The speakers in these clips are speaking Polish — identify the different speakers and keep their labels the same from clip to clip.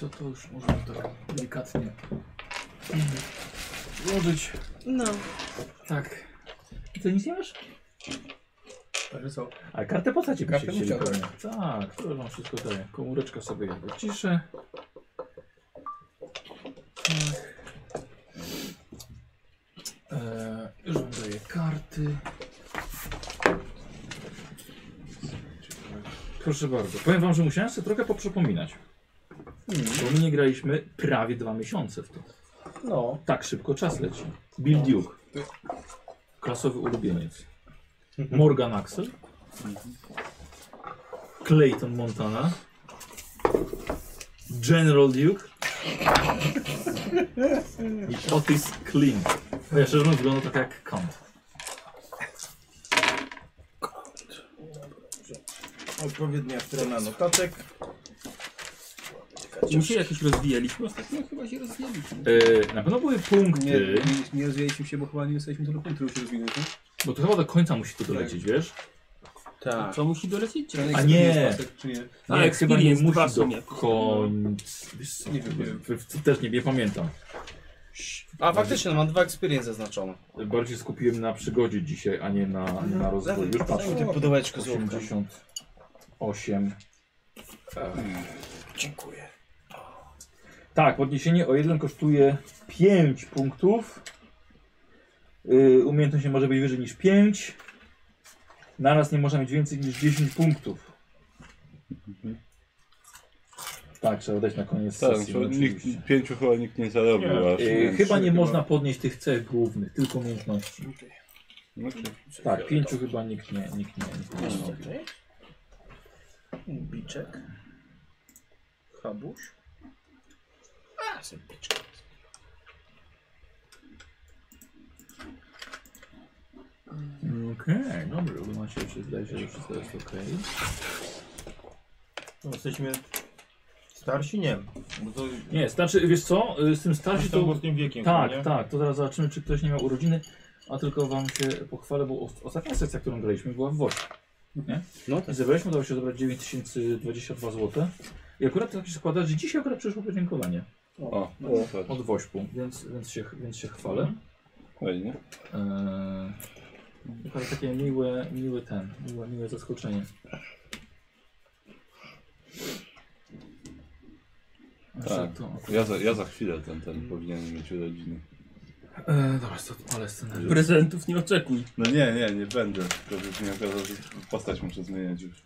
Speaker 1: Co to już możemy tak delikatnie włożyć.
Speaker 2: No.
Speaker 1: Tak.
Speaker 3: I co, nic nie masz?
Speaker 1: Także co?
Speaker 3: A kartę postaci byście
Speaker 1: Kartę
Speaker 3: chcieli
Speaker 1: musiałbym.
Speaker 3: pewnie. Tak, to wam wszystko daje. Komóreczka sobie ja wyciszę. Tak. Eee, już wam daję karty. Proszę bardzo. Powiem wam, że musiałem sobie trochę poprzypominać.
Speaker 1: Hmm.
Speaker 3: Bo my nie graliśmy prawie dwa miesiące w to.
Speaker 1: No.
Speaker 3: Tak szybko czas leci. Bill Duke. Klasowy ulubieniec. Morgan Axel. Clayton Montana. General Duke. I Otis Klin. Bo ja szczerze mówiąc wygląda trochę jak Kant.
Speaker 4: Odpowiednia strona notatek.
Speaker 5: Czy się jakoś rozwijaliśmy ostatnio?
Speaker 1: No chyba się rozjęliśmy.
Speaker 3: Yy, na pewno były punkty,
Speaker 4: Nie, nie, nie rozwijaliśmy się, bo chyba nie dostaliśmy do punktu, już rozwinęli.
Speaker 3: bo to chyba do końca musi to dolecieć, wiesz?
Speaker 4: Tak.
Speaker 5: Co musi dolecieć? Czy...
Speaker 3: A nie.
Speaker 4: Czy nie?
Speaker 5: A,
Speaker 3: Nie, chyba nie
Speaker 5: experience
Speaker 3: musi
Speaker 5: dwa w
Speaker 3: do
Speaker 5: sumie.
Speaker 3: końca. Wiesz co,
Speaker 4: Nie wiem, nie wiem.
Speaker 3: w- w- Też nie, nie pamiętam.
Speaker 2: A faktycznie, no, mam dwa experience zaznaczone.
Speaker 3: Bardziej skupiłem na przygodzie dzisiaj, a nie na, nie na rozwoju. Już patrzę.
Speaker 2: Zajmij te pudełeczko z łupkiem.
Speaker 3: 88. Dziękuję. Tak, podniesienie o jeden kosztuje 5 punktów. Yy, Umiejętność nie może być wyżej niż 5. Naraz nie można mieć więcej niż 10 punktów. Tak, trzeba dać na koniec
Speaker 6: Tak,
Speaker 3: sesji. no
Speaker 6: to nikt,
Speaker 3: oczywiście.
Speaker 6: pięciu chyba nikt nie zarobił.
Speaker 5: Nie.
Speaker 6: aż,
Speaker 3: Yy,
Speaker 6: więc-
Speaker 3: chyba nie można podnieść tych cech głównych, tylko umiejętności.
Speaker 6: No, czy-
Speaker 3: Tak, pięciu chyba nikt nie, nikt nie, nikt nie robił.
Speaker 1: Biczek. Habuś.
Speaker 2: A, sympyczka.
Speaker 3: Okej, okay, dobra, bo macie się zdaje się, że wszystko jest okej.
Speaker 7: No, jesteśmy starsi? Nie. Bo to
Speaker 3: Nie, starszy, wiesz co, y, z tym starsi
Speaker 7: z tym
Speaker 3: to...
Speaker 7: mocnym wiekiem. nie?
Speaker 3: Tak, tak, to teraz zobaczymy, czy ktoś nie miał urodziny, a tylko wam się pochwalę, bo os- ostatnia sesja, którą graliśmy była w Wośle, nie?
Speaker 2: No
Speaker 3: I
Speaker 2: tak.
Speaker 3: zebraliśmy, udało się zebrać 9022 zł. I akurat tak się składa, że dzisiaj akurat przyszło podziękowanie
Speaker 6: O, no, o,
Speaker 3: od Wośpu, więc, więc, się, więc się chwalę.
Speaker 6: fajnie.
Speaker 3: Eee, akurat takie miłe, miły ten, miłe, miłe zaskoczenie. Że
Speaker 6: Tak.
Speaker 3: To,
Speaker 6: Ja za, ja za chwilę ten, ten powinien mieć urodziny.
Speaker 3: e, dobra, co tu ale scenariusz.
Speaker 5: Prezentów nie oczekuj.
Speaker 6: No nie, nie, nie będę. To by nie okazało, że postać muszę zmieniać już.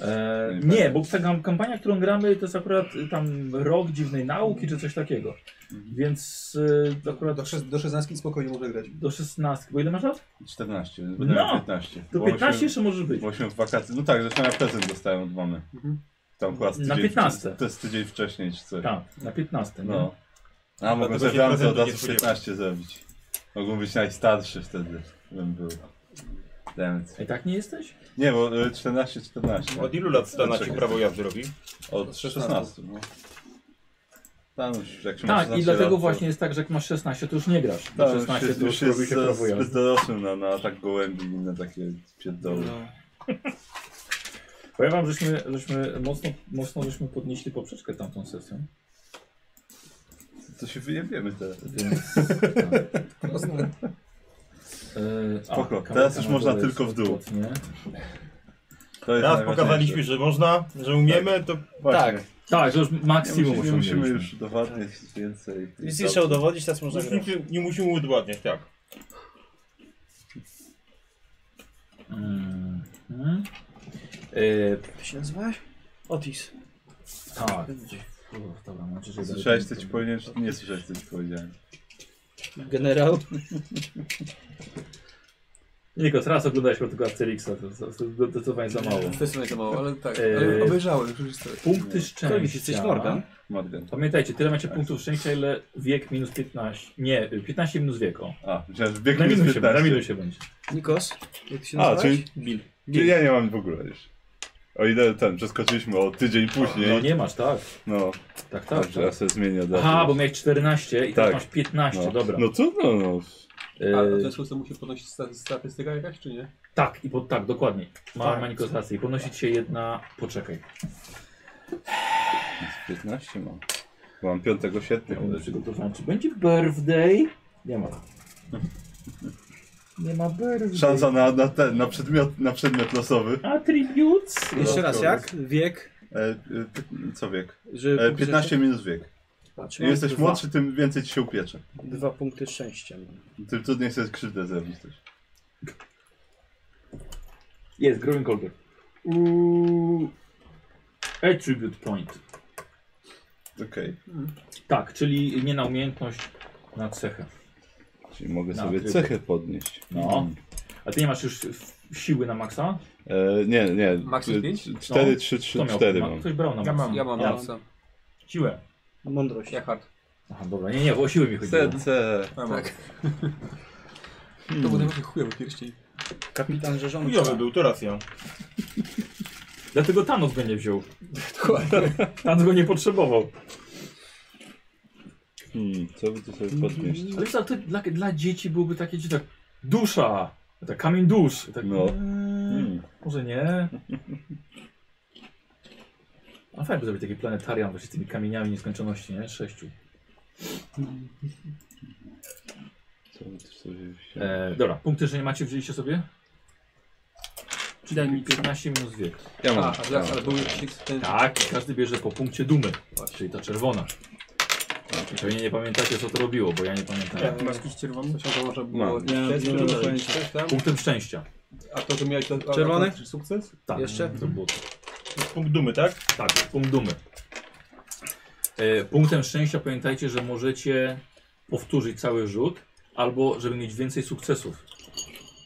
Speaker 3: E, nie,
Speaker 6: tak.
Speaker 3: bo ta kam- kampania, którą gramy, to jest akurat y, tam rok dziwnej nauki czy coś takiego.
Speaker 6: Mhm.
Speaker 3: Więc e,
Speaker 4: Do,
Speaker 3: akurat
Speaker 4: do, szes- do 16 spokojnie można grać.
Speaker 3: do 16. Bo ile masz lat?
Speaker 6: 14, więc będę miał
Speaker 3: No!
Speaker 6: 15.
Speaker 3: Do
Speaker 6: Bo
Speaker 3: 15
Speaker 6: osiem-
Speaker 3: jeszcze może być.
Speaker 6: bo osiem w wakacji. No tak, zresztą ja prezent dostałem od mamy.
Speaker 4: Mhm.
Speaker 6: Tam chyba z
Speaker 3: Na
Speaker 6: tydzień,
Speaker 3: 15.
Speaker 6: To jest tydzień wcześniej czy coś.
Speaker 3: Tak, na 15. No.
Speaker 6: No. A mogę
Speaker 7: Dlatego
Speaker 6: sobie
Speaker 7: się
Speaker 6: tam od
Speaker 7: prezentu nie
Speaker 6: razu 15 zrobić. Mogą być najstarszy wtedy, bym był. Dammit.
Speaker 3: I tak nie jesteś?
Speaker 6: Nie, bo y, 14, 14.
Speaker 7: Od ilu lat stana ci
Speaker 6: Czekaj.
Speaker 7: prawo jazdy robi?
Speaker 6: Od 16. No. Tam już, jak się ma
Speaker 3: Tak, i
Speaker 6: 16
Speaker 3: dlatego
Speaker 6: No, lat, to-
Speaker 3: właśnie jest tak, że jak masz 16, to już nie grasz.
Speaker 6: Tak,
Speaker 3: Do 16
Speaker 6: już,
Speaker 3: to już
Speaker 6: już
Speaker 3: robi się
Speaker 6: jest
Speaker 3: prawo
Speaker 6: zbyt
Speaker 3: jazdy.
Speaker 6: dorosłym na, na tak gołębi i na takie pierdoły.
Speaker 3: Powiem wam, żeśmy, żeśmy mocno, mocno żeśmy podnieśli poprzeczkę tamtą sesją.
Speaker 6: To się wyjebiemy teraz.
Speaker 3: Więc, tak.
Speaker 4: Proste.
Speaker 3: E, a,
Speaker 6: Spoko,
Speaker 3: kamerka
Speaker 6: teraz już
Speaker 3: na
Speaker 6: można
Speaker 3: dole
Speaker 6: tylko w dół.
Speaker 3: jest płotnie.
Speaker 6: To jest
Speaker 7: Raz
Speaker 6: najważniejsze.
Speaker 7: pokazaliśmy, że można, że umiemy, to
Speaker 6: Właśnie.
Speaker 2: Tak.
Speaker 3: Tak, że już
Speaker 6: Nie,
Speaker 3: maksimum
Speaker 6: musimy, nie musimy
Speaker 3: osiągnęliśmy.
Speaker 6: już udowadniać więcej.
Speaker 2: Nic nie trzeba udowodnić, teraz można
Speaker 7: już
Speaker 2: grać.
Speaker 7: nic nie, nie musimy udowadniać, tak.
Speaker 3: Mhm. E,
Speaker 2: Jak się nazywałeś? Otis.
Speaker 3: tak. Uff, Dobra, mam nadzieję, że
Speaker 6: Słyszałeś co ci powiedziałem, czy nie słyszałeś co ci powiedziałem?
Speaker 2: Generał.
Speaker 3: Nie, tylko teraz oglądałeś tylko Asterixa, to- to to zdecydowanie za mało.
Speaker 4: Kwestia to mało, ale tak.
Speaker 3: Eee.
Speaker 4: Ale obejrzałem już historię.
Speaker 3: Punkty
Speaker 2: Koleś, jesteś
Speaker 3: szczęścia.
Speaker 2: Morgan?
Speaker 6: Morgan.
Speaker 3: Pamiętajcie, tyle macie punktów szczęścia, ile wiek minus 15. Nie, 15 minus wiek. O.
Speaker 6: A, myślałem, że bieg
Speaker 3: Na
Speaker 6: jest
Speaker 3: minusie, na
Speaker 6: 15.
Speaker 3: minusie będzie.
Speaker 2: Nikos? Jak ty się
Speaker 6: A,
Speaker 2: nazywałeś?
Speaker 6: czyli Eee.
Speaker 5: Bill.
Speaker 6: czyli ja nie mam w ogóle już. O ile ten, przeskoczyliśmy o tydzień później.
Speaker 3: No nie masz, tak.
Speaker 6: No,
Speaker 3: Tak, tak.
Speaker 6: dobrze, ja
Speaker 3: tak.
Speaker 6: sobie zmienię datę.
Speaker 3: Aha, bo miałeś 14 i teraz
Speaker 6: Tak.
Speaker 3: masz 15,
Speaker 6: no.
Speaker 3: dobra.
Speaker 6: No trudno, no.
Speaker 3: E,
Speaker 2: A, a ten szósty musi podnosić sta- statystyka jakaś, czy nie?
Speaker 3: Tak, i pod, tak, dokładnie. Ma,
Speaker 8: Tak.
Speaker 3: ma Nikos rację. I podnosić się jedna. Poczekaj.
Speaker 6: 15 mam. Bo mam 5 sierpnia.
Speaker 3: Ja będę przygotowany. Czy znaczy, będzie birthday? Nie ma. Nie ma birthday.
Speaker 6: Szansa na, na ten, na przedmiot, na przedmiot losowy.
Speaker 3: Attributes?
Speaker 9: Jeszcze raz, jak? Wiek?
Speaker 6: E, e, py- co wiek?
Speaker 9: Że
Speaker 6: E, 15 minus wiek. Im
Speaker 9: Patrzę,
Speaker 6: jesteś
Speaker 9: dwa-
Speaker 6: młodszy, tym więcej ci się upiecze.
Speaker 9: Dwa punkty szczęścia. no. mam.
Speaker 6: Tym trudniej sobie krzywdę zrobić też.
Speaker 3: Jest, growing colder. Uuu, Attribute point.
Speaker 6: Okej,
Speaker 3: Tak, czyli nie na umiejętność, na cechę.
Speaker 6: czyli mogę
Speaker 3: Na
Speaker 6: sobie
Speaker 3: tryb.
Speaker 6: cechę podnieść. Mhm.
Speaker 3: No. A ty nie masz już w- siły na maksa?
Speaker 6: E, nie, nie.
Speaker 2: Max jest pięć?
Speaker 6: 4, 3, 3,
Speaker 3: Kto miał?
Speaker 6: 4
Speaker 3: Ma-
Speaker 6: mam.
Speaker 3: Ktoś brał na
Speaker 10: Ja
Speaker 3: maksa.
Speaker 10: mam.
Speaker 2: Ja mam
Speaker 3: Ja.
Speaker 2: Maxa.
Speaker 3: Siłę.
Speaker 9: Mądrość.
Speaker 2: Ja hard.
Speaker 3: Aha, dobra, nie, nie, bo o siłę mi chodziło.
Speaker 6: C, C.
Speaker 2: Ja mam. Tak.
Speaker 10: Tak.
Speaker 2: To był najbardziej chujowy pierścień.
Speaker 9: Kapitan Rzeżąca.
Speaker 10: Chujowy był, to racja.
Speaker 3: Dlatego Thanos go nie wziął. Thanos go nie potrzebował.
Speaker 6: Hmm, co by tu sobie podnieść?
Speaker 3: Ale wiesz, ale to dla, dla dzieci byłoby takie, że tak dusza, tak kamień dusz. Tak,
Speaker 6: No.
Speaker 3: Mm,
Speaker 6: Hmm.
Speaker 3: Może nie. A fajnie by zrobić taki planetarium właśnie z tymi kamieniami nieskończoności, nie? Sześciu.
Speaker 6: Co by tu sobie wziąć?
Speaker 3: E, dobra, punkty, że nie macie, wzięliście sobie?
Speaker 1: Czy daj mi
Speaker 3: 15 minus wiek.
Speaker 6: Ja
Speaker 2: A,
Speaker 6: mam.
Speaker 2: a
Speaker 6: ja
Speaker 2: zaraz,
Speaker 6: mam.
Speaker 2: ale był jakiś ten...
Speaker 3: Tak, każdy bierze po punkcie dumy, czyli ta czerwona. I Pewnie nie pamiętacie, co to robiło, bo ja nie
Speaker 2: Tak.
Speaker 3: pamiętam.
Speaker 1: Masz jakiś czerwony?
Speaker 2: Coś tam można
Speaker 6: Mam.
Speaker 2: było...
Speaker 1: Ja
Speaker 2: Nie,
Speaker 1: nie mam pojęcia.
Speaker 2: coś tam.
Speaker 3: Punktem szczęścia.
Speaker 2: A to, że miałeś... a- a-
Speaker 9: Czerwony?
Speaker 2: a- Sukces?
Speaker 3: Tak,
Speaker 9: Jeszcze?
Speaker 3: to było to.
Speaker 10: Punkt dumy, tak?
Speaker 3: Tak, punkt dumy. E, punktem szczęścia pamiętajcie, że możecie powtórzyć cały rzut, albo żeby mieć więcej sukcesów.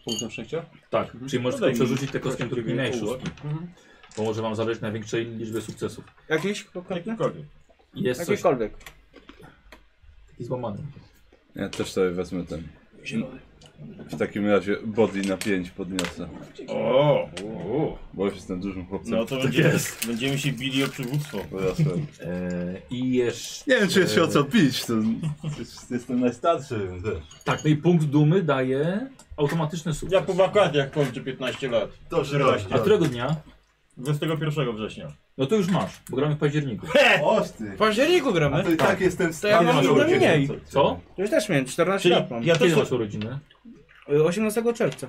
Speaker 2: Punktem szczęścia?
Speaker 3: Tak, czyli możecie
Speaker 10: Podaj Mhm. No mi
Speaker 3: przerzucić te kostki, które miałeś szóstki,
Speaker 2: Mhm.
Speaker 3: bo może wam zależeć na większej liczbie sukcesów.
Speaker 9: Jakieś konkretne?
Speaker 10: Jakikolwiek.
Speaker 3: Jest coś
Speaker 9: Jakiekolwiek.
Speaker 3: taki złamany.
Speaker 6: Ja też sobie wezmę ten. W takim razie body na 5 podniosę.
Speaker 10: O,
Speaker 6: Bo już jestem dużym chłopcem.
Speaker 10: no to będzie, będziemy się bili o przywództwo.
Speaker 6: Dorosłem.
Speaker 3: E, I jeszcze...
Speaker 6: Nie wiem, czy jest się o co pić. To jest- jestem najstarszy, więc wiesz.
Speaker 3: Tak, no i punkt dumy daje automatyczny sukces.
Speaker 10: Ja po wakacjach kończę 15 lat.
Speaker 6: To
Speaker 3: A którego dnia?
Speaker 10: 21 września.
Speaker 3: No to już masz, bo gramy w październiku.
Speaker 6: Oż ty.
Speaker 9: W październiku
Speaker 6: A
Speaker 9: gramy.
Speaker 6: to i tak jestem
Speaker 9: To ja mam
Speaker 6: stary.
Speaker 9: dużo mniej.
Speaker 3: Co?
Speaker 9: Już też miałem 14
Speaker 10: Czyli
Speaker 9: lat mam.
Speaker 10: ja też
Speaker 3: Kiedy masz urodziny?
Speaker 9: Y, 18 czerwca.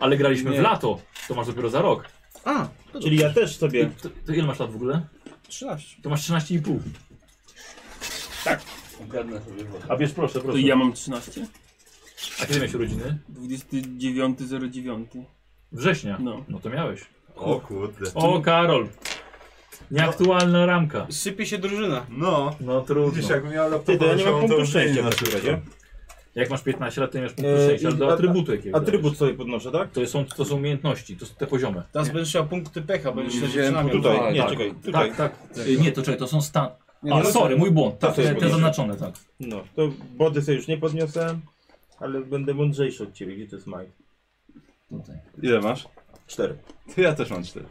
Speaker 3: Ale graliśmy w
Speaker 9: Nie.
Speaker 3: lato, to masz dopiero za rok.
Speaker 9: A,
Speaker 10: Czyli ja też sobie.
Speaker 3: To, to ile masz lat w ogóle?
Speaker 9: 13.
Speaker 3: To masz 13,5.
Speaker 6: Ogarnę sobie wodę.
Speaker 3: A wiesz, proszę,
Speaker 1: To
Speaker 3: proszę.
Speaker 1: ja mam 13?
Speaker 3: A kiedy miałeś urodziny?
Speaker 1: 29.09.
Speaker 3: Września.
Speaker 1: No.
Speaker 3: No to miałeś.
Speaker 6: O kurde.
Speaker 3: O, Karol. Nieaktualna ramka.
Speaker 9: Sypie się drużyna.
Speaker 6: No.
Speaker 3: No
Speaker 6: Widzisz,
Speaker 3: trudno.
Speaker 6: jakbym miał laptopa,
Speaker 10: Ty, to ja nie
Speaker 6: to
Speaker 10: mam punktu
Speaker 6: już
Speaker 10: szczęścia
Speaker 6: inna
Speaker 10: w takim
Speaker 6: sytuacja.
Speaker 10: razie.
Speaker 3: Jak masz 15 lat, to nie masz punktu
Speaker 10: Eee,
Speaker 3: 6, ale
Speaker 10: i-
Speaker 3: do
Speaker 10: a-
Speaker 3: atrybutu jakiegoś.
Speaker 10: Atrybut sobie podnoszę, tak?
Speaker 3: To są, to są umiejętności, to są te poziomy.
Speaker 9: Teraz będziesz miał punkty pecha, będziesz się
Speaker 6: Wziąłem
Speaker 9: dziewczynami
Speaker 10: Tutaj,
Speaker 9: odwalał.
Speaker 10: nie,
Speaker 6: tak.
Speaker 10: czekaj, tutaj.
Speaker 3: Tak, tak. Y, Nie, to czekaj, to są stan...
Speaker 2: Nie,
Speaker 3: A,
Speaker 2: no,
Speaker 3: sorry, mój błąd. Tak,
Speaker 10: to
Speaker 3: te,
Speaker 10: jest
Speaker 3: te
Speaker 10: podniesienie.
Speaker 3: zaznaczone, tak.
Speaker 10: No, to body sobie już nie podniosę, ale będę mądrzejszy od ciebie, gdzie to jest Mike?
Speaker 6: Ile masz?
Speaker 10: Cztery.
Speaker 6: Ty, ja też mam 4.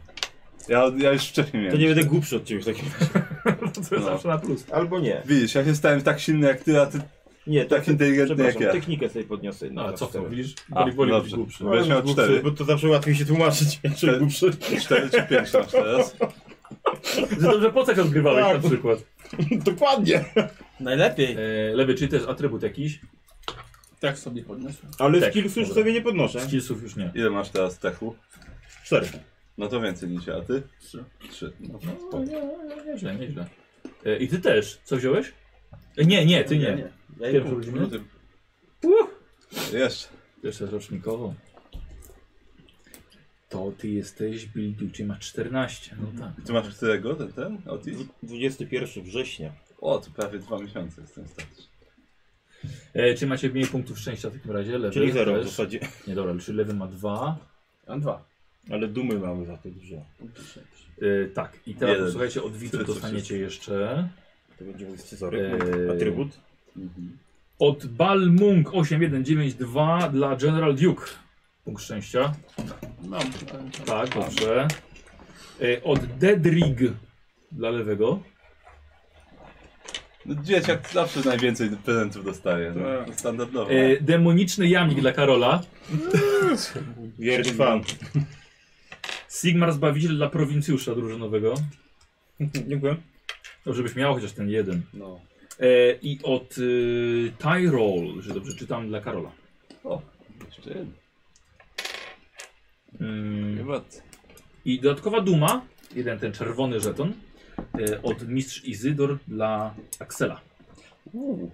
Speaker 6: Ja, ja już wcześniej
Speaker 10: To
Speaker 6: miałem.
Speaker 10: nie będę głupszy od ciebie w takim razie.
Speaker 3: To jest zawsze na plus.
Speaker 10: Albo nie.
Speaker 6: Widzisz, ja się stałem tak silny jak ty, a ty
Speaker 10: Nie,
Speaker 6: Tak inteligentny
Speaker 10: przepraszam,
Speaker 6: jak ja.
Speaker 10: technikę sobie podniosę.
Speaker 3: No,
Speaker 10: na
Speaker 3: ale co to,
Speaker 10: cztery.
Speaker 3: widzisz?
Speaker 6: A,
Speaker 3: Boli, boli,
Speaker 6: dobrze.
Speaker 3: głupszy.
Speaker 10: No, ale
Speaker 6: Będziesz miał
Speaker 10: głupszy,
Speaker 6: cztery.
Speaker 10: Bo to zawsze łatwiej się tłumaczyć, jak człowiek głupszy.
Speaker 6: 4 czy 5 masz teraz.
Speaker 3: Że dobrze postać odgrywałeś
Speaker 10: Tak.
Speaker 3: na przykład.
Speaker 10: Dokładnie.
Speaker 9: Najlepiej.
Speaker 3: E, lewy, czyli to jest atrybut jakiś?
Speaker 1: Tak sobie podniosłem.
Speaker 10: Ale
Speaker 3: Tak,
Speaker 10: tak, skillsów już
Speaker 3: dobra.
Speaker 10: sobie nie podnoszę.
Speaker 3: Skillsów już nie.
Speaker 6: Ile masz teraz techu?
Speaker 10: Cztery.
Speaker 6: No to więcej niż ja, a ty?
Speaker 1: Trzy.
Speaker 6: 3. No,
Speaker 3: No, nie, nie, nieźle, nieźle. E, I ty też. Co wziąłeś? E, nie, nie, ty
Speaker 10: Ja
Speaker 3: nie.
Speaker 10: Ja
Speaker 3: Pierwszy
Speaker 10: i
Speaker 3: urodziny?
Speaker 6: Jeszcze.
Speaker 3: Jeszcze rocznikowo. To ty jesteś Bildu, czyli masz 14. No
Speaker 10: Mhm.
Speaker 3: tak.
Speaker 6: Ty masz którego ten, ten Otis?
Speaker 10: pół. 21 września.
Speaker 6: O, to prawie dwa miesiące jestem starszy.
Speaker 3: E, czy macie mniej punktów szczęścia w takim razie? Lewy
Speaker 10: Czyli zero w
Speaker 3: też.
Speaker 10: zasadzie.
Speaker 3: Nie dobra, czyli lewy ma 2.
Speaker 9: Mam dwa.
Speaker 10: Ale dumy mamy za to dużo.
Speaker 3: E, tak, i teraz
Speaker 6: Jeden.
Speaker 3: posłuchajcie, od widzów
Speaker 6: Tyle, co
Speaker 3: dostaniecie
Speaker 6: wszyscy.
Speaker 3: jeszcze.
Speaker 10: To będzie mój scyzoryk,
Speaker 3: Eee.
Speaker 10: mój atrybut.
Speaker 3: Od Balmung 8192 dla General Duke. Punkt szczęścia.
Speaker 1: Mam tutaj.
Speaker 3: Tak, dobrze. E, Od Dedrig dla lewego.
Speaker 6: No, dzieciak zawsze najwięcej prezentów dostaje. No.
Speaker 1: Tak.
Speaker 6: Standardowo.
Speaker 3: E, demoniczny jamnik dla Karola.
Speaker 10: Wiersz fan.
Speaker 3: Sigmar Zbawiciel dla prowincjusza drużynowego.
Speaker 10: Dziękuję.
Speaker 3: Dobrze byś No, miał chociaż ten jeden.
Speaker 9: No.
Speaker 3: E, I od y, Tyrol, że dobrze czytam, dla Karola.
Speaker 6: O, jeszcze jeden.
Speaker 3: Mm,
Speaker 6: Chyba-
Speaker 3: I dodatkowa duma, jeden ten czerwony żeton, e, od mistrz Izydor dla Axela.
Speaker 6: Uuu,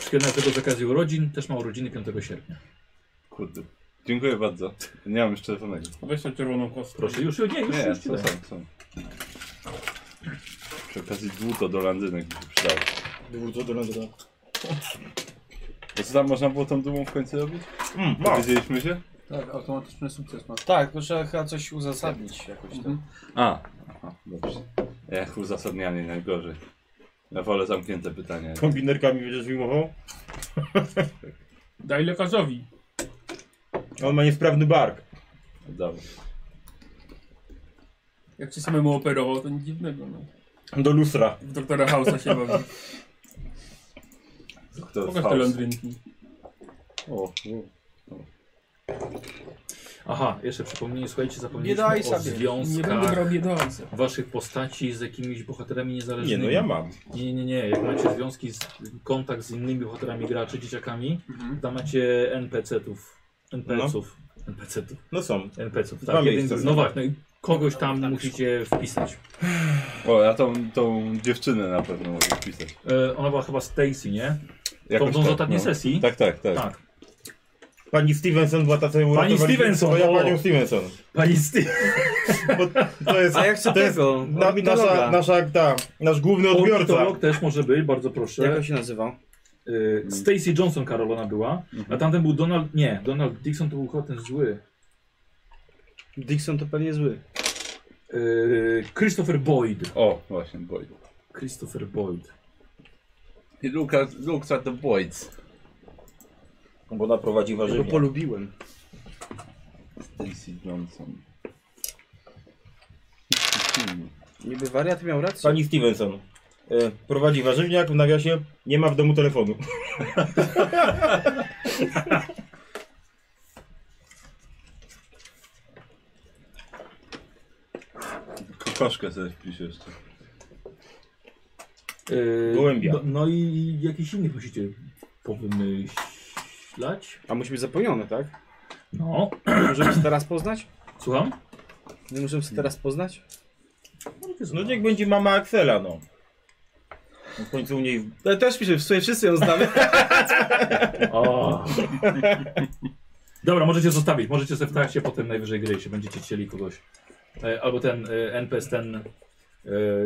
Speaker 3: Szkielna tego z okazji urodzin, też ma urodziny 5 sierpnia.
Speaker 6: Kurde. Dziękuję bardzo. Nie mam już czerwonego.
Speaker 1: Weź tą czerwoną kostkę.
Speaker 3: Proszę, już, już, nie, już,
Speaker 6: Nie, tak.
Speaker 3: już ci
Speaker 6: są,
Speaker 3: daję.
Speaker 6: są, są. Przy okazji dłuto do landynek by się przydało.
Speaker 10: Dwórco do Londynu.
Speaker 6: To co tam można było tą dumą w końcu robić?
Speaker 10: Mm, ma.
Speaker 6: Dowiedzieliśmy się?
Speaker 1: Tak, automatyczny sukces masz.
Speaker 9: Tak, to trzeba chyba coś uzasadnić jakoś tam.
Speaker 1: Mhm.
Speaker 6: A, aha, dobrze. Jak uzasadnianie najgorzej. Ja wolę zamknięte pytania.
Speaker 10: Kombinerkami będziesz filmował?
Speaker 1: Daj lekarzowi.
Speaker 10: On ma niesprawny bark.
Speaker 6: Dobra.
Speaker 1: Jak się samemu operował, to nic dziwnego. No.
Speaker 10: Do lustra.
Speaker 1: W doktora House'a się bawi.
Speaker 6: Doktor
Speaker 1: Pokaż te
Speaker 6: Faust.
Speaker 1: lądrynki.
Speaker 6: O, o.
Speaker 3: Aha, jeszcze przypomnienie, słuchajcie, zapomnieliśmy
Speaker 9: Nie daj
Speaker 3: o
Speaker 9: sobie.
Speaker 1: Nie będę
Speaker 3: związkach
Speaker 1: brał biedące.
Speaker 3: waszych postaci z jakimiś bohaterami
Speaker 10: Nie
Speaker 3: niezależnymi.
Speaker 10: no, ja mam.
Speaker 3: Nie, nie, nie. Jak macie związki, z, kontakt z innymi bohaterami graczy, dzieciakami,
Speaker 1: Mhm.
Speaker 3: tam macie NPC-ów. NPC-ów. NPC-ów.
Speaker 10: No są.
Speaker 3: NPC-ów.
Speaker 10: Dwa
Speaker 3: Tak,
Speaker 10: miejsca
Speaker 3: jeden,
Speaker 10: są.
Speaker 3: no właśnie. no i Kogoś tam musicie wpisać.
Speaker 6: o ja tą, tą dziewczynę na pewno mogę wpisać.
Speaker 3: E, ona była chyba Stacy, nie?
Speaker 6: Jakoś
Speaker 3: Tą z ostatniej
Speaker 6: no.
Speaker 3: sesji?
Speaker 6: Tak, tak, tak.
Speaker 3: Tak.
Speaker 10: Pani Stevenson była ta, co ją
Speaker 3: Pani
Speaker 10: uratowaliśmy.
Speaker 3: Stevenson,
Speaker 10: To ja
Speaker 3: o.
Speaker 10: panią Stevenson.
Speaker 3: Pani Stacy.
Speaker 10: Bo to jest...
Speaker 9: A jak co
Speaker 10: to jest
Speaker 9: tego?
Speaker 10: na, nasza, nasza, ta, nasz główny odbiorca.
Speaker 3: Ornitolog też może być, bardzo proszę.
Speaker 9: Jak on się nazywa?
Speaker 3: E, Stacy Johnson Karolona była,
Speaker 10: Mhm.
Speaker 3: a tamten był Donald, nie, Donald Dixon to był chyba ten zły.
Speaker 9: Dixon to pewnie zły.
Speaker 3: E, Christopher Boyd.
Speaker 6: O, właśnie, Boyd.
Speaker 3: Christopher Boyd.
Speaker 6: Look at, look at the Boyds.
Speaker 10: Bo ona prowadzi
Speaker 9: Ja go polubiłem.
Speaker 6: Stacy Johnson. Hmm.
Speaker 9: Niby wariat miał rację.
Speaker 10: Pani Stevenson. E, prowadzi warzywniak, w nawiasie nie ma w domu telefonu.
Speaker 6: Kokoszkę sobie wpiszę jeszcze.
Speaker 3: E,
Speaker 10: Gołębia.
Speaker 3: No, no i jakiś innych musicie powymyślać.
Speaker 9: A musi być zapomnione, tak?
Speaker 3: No,
Speaker 9: Nie Możemy się teraz poznać?
Speaker 3: słucham?
Speaker 9: Nie możemy się teraz poznać?
Speaker 10: No niech będzie mama Axela, no. No W końcu u niej...
Speaker 9: Ale też pisze, w sumie wszyscy ją znamy.
Speaker 3: O. Dobra, możecie zostawić, możecie sobie w trakcie potem najwyżej gry, jeśli będziecie chcieli kogoś. E, Albo ten e, NPS, ten, e,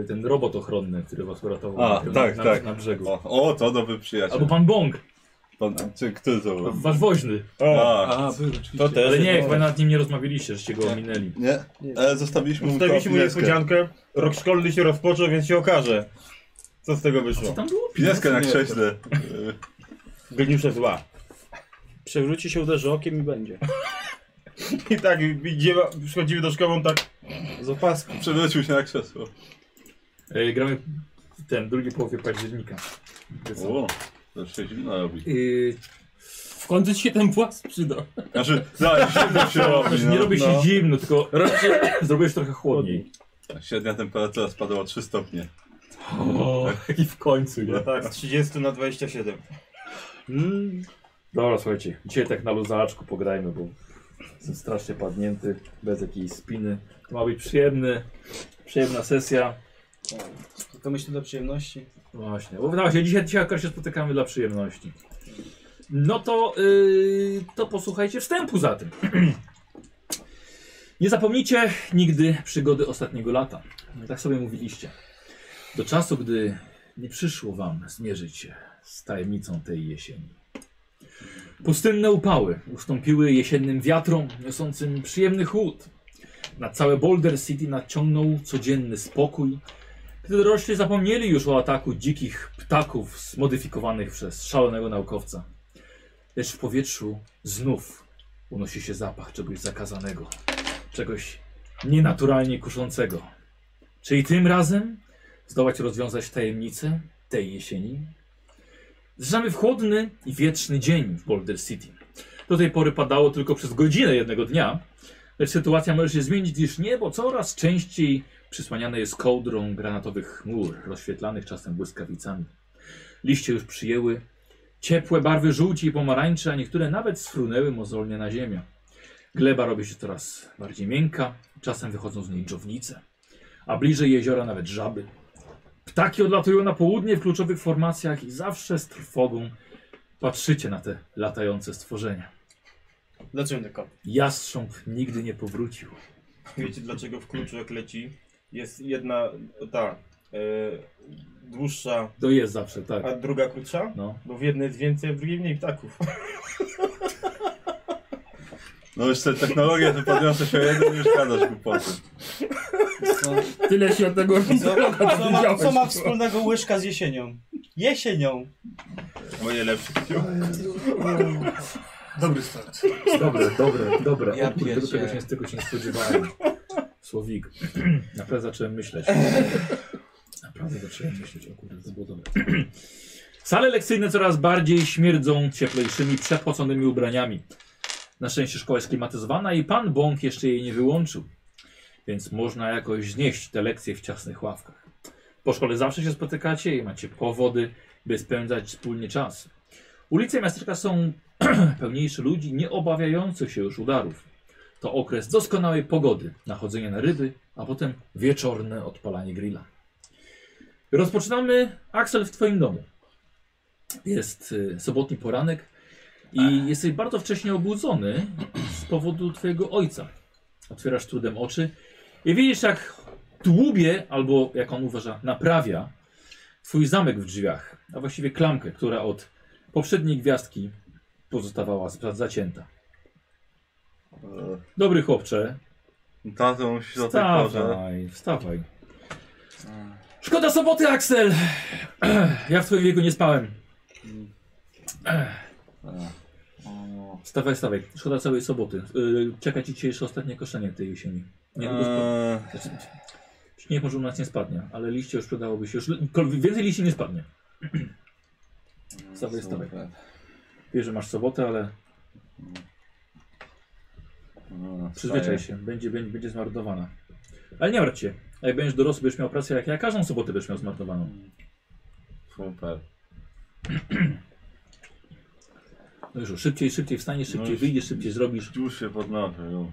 Speaker 3: ten robot ochronny, który was uratował
Speaker 6: A,
Speaker 3: na,
Speaker 6: tak,
Speaker 3: na,
Speaker 6: tak.
Speaker 3: na brzegu.
Speaker 6: O, o, to dobry przyjaciel.
Speaker 3: Albo pan Bong,
Speaker 6: Pan, czy który to był?
Speaker 3: wasz woźny.
Speaker 10: O,
Speaker 6: A,
Speaker 2: A, był oczywiście.
Speaker 10: to też.
Speaker 3: Ale nie, chyba nawet nim nie rozmawialiście, żeście go ominęli.
Speaker 6: nie? Ale zostawiliśmy mu
Speaker 10: Zostawiliśmy mu
Speaker 6: tą pineskę.
Speaker 10: niespodziankę. Rok szkolny się rozpoczął, więc się okaże, co z tego wyszło.
Speaker 3: Tam było
Speaker 6: Pineskę na
Speaker 3: Nie.
Speaker 6: krześle.
Speaker 10: Geniusze zła.
Speaker 9: Przewróci się, uderzy okiem i będzie.
Speaker 10: I tak idziemy, przychodzimy do szkoły, on tak...
Speaker 9: Z opaski.
Speaker 6: E, Przewrócił się na krzesło.
Speaker 3: E, Gramy w ten, drugiej połowie października.
Speaker 6: O, to już się zimno robi.
Speaker 3: Y,
Speaker 1: W końcu ci się ten płas przyda.
Speaker 6: Znaczy, zaraz zimno się robi.
Speaker 3: Znaczy,
Speaker 6: No.
Speaker 3: nie robi się
Speaker 6: no.
Speaker 3: zimno, tylko zrobiłeś trochę chłodniej.
Speaker 6: Tak, Średnia temperatura spadła o 3 stopnie.
Speaker 3: O, I w końcu,
Speaker 7: "No
Speaker 3: nie?
Speaker 10: Tak, z 30 na 27.
Speaker 3: Mm. Dobra, słuchajcie, dzisiaj tak na luzaczku pograjmy, bo jestem strasznie padnięty, bez jakiejś spiny. To ma być przyjemny, przyjemna sesja.
Speaker 9: Tylko myślę do przyjemności.
Speaker 3: Właśnie, bo wydawało się, dzisiaj, dzisiaj akurat się spotykamy dla przyjemności. No to, yy, to posłuchajcie wstępu za tym. Nie zapomnijcie nigdy przygody ostatniego lata. Tak sobie mówiliście. Do czasu, gdy nie przyszło wam zmierzyć się z tajemnicą tej jesieni. Pustynne upały ustąpiły jesiennym wiatrom, niosącym przyjemny chłód. Na całe Boulder City nadciągnął codzienny spokój, gdy dorośli zapomnieli już o ataku dzikich ptaków zmodyfikowanych przez szalonego naukowca. Lecz w powietrzu znów unosi się zapach czegoś zakazanego, czegoś nienaturalnie kuszącego. Czy i tym razem zdołać rozwiązać tajemnicę tej jesieni zjeżdżamy w chłodny i wieczny dzień w Boulder City. Do tej pory padało tylko przez godzinę jednego dnia, lecz sytuacja może się zmienić, gdyż niebo coraz częściej przysłaniane jest kołdrą granatowych chmur, rozświetlanych czasem błyskawicami. Liście już przyjęły ciepłe barwy żółci i pomarańcze, a niektóre nawet sfrunęły mozolnie na ziemię. Gleba robi się coraz bardziej miękka, czasem wychodzą z niej dżownice, a bliżej jeziora nawet żaby. Ptaki odlatują na południe w kluczowych formacjach i zawsze z trwogą patrzycie na te latające stworzenia.
Speaker 2: Dlaczego tylko?
Speaker 3: Jastrząb nigdy nie powrócił.
Speaker 7: Wiecie dlaczego w kluczu jak leci jest jedna ta e, dłuższa,
Speaker 3: To jest zawsze, tak.
Speaker 7: a druga krótsza?
Speaker 3: No.
Speaker 7: Bo w jednej jest więcej, a w drugiej mniej ptaków.
Speaker 6: No już te technologie to podniosę się o jeden już gadasz głupoty.
Speaker 5: Tyle się od tego
Speaker 9: Co, co, ma, co ma wspólnego łyżka z jesienią? Jesienią.
Speaker 6: Moje lepsze.
Speaker 4: Dobry start.
Speaker 3: Dobre, dobre, dobre.
Speaker 2: Ja
Speaker 3: o kurde, do
Speaker 2: pierdzielę.
Speaker 3: tego się, tego się nie spodziewałem. Słowik. Naprawdę zacząłem myśleć. Naprawdę zacząłem myśleć. O kurde, to było dobre. Sale lekcyjne coraz bardziej śmierdzą cieplejszymi, przepoconymi ubraniami. Na szczęście szkoła jest klimatyzowana i pan Bąk jeszcze jej nie wyłączył. Więc można jakoś znieść te lekcje w ciasnych ławkach. Po szkole zawsze się spotykacie i macie powody, by spędzać wspólnie czas. Ulice miasteczka są pełniejszy ludzi nie obawiających się już udarów. To okres doskonałej pogody na chodzenie na ryby, a potem wieczorne odpalanie grilla. Rozpoczynamy, Axel, w Twoim domu. Jest y, sobotni poranek i jesteś bardzo wcześnie obudzony z powodu Twojego ojca. Otwierasz trudem oczy i widzisz, jak dłubie, albo jak on uważa, naprawia Twój zamek w drzwiach, a właściwie klamkę, która od poprzedniej gwiazdki pozostawała za- zacięta. Dobry chłopcze,
Speaker 6: Tato musi o tej porze.
Speaker 3: wstawaj, wstawaj. Szkoda soboty, Aksel! Ja w twoim wieku nie spałem. Wstawaj, wstawaj. Szkoda całej soboty. Yy, Czeka ci dzisiejsze ostatnie koszenie tej jesieni. Niedługo spa-
Speaker 6: Eee,
Speaker 3: znaczy, Nie może u nas nie spadnie, ale liście już przydałoby się. Już kol- więcej liści nie spadnie. Wstawaj, wstawaj.
Speaker 6: E, super.
Speaker 3: Wiesz, że masz sobotę, ale
Speaker 6: No,
Speaker 3: Przyzwyczaj się, będzie, będzie, będzie zmarnowana. Ale nie martw się. a Jak będziesz dorosły, będziesz miał pracę jak ja, każdą sobotę będziesz miał zmarnowaną.
Speaker 6: Super.
Speaker 3: No już, szybciej, szybciej wstaniesz,
Speaker 6: No
Speaker 3: szybciej
Speaker 6: już-
Speaker 3: wyjdziesz, szybciej zrobisz.
Speaker 6: Już się podnoszę, już.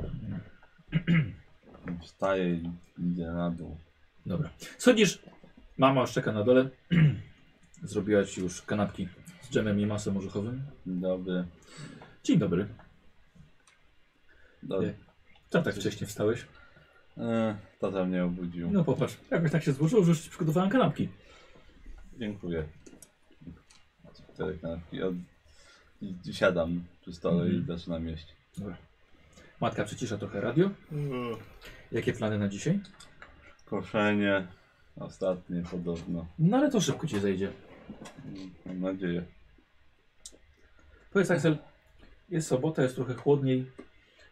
Speaker 6: Wstaję i idę na dół.
Speaker 3: Dobra. Schodzisz, mama już czeka na dole. Zrobiła ci już kanapki z dżemem i masłem orzechowym.
Speaker 6: Dzień Dobry.
Speaker 3: Dzień dobry.
Speaker 6: Dobry.
Speaker 3: Co tak wcześnie wstałeś?
Speaker 6: Eee, tata mnie obudził.
Speaker 3: No popatrz, jakoś tak się złożyło, że już ci przygotowałem kanapki.
Speaker 6: Dziękuję. Cztery kanapki. Od... i- i Siadam przy stole i
Speaker 3: Mhm.
Speaker 6: zaczynam jeść.
Speaker 3: Matka przycisza trochę radio. Jakie plany na dzisiaj?
Speaker 6: Koszenie. Ostatnie podobno.
Speaker 3: No ale to szybko ci zejdzie.
Speaker 6: Mam nadzieję.
Speaker 3: Powiedz Aksel, tak, jest sobota, jest trochę chłodniej,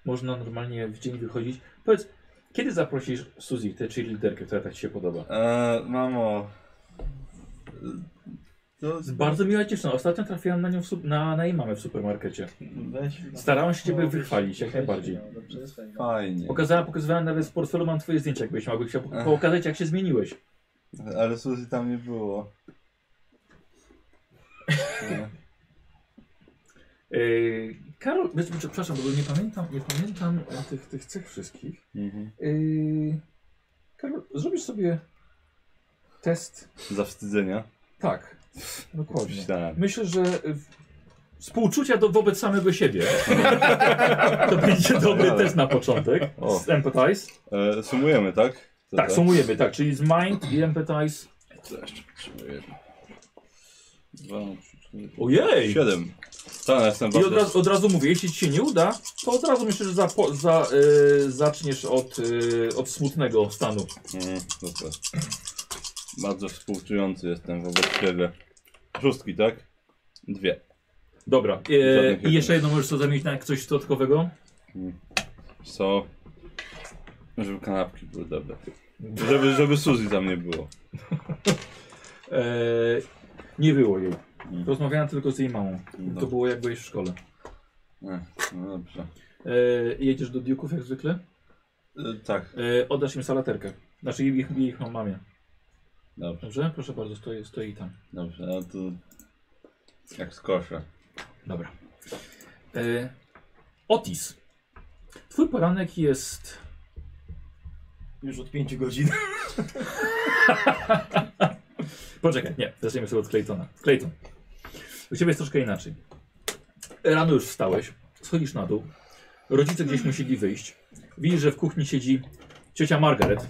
Speaker 3: można normalnie w dzień wychodzić. Powiedz, kiedy zaprosisz Suzy, tę czyli liderkę, która tak Ci się podoba?
Speaker 6: Eee, mamo. To
Speaker 3: Jest bardzo miła dziewczyna, ostatnio trafiłam na nią w, su- na, na jej mamę w supermarkecie.
Speaker 9: Weź. no.
Speaker 3: Starałam się Ciebie wychwalić, jak najbardziej.
Speaker 9: No, dobrze, jest fajnie.
Speaker 6: fajnie.
Speaker 3: Pokazała, pokazywałem nawet z portfelu, mam Twoje zdjęcia, jakbyś mogły się
Speaker 6: Ach.
Speaker 3: pokazać, jak się zmieniłeś.
Speaker 6: Ale Suzy tam nie było. Eee,
Speaker 3: Yy, Karol, bez- przepraszam, bo nie pamiętam, nie pamiętam e, tych, tych cech wszystkich.
Speaker 6: mhm.
Speaker 3: Yy, Karol, zrobisz sobie test.
Speaker 6: Zawstydzenia.
Speaker 3: Tak, dokładnie.
Speaker 6: Myślałem.
Speaker 3: Myślę, że e, w- współczucia do, wobec samego siebie. to będzie dobry
Speaker 6: Ale-
Speaker 3: test na początek.
Speaker 6: O.
Speaker 3: Z empathize.
Speaker 6: E, sumujemy, tak? To
Speaker 3: Tak, sumujemy, tak, czyli z mind i empathize.
Speaker 6: To jeszcze potrzebuję. Dwa, trzy, cztery.
Speaker 3: Ojej!
Speaker 6: Siedem. Tak, ja jestem
Speaker 3: I
Speaker 6: bardzo...
Speaker 3: od razu, od razu mówię, jeśli ci się nie uda, to od razu myślę, że za, po, za, y, zaczniesz od, y, od smutnego stanu.
Speaker 6: Mhm, super. Bardzo współczujący jestem wobec siebie. Szóstki, tak? Dwie.
Speaker 3: Dobra, y, i jeszcze jedno możesz to zamienić na coś dodatkowego.
Speaker 6: Co? Żeby kanapki były dobre. Żeby, żeby Suzy tam nie było.
Speaker 3: E, nie było jej.
Speaker 6: Mm.
Speaker 3: Rozmawiałem tylko z jej mamą.
Speaker 6: No,
Speaker 3: To było jak byłeś w szkole.
Speaker 6: Ech, no dobrze.
Speaker 3: E, jedziesz do Duke'ów jak zwykle?
Speaker 6: E, tak,
Speaker 3: E, oddasz im salaterkę. Znaczy ich, ich mam mamie.
Speaker 6: dobrze,
Speaker 3: Dobrze? Proszę bardzo, stoi, stoi tam.
Speaker 6: dobrze. A to jak z kosza.
Speaker 3: Dobra. E, Otis. Twój poranek jest...
Speaker 9: Już od pięciu godzin.
Speaker 3: Poczekaj, nie. Zaczniemy sobie od Claytona. Clayton. U ciebie jest troszkę inaczej. Rano już wstałeś, schodzisz na dół. Rodzice gdzieś musieli wyjść. Widzisz, że w kuchni siedzi ciocia Margaret,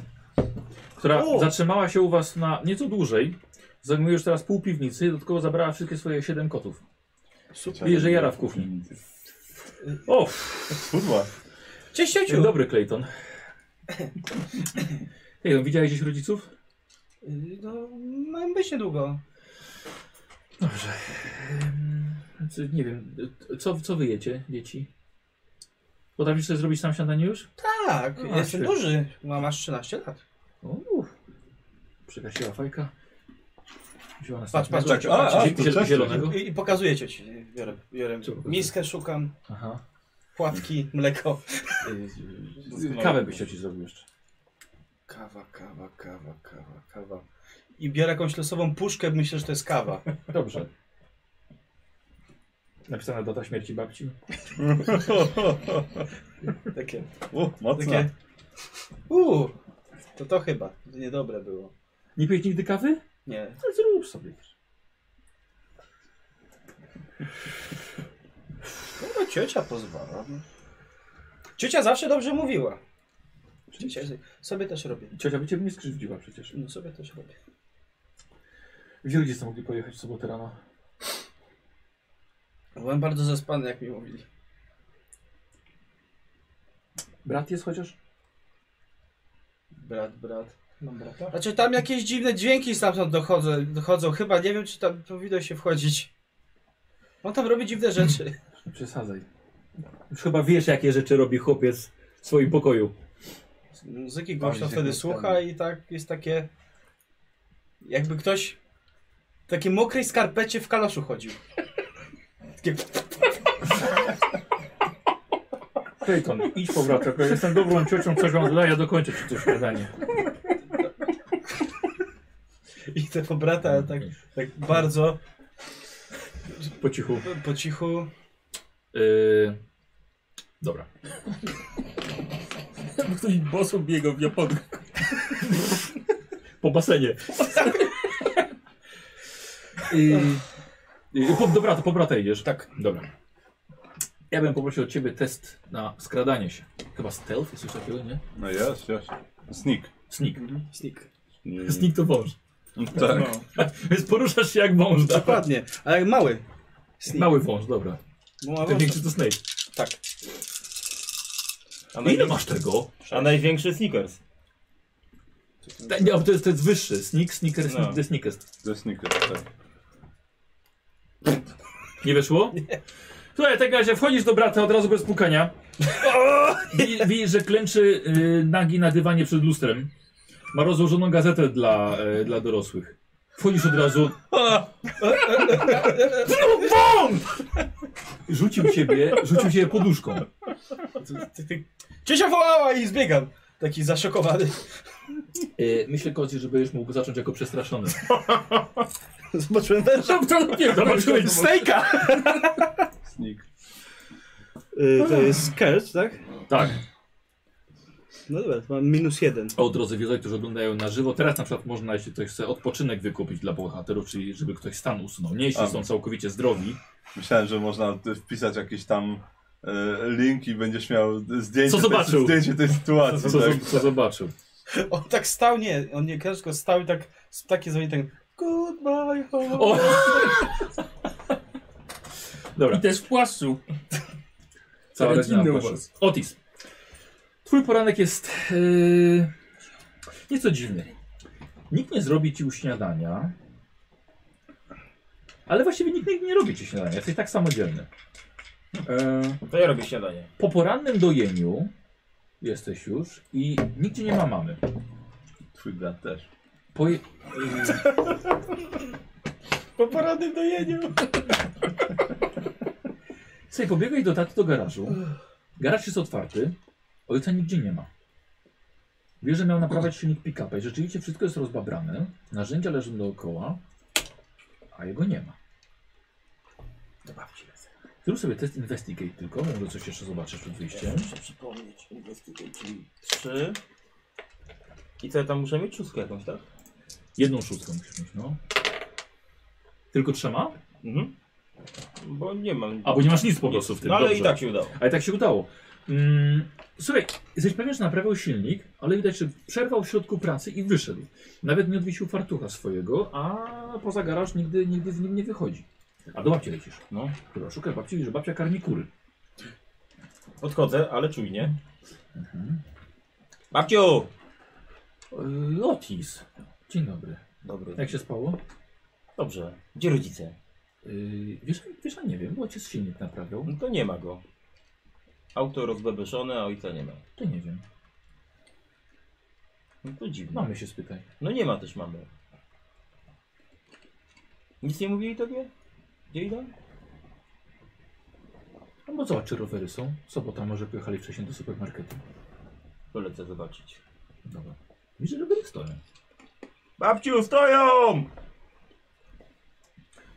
Speaker 3: która
Speaker 9: O!
Speaker 3: zatrzymała się u was na nieco dłużej. Zajmujesz teraz pół piwnicy, dodatkowo zabrała wszystkie swoje siedem kotów. Widzisz, że jara w kuchni. O,
Speaker 6: Kurwa.
Speaker 2: Cześć,
Speaker 3: dzień
Speaker 2: ciociu!
Speaker 3: dobry Clayton. Clayton, widziałeś gdzieś rodziców?
Speaker 9: Y, No, mają być niedługo.
Speaker 3: Dobrze. Em, czy- Nie wiem, co, co wy jecie, dzieci? Potrafisz sobie zrobić sam śniadanie już?
Speaker 9: Tak,
Speaker 3: A,
Speaker 9: jestem
Speaker 3: świetnie.
Speaker 9: duży. Mam aż 13 lat.
Speaker 3: Uff. Przegasiła fajka. Wzięła
Speaker 9: Patrz,
Speaker 3: następnego.
Speaker 9: patrz, patrz.
Speaker 6: A,
Speaker 9: patrz.
Speaker 6: a,
Speaker 3: Zie- ziel- Zielonego.
Speaker 9: I, I pokazuję cię. Biorę, biorę
Speaker 3: Co pokazujesz?
Speaker 9: miskę, szukam
Speaker 3: Aha.
Speaker 9: płatki, mleko.
Speaker 7: Doskonale.
Speaker 3: Kawę byś chciał ci zrobił jeszcze.
Speaker 7: Kawa, kawa, kawa, kawa, kawa.
Speaker 9: I biorę jakąś losową puszkę, myślę, że to jest kawa.
Speaker 3: Dobrze. Napisana data śmierci babci.
Speaker 9: Takie,
Speaker 6: U, mocno.
Speaker 9: takie... Uuu, to to chyba. Niedobre było.
Speaker 3: Nie pijesz nigdy kawy?
Speaker 9: Nie.
Speaker 3: No, zrób sobie.
Speaker 9: No, ciocia pozwala. no. Ciocia zawsze dobrze mówiła. Ciocia, sobie też robię.
Speaker 3: Ciocia by cię nie skrzywdziła przecież.
Speaker 9: No, sobie też robię.
Speaker 3: Gdzie ludzie są mogli pojechać w sobotę rano?
Speaker 9: Byłem bardzo zaspany, jak mi mówili.
Speaker 3: Brat jest chociaż?
Speaker 9: Brat, brat.
Speaker 1: Mam brata?
Speaker 9: Znaczy tam jakieś dziwne dźwięki stamtąd dochodzą, dochodzą. chyba nie wiem czy tam powinno się wchodzić. On tam robi dziwne rzeczy.
Speaker 3: Nie przesadzaj.
Speaker 5: Już chyba wiesz, jakie rzeczy robi chłopiec w swoim pokoju.
Speaker 9: Muzyki głośno
Speaker 7: Bardziej
Speaker 9: wtedy
Speaker 7: głośno.
Speaker 9: słucha i tak jest takie... Jakby ktoś w takiej mokrej skarpecie w kaloszu chodził. Takie...
Speaker 3: Clayton, idź powracaj. Ja jestem dobrą ciocią, coś wam dodaję, dokończę ci to śniadanie.
Speaker 9: I te po brata
Speaker 3: No,
Speaker 9: tak, tak bardzo
Speaker 3: Po cichu.
Speaker 9: po cichu.
Speaker 3: Yy, dobra.
Speaker 5: Jakby ktoś bosą biegał w Japonii.
Speaker 3: Po basenie. yy, yy, po, do brata, po brata idziesz. Tak. Dobra. Ja bym poprosił od ciebie test na skradanie się. Chyba stealth jest coś takiego, nie?
Speaker 6: No jest, jest. Sneak.
Speaker 3: Sneak.
Speaker 9: Snik.
Speaker 6: Nie-
Speaker 3: Sneak to wąż.
Speaker 6: Tak.
Speaker 7: No.
Speaker 3: Więc poruszasz się jak wąż. tak?
Speaker 9: Dokładnie, ale jak mały. Snik.
Speaker 3: Mały wąż, dobra.
Speaker 9: Mały.
Speaker 3: Ten większy to snake.
Speaker 9: Tak.
Speaker 7: A,
Speaker 3: Ile
Speaker 7: największy-
Speaker 3: masz tego?
Speaker 7: a największy sneakers.
Speaker 3: Te- Nie, to jest, to jest wyższy. Sneak, sneaker,
Speaker 7: No.
Speaker 3: sneak, the sneakest.
Speaker 6: To jest sneak, tak.
Speaker 3: Nie wyszło? Nie. Słuchaj, w takim razie wchodzisz do brata od razu bez pukania. Wi- Widzisz, że klęczy y, nagi na dywanie przed lustrem. Ma rozłożoną gazetę dla, y, dla dorosłych. Wchodzisz od razu. No, wąt! Rzucił ciebie, rzucił ciebie poduszką.
Speaker 9: Ciocia wołała i zbiegam. Taki zaszokowany.
Speaker 3: Y, myślę, Kozi, że będziesz mógł zacząć jako przestraszony.
Speaker 9: Zobaczyłem ten
Speaker 3: Zobaczyłeś
Speaker 9: Snake'a!
Speaker 6: Sneak.
Speaker 9: Y, to jest catch, tak?
Speaker 3: Tak.
Speaker 9: No dobra, to mam minus jeden.
Speaker 3: O, drodzy widzowie, którzy oglądają na żywo, teraz na przykład można, jeśli ktoś chce, odpoczynek wykupić dla bohaterów, czyli żeby ktoś stan usunął. Nie, jeśli
Speaker 6: A.
Speaker 3: są całkowicie zdrowi.
Speaker 6: Myślałem, że można ty- wpisać jakieś tam e, link i będziesz miał zdjęcie,
Speaker 3: Co
Speaker 6: Tej,
Speaker 3: zobaczył?
Speaker 6: zdjęcie tej sytuacji.
Speaker 3: Co,
Speaker 6: tak.
Speaker 3: co zobaczył.
Speaker 9: On tak stał, nie, on nie catch, tylko stał i tak, z- takie dzwoni ten Goodbye home.
Speaker 3: O! Dobra,
Speaker 5: I też w płaszczu.
Speaker 3: cała
Speaker 5: rodzinny
Speaker 3: rodzina poszła.
Speaker 5: u was.
Speaker 3: Otis. Twój poranek jest yy, nieco dziwny. Nikt nie zrobi ci śniadania, ale właściwie nikt nigdy nie robi ci śniadania. Jesteś tak samodzielny. E,
Speaker 7: To ja robię śniadanie.
Speaker 3: po porannym dojeniu jesteś już i nigdzie nie ma mamy.
Speaker 6: Twój brat też.
Speaker 3: Poje...
Speaker 9: Po porannym dojeniu.
Speaker 3: Słuchaj, pobiegaj do taty do garażu. Garaż jest otwarty. Ojca nigdzie nie ma. Wie, że miał naprawiać silnik pick-upa i rzeczywiście wszystko jest rozbabrane. Narzędzia leżą dookoła, a jego nie ma. Dobra, ci lecę. Zrób sobie test investigate tylko, może coś jeszcze zobaczysz przed wyjściem.
Speaker 10: Muszę przypomnieć. Investigation 3. I co, ja tam muszę mieć szóstkę jakąś, tak?
Speaker 3: Jedną szóstką musisz mieć, no. Tylko trzema?
Speaker 10: Mhm. Bo nie mam.
Speaker 3: A, bo nie masz nic po prostu w tym,
Speaker 10: No ale
Speaker 3: dobrze.
Speaker 10: i tak się udało.
Speaker 3: Ale tak się udało. Mm, słuchaj, jesteś pewien, że naprawiał silnik, ale widać, że przerwał w środku pracy i wyszedł. Nawet nie odwiesił fartucha swojego, a poza garaż nigdy, nigdy z nim nie wychodzi. A do babci lecisz. No, która szuka babci, że babcia karmi kury.
Speaker 10: Odchodzę, ale czujnie. Mhm. Babciu!
Speaker 3: Yy, Otis. Dzień dobry.
Speaker 10: Dobry.
Speaker 3: Jak się spało?
Speaker 10: Tak Dobrze. Gdzie rodzice?
Speaker 3: Yy, wiesz, wiesz, a nie wiem, bo ojciec silnik naprawiał.
Speaker 10: No to nie ma go. Auto rozbebeszone, a ojca nie ma.
Speaker 3: To nie wiem.
Speaker 10: No to dziwne.
Speaker 3: Mamy się spytaj.
Speaker 10: No nie ma też mamy. Nic nie mówili tobie? Gdzie idą?
Speaker 3: No bo zobacz, czy rowery są. Sobota może pojechali wcześniej do supermarketu.
Speaker 10: Polecę zobaczyć.
Speaker 3: Dobra. Widzę, że rowery stoją.
Speaker 10: Babciu, stoją!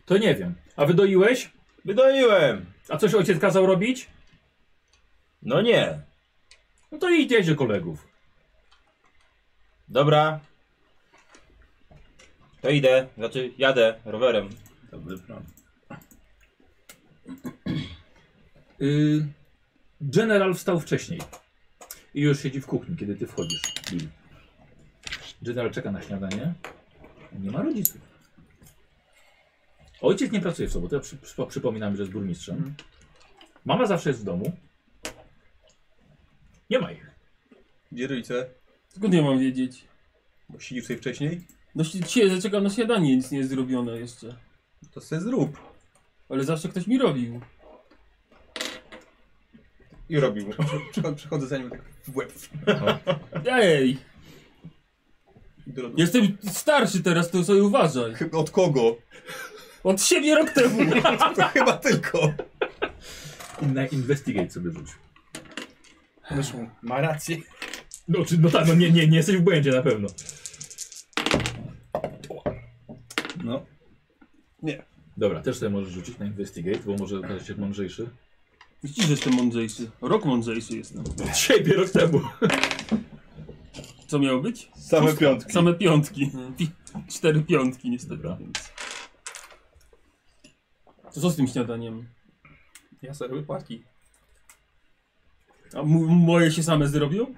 Speaker 3: To nie wiem. A wydoiłeś?
Speaker 10: Wydoliłem!
Speaker 3: A coś ojciec kazał robić?
Speaker 10: No nie.
Speaker 3: No to idź do kolegów.
Speaker 10: Dobra. To idę, znaczy jadę rowerem.
Speaker 6: Dobry plan.
Speaker 3: Y, General wstał wcześniej. I już siedzi w kuchni, kiedy ty wchodzisz. General czeka na śniadanie. Nie ma rodziców. Ojciec nie pracuje w sobotę, ja przy, przy, przypominam, że jest burmistrzem. Mama zawsze jest w domu. Nie ma ich.
Speaker 2: Gdzie rodzice?
Speaker 1: Skąd ja mam wiedzieć?
Speaker 2: Bo siedzisz sobie wcześniej?
Speaker 1: No się zaczekam na śniadanie, nic nie jest zrobione jeszcze.
Speaker 2: To se zrób.
Speaker 1: Ale zawsze ktoś mi robił.
Speaker 10: I robił.
Speaker 2: Przychodzę, przychodzę za nim tak w łeb.
Speaker 1: Ej!
Speaker 2: I do lodu.
Speaker 1: Jestem starszy teraz, to sobie uważaj.
Speaker 2: Chyba Od kogo?
Speaker 1: Od siebie rok temu.
Speaker 2: To chyba tylko.
Speaker 3: Na investigate sobie rzuć.
Speaker 9: Wyszło. Ma rację.
Speaker 3: No, czy, no tak, no nie, nie, nie jesteś w błędzie na pewno.
Speaker 6: No,
Speaker 3: Dobra, też sobie możesz rzucić na investigate, bo może okazać się mądrzejszy.
Speaker 1: Widzisz, że jestem mądrzejszy. Rok mądrzejszy jestem.
Speaker 3: Siebie rok temu.
Speaker 1: Co miało być?
Speaker 6: same piątki.
Speaker 1: Same piątki. Pi cztery piątki niestety.
Speaker 3: Dobra.
Speaker 1: Więc. Co, co z tym śniadaniem?
Speaker 2: Ja sobie robię płatki.
Speaker 1: A mu- moje się same zrobią?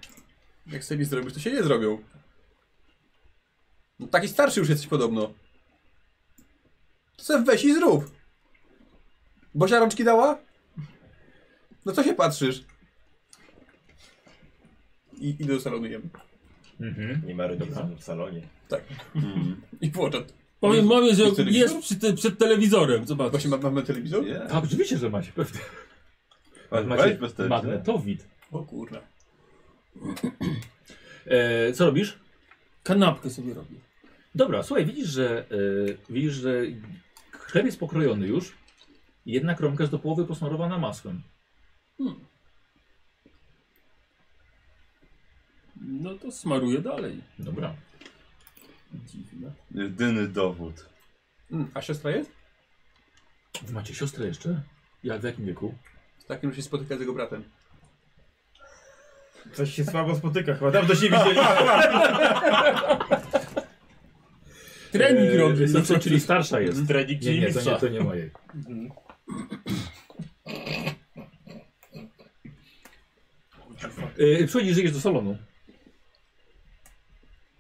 Speaker 2: Jak sobie zrobisz, to się nie zrobią. No taki starszy już jesteś
Speaker 4: No.
Speaker 2: podobno. To se weź i zrób. Bosia rączki dała? No co się patrzysz? I idę do salonu jem.
Speaker 3: Mhm.
Speaker 10: Nie ma rodziców w salonie.
Speaker 2: I włączam.
Speaker 1: Powiem mamie, że
Speaker 2: jest telewizor?
Speaker 1: jest przy te, przed telewizorem, zobacz.
Speaker 2: Właśnie ma- mamy telewizor?
Speaker 6: Yeah.
Speaker 3: Tak, oczywiście, że macie pewnie.
Speaker 6: Weź
Speaker 3: Macie
Speaker 6: bez tego.
Speaker 3: magnetowid.
Speaker 2: O kurna.
Speaker 3: E, co robisz?
Speaker 1: Kanapkę sobie robię.
Speaker 3: Dobra, słuchaj, widzisz, że e, widzisz, że chleb jest pokrojony już. i Jedna kromka jest do połowy posmarowana masłem.
Speaker 1: No to smaruję dalej.
Speaker 3: Dobra.
Speaker 1: Dziwne.
Speaker 6: Jedyny dowód.
Speaker 2: Mm, a siostra jest?
Speaker 3: Wy macie siostrę jeszcze? Jak w jakim wieku?
Speaker 2: Z takim, że się spotyka z jego bratem.
Speaker 10: Coś się słabo spotyka chyba, dawno się widzieli.
Speaker 1: Trening robię.
Speaker 3: no, co, czyli starsza jest.
Speaker 10: Trening
Speaker 3: Nie,
Speaker 10: czyli
Speaker 3: nie, to nie,
Speaker 10: mistrza.
Speaker 3: to nie mojej. E, przychodzisz, że do salonu.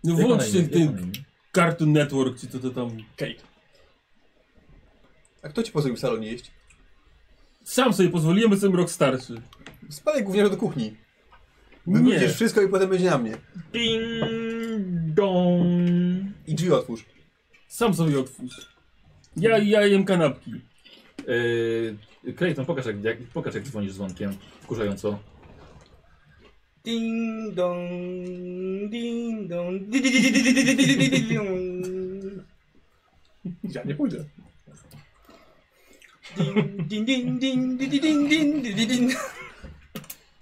Speaker 1: No
Speaker 3: Jak
Speaker 1: włącz
Speaker 3: ona
Speaker 1: się
Speaker 3: imię?
Speaker 1: w
Speaker 3: Jak ona
Speaker 1: tym
Speaker 3: imię?
Speaker 1: Cartoon Network, czy to, to tam...
Speaker 2: Kate. A kto ci pozwolił w salonie jeść?
Speaker 1: Sam sobie pozwoliłem, jestem rok starszy.
Speaker 2: Spadaj gówniarz do kuchni.
Speaker 1: Nie.
Speaker 2: Wywrócisz wszystko i potem będzie na mnie.
Speaker 3: Ding dong.
Speaker 2: I drzwi otwórz.
Speaker 1: Sam sobie otwórz. Ja, ja jem kanapki.
Speaker 3: E, Yy, Clayton, pokaż jak, jak, pokaż jak dzwonisz dzwonkiem. Wkurzająco.
Speaker 9: Ding dong, ding dong, di- di- di- di- di- di- di- di- di- di- di- di- dong.
Speaker 4: Ja nie pójdę.
Speaker 9: Ding, ding, ding, ding, di- di- ding, ding, di- di- ding.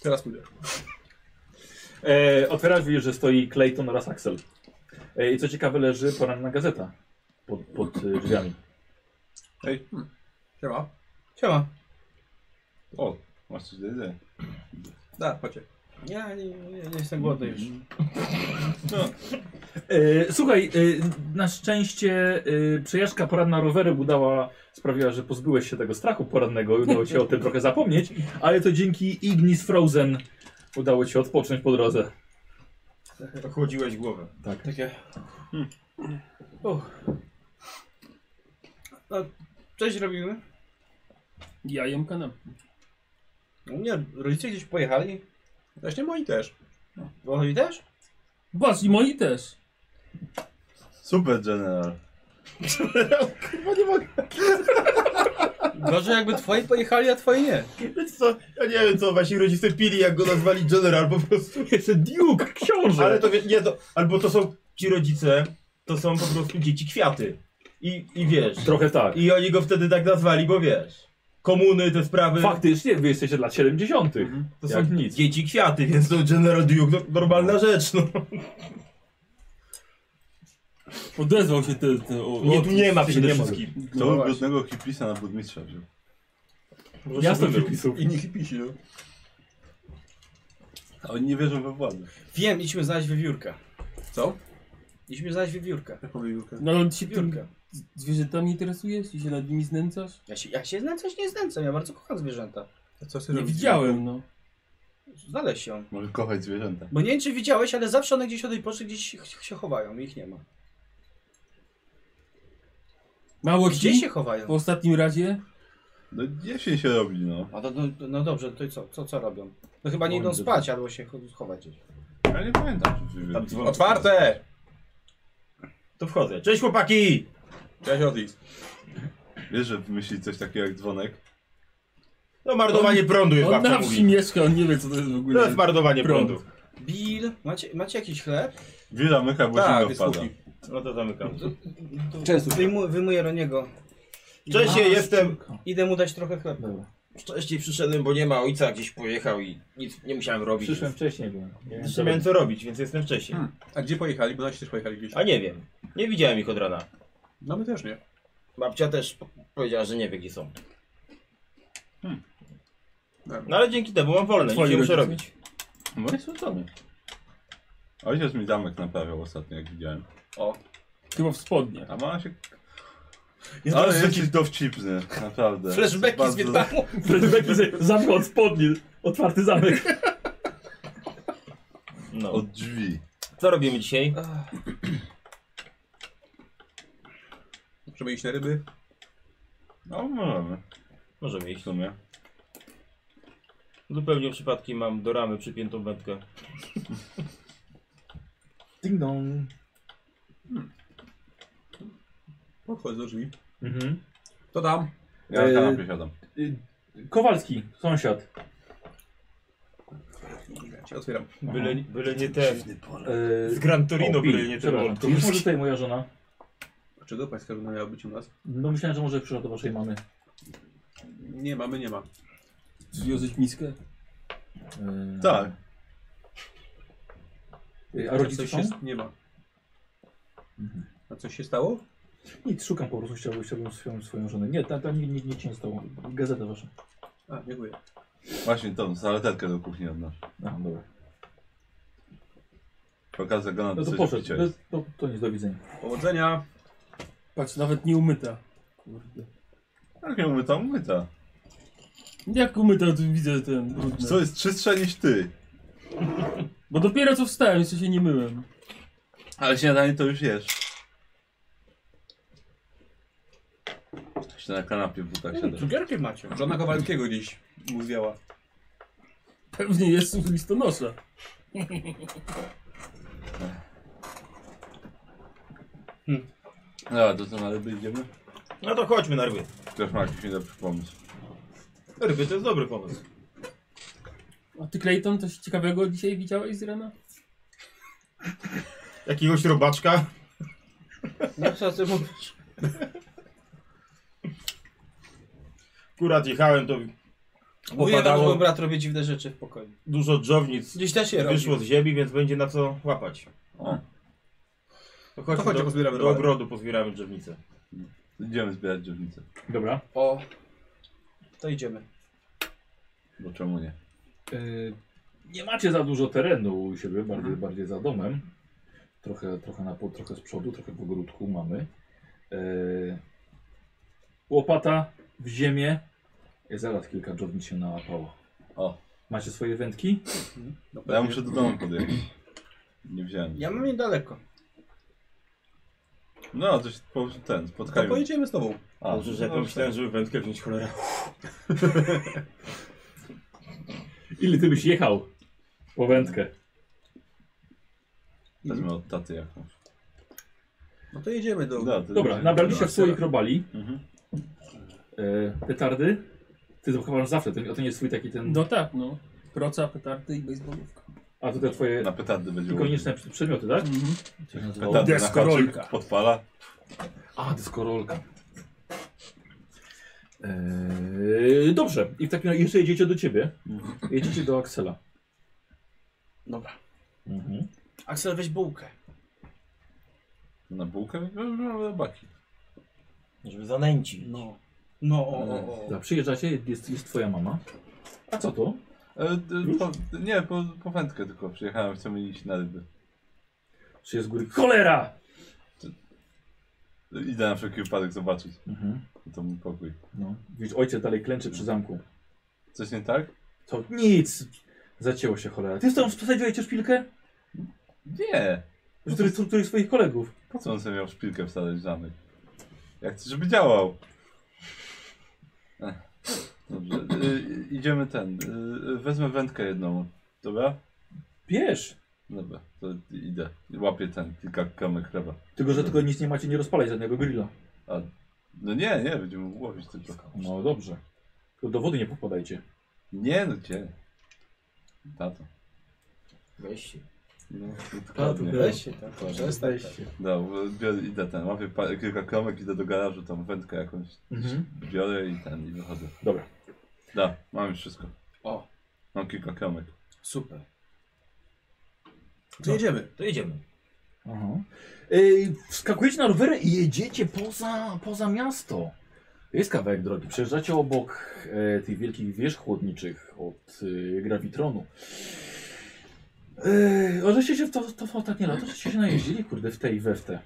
Speaker 4: Teraz pójdę.
Speaker 3: E, otwierasz, widzisz, że stoi Clayton oraz Axel. E, I co ciekawe, leży poranna gazeta pod, pod e, drzwiami.
Speaker 4: Ej, hmm. siema.
Speaker 9: Siema.
Speaker 6: O, masz coś do jedzenia.
Speaker 4: Da, chodźcie.
Speaker 9: Ja nie, nie, nie jestem głodny już.
Speaker 3: E, słuchaj, e, na szczęście e, przejażdżka poranna rowerem udała, sprawiła, że pozbyłeś się tego strachu porannego i udało ci się o tym trochę zapomnieć, ale to dzięki Ignis Frozen udało ci się odpocząć po drodze.
Speaker 7: Ochłodziłeś głowę.
Speaker 9: Tak. Takie.
Speaker 10: Hmm.
Speaker 9: Uch. No, coś robimy?
Speaker 1: Ja jem kanapki.
Speaker 9: U mnie rodzice gdzieś pojechali.
Speaker 4: Właśnie moi też.
Speaker 9: Oni też?
Speaker 1: Was i moi też.
Speaker 6: Super General.
Speaker 9: Gorzej jakby twoi pojechali, a twoi nie.
Speaker 10: Wiecie co, ja nie wiem co wasi rodzice pili, jak go nazwali General po prostu.
Speaker 3: Jeszcze Duke, książę!
Speaker 10: Ale to wie- nie to, albo to są ci rodzice, to są po prostu dzieci kwiaty. I, i wiesz.
Speaker 3: Trochę tak.
Speaker 10: I oni go wtedy tak nazwali, bo wiesz. Komuny, te sprawy.
Speaker 3: Faktycznie, wy jesteście lat 70.
Speaker 10: Mhm. to są
Speaker 3: jak nic.
Speaker 10: dzieci kwiaty, więc to General Duke, to normalna rzecz, no.
Speaker 1: Odezwał się ten. ten o,
Speaker 10: Nie,
Speaker 1: o,
Speaker 10: tu nie ma przede
Speaker 1: nie ma.
Speaker 10: wszystkim.
Speaker 6: Kto no brudnego hiplisa na burmistrza wziął?
Speaker 10: Ja
Speaker 3: Miasto przepisów.
Speaker 4: I nie hipisi, no.
Speaker 6: A oni nie wierzą we władzę.
Speaker 9: Wiem, idźmy znaleźć wiewiórka.
Speaker 4: Co?
Speaker 9: Idźmy znaleźć wiewiórka.
Speaker 4: Jak powiem Jurkę.
Speaker 1: No ale ty się tym
Speaker 9: Wiewiórka.
Speaker 1: zwierzętami interesujesz i się nad nimi znęcasz?
Speaker 9: Ja się, ja się znęcać nie znęcam, ja bardzo kocham zwierzęta.
Speaker 4: A co chcesz
Speaker 1: Nie
Speaker 4: robić?
Speaker 1: widziałem, no.
Speaker 9: Znaleźć ją.
Speaker 6: Może kochać zwierzęta.
Speaker 9: Bo nie wiem, czy widziałeś, ale zawsze one gdzieś o tej porze gdzieś ch- się chowają i ich nie ma.
Speaker 1: Mało
Speaker 9: Gdzie
Speaker 1: ci?
Speaker 9: się chowają?
Speaker 1: Po ostatnim razie?
Speaker 6: No jesień się robi, no.
Speaker 9: A to, no, no dobrze, to i co, co, co robią? No chyba nie idą spać albo się ch- chować gdzieś.
Speaker 6: Ja nie pamiętam, czy
Speaker 7: Tam dzwon-
Speaker 4: Otwarte!
Speaker 10: To wchodzę. Cześć chłopaki!
Speaker 4: Cześć Otis.
Speaker 6: wiesz, że myśli coś takiego jak dzwonek.
Speaker 10: No marnowanie prądu jest
Speaker 1: On
Speaker 10: babcia
Speaker 1: na wsi
Speaker 10: mówi.
Speaker 1: mieszka, on nie wie co to jest w
Speaker 10: To
Speaker 1: ogóle.
Speaker 10: jest marnowanie
Speaker 1: Prąd.
Speaker 10: prądu.
Speaker 9: Bill, macie, macie jakiś chleb?
Speaker 6: Wira mycha, bo
Speaker 4: Tak,
Speaker 6: zimno
Speaker 4: jest
Speaker 6: wpada.
Speaker 4: kuchni.
Speaker 7: No to zamykam.
Speaker 2: Często.
Speaker 9: Wyjmu, wyjmuję Roniego.
Speaker 10: Cześć, ja jestem...
Speaker 9: Idę mu dać trochę chleba.
Speaker 3: Dobra.
Speaker 2: Wcześniej przyszedłem, bo nie ma ojca, gdzieś pojechał i nic nie musiałem robić.
Speaker 3: Przyszłem wcześniej, bo nie wiem,
Speaker 10: Nie miałem co robić, więc jestem wcześniej.
Speaker 4: Hmm. A gdzie pojechali? Bo nasi też pojechali gdzieś.
Speaker 10: A nie wiem. Nie widziałem ich od rana.
Speaker 4: No my też nie.
Speaker 2: Babcia też po- powiedziała, że nie wie gdzie są.
Speaker 10: Hmm. No ale dzięki temu mam wolne, nic
Speaker 1: Twoi
Speaker 10: nie muszę
Speaker 1: rodzice?
Speaker 10: robić.
Speaker 6: Moje słodzone. Ojciec mi zamek naprawiał ostatnio, jak widziałem.
Speaker 1: Chyba w spodnie.
Speaker 6: A mama się...
Speaker 10: Jest
Speaker 6: No, Ale
Speaker 10: teraz
Speaker 6: jesteś
Speaker 10: taki-
Speaker 6: taki... dowcipny, naprawdę.
Speaker 9: Flashbacki z
Speaker 6: Bardzo-
Speaker 9: Wietnamu.
Speaker 3: Flashbacki z- Zamek od spodni, otwarty zamek.
Speaker 10: No.
Speaker 6: Od drzwi.
Speaker 10: Co robimy dzisiaj?
Speaker 4: Możemy iść na ryby.
Speaker 6: No, możemy.
Speaker 10: Możemy
Speaker 6: W
Speaker 10: iść.
Speaker 6: sumie.
Speaker 10: Zupełnie przypadki mam do ramy przypiętą wędkę.
Speaker 3: Ding dong.
Speaker 4: Podchodź do drzwi.
Speaker 3: Mhm.
Speaker 4: To tam.
Speaker 6: Ja
Speaker 3: Eee,
Speaker 6: na kanapie siadam.
Speaker 3: Y, Kowalski, sąsiad.
Speaker 4: Ja cię otwieram.
Speaker 10: Byle, byle nie ten.
Speaker 3: Yy,
Speaker 10: Z Gran Torino, byle nie ten.
Speaker 3: przepraszam.
Speaker 10: World.
Speaker 3: Czy jest może tutaj moja żona?
Speaker 4: Dlaczego pańska żona miała być u nas?
Speaker 3: No myślałem, że może przyszła do waszej mamy.
Speaker 4: Nie mamy, nie ma.
Speaker 1: Związać miskę?
Speaker 3: Yy,
Speaker 6: Tak.
Speaker 3: Yy, a rodzice
Speaker 4: coś
Speaker 3: są?
Speaker 4: się... Nie ma. A coś się stało?
Speaker 3: Nic, szukam po prostu, chciałbym, chciałbym swoją, swoją żonę. Nie, ta, ta nie, nie, nie cię stało. Gazeta wasza.
Speaker 4: A, dziękuję.
Speaker 6: Właśnie tą saletetkę do kuchni odnoszę.
Speaker 3: Aha, dobra.
Speaker 6: Pokażę go na
Speaker 3: No to
Speaker 6: coś
Speaker 3: poszedł.
Speaker 6: picia
Speaker 3: To,
Speaker 6: jest.
Speaker 3: to, to nic, do widzenia.
Speaker 4: Powodzenia.
Speaker 1: Patrz, nawet nie umyta. Kurde.
Speaker 6: Jak ją umyta, umyta.
Speaker 1: Jak umyta, to widzę że ten brudny.
Speaker 6: Co jest czystsza niż ty?
Speaker 1: Bo dopiero co wstałem, jeszcze się nie myłem.
Speaker 6: Ale śniadanie to już jesz. Jeszcze na kanapie w butach siadam.
Speaker 9: Cukierki macie.
Speaker 4: Żona Kowalskiego gdzieś mu zwiała.
Speaker 1: Pewnie jest u listonosza.
Speaker 6: Dobra, to co na ryby idziemy?
Speaker 10: No to chodźmy na ryby.
Speaker 6: Też ma jakiś niedobry pomysł.
Speaker 10: Ryby to jest dobry pomysł.
Speaker 1: A ty, Clayton, coś ciekawego dzisiaj widziałeś z rana?
Speaker 10: Jakiegoś robaczka?
Speaker 9: No co ty mówisz?
Speaker 10: Akurat jechałem, to
Speaker 9: Mój jeden
Speaker 10: Opadało.
Speaker 9: mój brat robi dziwne rzeczy w pokoju.
Speaker 10: dużo drzownic
Speaker 9: Gdzieś też je robi.
Speaker 10: wyszło z ziemi, więc będzie na co łapać.
Speaker 6: O,
Speaker 10: To
Speaker 4: To
Speaker 10: chodźmy
Speaker 4: chodźcie,
Speaker 10: do,
Speaker 4: pozbieramy
Speaker 10: do
Speaker 4: robaczek.
Speaker 10: ogrodu, pozbieramy drzewnicę.
Speaker 6: idziemy zbierać dziewnicę.
Speaker 3: Dobra.
Speaker 9: O, to idziemy.
Speaker 6: Bo czemu nie?
Speaker 3: Y, nie macie za dużo terenu u siebie, bardziej, bardziej za domem. Trochę, trochę, na, pół, trochę z przodu, trochę w ogródku mamy. Y, łopata w ziemię. I zaraz kilka dżownic się nałapało.
Speaker 6: O.
Speaker 3: Macie swoje wędki?
Speaker 4: No
Speaker 6: Ja
Speaker 4: pewnie.
Speaker 6: muszę do domu podjechać. Nie wziąłem.
Speaker 9: Ja mam niedaleko.
Speaker 6: No, coś po, ten,
Speaker 4: To
Speaker 6: spotkajmy.
Speaker 4: pojedziemy z tobą.
Speaker 6: A,
Speaker 10: Dobrze, że ja
Speaker 6: no,
Speaker 10: pomyślałem, żeby wędkę wziąć cholera.
Speaker 3: Ile ty byś jechał po wędkę?
Speaker 6: Wezmę od taty jakąś.
Speaker 4: No to jedziemy do...
Speaker 6: No, to
Speaker 3: Dobra,
Speaker 6: będzie-
Speaker 3: nabraliście w swoich robali.
Speaker 6: Mhm.
Speaker 3: E, petardy. Ty to chyba masz zawsze, ten, ten jest swój taki ten...
Speaker 1: No tak, no. Proca, petardy i bejsbolówka.
Speaker 3: A tutaj twoje
Speaker 6: No, Na petardy będzie
Speaker 3: ikoniczne przy- przedmioty, tak?
Speaker 1: Mhm.
Speaker 3: Jak to się nazywało?
Speaker 6: Petardy na
Speaker 1: Deskorolka.
Speaker 6: haczyk podpala.
Speaker 3: A, dyskorolka. Eee, dobrze, i w takim razie jeszcze jedziecie do ciebie. Jedziecie do Axela.
Speaker 9: Dobra.
Speaker 3: Mhm.
Speaker 9: Aksel, weź bułkę.
Speaker 6: Na bułkę? No, no, no, baki.
Speaker 5: Żeby zanęcić.
Speaker 9: No. No, o, o, o.
Speaker 3: Dobra, przyjeżdżacie, jest, jest twoja mama. A co to?
Speaker 6: E, d- po, nie, po, po wędkę tylko przyjechałem, chcemy iść na ryby.
Speaker 3: Czy jest z góry? Cholera!
Speaker 6: Idę na wszelki wypadek zobaczyć.
Speaker 3: Mhm.
Speaker 6: To mój pokój.
Speaker 3: No. Widzisz, ojciec dalej klęczy przy zamku.
Speaker 6: Coś nie tak?
Speaker 3: To nic! Zacięło się cholera. Ty stąd wsadziłeś tę szpilkę?
Speaker 6: Nie.
Speaker 3: Już któryś któryś z twoich kolegów.
Speaker 6: Po co on sobie miał szpilkę wsadzać w zamek? Jak chcę, żeby działał. Ech. Dobrze, e, idziemy ten. e, wezmę wędkę jedną. Dobra?
Speaker 3: Bierz!
Speaker 6: Dobra, to idę. Łapię ten kilka kamek chleba.
Speaker 3: Tylko, że tylko nic nie macie, nie rozpalać żadnego grilla.
Speaker 6: No nie, nie, będziemy łowić tylko.
Speaker 3: No dobrze. Tylko do wody nie popadajcie.
Speaker 6: Nie, no gdzie? Tato.
Speaker 9: Weź się.
Speaker 6: No, dokładnie.
Speaker 9: Weź się tam. Przestań.
Speaker 6: No, biorę, idę ten, łapię pa- kilka kromek, idę do garażu, tam wędkę jakąś
Speaker 3: Mhm.
Speaker 6: biorę i ten, i wychodzę.
Speaker 3: Dobra.
Speaker 6: Da, mam już wszystko.
Speaker 9: O.
Speaker 6: Mam kilka kromek.
Speaker 9: Super.
Speaker 4: To jedziemy.
Speaker 5: To jedziemy.
Speaker 3: Aha. Yy, wskakujecie na rowery i jedziecie poza, poza miasto. Jest kawałek drogi. Przejeżdżacie obok e, tych wielkich wież chłodniczych od e, Gravitronu. Yy, o, żeście się w to, to, to tak nie lata, żeście się najeździli, kurde, w tej i we w te.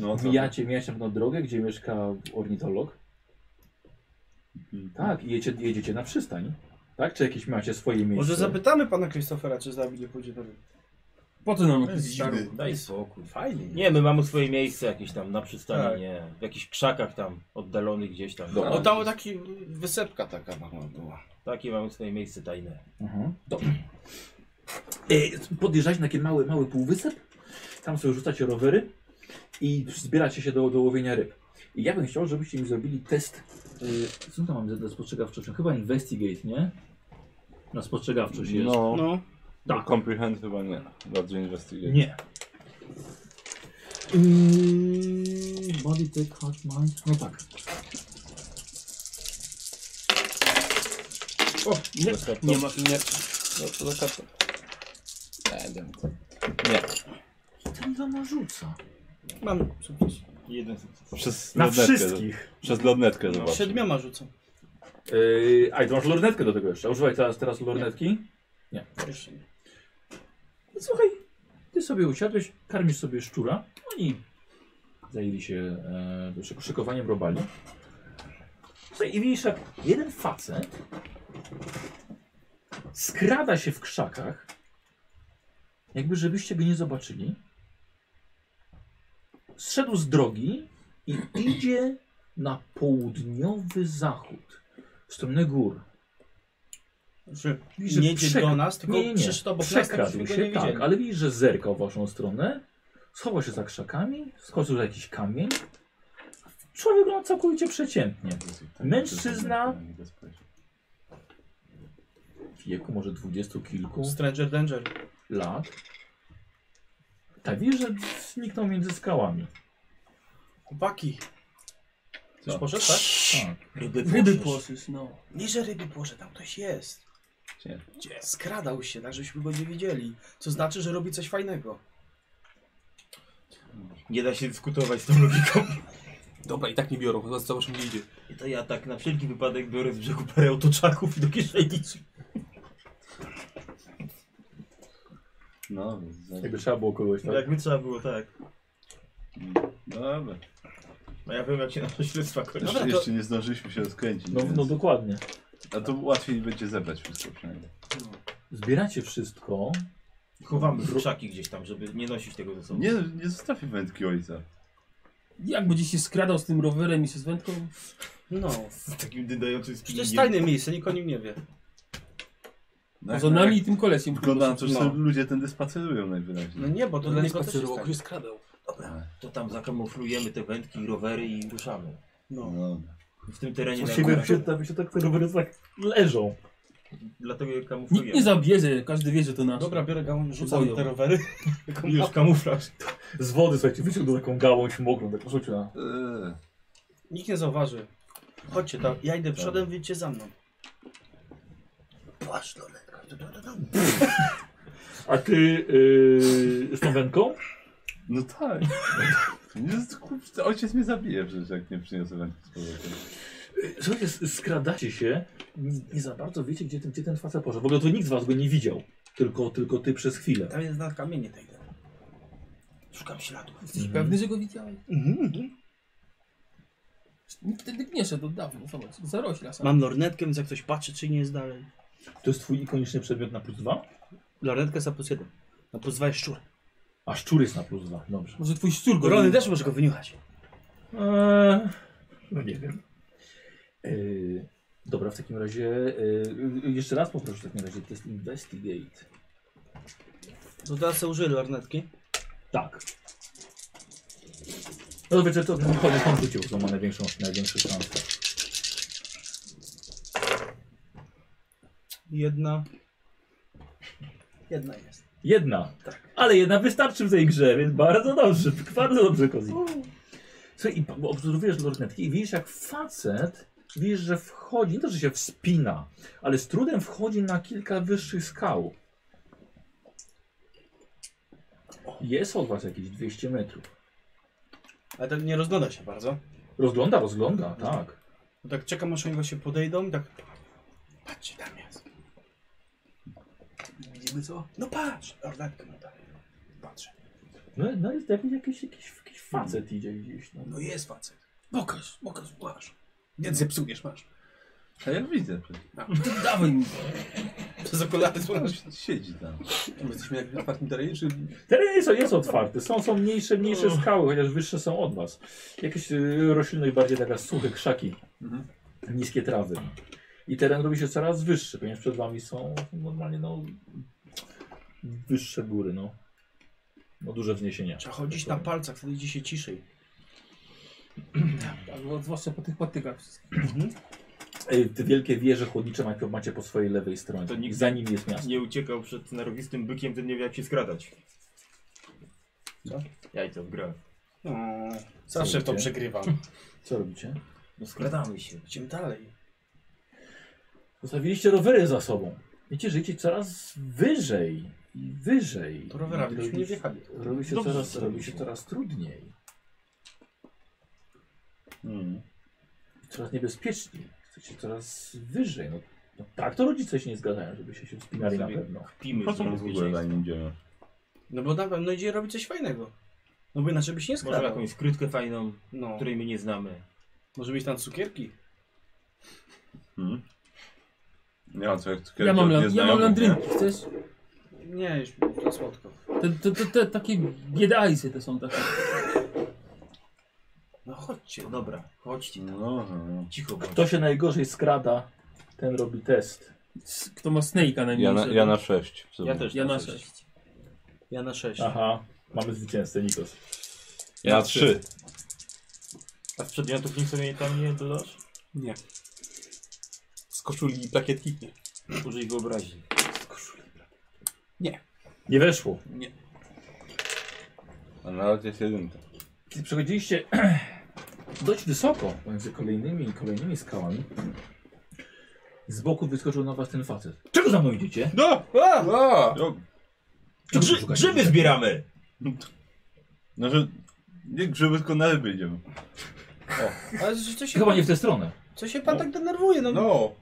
Speaker 6: No to...
Speaker 3: Mijacie, mijacie na drogę, gdzie mieszka ornitolog.
Speaker 6: Mhm.
Speaker 3: Tak, i jedzie, jedziecie na przystań. Tak? Czy jakieś macie swoje miejsce?
Speaker 9: Może zapytamy pana Christophera, czy z nami nie pójdzie do mnie.
Speaker 1: Po co nam
Speaker 4: To jest
Speaker 1: jakiś staru?
Speaker 4: dziwny.
Speaker 5: Daj spokój.
Speaker 9: Fajnie.
Speaker 5: Nie, my mamy swoje miejsce jakieś tam na przystani,
Speaker 9: Tak.
Speaker 5: nie. W jakichś krzakach tam, oddalonych gdzieś tam.
Speaker 6: Dobra.
Speaker 9: O, tam taki wysepka taka mała była.
Speaker 5: Takie mamy swoje miejsce tajne.
Speaker 3: Mhm. Dobrze. E, Podjeżdżacie na taki mały, mały półwysep, tam sobie rzucacie rowery i zbieracie się do, do łowienia ryb. I ja bym chciał, żebyście mi zrobili test. E, co tam mamy za spostrzegawczość? Chyba Investigate, nie? Na spostrzegawczość jest.
Speaker 6: No,
Speaker 9: No.
Speaker 6: tak. Comprehend chyba nie. Bardzo inwestyguje.
Speaker 3: Nie. Mm, Body tech, heart, mind. No tak.
Speaker 1: Nie, nie ma, nie.
Speaker 6: No to za kartę. Nie, wiem.
Speaker 3: Ten to narzuca.
Speaker 9: Mam sukces.
Speaker 7: Jeden z
Speaker 6: No, Przez
Speaker 3: Na No,
Speaker 6: lornetkę,
Speaker 3: wszystkich.
Speaker 6: Przez lornetkę zobacz.
Speaker 9: Siedmioma rzucam.
Speaker 3: Yy, a i to masz lornetkę do tego jeszcze. Używaj teraz, teraz lornetki.
Speaker 9: Jeszcze nie.
Speaker 3: No Słuchaj, ty sobie usiadłeś, karmisz sobie szczura. Oni zajęli się e, szyk- szykowaniem robali. Słuchaj, i widzisz, jak jeden facet skrada się w krzakach, jakby żebyście go nie zobaczyli. Zszedł z drogi i idzie na południowy zachód, w stronę gór.
Speaker 9: Że
Speaker 3: Że
Speaker 9: nie idzie
Speaker 3: przek-
Speaker 9: do nas, tylko
Speaker 3: nie, nie, nie.
Speaker 9: przeszedł obok nas, tak
Speaker 3: Przekradł
Speaker 9: żeśmy go
Speaker 3: się,
Speaker 9: nie
Speaker 3: tak,
Speaker 9: widzieli.
Speaker 3: ale widzisz, że zerkał w waszą stronę, schował się za krzakami, skoczył za jakiś kamień. Człowiek wygląda
Speaker 6: tak-
Speaker 3: całkowicie przeciętnie. Mężczyzna. w wieku może dwudziestu kilku
Speaker 9: Stranger Danger.
Speaker 3: lat. Tak wiesz, że zniknął między skałami.
Speaker 9: Chłopaki.
Speaker 6: Co?
Speaker 9: Coś poszedł, tak?
Speaker 3: Tak.
Speaker 1: Ryby płoszysz, no.
Speaker 9: Nie, że ryby płoże, tam ktoś jest.
Speaker 6: Gdzie?
Speaker 9: Skradał się, tak żeśmy go nie widzieli. Co znaczy, że robi coś fajnego.
Speaker 10: Nie da się dyskutować z tą logiką.
Speaker 4: Dobra, i tak nie biorą, zobacz- zobacz mi idzie.
Speaker 10: I to ja tak na wszelki wypadek biorę z brzegu parę otoczaków i do kieszeni.
Speaker 6: No, za-
Speaker 3: Jakby trzeba było kogoś tak.
Speaker 10: Jakby trzeba było, tak.
Speaker 6: Dobra.
Speaker 10: No ja wiem, jak się na to śledztwa kończy.
Speaker 6: Jeszcze, jeszcze nie zdążyliśmy się rozkręcić.
Speaker 3: No,
Speaker 6: więc-
Speaker 3: no dokładnie.
Speaker 6: A to łatwiej będzie zebrać wszystko przynajmniej.
Speaker 3: Zbieracie wszystko.
Speaker 10: Chowamy w krzaki gdzieś tam, żeby nie nosić tego ze sobą.
Speaker 6: Nie, nie zostawi wędki ojca.
Speaker 1: Jak będzie się skradał z tym rowerem i się z wędką?
Speaker 9: No.
Speaker 10: Z takim dydającym
Speaker 9: Przecież to jest tajne miejsce, nikt o nim nie wie.
Speaker 6: No,
Speaker 1: Poza nami i tym kolesiem.
Speaker 6: Wygląda na to, że
Speaker 9: No.
Speaker 6: sobie ludzie tędy spacerują najwyraźniej.
Speaker 9: No nie, bo to dla niego też jest tak.
Speaker 4: skradał.
Speaker 10: To tam zakamuflujemy te wędki i rowery i ruszamy.
Speaker 9: No.
Speaker 6: No,
Speaker 10: W tym terenie na
Speaker 3: Właściwie
Speaker 10: górach.
Speaker 3: się, tam się tak te rowery tak leżą.
Speaker 10: Dlatego je
Speaker 1: Nikt
Speaker 10: kamuflujemy.
Speaker 1: nie zabierze, każdy wie, że to nasze.
Speaker 9: No Dobra, biorę gałąź, rzucam
Speaker 1: Boją.
Speaker 9: te rowery.
Speaker 10: Już kamuflaż.
Speaker 3: Z wody, słuchajcie, wyciągnął taką gałąź mokrą, tak rzuciła.
Speaker 6: Eee,
Speaker 9: Nikt nie zauważy. Chodźcie tam, ja idę przodem, wyjdźcie za mną. Płaszcz do
Speaker 3: A ty yy, z tą wędką?
Speaker 6: no tak. Nie, jest- kurczę, ojciec mnie zabije przecież, jak nie przyniosę wędki z powrotem.
Speaker 3: Słuchajcie, s- skradacie się, nie, nie za bardzo wiecie, gdzie ten, gdzie ten facet poszedł. W ogóle to nikt z was go nie widział, tylko, tylko ty przez chwilę.
Speaker 9: Tam jest na kamienie tej. Szukam śladów.
Speaker 1: Jesteś pewny, że go widziałeś? Nikt wtedy nie szedł od dawna, zobacz, zarośla sam.
Speaker 9: Mam lornetkę, więc jak ktoś patrzy, czy nie jest dalej.
Speaker 3: To jest twój ikoniczny przedmiot na plus dwa?
Speaker 9: Lornetka jest na plus jeden. Na plus dwa jest szczur.
Speaker 3: A szczur jest na plus dwa. dobrze.
Speaker 1: Może twój szczur go
Speaker 9: Rony
Speaker 1: wyjdzie.
Speaker 9: też może go wyniuchać.
Speaker 3: Eee, no nie wiem. Eee, dobra, w takim razie eee, jeszcze raz poproszę w takim razie test investigate.
Speaker 9: To teraz sobie użyję lornetki.
Speaker 3: Tak. No to wiecie, to chodzi tam rzucił, to ma największą, największą szansę.
Speaker 9: Jedna. Jedna jest.
Speaker 3: Jedna. Ale jedna wystarczy w tej grze, więc bardzo dobrze, bardzo dobrze, Kozi. Słuchaj, i p- obserwujesz lornetki i widzisz jak facet, widzisz, że wchodzi, nie to, że się wspina, ale z trudem wchodzi na kilka wyższych skał. Jest od was jakieś 200 metrów.
Speaker 9: Ale tak nie rozgląda się bardzo.
Speaker 3: Rozgląda, rozgląda, tak.
Speaker 9: Bo tak czekam, aż oni właśnie podejdą i tak... Patrzcie, tam jest. Widzimy co? No patrz! Lornetkę mu daję. Patrzę.
Speaker 3: No, no jest jakiś, jakiś, jakiś, jakiś facet idzie gdzieś. No.
Speaker 4: No jest facet. Pokaż, pokaż, masz. Nie zepsujesz, masz.
Speaker 6: A ja widzę przecież.
Speaker 1: Dawaj mi.
Speaker 9: Przez okulary
Speaker 6: On siedzi tam.
Speaker 4: My jesteśmy jak na otwartym terenie, czy...
Speaker 3: Teren jest, jest otwarty, są, są mniejsze, mniejsze
Speaker 10: No.
Speaker 3: skały, chociaż wyższe są od was. Jakieś y, roślinność bardziej taka suche krzaki,
Speaker 4: Mhm.
Speaker 3: niskie trawy. I teren robi się coraz wyższy, ponieważ przed wami są normalnie no, wyższe góry, no. No duże wzniesienia.
Speaker 9: Trzeba chodzić na palcach, wtedy idzie się ciszej.
Speaker 1: Albo Tak, zwłaszcza po tych patykach wszystkich.
Speaker 3: Y, Te wielkie wieże chłodnicze macie, macie po swojej lewej stronie.
Speaker 10: To
Speaker 3: To
Speaker 10: nikt-
Speaker 3: Za nimi jest miasto.
Speaker 10: Nie uciekał przed narowistym bykiem, ten nie wie jak się skradać.
Speaker 9: Co?
Speaker 10: Jajco w grę.
Speaker 9: Zawsze w No, to
Speaker 3: Ludzie.
Speaker 9: przegrywam.
Speaker 3: Co robicie?
Speaker 10: No skradamy się.
Speaker 9: Idziemy dalej.
Speaker 3: Zostawiliście rowery za sobą. Wiecie, że idzie coraz wyżej i wyżej.
Speaker 9: To rowerami
Speaker 3: I
Speaker 9: byśmy nie
Speaker 3: robi-
Speaker 9: wjechali.
Speaker 3: Robi się,
Speaker 10: Dobrze
Speaker 3: coraz,
Speaker 10: zrobiliśmy.
Speaker 3: robi się coraz trudniej.
Speaker 6: Mm.
Speaker 3: coraz niebezpieczniej. Chcecie coraz wyżej. No, no tak, to rodzice się nie zgadzają, żeby się, się wspinali na
Speaker 10: Sobie-
Speaker 3: pewno.
Speaker 10: Pimy
Speaker 6: Po co my w ogóle za nim idziemy?
Speaker 9: No bo na pewno idzie robić coś fajnego. No bo inaczej byś nie
Speaker 10: Może
Speaker 9: skradał.
Speaker 10: jakąś skrytkę fajną,
Speaker 9: No.
Speaker 10: której my nie znamy.
Speaker 9: Może mieć tam cukierki?
Speaker 6: Hmm? Nie ma co, jak
Speaker 1: Ja mam,
Speaker 6: od
Speaker 1: la- ja mam
Speaker 6: nieznajomych,
Speaker 1: landrynki, chcesz?
Speaker 9: Nie, już to słodko.
Speaker 1: Te, te, te, te takie biedajce te są takie.
Speaker 9: No chodźcie. No.
Speaker 10: Dobra, chodźcie
Speaker 6: nie?
Speaker 10: tam.
Speaker 6: No, no, no.
Speaker 10: Cicho bądź.
Speaker 3: Kto się najgorzej skrada, ten robi test.
Speaker 1: S- Kto ma snake'a
Speaker 6: Ja na,
Speaker 1: najmniejszego?
Speaker 6: ja na sześć. w sumie.
Speaker 10: Ja też. tak
Speaker 1: Ja na
Speaker 10: sześć.
Speaker 1: sześć.
Speaker 9: Ja na sześć.
Speaker 3: Aha, mamy zwycięzcę, Nikos.
Speaker 6: Ja na trzy.
Speaker 10: A z przedmiotów nic sobie tam nie dodasz?
Speaker 4: Nie. Z koszuli i plakietki? Nie.
Speaker 7: Użyj wyobraźni.
Speaker 3: Nie weszło.
Speaker 6: A nawet jest jedynka.
Speaker 3: Kiedy przechodziliście dość wysoko pomiędzy kolejnymi i kolejnymi skałami, z boku wyskoczył na was ten facet. Czego za mną idziecie?
Speaker 6: No!
Speaker 9: A!
Speaker 4: O!
Speaker 6: No,
Speaker 10: To
Speaker 3: Czego
Speaker 10: grzy,
Speaker 3: szukacie?
Speaker 10: grzyby zbieramy!
Speaker 6: no że nie grzyby, tylko na ryby idziemy.
Speaker 9: Ale że co się,
Speaker 3: Chyba nie w tę stronę.
Speaker 9: co się pan tak denerwuje? No,
Speaker 4: No!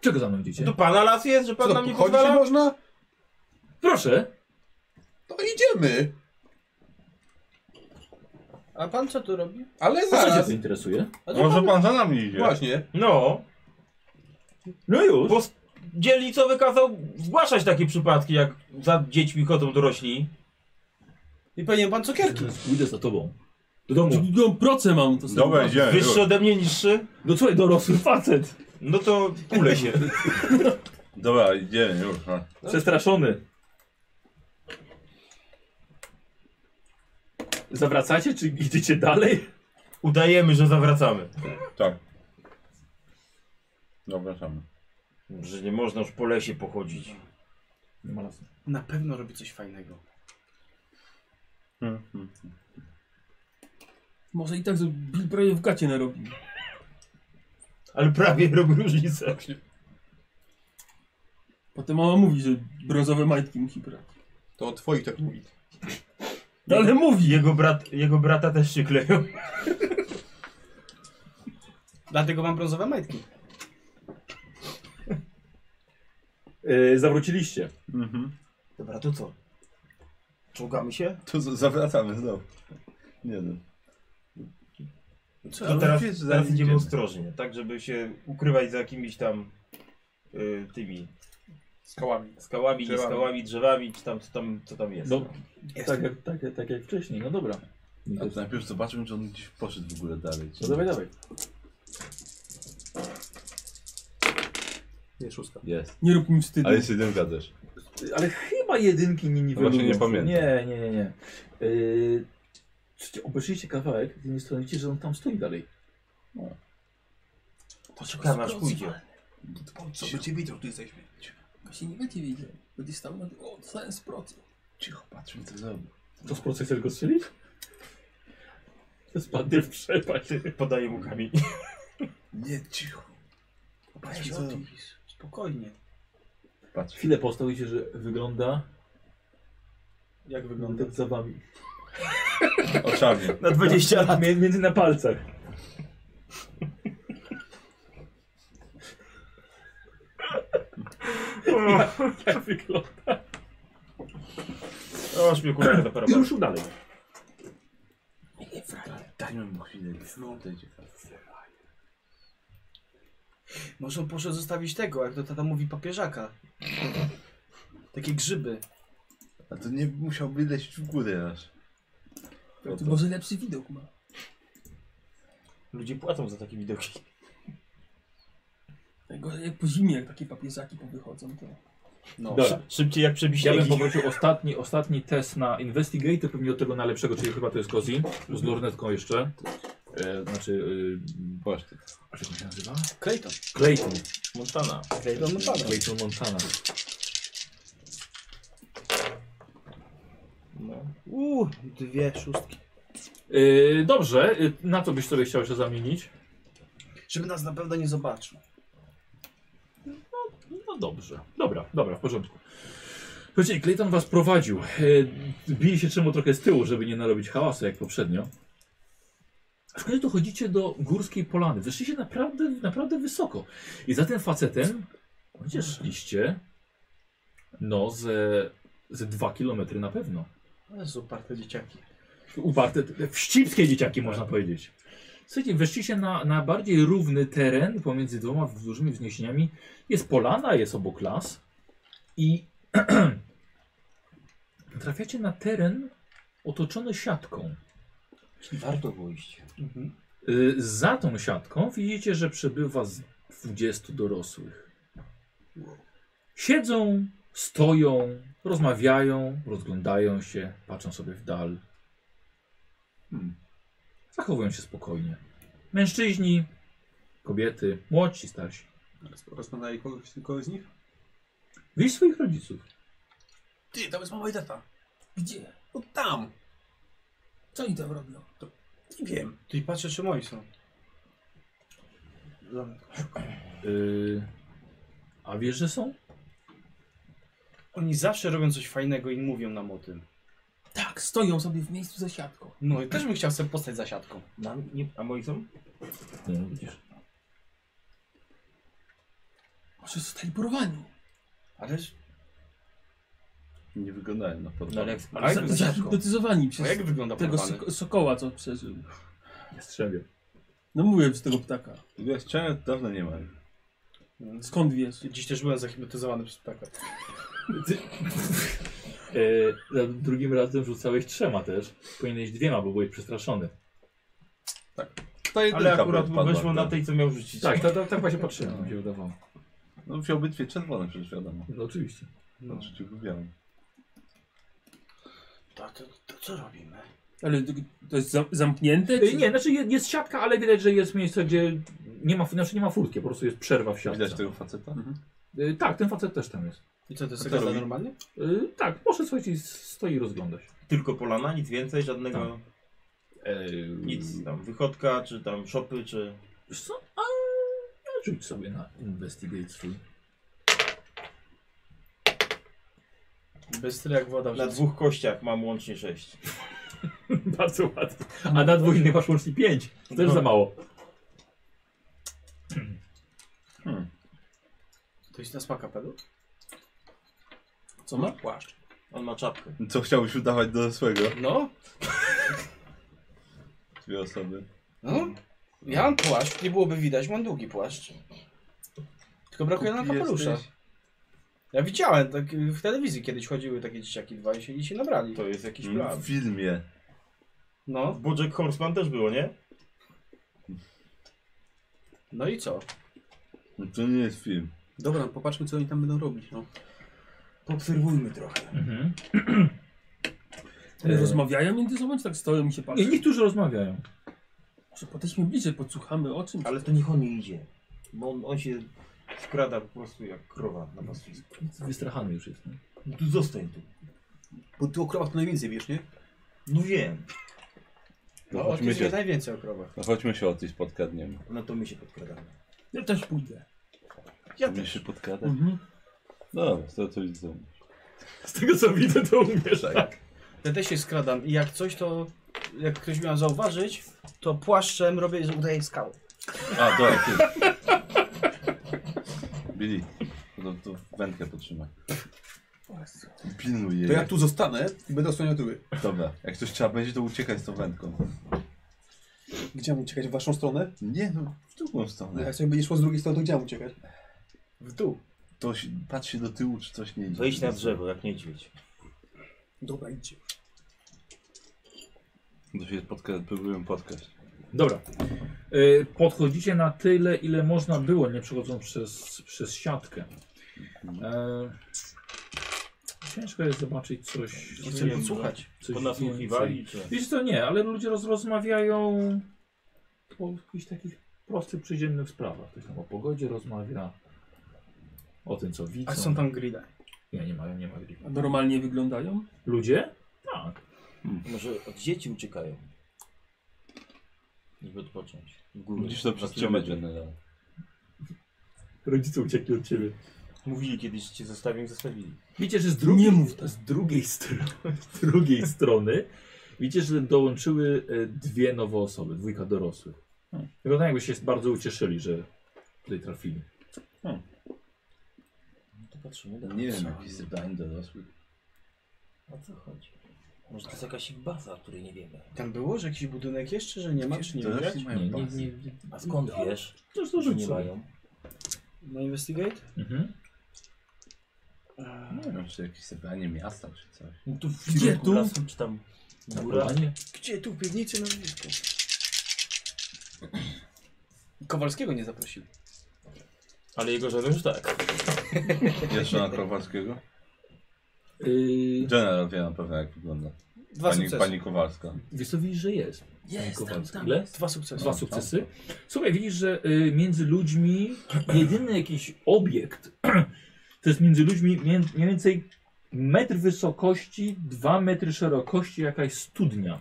Speaker 3: Czego za mną idziecie?
Speaker 10: Do pana las jest, że pan
Speaker 4: Co,
Speaker 10: nam nie
Speaker 4: chodzić
Speaker 10: pozwala?
Speaker 4: można?
Speaker 3: Proszę!
Speaker 4: To idziemy!
Speaker 9: A pan co tu robi?
Speaker 4: Ale
Speaker 3: Co cię
Speaker 4: zaraz!
Speaker 3: to interesuje?
Speaker 9: A tu
Speaker 6: Może
Speaker 9: pan...
Speaker 6: pan za nami idzie.
Speaker 4: Właśnie.
Speaker 10: No,
Speaker 5: No już.
Speaker 10: bo s- dzielnicowy kazał zgłaszać takie przypadki, jak za dziećmi chodzą dorośli.
Speaker 9: I powinien pan cukierki.
Speaker 3: Pójdę za tobą. Do domu.
Speaker 1: Drugą procę mam. To sobie
Speaker 6: Dobra, idziemy.
Speaker 10: Wyższy
Speaker 6: już.
Speaker 10: ode mnie niższy,
Speaker 3: No słuchaj, dorosły facet.
Speaker 10: no to kule się.
Speaker 6: Dobra, idziemy już. no.
Speaker 3: Przestraszony. Zawracacie, czy idziecie dalej?
Speaker 10: Udajemy, że zawracamy.
Speaker 6: Tak. Dobra, samy.
Speaker 10: Że nie można już po lesie pochodzić.
Speaker 3: Nie ma lasu.
Speaker 9: Na pewno robi coś fajnego.
Speaker 6: Mhm.
Speaker 1: Może i tak, że Bill prawie w gacie narobi.
Speaker 10: Ale prawie robi różnicę.
Speaker 1: Potem mama mówi, że brązowe majtki mu hipra.
Speaker 4: To o twoich tak mówi.
Speaker 1: No ale mówi!
Speaker 10: Jego, brat, jego brata też się kleją.
Speaker 9: Dlatego mam brązowe majtki.
Speaker 3: Yy, zawróciliście.
Speaker 6: Mhm.
Speaker 10: Dobra, to co? Czołgamy się?
Speaker 6: To z- zawracamy znowu. Nie wiem.
Speaker 10: To
Speaker 6: ale
Speaker 10: No teraz,
Speaker 6: wiesz, że
Speaker 10: teraz
Speaker 6: idziemy.
Speaker 10: idziemy ostrożnie, tak żeby się ukrywać za jakimiś tam y, tymi
Speaker 4: Skałami.
Speaker 10: skałami, nie
Speaker 4: Drzewami.
Speaker 10: skałami, drzewami, czy tam co tam, co tam jest.
Speaker 3: No, tak, jak, tak, jak- tak jak wcześniej, no dobra.
Speaker 6: A to najpierw zobaczmy, czy on gdzieś poszedł w ogóle dalej. Czy...
Speaker 3: No dawaj, dawaj.
Speaker 4: Nie, szóstka.
Speaker 6: Jest.
Speaker 1: Nie rób mi wstydu.
Speaker 6: Ale jest jedynka też.
Speaker 3: Ale chyba jedynki nie niwelują.
Speaker 6: właśnie nie pamiętam.
Speaker 3: Nie, nie, nie. nie. Yy, słuchajcie, obeszliście kawałek, z jednej strony widzicie, że on tam stoi dalej.
Speaker 10: Poczekamy aż pójdzie.
Speaker 4: O, co by cię widział, tu jesteśmy.
Speaker 1: Właśnie nie będzie widział. Będzie stał na o, sens procy.
Speaker 6: Cicho, patrzmy co zrobił.
Speaker 3: To z proces chcesz go strzelić? Spadnie w przepaść.
Speaker 10: Podaję mu kamień.
Speaker 6: Nie, cicho.
Speaker 9: Weź o tym, Spokojnie.
Speaker 6: Patrz.
Speaker 3: Chwilę postał, widzicie, że wygląda
Speaker 9: Jak
Speaker 3: on
Speaker 9: wygląda?
Speaker 3: tak za wami.
Speaker 6: Oczami.
Speaker 10: Na 20 lat.
Speaker 3: Mie- Między na palcach. Tak wygląda.
Speaker 10: Aż mnie kurwa zaparowało.
Speaker 3: Ruszył dalej.
Speaker 6: Dajmy mu chwilę. No,
Speaker 9: Może on poszedł zostawić tego, jak to tata mówi, papieżaka. Takie grzyby.
Speaker 6: A to nie musiałby lecieć w górę aż. No
Speaker 1: To
Speaker 6: to-
Speaker 1: może lepszy widok ma.
Speaker 10: Ludzie płacą za takie widoki.
Speaker 1: Tego, jak po zimie, jak takie papieżaki powychodzą, to...
Speaker 4: No.
Speaker 3: Dobra.
Speaker 10: Szybciej jak
Speaker 3: Ja
Speaker 10: przebiśniegi.
Speaker 3: bym powrócił ostatni, ostatni test na Investigate, pewnie od tego najlepszego, czyli chyba to jest Kozi, z lornetką jeszcze. E, znaczy, y,
Speaker 6: Właśnie.
Speaker 3: a jak on się nazywa?
Speaker 9: Clayton.
Speaker 3: Clayton.
Speaker 10: Montana.
Speaker 9: Clayton Montana.
Speaker 3: Clayton Montana.
Speaker 10: No.
Speaker 9: Uuu, dwie szóstki.
Speaker 3: E, dobrze, e, na co byś sobie chciał jeszcze zamienić?
Speaker 9: Żeby nas na pewno nie zobaczył.
Speaker 3: No dobrze, dobra, dobra, w porządku. Słuchajcie, Clayton was prowadził. E, Bili się czemu trochę z tyłu, żeby nie narobić hałasu jak poprzednio. A w końcu dochodzicie do górskiej polany. Wyszliście naprawdę, naprawdę wysoko. I za tym facetem gdzie szliście no ze, ze 2 km na pewno.
Speaker 9: Jezu, parte dzieciaki.
Speaker 3: Uparte, wścibskie dzieciaki można powiedzieć. Słuchajcie, weszliście na, na bardziej równy teren pomiędzy dwoma dużymi wzniesieniami. Jest polana, jest obok las i trafiacie na teren otoczony siatką.
Speaker 10: Czyli warto było iść.
Speaker 9: Mhm.
Speaker 3: Y, Za tą siatką widzicie, że przebywa z 20 dorosłych. Siedzą, stoją, rozmawiają, rozglądają się, patrzą sobie w dal.
Speaker 6: Hmm.
Speaker 3: Zachowują się spokojnie. Mężczyźni, kobiety, młodsi, starsi.
Speaker 4: Rozpadaje kogoś, kogoś z nich?
Speaker 3: Wieź swoich rodziców.
Speaker 4: Ty, tam jest mama i tata.
Speaker 1: Gdzie?
Speaker 4: No tam.
Speaker 1: Co oni tam robią?
Speaker 4: Nie wiem.
Speaker 9: Ty patrzę, czy moi są.
Speaker 3: Yy, a wiesz, że są?
Speaker 9: Oni zawsze robią coś fajnego i mówią nam o tym.
Speaker 1: Tak, stoją sobie w miejscu za siatką.
Speaker 9: No i też bym chciał sobie postać za siatką.
Speaker 10: Na, nie, a moi są?
Speaker 3: No, widzisz.
Speaker 1: Może zostali porwani.
Speaker 9: Ależ...
Speaker 6: Nie wyglądają
Speaker 9: No
Speaker 6: na portal.
Speaker 9: ale jak...
Speaker 1: Ale za- Zahipnotyzowani
Speaker 9: A
Speaker 1: przez
Speaker 9: jak wygląda
Speaker 1: tego
Speaker 9: porwany?
Speaker 1: soko sokoła, co przeżył.
Speaker 3: Nie strzelił.
Speaker 1: No mówiłem z tego ptaka.
Speaker 6: Ja chciałem, dawno nie mam.
Speaker 1: Skąd wiesz?
Speaker 9: Dziś też byłem zahipnotyzowany przez ptaka.
Speaker 3: Yy, za drugim razem rzucałeś trzema też. Powinieneś dwiema, bo byłeś przestraszony.
Speaker 6: To jedynka
Speaker 10: Ale akurat
Speaker 6: padła,
Speaker 10: weszło na
Speaker 6: tak?
Speaker 10: tej, co miał rzucić.
Speaker 3: Tak, tak, tak, tak właśnie patrzyłem. Mi się udawało.
Speaker 6: No wziąłby dwie czerwone, przecież wiadomo.
Speaker 3: No oczywiście.
Speaker 9: No.
Speaker 6: Odrzucił go białą.
Speaker 9: To, to, to co robimy?
Speaker 1: Ale to, to jest za zamknięte?
Speaker 3: Yy, nie, znaczy je- jest siatka, ale widać, że jest miejsce, gdzie nie ma, znaczy nie ma furtki, po prostu jest przerwa w siatce.
Speaker 6: Widać tego faceta?
Speaker 3: Yy, tak, ten facet też tam jest.
Speaker 9: I co, to
Speaker 6: A
Speaker 9: jest
Speaker 6: co
Speaker 9: gada
Speaker 6: robi?
Speaker 9: normalnie?
Speaker 3: Yy, tak, poszedł, słuchajcie, i stoi i rozgląda się.
Speaker 10: Tylko polana, nic więcej, żadnego,
Speaker 3: Yy,
Speaker 10: nic tam, wychodka, czy tam szopy, czy...
Speaker 3: Wiesz co? A, no, rzuć sobie na investigate swój.
Speaker 9: Bystry jak woda w
Speaker 10: Na
Speaker 9: rzece.
Speaker 10: dwóch kościach mam łącznie sześć.
Speaker 3: Bardzo ładnie. A na dwóch innych masz łącznie pięć. To też za mało.
Speaker 9: To jest na smaka pedu?
Speaker 1: Co ma? Płaszcz.
Speaker 10: On ma czapkę.
Speaker 6: Co chciałbyś udawać do złego?
Speaker 9: No,
Speaker 6: Dwie osoby.
Speaker 9: no. Ja mam płaszcz, nie byłoby widać, mam długi płaszcz. Tylko brakuje nam
Speaker 6: Głupi
Speaker 9: kapelusza.
Speaker 6: jesteś.
Speaker 9: Ja widziałem, tak y, w telewizji kiedyś chodziły takie dzieciaki dwa i się, i się nabrali.
Speaker 10: To jest jakiś
Speaker 6: Mm,
Speaker 10: plan.
Speaker 6: W filmie.
Speaker 9: No,
Speaker 10: W Bojack Horseman też było, nie?
Speaker 9: no i co?
Speaker 6: No To nie jest film.
Speaker 4: Dobra, popatrzmy co oni tam będą robić, no.
Speaker 9: Poobserwujmy trochę.
Speaker 3: Mhm.
Speaker 1: Ale
Speaker 3: Yy.
Speaker 1: rozmawiają między sobą, czy tak stoją i się patrzą?
Speaker 3: I niektórzy rozmawiają.
Speaker 1: Może podejdźmy bliżej, podsłuchamy o czymś.
Speaker 10: Ale to niech on nie idzie. Bo on, on się skrada po prostu jak krowa na pastwisku.
Speaker 3: Wystrachany już jest. Nie?
Speaker 10: No tu zostań tu.
Speaker 4: Bo ty o krowach to najwięcej wiesz, nie?
Speaker 10: No wiem.
Speaker 9: No, o tym najwięcej o krowach.
Speaker 6: No chodźmy się o tej spotkaniemy.
Speaker 10: No to my się podkradamy.
Speaker 1: Ja też pójdę.
Speaker 6: Ja też. się podkradać?
Speaker 1: Mhm.
Speaker 6: Dobra, to to widzę.
Speaker 3: Z tego co widzę, to umiesz. Tak.
Speaker 9: Ja też się skradam i jak coś to, jak ktoś miał zauważyć, to płaszczem robię, że udaję skałę.
Speaker 6: A, dobra, ty. Billy, to, to wędkę potrzymaj. Pilnuj jej.
Speaker 4: To ja tu zostanę i będę osłaniał tyły.
Speaker 6: Dobra, jak coś trzeba będzie, to uciekaj z tą wędką.
Speaker 4: Gdzie mam uciekać? W waszą stronę?
Speaker 6: Nie no, w drugą
Speaker 4: No
Speaker 6: stronę.
Speaker 4: jak sobie będzie szło z drugiej strony, to gdzie mam uciekać?
Speaker 9: W dół.
Speaker 6: To się, patrz się do tyłu, czy coś nie idzie.
Speaker 10: Wejdź na drzewo, jak niedźwiedź.
Speaker 4: Dobra, idźcie.
Speaker 6: To się podka próbuję podkać.
Speaker 3: Dobra. Yy, Podchodzicie na tyle, ile można było, nie przechodząc przez, przez siatkę. Yy, Ciężko jest zobaczyć coś.
Speaker 9: Nie chcę podsłuchać.
Speaker 3: coś
Speaker 10: Bo nasłuchiwali, czy...
Speaker 3: Wiesz to nie, ale ludzie roz, rozmawiają o jakichś takich prostych, przyziemnych sprawach. Ktoś tam o pogodzie rozmawia, o tym co widzą.
Speaker 9: A są tam grida.
Speaker 3: Nie, nie mają, nie ma gripa.
Speaker 1: A normalnie wyglądają?
Speaker 3: Ludzie? Tak.
Speaker 10: Może od dzieci uciekają. Żeby odpocząć. W górę.
Speaker 6: Widzisz to przez
Speaker 10: Na
Speaker 6: ciemę
Speaker 10: kilometr.
Speaker 6: generał.
Speaker 3: Rodzice uciekli od ciebie.
Speaker 10: Mówili kiedyś, cię zostawię, zostawili.
Speaker 3: Widzicie, że z drugiej,
Speaker 1: Nie mów tak.
Speaker 3: z drugiej, strony, z drugiej strony widzicie, że dołączyły e, dwie nowe osoby, dwójka dorosłych.
Speaker 10: Hmm.
Speaker 3: Wygląda jakby się bardzo ucieszyli, że tutaj trafili.
Speaker 10: No to patrzymy dalej.
Speaker 6: Nie wiem,
Speaker 10: Co
Speaker 6: jakiś
Speaker 10: oni-
Speaker 6: zdań dorosłych.
Speaker 10: O co chodzi? Może to jest jakaś ich baza, o której nie wiemy.
Speaker 9: Tam było, że jakiś budynek jeszcze, że nie ma, czy nie
Speaker 6: To
Speaker 9: widać?
Speaker 6: już nie
Speaker 3: Nie, nie,
Speaker 6: mają
Speaker 3: nie.
Speaker 6: bazy.
Speaker 3: nie.
Speaker 9: No
Speaker 10: A skąd wiesz,
Speaker 3: To już
Speaker 10: że
Speaker 3: dobrze
Speaker 10: nie mają?
Speaker 9: Na No, Investigate?
Speaker 3: Mhm.
Speaker 6: Nie wiem, czy jakieś zebranie miasta, czy coś.
Speaker 10: No tu w
Speaker 1: Gdzie
Speaker 10: kierunku
Speaker 1: tu?
Speaker 10: lasu, czy tam
Speaker 9: No
Speaker 3: Na
Speaker 10: góra?
Speaker 3: polanie.
Speaker 9: Gdzie tu w piwnicy na wysku? Kowalskiego nie zaprosili.
Speaker 10: Ale jego żonę już tak.
Speaker 6: Jeszcze na Kowalskiego?
Speaker 3: Yy,
Speaker 6: General wie na pewno jak wygląda.
Speaker 9: Dwa
Speaker 6: Pani,
Speaker 9: sukcesy.
Speaker 6: pani Kowalska.
Speaker 3: wiesz co, widzisz, że jest.
Speaker 1: Jest, tam,
Speaker 3: Kowalski.
Speaker 1: tam.
Speaker 3: Ile?
Speaker 9: Dwa sukcesy.
Speaker 3: Dwa sukcesy. Słuchaj, widzisz, że y, między ludźmi jedyny jakiś obiekt, To jest między ludźmi mię- mniej więcej metr wysokości, dwa metry szerokości, jakaś studnia.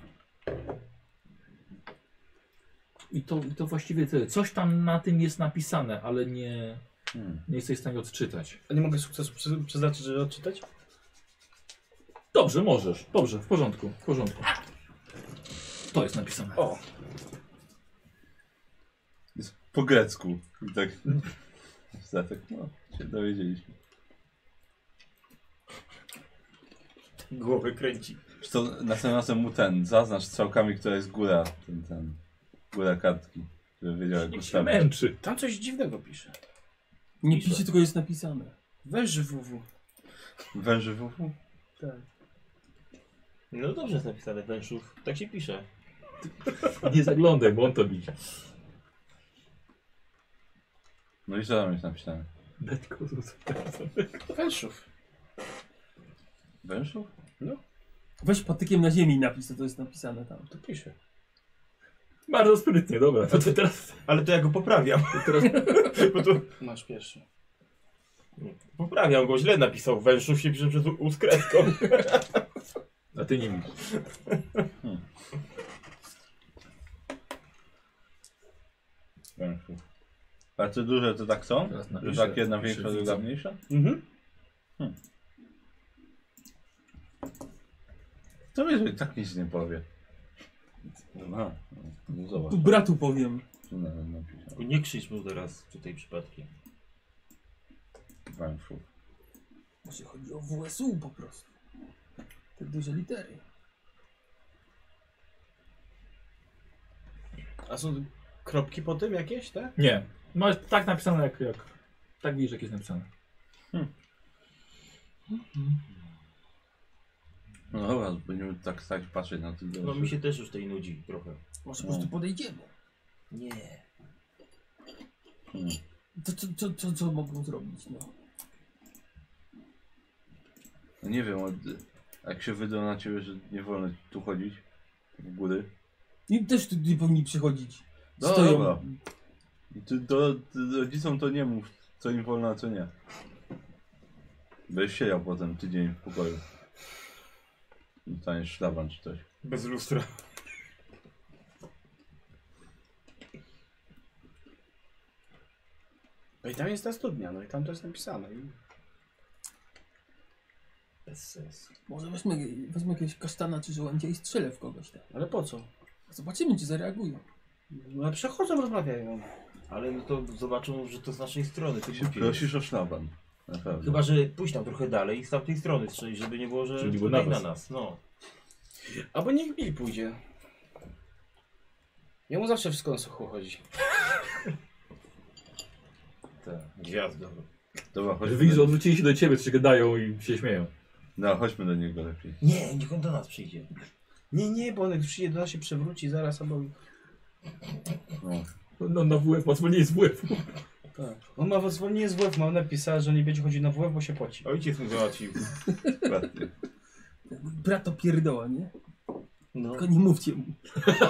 Speaker 3: I to, i to właściwie tyle. Coś tam na tym jest napisane, ale nie,
Speaker 6: Hmm.
Speaker 3: nie jesteś w stanie odczytać.
Speaker 9: A nie mogę sukcesu przy- przeznaczyć, żeby odczytać?
Speaker 3: Dobrze, możesz. Dobrze, w porządku, w porządku. To jest napisane.
Speaker 9: O,
Speaker 6: Jest po grecku. I tak. Zatek, no, się dowiedzieliśmy.
Speaker 7: Głowę kręci.
Speaker 6: Wiesz Co, następnym razem mu ten, zaznacz strzałkami, która jest góra, ten, ten, góra kartki, żeby wiedział jak
Speaker 3: Niech się
Speaker 6: ustawić.
Speaker 3: męczy.
Speaker 9: tam coś dziwnego pisze.
Speaker 1: Nie picie, tylko jest napisane.
Speaker 9: Weź WW.
Speaker 6: Węży wufu?
Speaker 7: No dobrze jest napisane wężów. Tak się pisze.
Speaker 3: Nie zaglądaj, bo on to widzi.
Speaker 6: No i co tam jest napisane?
Speaker 3: Betko,
Speaker 9: Węszów.
Speaker 6: Wężów?
Speaker 1: Weź patykiem na ziemi i napisz, co to jest napisane tam.
Speaker 9: To pisze.
Speaker 3: Bardzo sprytnie, dobra. No to teraz,
Speaker 10: Ale to ja go poprawiam.
Speaker 3: to teraz
Speaker 10: Bo to
Speaker 9: Masz pierwszy.
Speaker 7: Poprawiam go, źle napisał. Wężów się pisze przez u z kreską.
Speaker 3: A ty nie widzisz.
Speaker 6: Wężów. A te duże to tak są?
Speaker 3: Teraz
Speaker 6: Że
Speaker 3: napiszę,
Speaker 6: tak jedna
Speaker 3: napiszę,
Speaker 6: większa, druga
Speaker 3: widzę.
Speaker 6: mniejsza?
Speaker 9: Mhm.
Speaker 6: Hmm. To wiesz, że tak nic nie powie. No, no, no zobacz,
Speaker 1: Tu bratu powiem.
Speaker 6: co na- napisał.
Speaker 7: Nie krzycz mu teraz tutaj przypadkiem.
Speaker 6: Wężów.
Speaker 1: Może chodzi o WSU po prostu. Te duże litery.
Speaker 9: A są kropki po tym jakieś, te?
Speaker 3: Nie. No jest tak napisane jak, jak... Tak widzisz jak jest napisane.
Speaker 6: No dobra, będziemy tak stać patrzeć na tych
Speaker 7: No
Speaker 6: wężów.
Speaker 7: mi się też już tej nudzi trochę.
Speaker 1: Może po prostu podejdziemy.
Speaker 7: Nie.
Speaker 6: Hmm.
Speaker 1: To co, co, co, co mogą zrobić? No.
Speaker 6: No nie wiem, od, jak się wydał na ciebie, że nie wolno tu chodzić, w góry.
Speaker 1: I też tu nie powinni przychodzić.
Speaker 6: No,
Speaker 1: Stoją.
Speaker 6: dobra. I ty do, ty rodzicom to nie mów, co im wolno, a co nie. Będziesz siedział potem tydzień w pokoju. Dostaniesz szlaban czy coś.
Speaker 10: bez lustra.
Speaker 9: No i tam jest ta studnia, no i tam to jest napisane. I...
Speaker 7: Bez sensu.
Speaker 1: Może weźmy, weźmy jakiegoś kasztana czy żołędzia i strzelę w kogoś tam.
Speaker 9: Ale po co?
Speaker 1: Zobaczymy, czy zareagują.
Speaker 9: No ale przechodzą, rozmawiają.
Speaker 7: Ale no to zobaczą, że to z naszej strony. Ty
Speaker 6: Ty się
Speaker 7: głupi
Speaker 6: prosisz o szlaban. Na pewno.
Speaker 7: jesteś. Chyba, że pójść tam trochę dalej i z tamtej strony strzelić, żeby nie było, że
Speaker 3: Czyli było
Speaker 7: tutaj
Speaker 3: na
Speaker 7: na
Speaker 3: was.
Speaker 7: nas. No.
Speaker 9: Albo niech Bill pójdzie. Jemu zawsze wszystko na sucho chodzi.
Speaker 7: Tak. Gwiazdo.
Speaker 6: Dobra, chodźmy
Speaker 3: Widzisz,
Speaker 6: do,
Speaker 3: odwrócili się do ciebie, czy gadają i się śmieją.
Speaker 6: no, chodźmy do niego lepiej.
Speaker 7: Nie, niech on do nas przyjdzie.
Speaker 9: Nie, nie, bo on jak przyjdzie do nas się przewróci zaraz, albo...
Speaker 6: No.
Speaker 3: No na WF, bo nie jest WF.
Speaker 9: Tak. On ma zwolnienie z WF, mam napisane, że nie będzie chodził na WF, bo się poci.
Speaker 10: Ojciec mu załatwił.
Speaker 6: Ładnie.
Speaker 1: Brato pierdoła, nie?
Speaker 7: No.
Speaker 1: Tylko nie mówcie mu.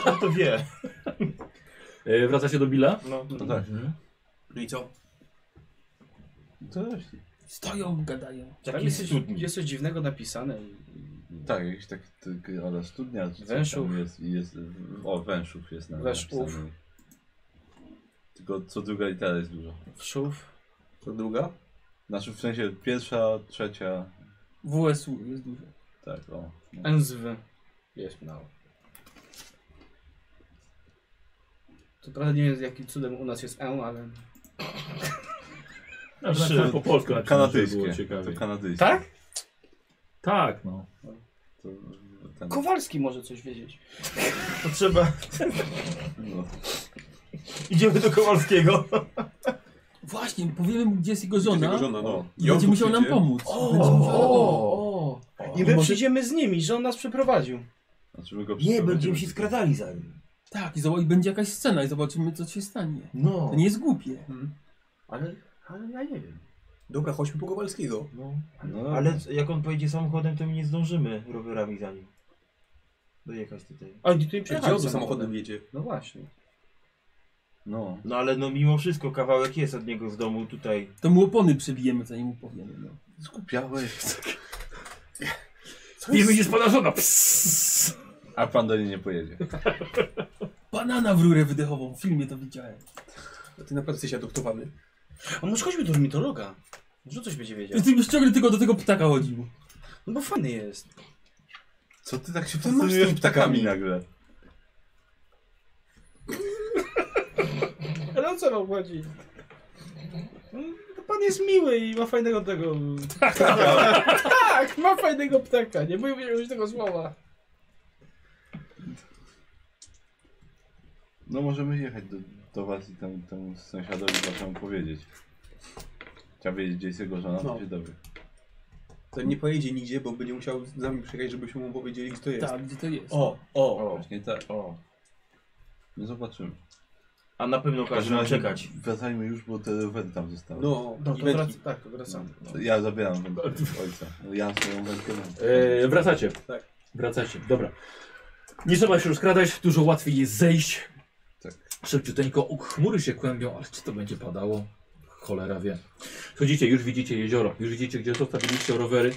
Speaker 10: On to wie.
Speaker 3: E, wraca się do Billa.
Speaker 10: No.
Speaker 6: No tak.
Speaker 9: No i co?
Speaker 6: To też.
Speaker 1: Stoją, gadają.
Speaker 9: Tam Tak, jest, coś- jest coś dziwnego napisane.
Speaker 6: Tak, jakiś tak, ty- ale studnia. czy coś tam
Speaker 9: Wężów.
Speaker 6: Jest, jest, o, wężów jest na
Speaker 9: Wężów.
Speaker 6: napisane. Tylko co druga litera jest duża.
Speaker 9: Wszów.
Speaker 4: To druga?
Speaker 6: Znaczy w sensie pierwsza, trzecia,
Speaker 1: WSU jest duże.
Speaker 6: tak o. No.
Speaker 9: Enzwy. Jest mało. To prawda nie wiem, z jakim cudem u nas jest N, ale...
Speaker 3: Znaczy, po polsku na
Speaker 6: Kanadyjskie.
Speaker 3: Było ciekawie.
Speaker 6: To kanadyjskie.
Speaker 9: Tak?
Speaker 3: Tak, no.
Speaker 6: To, ten,
Speaker 9: Kowalski może coś wiedzieć.
Speaker 10: To trzeba.
Speaker 6: no.
Speaker 10: Idziemy do Kowalskiego.
Speaker 1: Właśnie, powiemy mu, gdzie jest jego żona.
Speaker 4: Jego żona, no. I on
Speaker 1: Będzie
Speaker 4: tu
Speaker 1: musiał nam
Speaker 4: przyjdzie.
Speaker 1: pomóc. Będzie
Speaker 9: O!
Speaker 1: musiał...
Speaker 9: o. I my przyjdziemy z nimi, że on nas przeprowadził.
Speaker 6: Znaczy my go
Speaker 7: Nie, będziemy
Speaker 6: przeprowadzimy.
Speaker 7: się skradali za nim.
Speaker 1: Tak, i, zob- i będzie jakaś scena i zobaczymy, co się stanie.
Speaker 7: No.
Speaker 1: To nie jest głupie.
Speaker 7: Ale, ale ja nie wiem.
Speaker 4: Dobra, chodźmy po Kowalskiego.
Speaker 7: No.
Speaker 6: No,
Speaker 7: Ale c- jak on pojedzie samochodem, to my nie zdążymy rowerami za nim. Dojechać tutaj.
Speaker 9: A oni tu nie
Speaker 4: Gdzie on
Speaker 9: przyjechali
Speaker 4: samochodem jedzie?
Speaker 9: No właśnie.
Speaker 6: No.
Speaker 10: No ale no mimo wszystko kawałek jest od niego z domu tutaj.
Speaker 1: To mu opony przebijemy, zanim mu powiemy. No.
Speaker 6: Skupiałeś.
Speaker 3: Nie wyjdzie z pana żona. Psss.
Speaker 6: A pan do niej nie pojedzie.
Speaker 1: Banana w rurę wydechową, w filmie to widziałem.
Speaker 4: Ty naprawdę jesteś adoptowany.
Speaker 9: A może chodźmy do ornitologa? Może coś będzie wiedział.
Speaker 1: I ty byś ciągle tylko do tego ptaka chodził.
Speaker 9: No bo fajny jest.
Speaker 6: Co ty tak się
Speaker 4: Ty masz
Speaker 6: fascynujesz
Speaker 4: tymi ptakami.
Speaker 6: ptakami nagle?
Speaker 9: Ale o co nam chodzi? Pan jest miły i ma fajnego tego... tak, ma fajnego ptaka, nie boję się użyć tego słowa.
Speaker 6: No możemy jechać do, do was i tam, temu sąsiadowi zacząłem powiedzieć. Chciał wiedzieć, gdzie jest jego żona,
Speaker 4: No.
Speaker 6: to się dowie.
Speaker 4: To nie pojedzie nigdzie, bo będzie musiał z nami przyjechać, żebyśmy mu powiedzieli, gdzie to jest.
Speaker 1: Tak, gdzie to jest?
Speaker 10: O, o,
Speaker 6: O, właśnie tak.
Speaker 10: o.
Speaker 6: No zobaczymy.
Speaker 10: A na pewno każe nam czekać.
Speaker 6: Wracajmy już, bo te węd tam zostały.
Speaker 4: No,
Speaker 9: No,
Speaker 4: i
Speaker 9: to
Speaker 4: wędki.
Speaker 9: wrac- tak, to wracamy.
Speaker 6: To Ja zabieram wędkę ojca. Ja swoją wędkę mam.
Speaker 3: E, wracacie.
Speaker 4: Tak.
Speaker 3: Wracacie, dobra. Nie trzeba się rozkradać, dużo łatwiej jest zejść.
Speaker 6: Tak.
Speaker 3: Szybciuteńko, u, chmury się kłębią, ale czy to będzie padało? Cholera wie. Słuchajcie, już widzicie jezioro, już widzicie, gdzie zostawiliście rowery.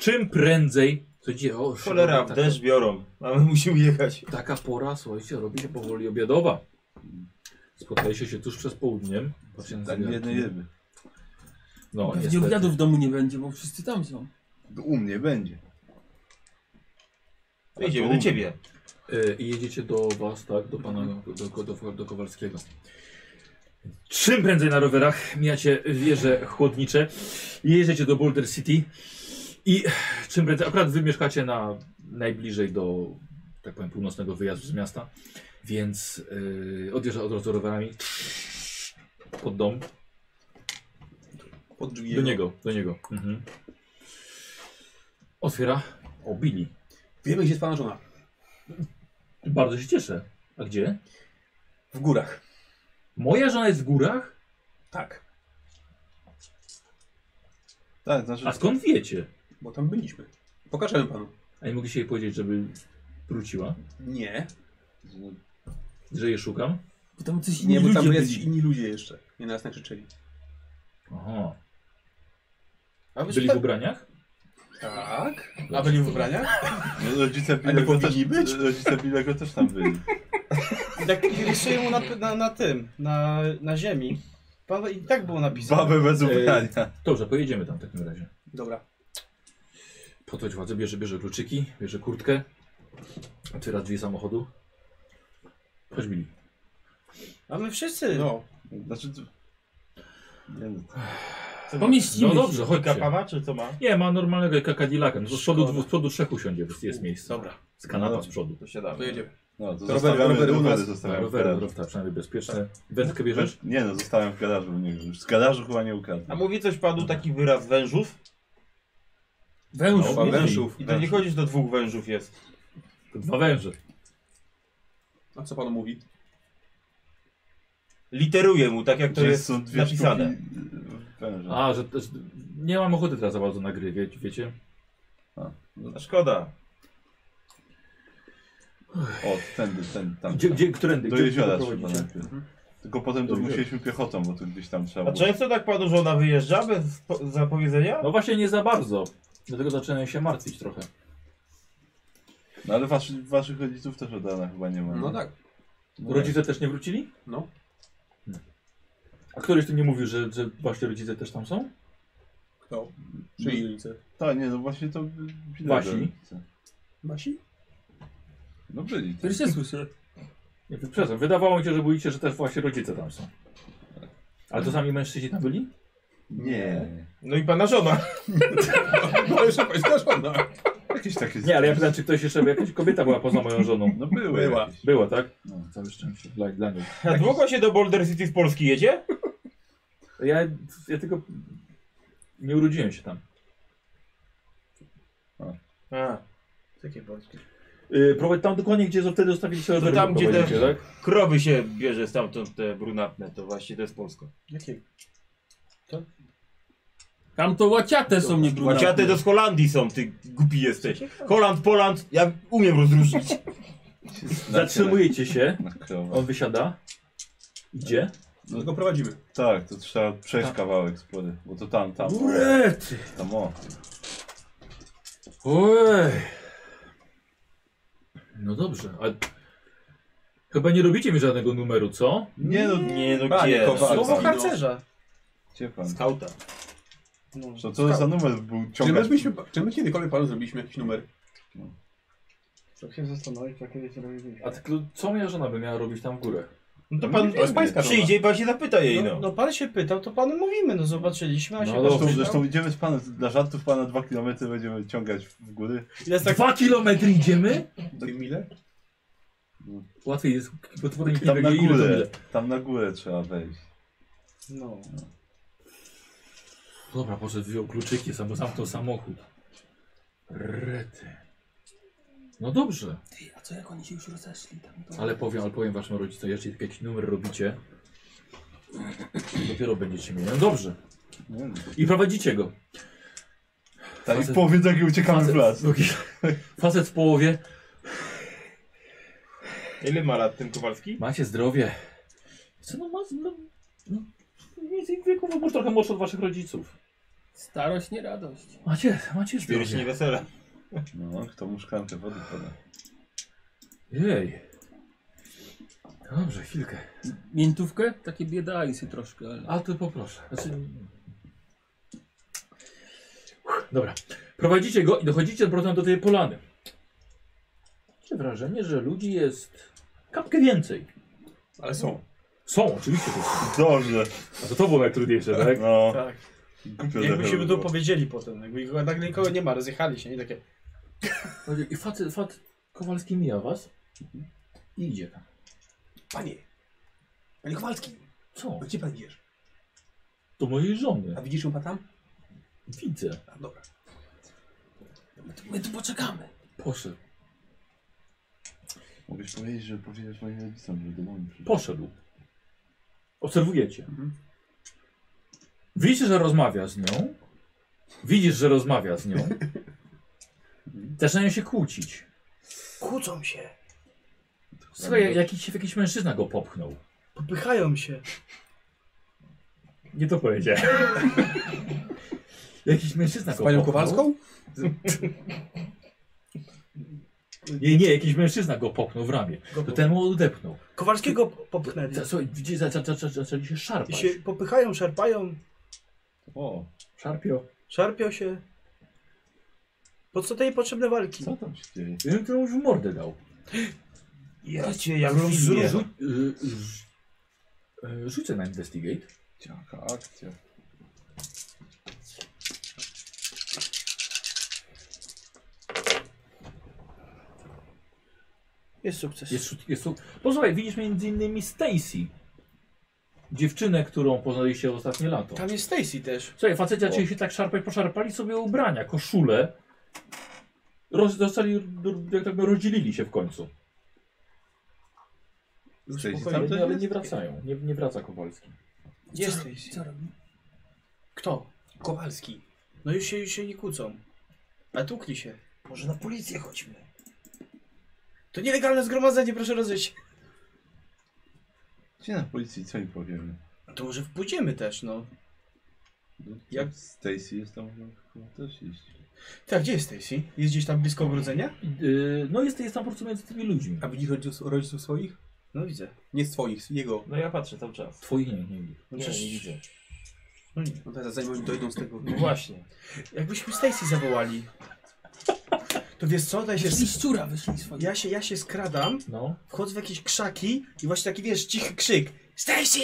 Speaker 3: Czym prędzej, słuchajcie, o,
Speaker 10: Cholera,
Speaker 3: taka,
Speaker 10: deszcz biorą. Mamy musimy jechać.
Speaker 3: taka pora, słuchajcie, robi się powoli obiadowa. Spotkaliście się tuż przed południem. Patrzcie na
Speaker 6: Tak,
Speaker 3: zegarki.
Speaker 6: jednej ryby.
Speaker 3: No,
Speaker 1: Pewnie
Speaker 3: niestety.
Speaker 1: obiadu w domu nie będzie, bo wszyscy tam są.
Speaker 6: U mnie będzie.
Speaker 10: To Jedziemy do ciebie.
Speaker 3: E, I jedziecie do was, tak? Do pana, do, do, do Kowalskiego. Czym prędzej na rowerach mijacie wieże chłodnicze, jedziecie do Boulder City i czym prędzej, akurat wy mieszkacie na, najbliżej do, tak powiem, północnego wyjazdu z miasta, więc yy, odjeżdża od razu rowerami pod dom,
Speaker 4: pod drzwi
Speaker 3: do niego, do niego. Mhm. Otwiera, o Billy.
Speaker 4: Wiemy, gdzie jest pana żona.
Speaker 3: Bardzo się cieszę. A gdzie?
Speaker 4: W górach.
Speaker 3: Moja żona jest w górach?
Speaker 4: Tak,
Speaker 6: Tak, znaczy...
Speaker 3: A skąd wiecie?
Speaker 4: bo tam byliśmy. Pokażemy panu.
Speaker 3: A nie mogliście jej powiedzieć, żeby wróciła?
Speaker 4: Nie.
Speaker 3: Że jej szukam?
Speaker 1: Bo tam coś inni
Speaker 4: Nie, bo tam
Speaker 1: ludzie
Speaker 4: jest
Speaker 1: byli.
Speaker 4: inni ludzie jeszcze. Nie nas nakrzyczeli.
Speaker 3: Aha.
Speaker 9: A wiesz,
Speaker 3: Byli w
Speaker 9: tak-
Speaker 3: ubraniach?
Speaker 4: Tak?
Speaker 9: A byli w ubraniach?
Speaker 6: No, Rodzice
Speaker 4: A nie
Speaker 6: Bilego też,
Speaker 4: powinni być?
Speaker 6: rodzice Bilego też tam byli.
Speaker 9: I Tak rysuje mu na, na, na tym, na, na ziemi. Pan, I tak było napisane.
Speaker 6: Babę bez ubrania.
Speaker 3: Dobrze, pojedziemy tam w takim razie.
Speaker 4: Dobra.
Speaker 3: Podchodź władzę, bierze, bierze kluczyki, bierze kurtkę. Otwiera drzwi samochodu. Chodź Billy. No
Speaker 9: A my wszyscy.
Speaker 4: No.
Speaker 6: Znaczy... to- Nie no,
Speaker 1: Pomieścimy
Speaker 3: No
Speaker 1: się.
Speaker 3: dobrze, chodźcie.
Speaker 10: Kapa ma, czy co ma?
Speaker 3: Nie, ma normalnego jaka Cadillaca. No, z przodu, dwu, z przodu trzech usiądzie, bo jest miejsce.
Speaker 9: Dobra.
Speaker 3: Z kanapa
Speaker 6: No.
Speaker 3: z przodu. Tak,
Speaker 10: To
Speaker 4: To
Speaker 10: siadamy.
Speaker 4: jedziemy.
Speaker 6: no to
Speaker 4: To rowery,
Speaker 6: zostawiamy,
Speaker 4: rowery u nas.
Speaker 6: rowery zostawiamy w
Speaker 3: Rower,
Speaker 6: garażu.
Speaker 3: rower, przynajmniej bezpieczne. Wędkę bierzesz?
Speaker 6: Nie no, zostałem w garażu, nie wiem. Już Z garażu chyba nie
Speaker 10: A
Speaker 6: ukradłem.
Speaker 10: mówi coś padł taki wyraz wężów?
Speaker 1: Węż.
Speaker 4: Chyba no, wężów.
Speaker 10: I to nie chodzisz do dwóch wężów jest.
Speaker 3: To dwa węże.
Speaker 4: A co pan mówi?
Speaker 10: Literuje mu, tak jak to
Speaker 6: Że
Speaker 10: jest napisane.
Speaker 6: sztuki, y, Węża.
Speaker 3: A, że, że nie mam ochoty teraz za bardzo na gry, wie, wiecie?
Speaker 10: A szkoda.
Speaker 6: O, tędy, tędy, tam.
Speaker 3: Gdzie, gdzie, którędy?
Speaker 6: Do
Speaker 3: gdzie
Speaker 6: jeziora trzeba
Speaker 3: prowadzicie?
Speaker 6: najpierw. Tylko potem to
Speaker 3: Do jeziora.
Speaker 6: musieliśmy piechotą, bo tu gdzieś tam trzeba
Speaker 10: A
Speaker 6: było.
Speaker 10: często tak panu żona wyjeżdża bez po- zapowiedzenia?
Speaker 3: No właśnie nie za bardzo. Dlatego zacząłem się martwić trochę.
Speaker 6: No ale waszych, waszych rodziców też od rana chyba nie ma.
Speaker 4: No
Speaker 6: nie?
Speaker 4: tak.
Speaker 6: No
Speaker 3: Rodzice też nie wrócili? Hmm.
Speaker 4: No.
Speaker 3: A któryś tu nie mówił, że, że właśnie rodzice też tam są?
Speaker 4: Kto? Czyli ulicy.
Speaker 6: Tak, nie, no właśnie to...
Speaker 3: Wasi.
Speaker 6: rodzice.
Speaker 4: Wasi?
Speaker 6: No byli. tak.
Speaker 1: Pierwsze słyszę.
Speaker 3: Nie, przepraszam, wydawało mi się, że mówicie, że też właśnie rodzice tam są. Ale to sami mężczyźni tam byli?
Speaker 6: Nie.
Speaker 10: No i pana żona.
Speaker 4: No jeszcze pańska żona.
Speaker 6: Jakieś takie...
Speaker 3: Nie, ale ja pytam, czy ktoś jeszcze, jakaś kobieta była poza moją żoną.
Speaker 6: No były
Speaker 4: Była.
Speaker 6: jakieś.
Speaker 3: Była, tak?
Speaker 6: No.
Speaker 3: Całe szczęście dla, dla niej.
Speaker 10: A długo się do Boulder City z Polski jedzie?
Speaker 3: Ja, ja tylko nie urodziłem się tam.
Speaker 10: A.
Speaker 9: Takie polskie.
Speaker 3: Yy, prowadź tam dokładnie, gdzie wtedy zostawiliście
Speaker 10: No
Speaker 3: rowery,
Speaker 10: tam, gdzie te-
Speaker 3: prowadzicie, tak?
Speaker 10: Krowy się bierze stamtąd te brunatne, to właśnie to jest Polska.
Speaker 9: Jakie?
Speaker 1: Tam to łaciate są niebrudne.
Speaker 10: Łaciate to z Holandii są, ty głupi jesteś. Holand, Poland, ja umiem rozróżnić.
Speaker 6: Znacie
Speaker 3: Zatrzymujecie się.
Speaker 6: Na, na krowę.
Speaker 3: On wysiada. Gdzie?
Speaker 2: No go prowadzimy.
Speaker 6: Tak, to trzeba przejść kawałek spory, bo to tam, tam.
Speaker 3: Burety!
Speaker 6: Tam o.
Speaker 3: Ojej. No dobrze, ale... Chyba nie robicie mi żadnego numeru, co?
Speaker 6: Nie no,
Speaker 9: Nie no
Speaker 2: Panie
Speaker 9: gdzie?
Speaker 2: Kowalski,
Speaker 9: Słowo
Speaker 10: Słowo
Speaker 2: no.
Speaker 10: harcerza.
Speaker 6: gdzie pan?
Speaker 9: Skauta. No.
Speaker 6: Co to za numer był
Speaker 2: Czy my,
Speaker 6: ciągle?
Speaker 2: byliśmy, czy my kiedykolwiek panu zrobiliśmy jakiś numer?
Speaker 1: Tak się zastanowić, tak kiedyś robiliśmy.
Speaker 3: A ty, co moja żona by miała robić tam w górę?
Speaker 9: No to
Speaker 2: To
Speaker 9: pan
Speaker 2: jest pańska
Speaker 9: przyjdzie i pan się zapyta jej
Speaker 10: No,
Speaker 9: no.
Speaker 10: no pan się pytał, to panu mówimy, no zobaczyliśmy, a
Speaker 3: No
Speaker 10: się
Speaker 3: dobrze.
Speaker 6: Zresztą, zresztą idziemy z panem, dla żartów pana dwa kilometry będziemy ciągać w góry.
Speaker 10: Jest tak
Speaker 3: Dwa kilometry idziemy?
Speaker 2: Do Emile?
Speaker 3: Łatwiej jest, bo to potem
Speaker 6: Tam na
Speaker 3: ile to
Speaker 6: górę,
Speaker 3: ile.
Speaker 6: tam na górę trzeba wejść.
Speaker 10: No.
Speaker 3: Dobra, poszedł, wziął kluczyki, sam, zamknął samochód. Rety. No dobrze,
Speaker 1: Ty, a co jak oni się już rozeszli tam? To...
Speaker 3: ale powiem, ale powiem waszym rodzicom, jeśli jakiś numer robicie, dopiero będziecie mieli. No dobrze.
Speaker 6: Nie wiem.
Speaker 3: I prowadzicie go.
Speaker 6: Tak,
Speaker 3: Facet-
Speaker 6: i powiedz, jak uciekamy w las.
Speaker 3: drugi, facet w połowie.
Speaker 9: Ile ma lat ten Kowalski?
Speaker 3: Macie zdrowie. Co no ma... No, no, nic ich wieku, bo może trochę młodszy od waszych rodziców.
Speaker 1: Starość, nie radość.
Speaker 3: Macie, macie
Speaker 9: Już nie
Speaker 3: zdrowie.
Speaker 9: wesela.
Speaker 6: No, kto mu szklankę wody poda?
Speaker 3: Jej. Dobrze, chwilkę.
Speaker 1: Miętówkę? Takie biedajsy troszkę, ale...
Speaker 3: A to poproszę. Znaczy... Uff, Dobra. Prowadzicie go i dochodzicie z powrotem do tej polany. Macie wrażenie, że ludzi jest kapkę więcej.
Speaker 2: Ale są.
Speaker 3: Są, oczywiście. że są.
Speaker 6: Dobrze,
Speaker 3: A to to było najtrudniejsze, tak?
Speaker 6: no.
Speaker 10: Tak.
Speaker 6: Głupio trochę
Speaker 10: Jakbyśmy
Speaker 6: by
Speaker 10: to
Speaker 6: było.
Speaker 10: powiedzieli potem, jakby go- nagle nikogo nie ma, rozjechali się i takie.
Speaker 3: I facet, facet Kowalski mija was i idzie tam.
Speaker 2: Panie! Panie Kowalski!
Speaker 3: Co?
Speaker 2: No gdzie pan idziesz?
Speaker 3: Do mojej żony.
Speaker 2: A widzisz ją pan tam?
Speaker 3: Widzę.
Speaker 2: A, dobra.
Speaker 1: My tu, my tu poczekamy.
Speaker 3: Poszedł.
Speaker 6: Mogłeś powiedzieć, że powiedziałeś moim rodzicom, że do domu przyjdzie.
Speaker 3: Poszedł. Obserwujecie.
Speaker 2: Mhm.
Speaker 3: Widzisz, że rozmawia z nią. Widzisz, że rozmawia z nią. Zaczynają się kłócić.
Speaker 10: Kłócą się,
Speaker 3: Słuchaj, jakiś, jakiś mężczyzna go popchnął.
Speaker 10: popychają się.
Speaker 3: Nie to powiedziałem. jakiś mężczyzna
Speaker 2: Z
Speaker 3: go
Speaker 2: panią
Speaker 3: popchnął.
Speaker 2: Kowalską?
Speaker 3: Nie, nie, jakiś mężczyzna go popchnął w ramię.
Speaker 10: Go
Speaker 3: To ten mu odepchnął.
Speaker 10: Kowalskiego popchnęli.
Speaker 3: Za- Słuchaj, widzisz, za- za- za- za- zaczęli się
Speaker 10: I
Speaker 3: szarpać.
Speaker 10: się popychają, szarpają,
Speaker 6: O,
Speaker 3: Szarpio.
Speaker 10: szarpią się. Po co tej potrzebne walki?
Speaker 6: co tam się dzieje?
Speaker 3: Ja bym to już w mordę dał.
Speaker 10: Ja cię, jak
Speaker 3: Rzu-
Speaker 10: w filmie.
Speaker 3: rzu- y, rzu- y, Rzucę na investigate.
Speaker 6: Jaka akcja.
Speaker 10: Jest sukces.
Speaker 3: Jest, szut- jest, szut- posłuchaj, widzisz między innymi Stacy. Dziewczynę, którą poznaliście ostatnie lato.
Speaker 9: Tak.
Speaker 10: Tam jest Stacy też.
Speaker 3: Słuchaj, faceci zaczęli się tak szarpać, poszarpali sobie ubrania, koszule. Roz, dostali, jak tak rozdzielili się w końcu.
Speaker 6: Stacy tam
Speaker 3: Ale,
Speaker 6: też
Speaker 3: ale
Speaker 6: jest?
Speaker 3: nie wracają, nie, nie wraca Kowalski.
Speaker 10: Jest
Speaker 1: Co robi?
Speaker 10: Stacy.
Speaker 1: Co robi?
Speaker 10: Kto?
Speaker 2: Kowalski.
Speaker 10: No już się, już się nie kłócą. A tukli się.
Speaker 1: Może na policję chodźmy.
Speaker 10: To nielegalne zgromadzenie, proszę rozejść.
Speaker 6: Gdzie na policji, co im powiemy?
Speaker 10: To może pójdziemy też, no.
Speaker 6: No,
Speaker 10: Jak-
Speaker 6: Stacy jest tam, no, chyba też iść.
Speaker 10: Tak, gdzie jest Stacy? Jest gdzieś tam blisko ogrodzenia?
Speaker 3: Yy, no jest, jest tam po prostu między tymi ludźmi. no.
Speaker 2: A widzisz rodziców, rodziców swoich?
Speaker 10: No widzę.
Speaker 2: Nie swoich, jego.
Speaker 9: No ja patrzę cały czas.
Speaker 3: Twoi nie, nie widzę.
Speaker 9: No nie, nie widzę.
Speaker 10: No nie.
Speaker 2: No teraz zanim oni dojdą z tego.
Speaker 9: No właśnie.
Speaker 10: Jakbyśmy Stacy zawołali. To wiesz co, daj się...
Speaker 1: Z szczura wyszli swoje.
Speaker 10: Ja się, ja się skradam,
Speaker 3: No.
Speaker 10: wchodzę w jakieś krzaki i właśnie taki, wiesz, cichy krzyk. Stacy!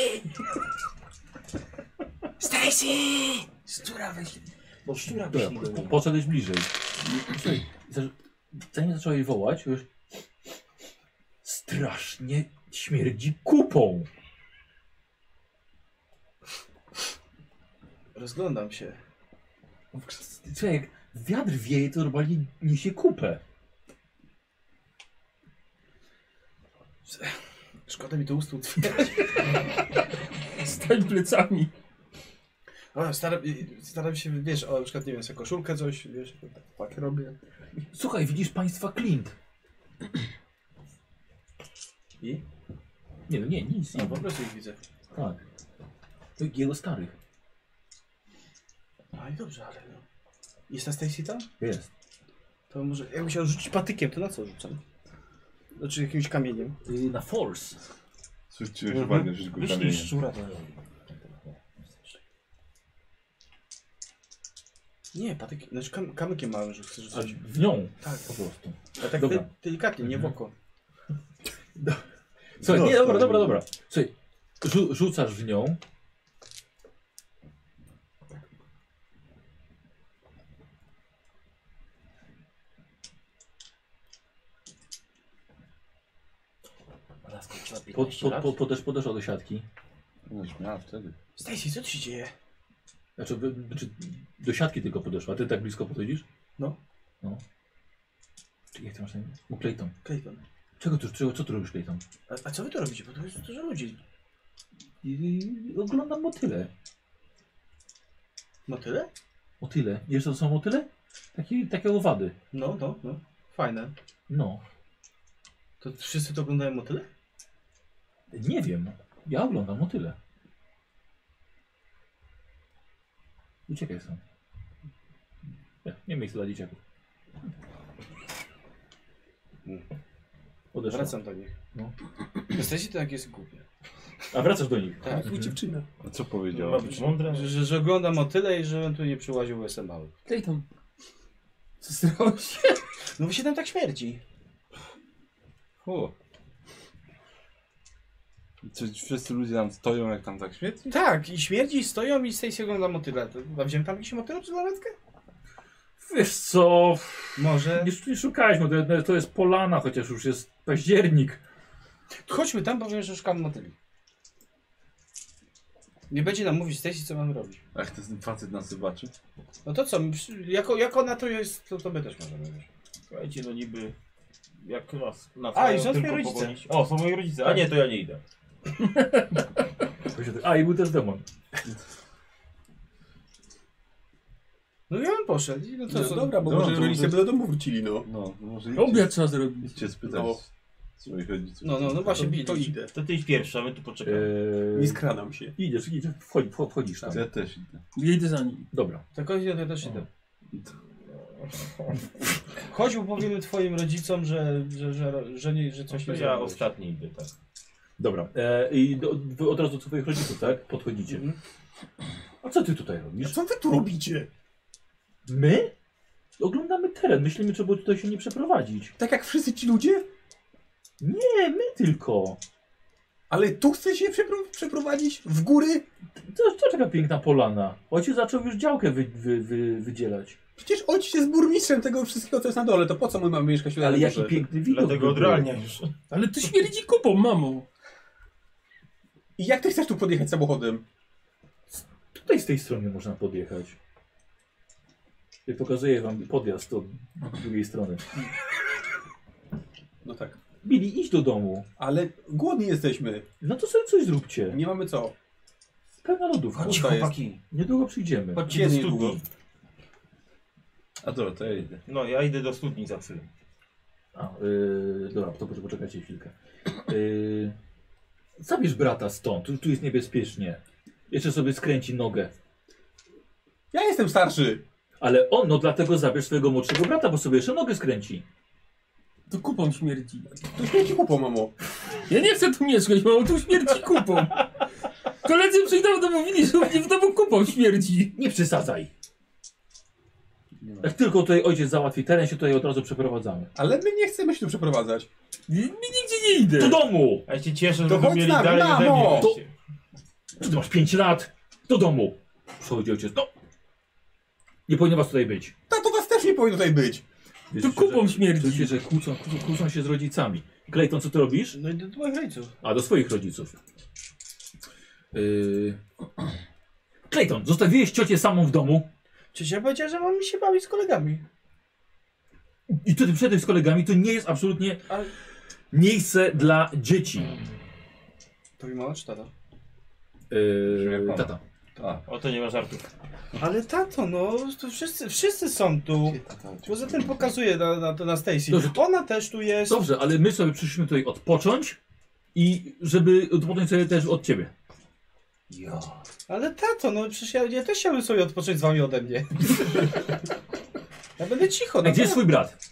Speaker 1: Stacy! Szczura wyszli.
Speaker 9: Bo szczura
Speaker 3: Dobra,
Speaker 9: byśmy
Speaker 3: po- poszedłeś bliżej. Słuchaj, za- zanim zacząłeś wołać, już strasznie śmierdzi kupą.
Speaker 10: Rozglądam się.
Speaker 3: Słuchaj, jak wiatr wieje, to normalnie niesie kupę.
Speaker 10: Szkoda mi to ust otwierać.
Speaker 1: Stań plecami.
Speaker 7: No,
Speaker 10: O, Staram, staram się, wiesz, o, na przykład, nie wiem, sobie koszulkę coś, wiesz, tak, tak robię.
Speaker 3: Słuchaj, widzisz państwa Clint.
Speaker 10: I?
Speaker 3: Nie, no nie, nic.
Speaker 7: No,
Speaker 3: nie.
Speaker 7: po prostu ich widzę.
Speaker 3: Tak. To jego starych.
Speaker 7: No i dobrze, ale no. Jest ta Stacy tam?
Speaker 3: Jest.
Speaker 9: To może ja musiał rzucić patykiem, to na co rzucam? Znaczy jakimś kamieniem.
Speaker 3: Y, Na force.
Speaker 6: Zwróciłeś uwagę, że go
Speaker 7: Wyślij
Speaker 6: kamieniem.
Speaker 7: szczura. Nie, patykiem, znaczy kam kamykiem małym, że chcesz
Speaker 3: A
Speaker 7: rzucić.
Speaker 3: w nią.
Speaker 7: Tak.
Speaker 3: Po prostu.
Speaker 7: A Mhm. tak
Speaker 3: dobra.
Speaker 7: de delikatnie, nie w oko.
Speaker 3: Słuchaj, nie,
Speaker 6: Dostał.
Speaker 3: dobra, dobra, dobra. Słuchaj, rzu rzucasz w nią. Pod, pod, pod, podesz, podeszła do siatki.
Speaker 6: No, już miała wtedy.
Speaker 7: Stacy, co tu się dzieje?
Speaker 3: Znaczy, wy- znaczy do siatki tylko podeszła. Ty tak blisko podchodzisz?
Speaker 7: No.
Speaker 3: No. Czy jak ty masz na imię? No, Clayton.
Speaker 7: Clayton.
Speaker 3: Czego tu, czego, co tu robisz, Clayton?
Speaker 7: A, a co wy tu robicie? Bo tu jest dużo ludzi.
Speaker 3: I, oglądam motyle.
Speaker 7: No tyle?
Speaker 3: Motyle. Wiesz, co to są motyle? Takie, takie owady.
Speaker 7: No, no, no. Fajne.
Speaker 3: No.
Speaker 7: To wszyscy to oglądają motyle?
Speaker 3: Nie wiem. Ja oglądam motyle. Uciekaj stąd. Nie, nie miejsce dla dzieciaków. Odeszła.
Speaker 7: Wracam do nich.
Speaker 3: No.
Speaker 9: Jesteście to jak jest głupie.
Speaker 3: A wracasz do nich.
Speaker 1: Tak, mhm. dziewczyna.
Speaker 6: A co powiedziała?
Speaker 10: być mądre.
Speaker 9: Że, że, że oglądam o tyle i żebym tu nie przyłaził łysem mały.
Speaker 1: Clayton. Co stało się?
Speaker 9: No bo się tam tak śmierdzi.
Speaker 6: O. Czy wszyscy ludzie tam stoją, jak tam tak świeci?
Speaker 9: Tak, i śmierdzi, i stoją i z tej się ogląda motyla. To chyba wziąłem tam jakiś motyla czy lawetkę?
Speaker 3: Wiesz co,
Speaker 9: Może.
Speaker 3: nie, nie szukaliśmy, to, to jest polana, chociaż już jest październik.
Speaker 9: Chodźmy tam, bo wiem, że szukam motyli. Nie będzie nam mówić Stacy, co mamy robić.
Speaker 6: Ach, ten facet nas zobaczy.
Speaker 9: No to co, my przy- jako, jako na to jest, to, to my też możemy. wiesz.
Speaker 10: Słuchajcie, no niby... Jak nas... nas
Speaker 9: A, i
Speaker 10: mają
Speaker 9: są
Speaker 10: tylko
Speaker 9: twoi rodzice.
Speaker 10: powolić- O, są moi rodzice. tak? A nie, to ja nie idę.
Speaker 3: tak- A i był też demon.
Speaker 9: No i on poszedł. i No to
Speaker 4: No
Speaker 9: co?
Speaker 4: dobra, bo
Speaker 6: No,
Speaker 4: może
Speaker 6: to
Speaker 4: rodzice by
Speaker 6: może-
Speaker 4: do domu wrócili, no.
Speaker 6: No, może
Speaker 1: Obiad trzeba zrobić.
Speaker 6: idźcie spytać
Speaker 4: No.
Speaker 6: swoich rodziców.
Speaker 9: No, no, no właśnie,
Speaker 4: To,
Speaker 9: bili.
Speaker 4: to idę.
Speaker 10: To ty idź pierwsza, my tu poczekamy.
Speaker 4: Nie
Speaker 3: Eee,
Speaker 4: skradam się.
Speaker 3: idziesz, idziesz, wchodzi, wchodzisz tam.
Speaker 6: Ja też idę.
Speaker 1: Jedę za nim.
Speaker 3: Dobra.
Speaker 9: Tak, ja to też idę. Chodź, bo powiemy twoim rodzicom, że, że, że, że, nie, że coś
Speaker 10: To
Speaker 9: nie
Speaker 10: ja
Speaker 9: zrobiłeś.
Speaker 10: ostatni idę, tak.
Speaker 3: Dobra. E, I do, wy od razu do swoich rodziców, tak? Podchodzicie. A co ty tutaj robisz?
Speaker 4: Co wy tu robicie?
Speaker 3: My? Oglądamy teren. Myślimy, czy było tutaj się nie przeprowadzić.
Speaker 4: Tak jak wszyscy ci ludzie?
Speaker 3: Nie, my tylko.
Speaker 4: Ale tu chcesz się przepro- przeprowadzić? W góry?
Speaker 3: To, to taka piękna polana. Ojciec zaczął już działkę wy, wy, wy, wydzielać.
Speaker 4: Przecież ojciec jest burmistrzem tego wszystkiego, co jest na dole. To po co my mamy mieszkać tutaj
Speaker 3: Ale
Speaker 4: na
Speaker 3: jaki
Speaker 4: górze?
Speaker 3: piękny widok.
Speaker 10: Dlatego
Speaker 3: by był.
Speaker 10: odrealnia już.
Speaker 1: Ale to śmierdzi kupą, mamo.
Speaker 4: I jak ty chcesz tu podjechać samochodem?
Speaker 3: Tutaj z tej strony można podjechać. Ja pokazuję wam podjazd od drugiej strony.
Speaker 4: No tak.
Speaker 3: Bili, idź do domu.
Speaker 4: Ale głodni jesteśmy.
Speaker 3: No to sobie coś zróbcie.
Speaker 4: Nie mamy co.
Speaker 3: Pełna lodówka.
Speaker 4: Chodź. Pusta jest.
Speaker 10: chłopaki.
Speaker 3: Niedługo przyjdziemy.
Speaker 10: Chodźcie do
Speaker 4: Kiedy długo?
Speaker 10: studni.
Speaker 6: A dobra, to ja idę.
Speaker 10: No, ja idę do studni za chwilę.
Speaker 3: A, yy, dobra, to poczek- poczekajcie chwilkę. Yy, zabierz brata stąd, tu, tu jest niebezpiecznie. Jeszcze sobie skręci nogę.
Speaker 4: Ja jestem starszy.
Speaker 3: Ale on, no dlatego zabierz swojego młodszego brata, bo sobie jeszcze nogę skręci.
Speaker 1: To kupą śmierdzi.
Speaker 4: To śmieci kupo, mamo.
Speaker 1: Ja nie chcę tu mieszkać, mamo, tu śmierdzi kupą. Koledzy przyjdą do mówili, że u mnie w domu kupą śmierdzi.
Speaker 3: Nie przysadzaj. Jak tylko tutaj ojciec załatwi teren, się tutaj od razu przeprowadzamy.
Speaker 4: Ale my nie chcemy się tu przeprowadzać.
Speaker 1: Nie, nigdzie nie idę.
Speaker 3: Do domu!
Speaker 10: A ja się cieszę,
Speaker 4: To
Speaker 10: że wy
Speaker 4: chodź
Speaker 10: mieli
Speaker 4: na-
Speaker 10: dalej
Speaker 4: na,
Speaker 10: ode mnie
Speaker 4: no!
Speaker 10: wreszcie.
Speaker 3: Czy ty masz 5 lat? Do domu! Przychodzi ojciec, no! Nie powinien was tutaj być.
Speaker 4: Tato was też nie powinien tutaj być.
Speaker 1: To kupą śmierdzi.
Speaker 3: Czujcie, że kłócą, kłócą, kłócą się z rodzicami. Clayton, co ty robisz?
Speaker 9: No i do twoich rodziców.
Speaker 3: A, do swoich rodziców. Yy... Clayton, zostawiłeś ciocię samą w domu
Speaker 9: Przecież ja powiedziałem, że mam mi się bawić z kolegami.
Speaker 3: i ty przyszedłeś z kolegami, to nie jest absolutnie
Speaker 9: Ale-
Speaker 3: miejsce dla dzieci.
Speaker 9: To mi mama czy tata?
Speaker 6: Brzmi jak
Speaker 3: Yy,
Speaker 6: mama.
Speaker 3: tata.
Speaker 6: A,
Speaker 10: O, to nie ma żartów.
Speaker 9: Ale tato, no, to wszyscy, wszyscy są tu. Poza tym pokazuję na, na, na Stacy.
Speaker 3: Dobrze.
Speaker 9: Ona też tu jest.
Speaker 3: Dobrze, ale my sobie przyszliśmy tutaj odpocząć I żeby odpocząć sobie też od ciebie.
Speaker 9: Ale tato, no przecież ja, ja też chciałbym sobie odpocząć z wami ode mnie. Ja będę cicho, no
Speaker 3: A gdzie jest twój brat?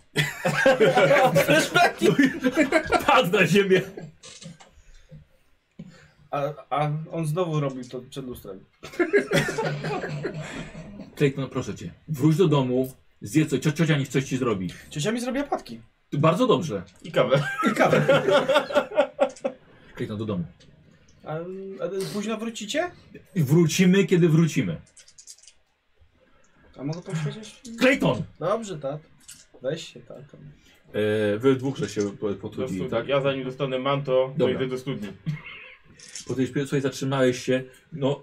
Speaker 9: flashbacki?
Speaker 3: Padł na ziemię.
Speaker 9: A, a on znowu robił to przed lustrem.
Speaker 3: Clayton, proszę cię, wróć do domu, zjedz coś, cio- ciocia niech coś ci zrobi.
Speaker 9: Ciocia mi zrobiła patki.
Speaker 3: Bardzo dobrze.
Speaker 10: I kawę.
Speaker 9: I kawę.
Speaker 3: Clayton, do domu.
Speaker 9: A, a późno wrócicie?
Speaker 3: Wrócimy, kiedy wrócimy.
Speaker 9: A mogę posiedzieć?
Speaker 3: Clayton!
Speaker 9: Dobrze, tat. Weź się, tak. tato.
Speaker 3: E, wy dwóch że się po-
Speaker 10: Do
Speaker 3: potrudzili,
Speaker 6: No,
Speaker 10: studni.
Speaker 3: tak?
Speaker 10: Ja zanim dostanę manto, to
Speaker 3: Dobra.
Speaker 10: idę do studni.
Speaker 3: Po tej śpiewie słuchaj, zatrzymałeś się, no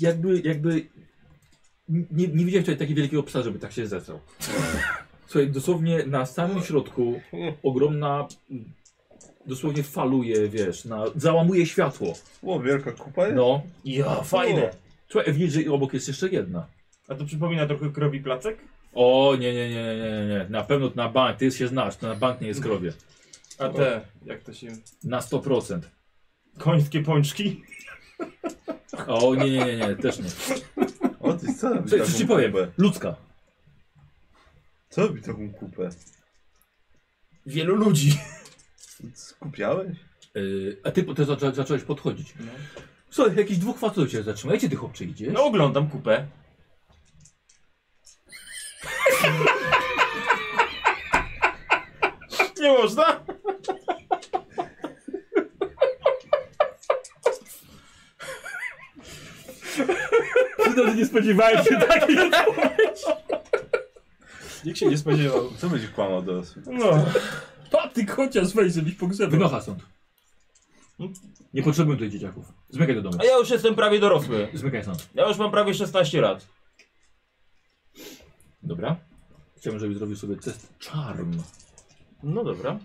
Speaker 3: jakby, jakby nie, nie widziałem tutaj takiego wielkiego psa, żeby tak się zesrał. Słuchaj, dosłownie na samym środku ogromna, mm, dosłownie faluje, wiesz, na, załamuje światło.
Speaker 6: O, wielka kupa jest?
Speaker 3: No.
Speaker 10: Ja, fajne.
Speaker 3: Słuchaj, widzisz, że obok jest jeszcze jedna.
Speaker 10: A to przypomina trochę krowi placek?
Speaker 3: O, nie, nie, nie, nie, nie, nie. Na pewno to na bank, ty się znasz, to na bank nie jest krowie.
Speaker 10: A te, jak to się...
Speaker 3: Na 100%.
Speaker 10: Końskie pączki?
Speaker 3: O, nie, nie, nie, nie, też nie.
Speaker 6: O, ty co robi
Speaker 3: Słuchaj, coś ci powiem,
Speaker 6: kupę?
Speaker 3: ludzka.
Speaker 6: Co robi taką kupę?
Speaker 10: Wielu ludzi.
Speaker 6: Skupiałeś?
Speaker 3: Yy, a ty po- to zaczą, zacząłeś podchodzić. Słuchaj, jakiś dwóch facetów cię zatrzyma. Gdzie ty chłopcze idziesz?
Speaker 10: No oglądam kupę. Nie można?
Speaker 3: No, nie spodziewałem się takiej.
Speaker 10: Nikt się nie spodziewał.
Speaker 6: Co będzie kłamał dorosły?
Speaker 10: No.
Speaker 1: Patyk chociaż weź, żebyś pogrzebał.
Speaker 9: No.
Speaker 3: Wynocha stąd. Nie potrzebuję tutaj dzieciaków. Zmykaj do domu.
Speaker 10: Hmm? A ja już jestem prawie dorosły.
Speaker 3: Zmykaj stąd.
Speaker 10: Ja już mam prawie 16 lat.
Speaker 3: Dobra. Chciałbym, żebyś zrobił sobie test czarm.
Speaker 10: No dobra.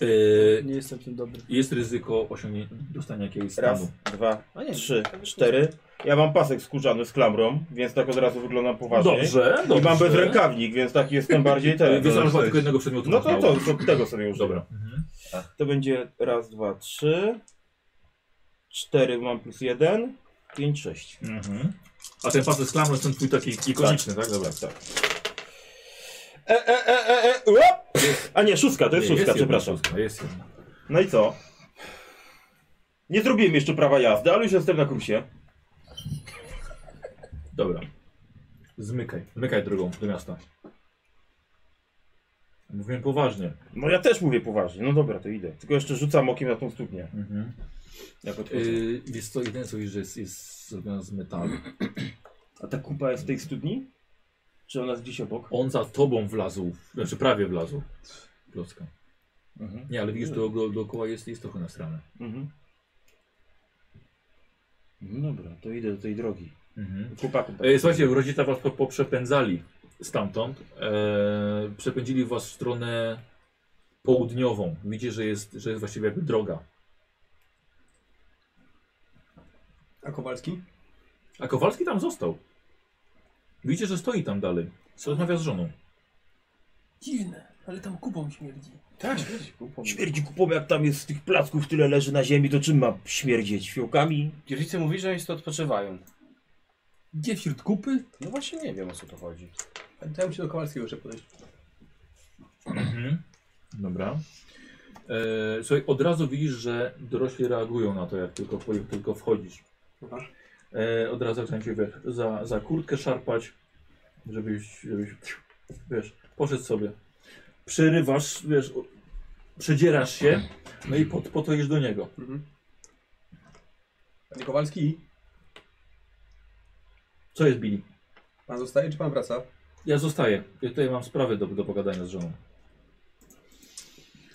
Speaker 3: Yy,
Speaker 9: Nie jestem tym dobry.
Speaker 3: jest ryzyko osiągnięcia, dostania jakiegoś
Speaker 10: Raz,
Speaker 3: stanu.
Speaker 10: dwa,
Speaker 9: A nie,
Speaker 10: trzy, cztery. Ja mam pasek skórzany z klamrą, więc tak od razu wyglądam poważnie.
Speaker 3: Dobrze, dobrze.
Speaker 10: I mam bezrękawnik, więc taki jestem bardziej ten.
Speaker 3: Wiesz, ale
Speaker 6: Dobrze.
Speaker 3: tylko jednego przedmiotu.
Speaker 10: No
Speaker 3: masz
Speaker 10: to,
Speaker 3: mało.
Speaker 10: to, to tego sobie już
Speaker 3: Dobra.
Speaker 10: To będzie raz, dwa, trzy. Cztery mam plus jeden. Pięć, sześć.
Speaker 3: Mhm. A ten facet z klamrą jest ten twój taki ikoniczny, tak? Dobra.
Speaker 10: Tak. E, e, e, e, e, łap! A nie, szóstka, to jest
Speaker 3: Nie,
Speaker 10: szóstka,
Speaker 3: jedna
Speaker 10: przepraszam.
Speaker 3: szóstka, Jest jedna.
Speaker 10: No i co? Nie zrobiłem jeszcze prawa jazdy, ale już jestem na kursie.
Speaker 3: Dobra. Zmykaj. Zmykaj drogą do miasta. Mówiłem poważnie.
Speaker 10: No ja też mówię poważnie, no dobra, to idę. Tylko jeszcze rzucam okiem na tą studnię.
Speaker 3: Mhm.
Speaker 10: Jak odchodzę.
Speaker 3: Yy, wiesz co, jedyne co wiesz, że jest, jest zrobiona z metalu.
Speaker 10: A ta kupa jest w tej studni? Czy ona jest gdzieś obok?
Speaker 3: On za tobą wlazł, znaczy prawie wlazł. Plocka.
Speaker 10: Mhm.
Speaker 3: Nie, ale widzisz, do, do, dookoła jest, jest trochę nasrane.
Speaker 10: Mhm. No dobra, to idę do tej drogi.
Speaker 3: Mhm.
Speaker 10: Kupa, kupa.
Speaker 3: E, słuchajcie, rodzice was po- poprzepędzali stamtąd. E, przepędzili was w stronę południową. Widzicie, że jest, że jest właściwie jakby droga.
Speaker 4: A Kowalski?
Speaker 3: A Kowalski tam został. Widzicie, że stoi tam dalej. Rozmawia z żoną.
Speaker 1: Dziwne, ale tam kupą śmierdzi.
Speaker 10: Śmierdzi kupą, jak tam jest tych placków tyle leży na ziemi, to czym ma śmierdzieć? Fiołkami?
Speaker 9: Rodzice mówi, że oni to odpoczywają.
Speaker 1: Gdzie wśród kupy?
Speaker 9: No właśnie nie wiem o co to chodzi.
Speaker 4: Ja muszę do Kowalskiego jeszcze podejść.
Speaker 3: Mhm. Dobra. E, słuchaj, od razu widzisz, że dorośli reagują na to, jak tylko, jak tylko wchodzisz. E, od razu zaczynają cię wiesz, za, za kurtkę szarpać, żebyś, żebyś wiesz, poszedł sobie. Przerywasz, wiesz, o- przedzierasz się, no i po, po to idziesz do niego.
Speaker 4: Panie Kowalski,
Speaker 3: Co jest, Billy?
Speaker 4: pan zostaje czy pan wraca?
Speaker 3: Ja zostaję. Ja tutaj mam sprawę do, do pogadania z żoną.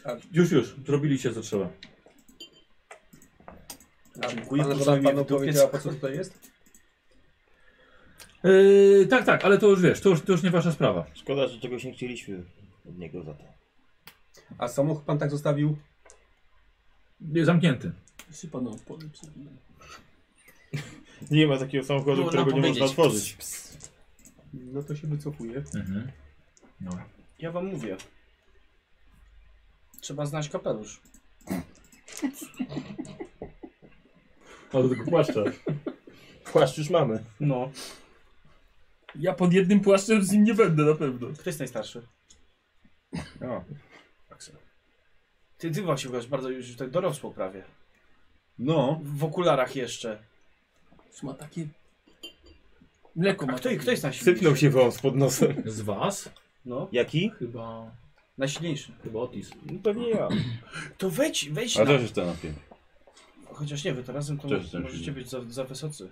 Speaker 4: A-
Speaker 3: Już, już. Zrobili się, co trzeba.
Speaker 4: A
Speaker 9: Dziękuję,
Speaker 4: Pana
Speaker 9: proszę
Speaker 4: żona
Speaker 9: mnie
Speaker 4: panu
Speaker 9: w dupie
Speaker 4: powiedziała, po co tutaj jest?
Speaker 3: Yy, tak, tak, ale to już wiesz, to już, to już nie wasza sprawa.
Speaker 10: Szkoda, że czegoś nie chcieliśmy od niego za to.
Speaker 4: A samochód pan tak zostawił?
Speaker 3: Jest zamknięty.
Speaker 1: Jeszcze panu odpowiem. co nie.
Speaker 10: Nie ma takiego samochodu,
Speaker 9: Było
Speaker 10: którego
Speaker 9: nam
Speaker 10: nie można
Speaker 9: powiedzieć.
Speaker 10: otworzyć.
Speaker 4: No to się wycofuje.
Speaker 3: Mhm.
Speaker 9: Ja wam mówię. Trzeba znać kapelusz.
Speaker 11: Ma do tego płaszcza.
Speaker 10: Płaszcz już mamy.
Speaker 9: No.
Speaker 1: Ja pod jednym płaszczem z nim nie będę na pewno.
Speaker 9: Kto jest najstarszy?
Speaker 6: O.
Speaker 9: Ty, ty właśnie byłeś bardzo już tak dorosło prawie.
Speaker 6: No,
Speaker 9: W okularach jeszcze.
Speaker 1: Ma takie... Mleko
Speaker 9: A
Speaker 1: ma
Speaker 9: kto,
Speaker 1: takie.
Speaker 9: kto jest najsilniejszy?
Speaker 10: Sypnął się wąs pod nosem.
Speaker 3: Z was?
Speaker 9: No,
Speaker 10: Jaki?
Speaker 3: Chyba,
Speaker 9: najsilniejszy.
Speaker 3: chyba Otis.
Speaker 10: No pewnie ja.
Speaker 9: To wejdź, wejdź
Speaker 6: a
Speaker 9: na...
Speaker 6: też jest ten napięty.
Speaker 9: Chociaż nie, wy to razem to
Speaker 6: Też jestem
Speaker 9: możecie
Speaker 6: silny.
Speaker 9: być za, za wysocy.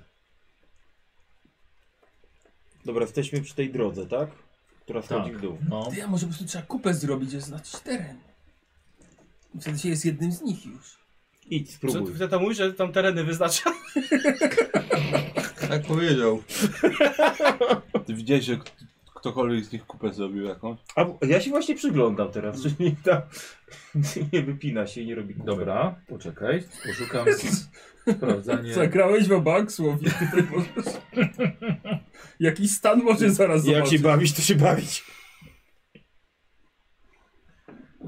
Speaker 10: Dobra, jesteśmy przy tej drodze, tak? Która schodzi w dół.
Speaker 3: No.
Speaker 1: Ty, a może po prostu trzeba kupę zrobić, jest na czterem. I Wtedy się jest jednym z nich już.
Speaker 10: Idź,
Speaker 9: Co
Speaker 10: spróbuj.
Speaker 9: ty tam mówisz, że tam tereny wyznacza?
Speaker 2: Tak powiedział.
Speaker 6: Ty widziałeś, że k- ktokolwiek z nich kupę zrobił jakąś?
Speaker 10: A bo- ja się właśnie przyglądam teraz, czy nie, ta, nie wypina się i nie robi kupy.
Speaker 3: Dobra, poczekaj, poszukam sprawdzanie.
Speaker 1: Zagrałeś w banksłow i tutaj możesz... Jakiś stan może zaraz
Speaker 10: Jak się
Speaker 1: zobaczyć.
Speaker 10: bawić, to się bawić.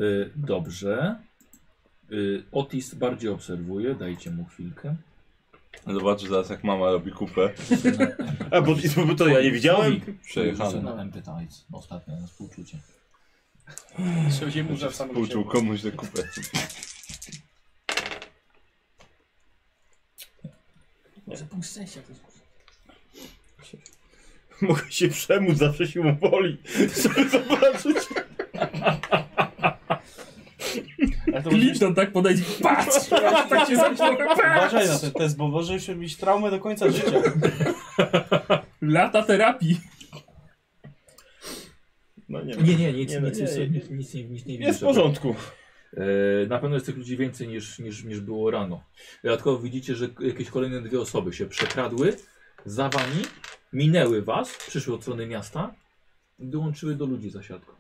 Speaker 3: Y, dobrze. Y, Otis bardziej obserwuje, dajcie mu chwilkę.
Speaker 6: Zobacz zaraz jak mama robi kupę.
Speaker 10: A bo, bo to ja nie widziałem.
Speaker 6: Przejechany.
Speaker 3: Na empathize, ostatnio na współczucie.
Speaker 9: Trzeba się burza w samym
Speaker 6: Pouczył komuś tę kupę.
Speaker 1: Może punkt szczęścia to jest.
Speaker 10: Mogę się przemóc, zawsze siłą woli, żeby zobaczyć.
Speaker 12: Ale to możesz-
Speaker 1: Clinton tak podejdzie, patrz! tak się zamknąłem,
Speaker 12: Uważaj na ten test, bo możesz mieć traumę do końca życia.
Speaker 1: Lata terapii.
Speaker 10: No nie,
Speaker 3: Nie, nie, nic
Speaker 10: Nie,
Speaker 3: nie,
Speaker 10: no
Speaker 3: nic,
Speaker 10: nie,
Speaker 3: nic,
Speaker 10: nie.
Speaker 3: nic, nic, nie- nic nie
Speaker 10: Jest w
Speaker 3: widzę.
Speaker 10: porządku.
Speaker 3: E, Na pewno jest tych ludzi więcej niż, niż, niż było rano. Dodatkowo widzicie, że k- jakieś kolejne dwie osoby się przekradły za wami, minęły was, przyszły od strony miasta i dołączyły do ludzi za siatką.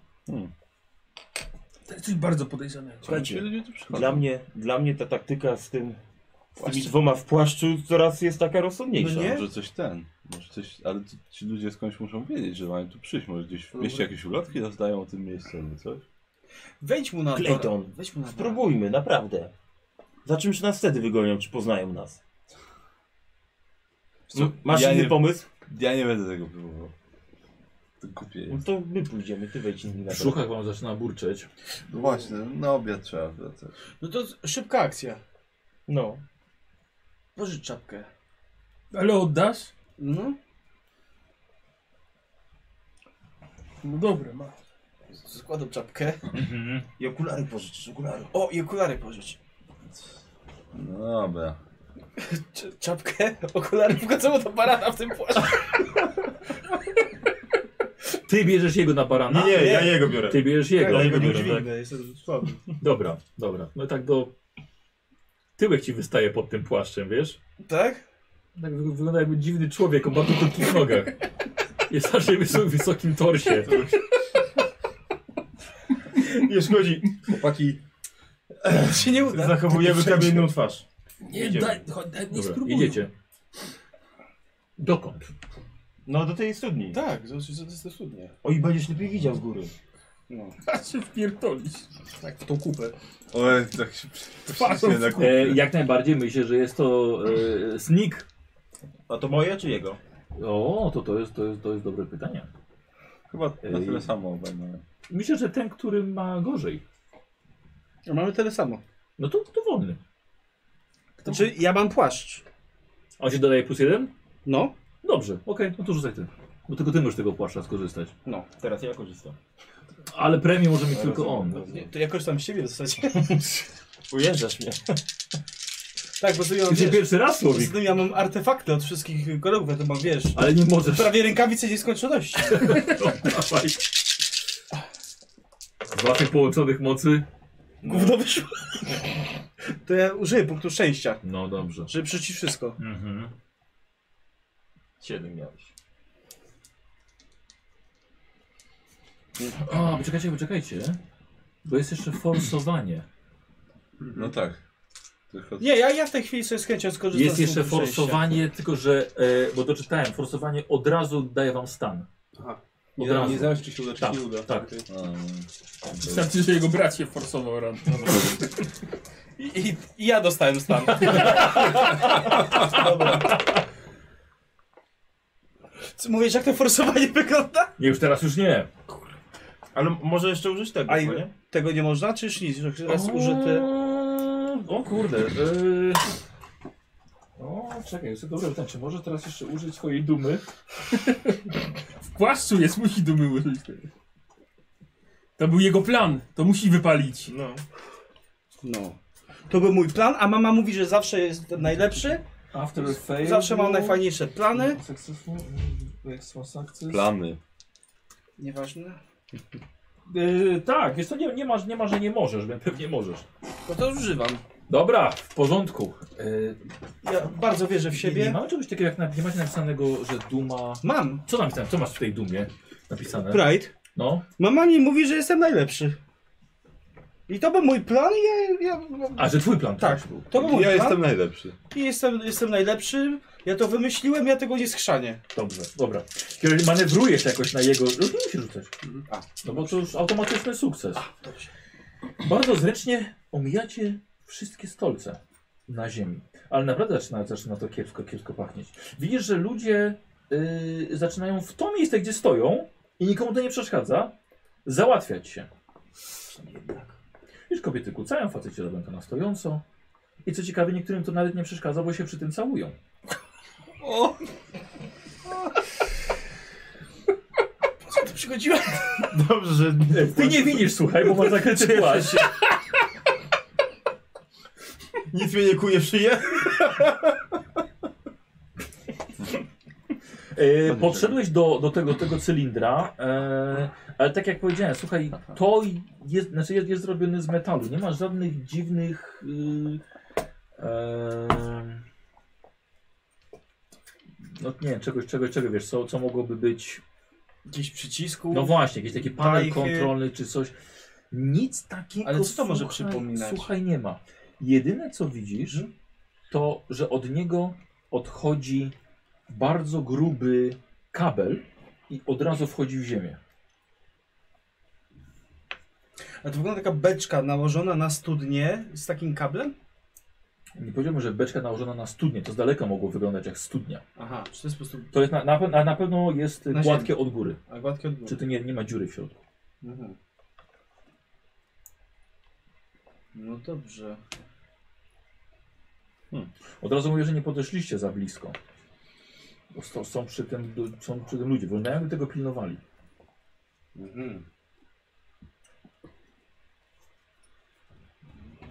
Speaker 1: To jest coś bardzo podejrzanego.
Speaker 10: Słuchajcie,
Speaker 6: Ludzie tu przychodzą.
Speaker 10: Dla mnie, dla mnie ta taktyka z tym z tymi dwoma w płaszczu coraz jest taka rozsądniejsza.
Speaker 6: Myślałem, że coś ten. Może coś, ale to, ci ludzie skądś muszą wiedzieć, że mają tu przyjść. Może gdzieś w mieście jakieś ulotki rozdają o tym miejscu albo coś.
Speaker 9: Wejdź mu na
Speaker 10: Clayton,
Speaker 9: dwa- Wejdź mu na dwa-
Speaker 10: Spróbujmy, naprawdę. Za czymś nas wtedy wygonią, czy poznają nas.
Speaker 6: Co?
Speaker 10: Masz
Speaker 6: ja
Speaker 10: inny
Speaker 6: nie,
Speaker 10: pomysł?
Speaker 6: Ja nie będę tego próbował. To kupię
Speaker 10: No to my pójdziemy, ty wejdź inny na
Speaker 3: W
Speaker 10: to.
Speaker 3: brzuchach wam zaczyna burczeć.
Speaker 6: No właśnie, na obiad trzeba wracać.
Speaker 9: No to z- szybka akcja.
Speaker 10: No.
Speaker 9: Pożycz czapkę.
Speaker 1: Ale oddasz?
Speaker 9: No.
Speaker 1: No dobra, ma.
Speaker 9: Zakładam czapkę.
Speaker 10: I okulary pożyczysz, okulary.
Speaker 9: O, i okulary pożycz.
Speaker 6: No dobra.
Speaker 9: Cz- czapkę, okulary, wchodzą do barana w tym płaszczu.
Speaker 3: Ty bierzesz jego na barana?
Speaker 10: Nie, nie, ja jego biorę.
Speaker 3: Ty bierzesz jego.
Speaker 10: Ja
Speaker 3: Ja
Speaker 10: jego nie
Speaker 3: biorę, tak.
Speaker 10: dźwignę, jestem słaby.
Speaker 3: Dobra, dobra. No tak do... Tyłek ci wystaje pod tym płaszczem, wiesz?
Speaker 9: Tak?
Speaker 3: Tak wy- wygląda jakby dziwny człowiek o bardzo krótkich nogach. Jest na szyi wysok- wysokim torsie.
Speaker 10: Nie szkodzi,
Speaker 2: Chłopaki,
Speaker 9: To się nie uda.
Speaker 10: zachowujemy kamienną twarz.
Speaker 1: Nie,
Speaker 10: Idziemy.
Speaker 1: daj, chodź, daj, nie
Speaker 3: Dobra,
Speaker 1: spróbuj.
Speaker 3: idziecie. Dokąd?
Speaker 10: No do tej studni.
Speaker 9: Tak, zobaczcie, co to jest to studnie.
Speaker 10: O i będziesz lepiej widział z góry.
Speaker 1: A się wpierdolić.
Speaker 2: tak, w tą kupę.
Speaker 6: Oj, tak się przyciśnie na kupę.
Speaker 3: E, jak najbardziej myślę, że jest to e, sneak.
Speaker 10: A to moje czy jego?
Speaker 3: O, to to jest, to jest, to jest dobre pytanie.
Speaker 6: Chyba na
Speaker 3: Ej.
Speaker 6: tyle samo obejmę.
Speaker 7: Mhm.
Speaker 3: Myślę, że ten, który ma gorzej.
Speaker 9: No, mamy tyle samo.
Speaker 3: No to, to wolny.
Speaker 9: Znaczy, ja mam płaszcz.
Speaker 3: A on się dodaje plus jeden?
Speaker 9: No.
Speaker 3: Dobrze, okej, no to rzucaj ty. Bo tylko ty możesz tego płaszcza skorzystać.
Speaker 10: Teraz ja korzystam.
Speaker 3: Ale premię może mieć tylko on.
Speaker 9: Nie, To jakoś tam z siebie w zasadzie.
Speaker 10: Ujeżdżasz mnie.
Speaker 9: tak, bo tu ja mam,
Speaker 3: Gdzie
Speaker 9: wiesz,
Speaker 3: pierwszy raz
Speaker 9: z
Speaker 3: słowik,
Speaker 9: tym ja mam artefakty od wszystkich kolegów, ja to mam, wiesz,
Speaker 3: ale nie możesz.
Speaker 9: prawie rękawice nieskończoności.
Speaker 3: Dawaj. Dwa tych połączonych mocy.
Speaker 9: Gówno wyszło. To ja użyję punktu szczęścia,
Speaker 3: No dobrze.
Speaker 9: żeby przeciw wszystko.
Speaker 3: Mhm.
Speaker 10: Siedem miałeś.
Speaker 3: O, poczekajcie, poczekajcie. Bo jest jeszcze forsowanie.
Speaker 6: No tak. Tylko
Speaker 9: Nie, ja, ja w tej chwili sobie z chęcią skorzystam
Speaker 3: Jest
Speaker 9: z tak. punktu
Speaker 3: jeszcze
Speaker 9: szczęścia.
Speaker 3: forsowanie, tylko że. E, bo doczytałem, forsowanie od razu daje wam stan.
Speaker 9: Aha.
Speaker 4: Nie,
Speaker 3: Od razu.
Speaker 4: nie zależy, czy się uda, czy
Speaker 3: Tak,
Speaker 4: się nie uda.
Speaker 3: tak.
Speaker 4: Okej.
Speaker 6: A,
Speaker 1: Wystarczy, że jego brat się forsował rano.
Speaker 9: I, i, I ja dostałem stan. Co mówisz, jak to forsowanie wygląda?
Speaker 3: Nie, już teraz już nie.
Speaker 7: Ale może jeszcze użyć tego,
Speaker 2: A
Speaker 7: chyba,
Speaker 2: i
Speaker 7: nie?
Speaker 9: no
Speaker 2: tego nie można, czy już nic? Już raz użyty.
Speaker 3: O kurde. Yy... O, czekaj, jest dobre pytanie. Czy może teraz jeszcze użyć swojej dumy?
Speaker 1: W płaszczu jest, musi dumy użyć. To był jego plan, to musi wypalić.
Speaker 7: No.
Speaker 2: No.
Speaker 9: To był mój plan, a mama mówi, że zawsze jest najlepszy,
Speaker 3: After fail.
Speaker 9: zawsze mam najfajniejsze plany.
Speaker 3: Successful. Jak są success?
Speaker 6: Plany.
Speaker 9: Nieważne.
Speaker 3: Yy, tak, wiesz co, nie, nie, masz, nie ma, że nie możesz, więc pewnie możesz.
Speaker 9: No to używam.
Speaker 3: Dobra, w porządku. Yy,
Speaker 9: Ja bardzo wierzę w
Speaker 3: Nie, nie
Speaker 9: siebie.
Speaker 3: mamy czegoś takiego jak na, nie macie napisanego, że duma...
Speaker 9: Mam.
Speaker 3: Co napisałem? Co masz w tej dumie napisane?
Speaker 9: Pride.
Speaker 3: No.
Speaker 9: Mama mi mówi, że jestem najlepszy. I to był mój plan i ja... ja
Speaker 3: A, że twój plan
Speaker 9: Tak.
Speaker 3: też był.
Speaker 9: to był mój
Speaker 6: Ja
Speaker 9: plan
Speaker 6: jestem najlepszy.
Speaker 9: i jestem, jestem najlepszy. Ja to wymyśliłem, ja tego nie schrzanię.
Speaker 3: Dobrze, dobra. Kiedy manewrujesz jakoś na jego... No to musi rzucać. No bo to już automatyczny sukces. Bardzo zręcznie omijacie wszystkie stolce na ziemi. Ale naprawdę zaczyna, zaczyna to kiepsko, kiepsko pachnieć. Widzisz, że ludzie yy, zaczynają w to miejsce, gdzie stoją i nikomu to nie przeszkadza, załatwiać się. Jednak. Widzisz, kobiety kłócają, faceci robią to na stojąco. I co ciekawe, niektórym to nawet nie przeszkadza, bo się przy tym całują.
Speaker 9: Co to przychodziła?
Speaker 7: Dobrze, że...
Speaker 3: Ty nie widzisz, słuchaj, bo masz zakryty płaszcz.
Speaker 7: Nic mnie nie kuje w szyję.
Speaker 3: E, podszedłeś do, do, tego, do tego cylindra, e, ale tak jak powiedziałem, słuchaj, to jest, znaczy jest, jest zrobione z metalu. Nie ma żadnych dziwnych. Y, e, no nie wiem, czegoś, czegoś, czego wiesz, co, co mogłoby być.
Speaker 9: Gdzieś przycisku.
Speaker 3: No właśnie, jakiś taki panel
Speaker 9: Tajchy.
Speaker 3: kontrolny czy coś. Nic takiego.
Speaker 9: Ale co to może
Speaker 3: słuchaj,
Speaker 9: przypominać? Mhm.
Speaker 3: Słuchaj, nie ma. Jedyne co widzisz, to że od niego odchodzi bardzo gruby kabel i od razu wchodzi w ziemię.
Speaker 9: A to wygląda taka beczka nałożona na studnię z takim kablem?
Speaker 3: Nie powiedziałbym, że beczka nałożona na studnię, to z daleka mogło wyglądać jak studnia.
Speaker 9: Aha, czy to jest po prostu...
Speaker 3: To jest na, na, pe- na, na pewno jest
Speaker 9: Na
Speaker 3: gładkie od góry.
Speaker 9: A gładkie od
Speaker 3: Czy
Speaker 9: góry.
Speaker 3: to nie, nie ma dziury w środku?
Speaker 9: Mhm. No dobrze.
Speaker 3: Od razu mówię, że nie podeszliście za blisko. Bo sto- są, przy tym, du- są przy tym ludzie, wyglądają jakby tego pilnowali.
Speaker 9: Mhm.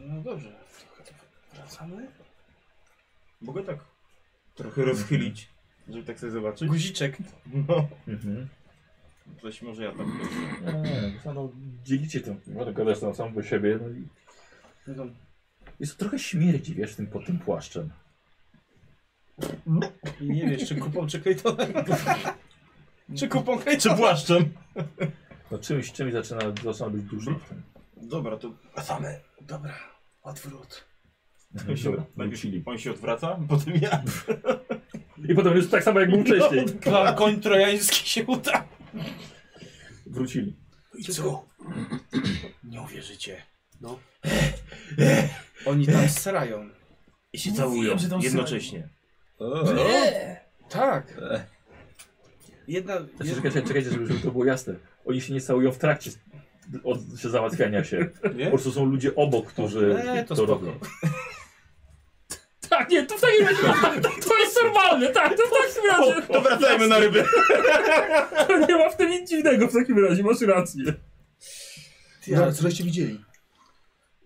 Speaker 9: No dobrze. Wracamy?
Speaker 7: Mogę tak trochę rozchylić, żeby tak sobie zobaczyć.
Speaker 9: Guziczek.
Speaker 7: No,
Speaker 3: Mhm.
Speaker 7: coś może ja tam...
Speaker 3: Nie, nie, no, no, dzielicie tę, no to gadasz tam sam do siebie. No i
Speaker 9: No to
Speaker 3: jest to trochę śmierdzi, wiesz, tym, pod tym płaszczem.
Speaker 9: I nie wiesz, czy kupą, czy Claytonem. czy kupą Claytonem.
Speaker 7: płaszczem?
Speaker 3: No czymś, czymś zaczyna, zaczyna być dużo w tym.
Speaker 7: Dobra, to...
Speaker 9: Wracamy. Dobra, odwrót.
Speaker 3: Mhm.
Speaker 7: to się... tak
Speaker 3: Wrócili.
Speaker 7: On się odwraca, potem ja.
Speaker 3: I potem jest tak samo jak
Speaker 7: No.
Speaker 3: był wcześniej.
Speaker 9: Plan koń trojański się uda.
Speaker 3: Wrócili.
Speaker 9: I co? Nie uwierzycie. No. Oni tam srają.
Speaker 7: I się całują jednocześnie.
Speaker 6: O,
Speaker 9: Tak. Jedna...
Speaker 3: Znaczy, czekajcie, czekajcie żeby, żeby to było jasne. Oni się nie całują w trakcie od, się załatwiania się. Po prostu są ludzie obok, którzy
Speaker 9: E,
Speaker 3: to,
Speaker 9: to spoko.
Speaker 3: robią.
Speaker 1: Tak, nie, to w takim razie to, to jest normalne, tak, to w takim razie
Speaker 7: To wracajmy na ryby.
Speaker 1: to nie ma w tym nic dziwnego w takim razie, masz rację.
Speaker 9: Ja,
Speaker 4: co żeście widzieli?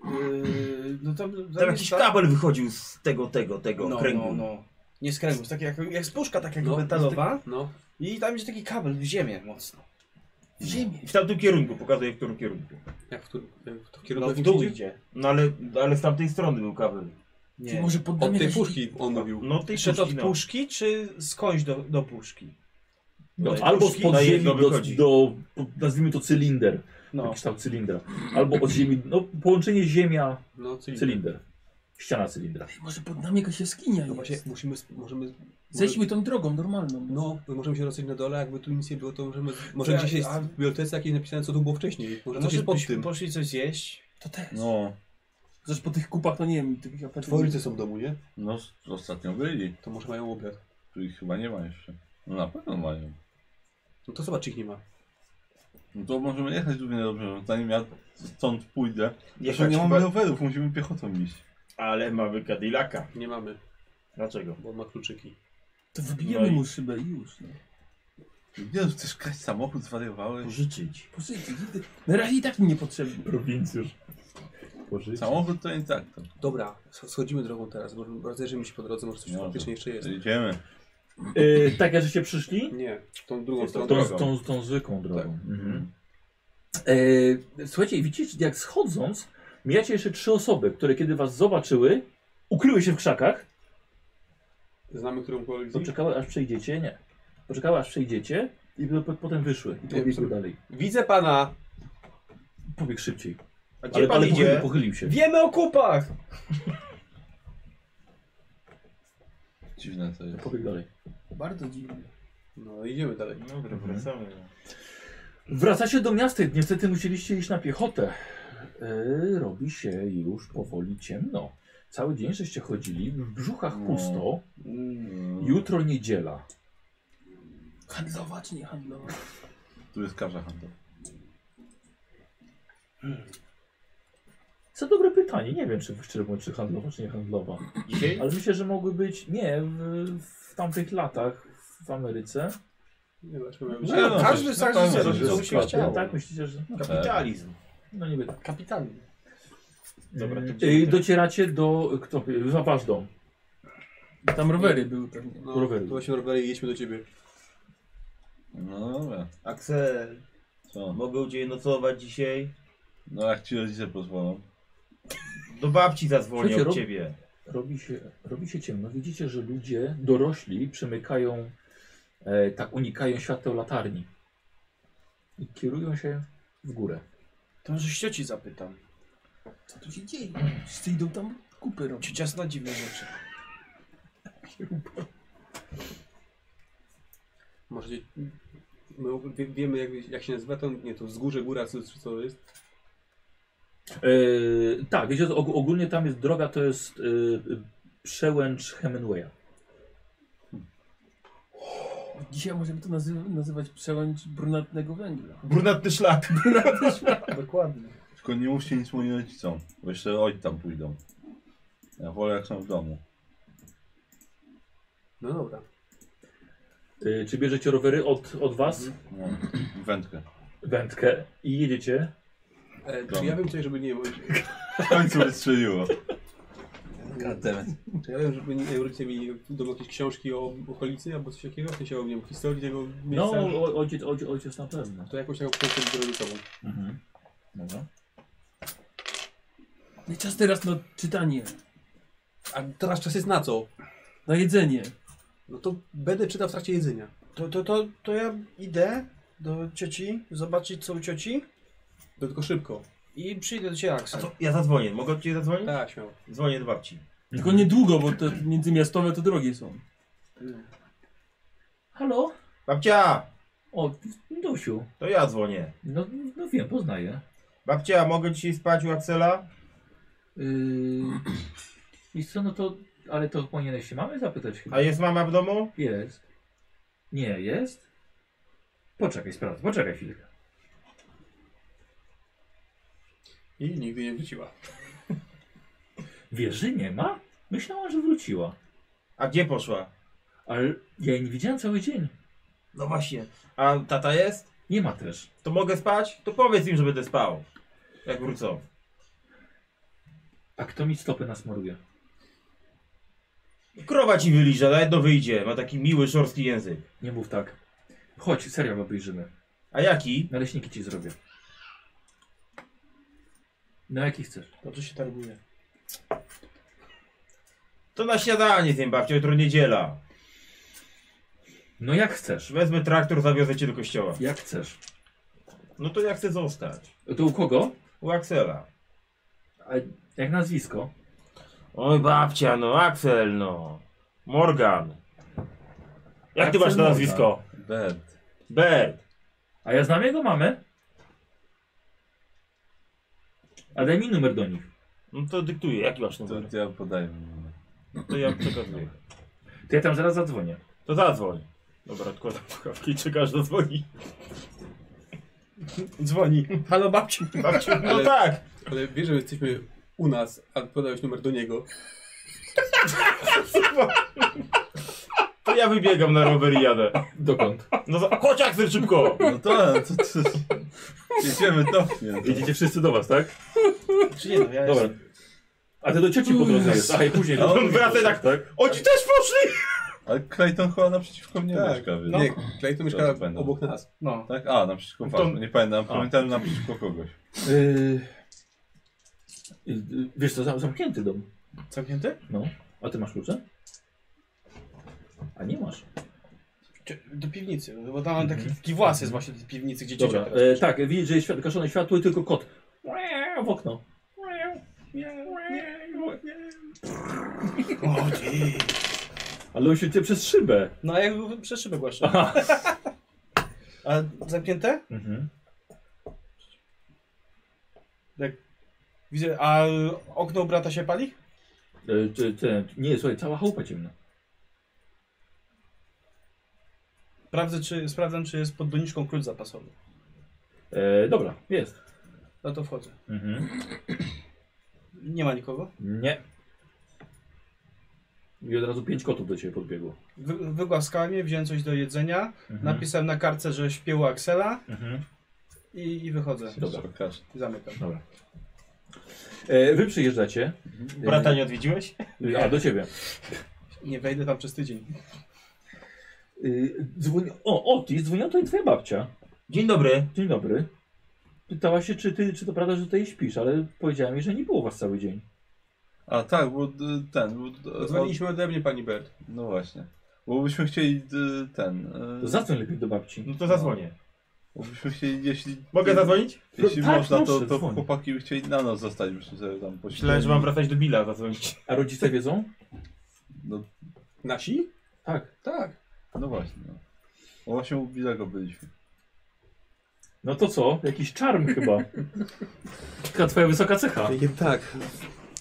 Speaker 9: yy, no to...
Speaker 7: Tam jakiś kabel wychodził z tego, tego, tego
Speaker 9: no,
Speaker 7: kręgu.
Speaker 9: no, no. Nie z kręgu, z takiej jak, jak spuszka taka
Speaker 4: No,
Speaker 9: metalowa.
Speaker 4: No.
Speaker 9: I tam jest taki kabel w ziemię mocno.
Speaker 4: W ziemię.
Speaker 7: I w tamtym kierunku, pokazuję w którym kierunku.
Speaker 4: Jak w, tu- jak w to
Speaker 9: No
Speaker 4: kierunku
Speaker 9: w dół idzie.
Speaker 7: No ale, ale z tamtej strony był kabel.
Speaker 9: Nie.
Speaker 1: Może poddam
Speaker 4: Od tej
Speaker 1: jakoś-
Speaker 4: puszki on mówił.
Speaker 7: No tej
Speaker 9: Szedł
Speaker 7: puszki,
Speaker 9: od
Speaker 7: no.
Speaker 9: puszki, czy skądś do, do puszki?
Speaker 3: No,
Speaker 7: No,
Speaker 3: albo z
Speaker 7: puszki na
Speaker 3: podziemi
Speaker 7: jedno
Speaker 3: do,
Speaker 7: wychodzi.
Speaker 3: do, nazwijmy to cylinder,
Speaker 9: No.
Speaker 3: kształt cylindra. Albo od ziemi, no połączenie ziemia,
Speaker 4: No, cylinder.
Speaker 3: cylinder. Ściana cylindra.
Speaker 1: Ej, może pod nami jakaś jaskinia
Speaker 2: No
Speaker 1: jest.
Speaker 2: właśnie, musimy, sp- możemy...
Speaker 1: Zejdźmy tą drogą normalną.
Speaker 2: No, bo możemy się rozejść na dole, jakby tu nic nie było, to możemy... Może
Speaker 9: Czekaj,
Speaker 2: gdzieś jest
Speaker 9: a-
Speaker 2: w bibliotece jakieś napisane, co tu było wcześniej. Może coś
Speaker 9: Może
Speaker 2: jest pod
Speaker 9: byśmy
Speaker 2: tym.
Speaker 9: poszli coś zjeść?
Speaker 1: To też.
Speaker 6: No,
Speaker 1: Zresztą po tych kupach, no nie wiem, tych apetów.
Speaker 2: Twoi rodzice są w domu, nie?
Speaker 6: no s- ostatnio byli.
Speaker 2: To może mają obiad.
Speaker 6: Tu ich chyba nie ma jeszcze. No na pewno mają.
Speaker 2: No to zobacz, ich nie ma.
Speaker 6: No to możemy jechać równie dobrze, zanim ja stąd pójdę. Jeszcze
Speaker 7: Jechać
Speaker 6: Tak, nie
Speaker 7: nie
Speaker 6: mamy
Speaker 7: chyba...
Speaker 6: rowerów, musimy piechotą iść.
Speaker 7: Ale mamy Cadillaca.
Speaker 2: Nie mamy,
Speaker 7: Dlaczego?
Speaker 2: bo on ma kluczyki.
Speaker 1: To wybijemy
Speaker 7: No i-
Speaker 1: mu szybę i już. No.
Speaker 6: Jezu, no, chcesz kraść samochód, zwariowałeś?
Speaker 1: Pożyczyć. Pożyczyć. nigdy- Na razie i tak mi niepotrzebny.
Speaker 3: Prowincjusz. Pożyć.
Speaker 6: Samochód to nie tak to.
Speaker 2: Dobra, sch- schodzimy drogą teraz, bo rozejrzymy się po drodze, może coś
Speaker 6: Może.
Speaker 2: faktycznie jeszcze jest.
Speaker 6: Idziemy.
Speaker 3: Yy, tak, jak żeście przyszli?
Speaker 2: Nie, tą drugą
Speaker 6: Jest to
Speaker 2: stronę.
Speaker 3: Tą,
Speaker 6: drogą.
Speaker 3: tą, tą zwykłą drogą. Mhm.
Speaker 6: Mhm.
Speaker 3: E, słuchajcie, widzicie, jak schodząc, mijacie jeszcze trzy osoby, które kiedy was zobaczyły, ukryły się w krzakach,
Speaker 2: Znamy którąkolwiek z nich?
Speaker 3: poczekały aż przejdziecie, nie, poczekały aż przejdziecie i po- po- potem wyszły i pobiegły
Speaker 2: sobie-
Speaker 3: dalej.
Speaker 2: Widzę pana!
Speaker 3: Pobiegł szybciej,
Speaker 7: A gdzie
Speaker 3: ale,
Speaker 7: pan
Speaker 3: ale
Speaker 7: idzie?
Speaker 3: pochylił, pochylił się.
Speaker 9: Wiemy o kupach!
Speaker 6: Dziwne to jest.
Speaker 3: Pobiegł dalej.
Speaker 1: Bardzo dziwne.
Speaker 2: No, idziemy dalej.
Speaker 7: Dobra, wracamy.
Speaker 3: Mhm. Wracacie do miasta, niestety musieliście iść na piechotę. E, robi się już powoli ciemno. Cały dzień żeście chodzili, w brzuchach
Speaker 6: No.
Speaker 3: pusto,
Speaker 6: Mm.
Speaker 3: jutro niedziela.
Speaker 1: Handlowa czy nie handlowa?
Speaker 6: Tu jest karza handlowa.
Speaker 3: Co dobre pytanie. Nie wiem, czy szczerze mówiąc, czy handlowa, czy nie handlowa.
Speaker 7: Dzisiaj?
Speaker 3: Ale myślę, że mogły być. Nie, w, w tamtych latach w Ameryce.
Speaker 2: Nie, dlaczego miałem
Speaker 6: No,
Speaker 2: się...
Speaker 6: no,
Speaker 9: każdy
Speaker 6: coś-
Speaker 9: sam
Speaker 6: na
Speaker 9: się
Speaker 6: pewno
Speaker 9: zrobi,
Speaker 6: coś
Speaker 9: co mu
Speaker 6: jest
Speaker 9: się
Speaker 6: sklepy.
Speaker 9: chciało.
Speaker 3: Tak, myślicie, że. No,
Speaker 7: Kapitalizm.
Speaker 3: no niby tak.
Speaker 9: Kapitalny.
Speaker 7: Dobra, to
Speaker 3: Yy,
Speaker 7: gdzie
Speaker 3: docieracie do. Kto? Za wasz dom.
Speaker 1: Tam rowery były pewnie.
Speaker 2: No,
Speaker 3: Rowery.
Speaker 2: to właśnie rowery i jedźmy do ciebie.
Speaker 6: No dobra.
Speaker 10: Aksel,
Speaker 6: Co?
Speaker 10: mogę u ciebie nocować dzisiaj?
Speaker 6: No jak ci rodzice pozwolą.
Speaker 10: Do babci zadzwonię
Speaker 3: Słuchajcie,
Speaker 10: od
Speaker 3: rób-
Speaker 10: ciebie.
Speaker 3: Robi się, robi się ciemno. Widzicie, że ludzie dorośli przemykają. E, tak unikają świateł latarni. I kierują się w górę.
Speaker 9: To może ścioci zapytam.
Speaker 1: Co tu się dzieje? Wszyscy idą tam kupy robić.
Speaker 9: Ciocia zna dziwne rzeczy.
Speaker 2: Może gdzie- my wie- wiemy jak, jak się nazywa to, nie to wzgórze, góra, co, co jest.
Speaker 3: E, tak, wiecie, og ogólnie tam jest droga, to jest e, przełęcz Hemingwaya.
Speaker 1: Dzisiaj możemy to nazy- nazywać przełęcz brunatnego węgla.
Speaker 10: Brunatny szlak.
Speaker 9: Dokładnie.
Speaker 6: Tylko nie mówcie nic moim rodzicom, bo jeszcze oj tam pójdą. Ja wolę jak są w domu.
Speaker 2: No dobra.
Speaker 3: E, czy bierzecie rowery od, od was,
Speaker 6: No. Wędkę.
Speaker 3: wędkę i jedziecie?
Speaker 2: E, czy ja wiem coś, żeby nie...
Speaker 6: W końcu wystrzeliło.
Speaker 2: Czy ja wiem, żeby nie, rodzice mieli w domu jakieś książki o okolicy albo coś takiego? W sensie o nie wiem, historii tego
Speaker 3: No,
Speaker 2: miejsca? No.
Speaker 3: o- ojciec, ojciec, ojciec na pewno.
Speaker 2: To jakąś taką książkę rodzicową.
Speaker 3: Mhm. Dobra.
Speaker 1: No i czas teraz na czytanie.
Speaker 2: A teraz czas jest na co?
Speaker 1: Na jedzenie.
Speaker 2: No to będę czytał w trakcie jedzenia.
Speaker 9: To, to, to, to ja idę do cioci, zobaczyć co u cioci
Speaker 2: To tylko szybko.
Speaker 9: i przyjdę do ciebie
Speaker 10: A
Speaker 9: Aksel.
Speaker 10: co? Ja zadzwonię. Mogę od ciebie zadzwonić?
Speaker 2: Tak, śmiało.
Speaker 10: Dzwonię do babci.
Speaker 1: Tylko
Speaker 3: Mhm.
Speaker 1: niedługo, bo te międzymiastowe to drogie są.
Speaker 3: Halo?
Speaker 10: Babcia,
Speaker 3: O, Dusiu.
Speaker 10: to ja dzwonię.
Speaker 3: No, no wiem, poznaję.
Speaker 10: Babcia, mogę dzisiaj spać u Aksela?
Speaker 3: Yy... I co, no to, ale to powinieneś się mamy zapytać chyba.
Speaker 10: A jest mama w domu?
Speaker 3: Jest. Nie, jest? Poczekaj, sprawdzę, poczekaj chwilkę.
Speaker 2: I nigdy nie wróciła.
Speaker 3: Wieży nie ma? Myślałam, że wróciła.
Speaker 10: A gdzie poszła?
Speaker 3: Ale ja jej nie widziałem cały dzień.
Speaker 10: No właśnie. A tata jest?
Speaker 3: Nie ma też.
Speaker 10: To mogę spać? To powiedz im, że będę spał. Jak wrócą.
Speaker 3: A kto mi stopy nasmaruje?
Speaker 10: Krowa ci wyliże, na jedno wyjdzie. Ma taki miły, szorstki język.
Speaker 3: Nie mów tak. Chodź, serial obejrzymy.
Speaker 10: A jaki?
Speaker 3: Naleśniki ci zrobię. No jaki chcesz?
Speaker 9: Dobrze się targuje.
Speaker 10: To na śniadanie zjem babcia, jutro niedziela.
Speaker 3: No jak chcesz?
Speaker 10: Wezmę traktor, zawiozę cię do kościoła.
Speaker 3: Jak chcesz.
Speaker 10: No to ja chcę zostać.
Speaker 3: To u kogo?
Speaker 10: U Aksela.
Speaker 3: A jak nazwisko?
Speaker 10: Oj babcia, no Axel, no. Morgan. Jak ty
Speaker 3: Axel
Speaker 10: masz na
Speaker 3: Morgan.
Speaker 10: nazwisko?
Speaker 6: Bert.
Speaker 10: Bert.
Speaker 3: A ja znam jego mamę. A daj mi numer do nich.
Speaker 10: No to dyktuję, jaki masz numer?
Speaker 6: To ja podaję. mu numer.
Speaker 10: To ja przekazuję.
Speaker 3: To ja tam zaraz zadzwonię.
Speaker 10: To zadzwoń. Dobra, odkładam słuchawki i czekasz, zadzwoni.
Speaker 9: Dzwoni. Halo babci.
Speaker 10: Babciu, no
Speaker 2: Ale-
Speaker 10: tak.
Speaker 2: Ale wiesz, że jesteśmy u nas, a podałeś numer do niego.
Speaker 10: To ja wybiegam na rower i jadę.
Speaker 3: Dokąd?
Speaker 10: No za... chodź Axel szybko!
Speaker 6: No to, to, to, jedziemy topnie.
Speaker 10: Idziecie wszyscy do was, tak?
Speaker 9: Czy nie, no ja
Speaker 3: Dobra. A ty do cioci po drodze jest. A i później.
Speaker 6: No,
Speaker 10: On wraca i tak,
Speaker 6: tak?
Speaker 10: oni też poszli! No.
Speaker 6: Ale Clayton chyba naprzeciwko mnie
Speaker 2: Tak.
Speaker 6: mieszka, więc...
Speaker 2: Nie, Clayton mieszka
Speaker 6: To będą.
Speaker 2: obok nas.
Speaker 9: No.
Speaker 6: Tak? A, naprzeciwko
Speaker 10: To-
Speaker 6: was. Nie pamiętam, pamiętam naprzeciwko kogoś.
Speaker 3: Yy, yy, wiesz co, za- zamknięty dom.
Speaker 9: Zamknięty?
Speaker 3: No. A ty masz klucze? A nie masz.
Speaker 9: Czy- Do piwnicy, no bo tam mam taki, taki włas jest właśnie do piwnicy, gdzie
Speaker 3: Dobra,
Speaker 9: ciocia teraz.
Speaker 3: e, tak, widzisz, że jest świat, gaszone światło i tylko kot. W okno.
Speaker 9: O, ty.
Speaker 3: Ale on się cię przez szybę.
Speaker 9: No a jakby przez szybę głaszczę.
Speaker 3: Aha.
Speaker 9: A zamknięte?
Speaker 3: Mhm.
Speaker 9: Widzę, a okno u brata się pali?
Speaker 3: E, ty, ty, nie, słuchaj, cała chałupa ciemna.
Speaker 9: Sprawdzę, czy, sprawdzam, czy jest pod doniczką klucz zapasowy.
Speaker 3: E, dobra, jest.
Speaker 9: No to wchodzę.
Speaker 3: Mhm.
Speaker 9: Nie ma nikogo.
Speaker 3: Nie. I od razu pięć kotów do ciebie podbiegło.
Speaker 9: Wy, wygłaskałem je, wziąłem coś do jedzenia,
Speaker 3: Mhm.
Speaker 9: napisałem na kartce, że śpię u Axela
Speaker 3: Mhm.
Speaker 9: i, i wychodzę.
Speaker 3: Dobra.
Speaker 6: Pokaż.
Speaker 9: Zamykam.
Speaker 3: Dobra. E, wy przyjeżdżacie.
Speaker 10: Mhm.
Speaker 3: E,
Speaker 10: Brata nie odwiedziłeś?
Speaker 3: A, do ciebie.
Speaker 9: Nie wejdę tam przez tydzień.
Speaker 3: Y, dzwoni... O, Otis, dzwoniła tutaj twoja babcia.
Speaker 10: Dzień dobry.
Speaker 3: Dzień dobry. Pytała się, czy, ty, czy to prawda, że tutaj śpisz, ale powiedziała mi, że nie było was cały dzień.
Speaker 6: A tak, bo y, ten... Bo, o,
Speaker 2: Dzwoniliśmy ode mnie, pani Bert.
Speaker 6: no właśnie. Bo byśmy chcieli y, ten... y,
Speaker 3: To zadzwoń lepiej do babci.
Speaker 10: No to zadzwonię.
Speaker 6: Bo byśmy chcieli, jeśli...
Speaker 10: Mogę zadzwonić?
Speaker 6: Jeśli
Speaker 3: Tak,
Speaker 6: można, to,
Speaker 3: proszę,
Speaker 6: to
Speaker 3: dzwoń.
Speaker 6: chłopaki by chcieli na noc zostać, byśmy sobie tam posiedzieli.
Speaker 10: Myślałem, że mam wracać do Billa zadzwonić.
Speaker 3: A rodzice wiedzą?
Speaker 6: No,
Speaker 2: Nasi?
Speaker 3: Tak.
Speaker 2: Tak.
Speaker 6: no właśnie. No. no właśnie u Bilego byliśmy.
Speaker 3: No to co? Jakiś czarm chyba. Taka twoja wysoka cecha.
Speaker 2: tak.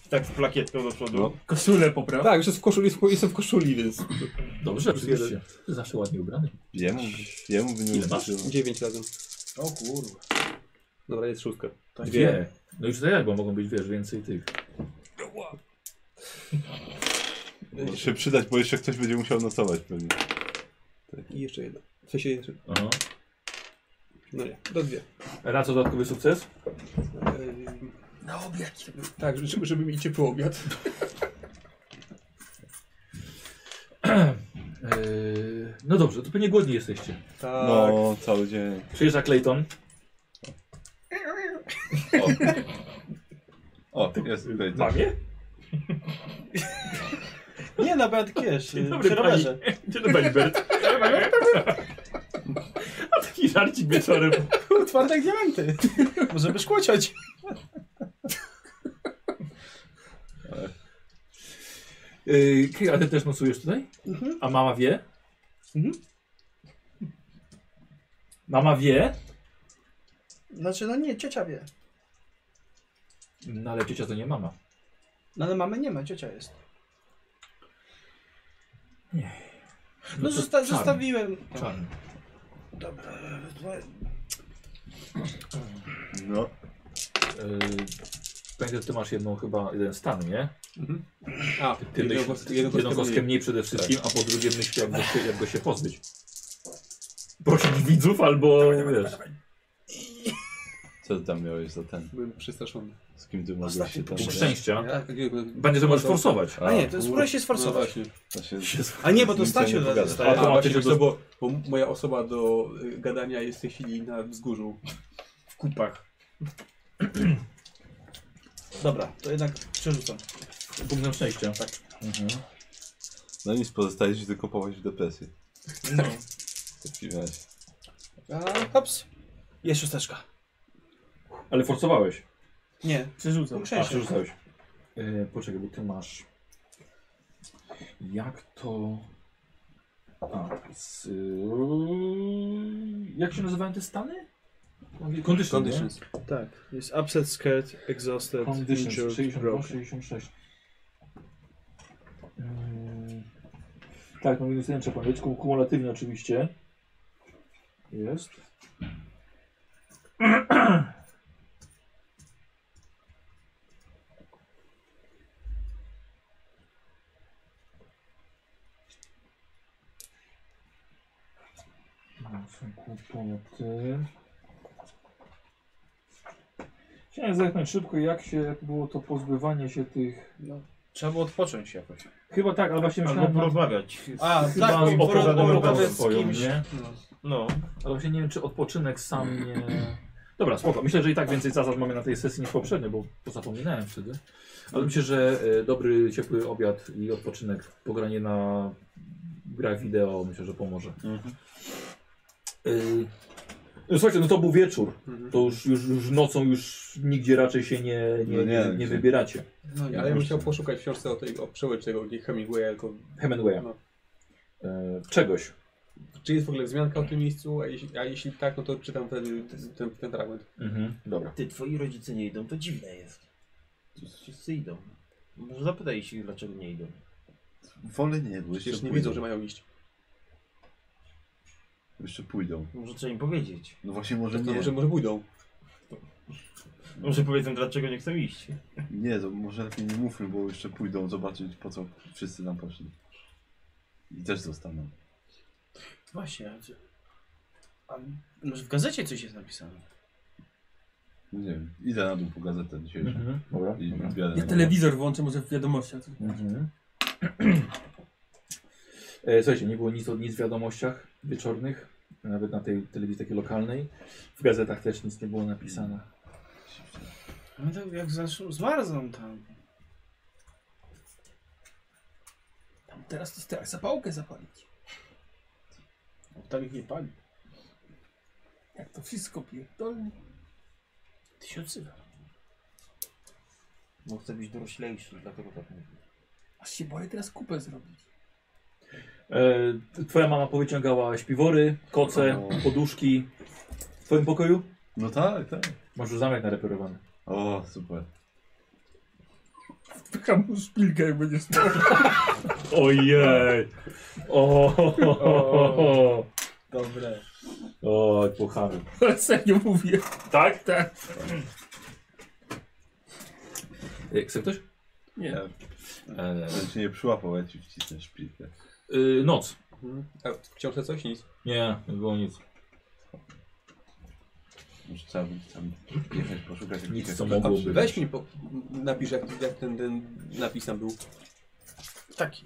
Speaker 10: Tak z plakietką do przodu.
Speaker 6: No.
Speaker 1: Koszulę popraw.
Speaker 2: Tak, już jest w koszuli, jestem- jestem w koszuli, więc...
Speaker 3: Dobrze,
Speaker 2: Plus
Speaker 3: oczywiście. Ty zawsze ładnie ubrany.
Speaker 6: Jemu, jemu by nie
Speaker 3: Ile masz?
Speaker 6: uderzyło.
Speaker 2: Dziewięć razem.
Speaker 9: O kurwa.
Speaker 2: Dobra, jest szóstka.
Speaker 3: Dwie. No już to jak, bo mogą być, wiesz, więcej tych.
Speaker 6: Może się przydać, bo jeszcze ktoś będzie musiał nocować pewnie.
Speaker 2: I jeszcze jedna. W sensie jeszcze...
Speaker 3: Aha.
Speaker 2: No nie, do dwie.
Speaker 3: Na co dodatkowy sukces?
Speaker 1: yy,
Speaker 2: Ehm, Tak, żeby, żeby mi ciepły obiad.
Speaker 3: Yy, no dobrze, to pewnie głodni jesteście.
Speaker 2: Tak.
Speaker 6: No, cały dzień.
Speaker 3: Przyjeżdża Clayton.
Speaker 6: O, o jest tutaj. tak.
Speaker 3: Mamie?
Speaker 9: Nie, no, na brat kiesz.
Speaker 3: Dzień dobry, pani. Dzień dobry, Bert. A taki żarcik wieczorem.
Speaker 9: Twardek diamenty. Może byś kłócić.
Speaker 3: Yy, Kira, a ty też nocujesz tutaj?
Speaker 9: Mhm.
Speaker 3: A mama wie? Mama wie?
Speaker 9: Znaczy, no nie, ciocia wie.
Speaker 3: No ale ciocia to nie mama.
Speaker 9: No ale mamy nie ma, ciocia jest. No,
Speaker 3: to
Speaker 9: zosta
Speaker 3: czarny,
Speaker 9: zostawiłem.
Speaker 3: Czarny.
Speaker 6: No,
Speaker 3: Yy, pamiętaj, że ty masz jedną chyba, jeden stan, nie?
Speaker 9: Mhm.
Speaker 2: A,
Speaker 3: Ty
Speaker 2: jedną
Speaker 3: myśl,
Speaker 2: kostkę-
Speaker 3: jedną
Speaker 2: jedną kostkę
Speaker 3: kostkę mniej przede wszystkim, a po drugie myśl, jak go się, jak go się pozbyć. Prosić widzów albo, wiesz...
Speaker 6: co ty tam miałeś za ten?
Speaker 2: Byłem przestraszony.
Speaker 6: Z kim ty mogłeś
Speaker 9: Ostatni
Speaker 6: się tam...
Speaker 3: Punkt szczęścia.
Speaker 2: Tak, jakby-
Speaker 3: Będzie, że możesz forsować.
Speaker 9: A nie, to
Speaker 6: kurwa,
Speaker 9: spróbuj się
Speaker 2: No
Speaker 9: sforsować.
Speaker 2: właśnie.
Speaker 6: to się-
Speaker 9: A nie, bo to
Speaker 6: z nim sobie
Speaker 9: Stasiu
Speaker 6: nie pogadasz.
Speaker 9: dostaje.
Speaker 2: A,
Speaker 3: to
Speaker 2: właśnie,
Speaker 3: macie
Speaker 2: wiesz
Speaker 3: go
Speaker 2: co,
Speaker 3: z-
Speaker 2: bo, bo moja osoba do y, gadania jest w tej chwili na wzgórzu.
Speaker 7: W kupach.
Speaker 9: Dobra, to jednak przerzucam.
Speaker 3: Punktem szczęścia.
Speaker 6: No nic, pozostaje ci tylko popaść w depresję.
Speaker 9: No.
Speaker 6: W takim razie.
Speaker 9: A, hops. Jest szósteczka.
Speaker 3: Ale forsowałeś.
Speaker 9: Nie,
Speaker 7: Przerzucam.
Speaker 9: punkt
Speaker 3: A,
Speaker 9: szczęścia.
Speaker 3: przerzucałeś. E, poczekaj, bo ty masz. Jak to. A, z, e, jak się nazywają te stany? Conditions. Conditions.
Speaker 4: Conditions.
Speaker 13: Tak, jest upset, scared, exhausted,
Speaker 3: Conditions
Speaker 13: injured,
Speaker 3: 62,
Speaker 13: broken.
Speaker 3: 66. Mm, tak, no minus 1 trzeba mieć, kum- kumulatywnie oczywiście. Jest. No, są kłopoty. Chciałem zerknąć szybko, jak się jak było to pozbywanie się tych.
Speaker 4: Trzeba było odpocząć jakoś.
Speaker 3: Chyba tak, ale właśnie
Speaker 10: Albo
Speaker 3: myślałem. nad-
Speaker 10: porozmawiać. z-
Speaker 4: A,
Speaker 3: Chyba
Speaker 4: tak,
Speaker 3: z
Speaker 4: bo
Speaker 3: opowiadaną
Speaker 4: porozmawiać
Speaker 3: pracą
Speaker 4: z
Speaker 3: swoją,
Speaker 4: kimś.
Speaker 3: nie?
Speaker 10: No.
Speaker 3: Ale właśnie nie wiem, czy odpoczynek sam nie. Dobra, spoko. Myślę, że i tak więcej zasad mamy na tej sesji niż poprzednio, bo bo zapominałem wtedy. Ale myślę, że e, dobry, ciepły obiad i odpoczynek, pogranie na grach wideo, myślę, że pomoże. Y, no Słuchajcie, no to był wieczór. To już, już, już nocą już nigdzie raczej się nie, nie,
Speaker 6: No nie,
Speaker 3: nie, nie
Speaker 6: gdzie?
Speaker 3: wybieracie.
Speaker 2: No nie, ale ja bym chciał poszukać w książce o, tej, o przełycz tego gdzieś Hemingwaya, tylko
Speaker 3: Hemingwaya.
Speaker 2: No.
Speaker 3: E, Czegoś.
Speaker 2: czy jest w ogóle wzmianka o tym miejscu, a jeśli, a jeśli tak, no to czytam wtedy ten, ten fragment.
Speaker 3: Dobra.
Speaker 10: Ty, twoi rodzice nie idą, to dziwne jest. Wszyscy idą. Może zapytaj się, dlaczego nie idą.
Speaker 6: Wolę nie, bo jeszcze
Speaker 2: Przecież nie
Speaker 6: pójdą.
Speaker 2: wiedzą, że mają iść.
Speaker 6: Jeszcze pójdą.
Speaker 10: Może trzeba im powiedzieć.
Speaker 6: No właśnie może
Speaker 2: To
Speaker 6: nie.
Speaker 2: może, może pójdą.
Speaker 10: Może powiedzą, dlaczego nie chcą iść.
Speaker 6: Nie, to może lepiej nie mówmy, bo jeszcze pójdą zobaczyć po co wszyscy nam poszli. I też zostaną.
Speaker 9: Właśnie. a czy- A może w gazecie coś jest napisane?
Speaker 6: No nie wiem, idę na dół po gazetę dzisiejszą.
Speaker 3: Dobra.
Speaker 6: I
Speaker 3: Dobra.
Speaker 6: biorę
Speaker 1: Ja
Speaker 6: na-
Speaker 1: telewizor włączę może w wiadomościach.
Speaker 3: Mhm. E, Słuchajcie, nie było nic, o- nic w wiadomościach wieczornych, nawet na tej telewizji takiej lokalnej. W gazetach też nic nie było napisane.
Speaker 9: No to jak zaszło, zmarzną tam.
Speaker 1: Tam teraz to strach zapałkę zapalić.
Speaker 9: Tam ich nie pali.
Speaker 1: Jak to wszystko pierdolnie.
Speaker 9: Ty się odzywa.
Speaker 10: Bo chce być doroślejszy, dlatego tak mówi.
Speaker 1: Aż się boję teraz kupę zrobić.
Speaker 3: E, t- Twoja mama powyciągała śpiwory, koce,
Speaker 6: O.
Speaker 3: poduszki. W Twoim pokoju?
Speaker 6: No tak, tak.
Speaker 3: Masz już zamek nareperowany.
Speaker 6: O, super.
Speaker 1: Wpycham mu szpilkę, jak będzie spał.
Speaker 3: Ojej! O, ho, ho, ho, ho.
Speaker 9: Dobre.
Speaker 3: Oj, puchamy.
Speaker 1: Ale serio mówię. Tak? Tak.
Speaker 3: E, Chce ktoś?
Speaker 1: Nie.
Speaker 3: E,
Speaker 6: Ten cię nie przyłapał, ja ci wcisnę szpilkę.
Speaker 3: y, noc.
Speaker 2: Mhm. A w książce coś? Nic.
Speaker 3: Nie, nie było nic.
Speaker 6: Może trzeba by tam jechać poszukać jakichś
Speaker 3: Nic, co
Speaker 6: jakichś
Speaker 3: mogłoby.
Speaker 6: patrzy.
Speaker 2: Weź mi po, napisz, jak, jak ten, ten napis tam był.
Speaker 9: Taki.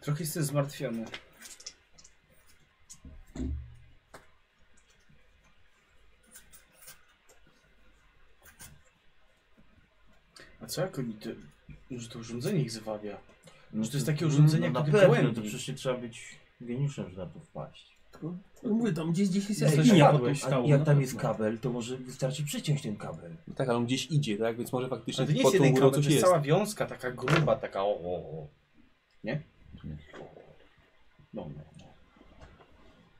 Speaker 9: Trochę jestem zmartwiony. A co jak oni to... Może to urządzenie ich zwabia? Może to jest takie urządzenie,
Speaker 10: no, na
Speaker 9: które
Speaker 10: pewno, to
Speaker 9: pełni?
Speaker 10: przecież nie trzeba być geniuszem, żeby na to wpaść.
Speaker 1: No Mówię, tam gdzieś, gdzieś jest
Speaker 10: Ej,
Speaker 1: jakaś
Speaker 10: padłem,
Speaker 1: linia potem
Speaker 10: a
Speaker 1: stała.
Speaker 10: jak tam jest kabel, to może wystarczy przyciąć ten kabel.
Speaker 2: No tak, ale on gdzieś idzie, tak? Więc może faktycznie
Speaker 9: Ale to nie
Speaker 2: pod
Speaker 9: jest
Speaker 2: tą
Speaker 9: jeden
Speaker 2: górą
Speaker 9: kabel, to
Speaker 2: coś
Speaker 9: jest, cała wiązka, taka gruba, taka o, o, o. Nie?
Speaker 6: Nie.
Speaker 9: No, no, no.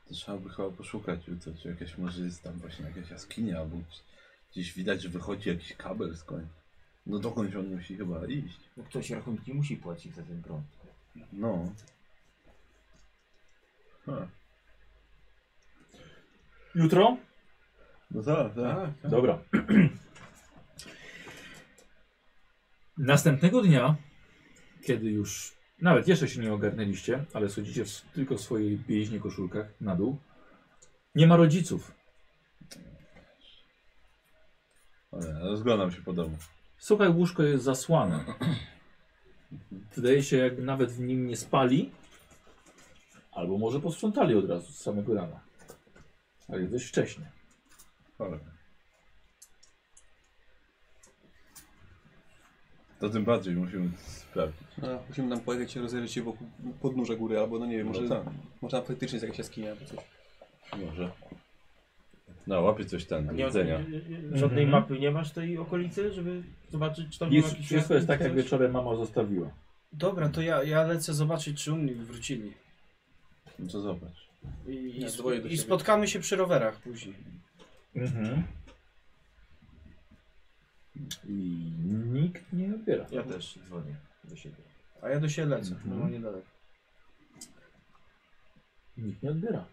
Speaker 6: To trzeba by chyba poszukać jutro, czy jakaś może jest tam właśnie jakaś jaskinia, albo gdzieś- gdzieś widać, że wychodzi jakiś kabel skąd. No dokądś on musi chyba iść.
Speaker 10: No, ktoś rachunki musi płacić za ten prąd.
Speaker 6: No. Ha.
Speaker 3: Jutro?
Speaker 6: No tak, tak.
Speaker 2: Tak, tak.
Speaker 3: Dobra. Następnego dnia, kiedy już nawet jeszcze się nie ogarnęliście, ale schodzicie w, tylko w swojej bieźnie koszulkach na dół, nie ma rodziców.
Speaker 6: Ale rozglądam się po domu.
Speaker 3: Słuchaj, łóżko jest zasłane. Wydaje się, jak nawet w nim nie spali, albo może posprzątali od razu z samego rana. Ale jest dość wcześnie.
Speaker 6: Cholera. To tym bardziej musimy sprawdzić.
Speaker 2: No, musimy nam pojechać i rozejrzeć się wokół podnóża góry, albo no nie wiem, może,
Speaker 6: No tak.
Speaker 2: może tam faktycznie jest jakaś jaskinia albo coś.
Speaker 6: Może. No, łapie coś ten, do
Speaker 14: Nie ma-
Speaker 6: widzenia.
Speaker 14: Żadnej
Speaker 3: Mhm.
Speaker 14: mapy nie masz tej okolicy, żeby zobaczyć,
Speaker 10: No,
Speaker 14: czy tam nie ma
Speaker 3: Jest,
Speaker 14: jakichś
Speaker 3: wszystko jest tak,
Speaker 14: jaskiń,
Speaker 3: jak
Speaker 14: coś?
Speaker 3: wieczorem mama zostawiła.
Speaker 9: Dobra, to ja, ja lecę zobaczyć, czy u mnie wrócili.
Speaker 6: No to zobacz.
Speaker 9: I, i,
Speaker 2: Ja
Speaker 9: sp-
Speaker 2: dzwonię do
Speaker 9: i
Speaker 2: siebie.
Speaker 9: spotkamy się przy rowerach później.
Speaker 3: Mhm. I nikt nie odbiera.
Speaker 10: Ja też dzwonię do siebie.
Speaker 9: A ja do siebie lecę,
Speaker 3: Mhm.
Speaker 9: no bo niedaleko.
Speaker 3: Nikt nie odbiera.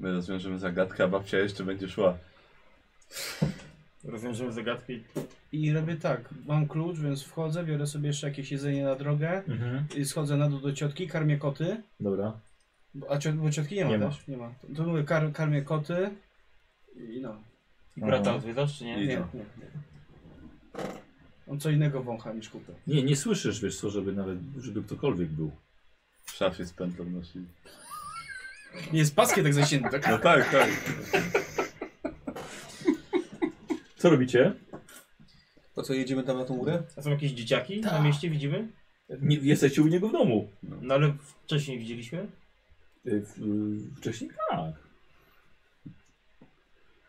Speaker 6: My rozwiążemy zagadkę, a babcia jeszcze będzie szła.
Speaker 10: Rozwiążemy zagadkę i
Speaker 9: I robię tak, mam klucz, więc wchodzę, biorę sobie jeszcze jakieś jedzenie na drogę,
Speaker 3: Mhm.
Speaker 9: i schodzę na dół do ciotki, karmię koty,
Speaker 3: Dobra.
Speaker 9: bo- a cio, bo ciotki nie ma
Speaker 3: Nie ma.
Speaker 9: też? Nie ma. To, to mówię, kar, karmię koty i no,
Speaker 14: Brata odwiedzasz, czy nie?
Speaker 9: nie, nie, nie. On co innego wącha niż kupę.
Speaker 3: Nie, nie słyszysz, wiesz co, żeby nawet, żeby ktokolwiek był.
Speaker 6: W szafie z pętlą nosi.
Speaker 9: Nie, jest paskie tak zacięte, tak?
Speaker 6: No tak, tak.
Speaker 3: Co robicie?
Speaker 2: To co, jedziemy tam na tą górę?
Speaker 14: A są jakieś dzieciaki
Speaker 9: Tak.
Speaker 14: na mieście, widzimy?
Speaker 3: Nie, jesteście u niego w domu.
Speaker 14: No ale wcześniej widzieliśmy.
Speaker 3: Y, w- y, Wcześniej tak.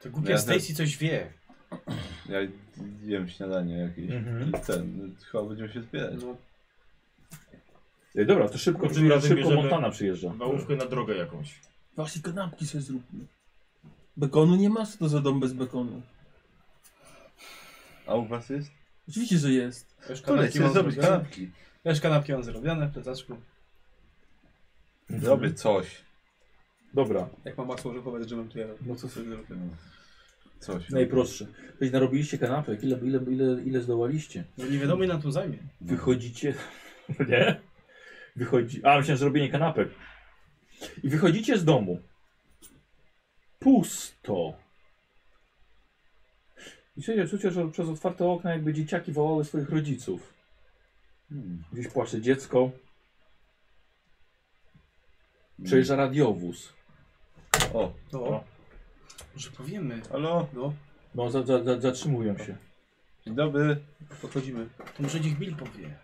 Speaker 9: To
Speaker 6: Ja
Speaker 9: głupia
Speaker 6: też.
Speaker 9: Stacy coś wie.
Speaker 6: Ja jem śniadanie jakieś.
Speaker 3: Mhm.
Speaker 6: I Ten, no, chyba będziemy się zbierać.
Speaker 2: No,
Speaker 3: Y, Dobra, to szybko,
Speaker 10: Tym razem
Speaker 3: szybko
Speaker 10: bierzemy-
Speaker 3: Montana przyjeżdża.
Speaker 10: bałówkę na drogę jakąś.
Speaker 1: Właśnie kanapki sobie zróbmy. Bekonu nie ma? Co to za dom bez bekonu?
Speaker 6: A u was jest?
Speaker 1: Oczywiście, że jest.
Speaker 9: Wiesz,
Speaker 6: To
Speaker 9: kanapki
Speaker 6: lecę
Speaker 9: mam
Speaker 6: zrobić
Speaker 9: zrobione.
Speaker 6: kanapki.
Speaker 9: Wiesz, kanapki mam zrobione, w plecaczku.
Speaker 6: Zrobię coś.
Speaker 3: Mhm. Dobra,
Speaker 2: jak mam masło orzechowe z dżemem, to ja
Speaker 3: no co
Speaker 2: sobie zrobię.
Speaker 6: Coś.
Speaker 3: Najprostsze. Weź narobiliście kanapek, ile, ile, ile, ile zdołaliście?
Speaker 9: No nie wiadomo, ile nam tu zajmie.
Speaker 6: No.
Speaker 3: Wychodzicie. Nie? Wychodzi. A, myślałem, że robienie kanapek. I wychodzicie z domu. Pusto. I słuchajcie, czucie, że przez otwarte okna jakby dzieciaki wołały swoich rodziców.
Speaker 6: Hmm.
Speaker 3: Gdzieś płacze dziecko. Przejeżdża radiowóz.
Speaker 6: O,
Speaker 9: To. Może powiemy.
Speaker 6: halo,
Speaker 2: No,
Speaker 3: No, za, za, za, zatrzymują się.
Speaker 6: dzień dobry.
Speaker 2: podchodzimy.
Speaker 9: To może niech Bill powie.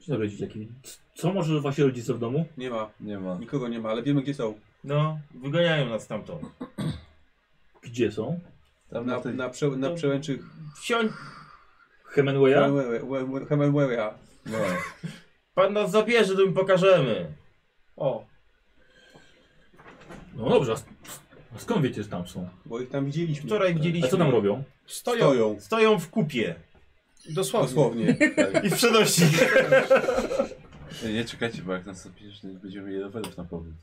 Speaker 3: Dzień dobry, dzieciaki. C- Co może wasi rodzice w domu?
Speaker 2: Nie ma,
Speaker 6: Nie ma.
Speaker 2: nikogo nie ma, ale wiemy gdzie są.
Speaker 10: No, wyganiają nas stamtąd.
Speaker 3: Gdzie są?
Speaker 6: Tam na,
Speaker 2: Na,
Speaker 6: tej...
Speaker 2: na, prze, na przełęczy
Speaker 10: Wsiądź,
Speaker 3: Hemingwaya?
Speaker 2: Hemingwaya.
Speaker 6: No.
Speaker 10: pan nas zabierze, to mi pokażemy.
Speaker 9: O,
Speaker 3: No dobrze, a s- a skąd wiecie, że tam są?
Speaker 2: Bo ich tam widzieliśmy.
Speaker 10: Wczoraj
Speaker 3: A
Speaker 10: widzieliśmy...
Speaker 3: co tam robią?
Speaker 9: stoją.
Speaker 2: Stoją.
Speaker 10: Stoją w kupie.
Speaker 9: Dosłownie.
Speaker 2: Dosłownie.
Speaker 10: I w przedości.
Speaker 6: Ej, Nie czekajcie, bo jak nas zabierzesz, to będziemy mieli rowerów na powrót.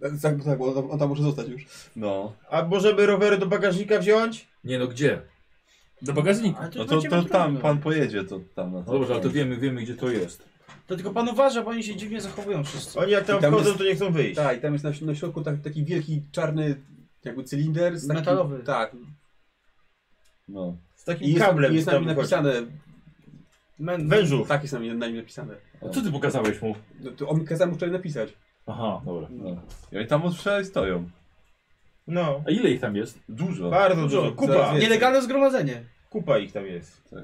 Speaker 2: tak, tak, bo on tam, on tam może zostać już.
Speaker 6: No.
Speaker 10: A możemy rowery do bagażnika wziąć?
Speaker 3: Nie no, gdzie?
Speaker 1: Do bagażnika.
Speaker 9: Ale to,
Speaker 6: No
Speaker 9: już
Speaker 6: to,
Speaker 9: będziemy
Speaker 6: to tam
Speaker 9: trudno.
Speaker 6: pan pojedzie, to tam na
Speaker 3: No dobrze, ale to wiemy, wiemy gdzie to jest.
Speaker 9: To tylko pan uważa, bo oni się dziwnie zachowują wszyscy.
Speaker 10: Oni jak tam,
Speaker 2: I tam
Speaker 10: wchodzą,
Speaker 2: jest-
Speaker 10: to nie chcą wyjść.
Speaker 2: Tak, i tam jest na, na środku tak, taki wielki, czarny jakby cylinder. Z taki,
Speaker 9: Metalowy.
Speaker 2: Tak.
Speaker 6: No.
Speaker 10: Z takim
Speaker 2: I jest,
Speaker 10: kablem
Speaker 2: i jest na
Speaker 10: tam
Speaker 2: nim
Speaker 10: wychodzi.
Speaker 2: napisane.
Speaker 9: Men,
Speaker 10: Wężów.
Speaker 2: Tak jest na nim, na nim napisane.
Speaker 3: A co ty pokazałeś mu?
Speaker 2: No, to on kazał mu wczoraj napisać.
Speaker 3: Aha, dobra.
Speaker 6: no. I oni tam od wczoraj stoją.
Speaker 10: No,
Speaker 3: A ile ich tam jest?
Speaker 6: Dużo.
Speaker 10: bardzo dużo. Kupa.
Speaker 2: Zaraz jest.
Speaker 9: Nielegalne zgromadzenie.
Speaker 10: Kupa ich tam jest.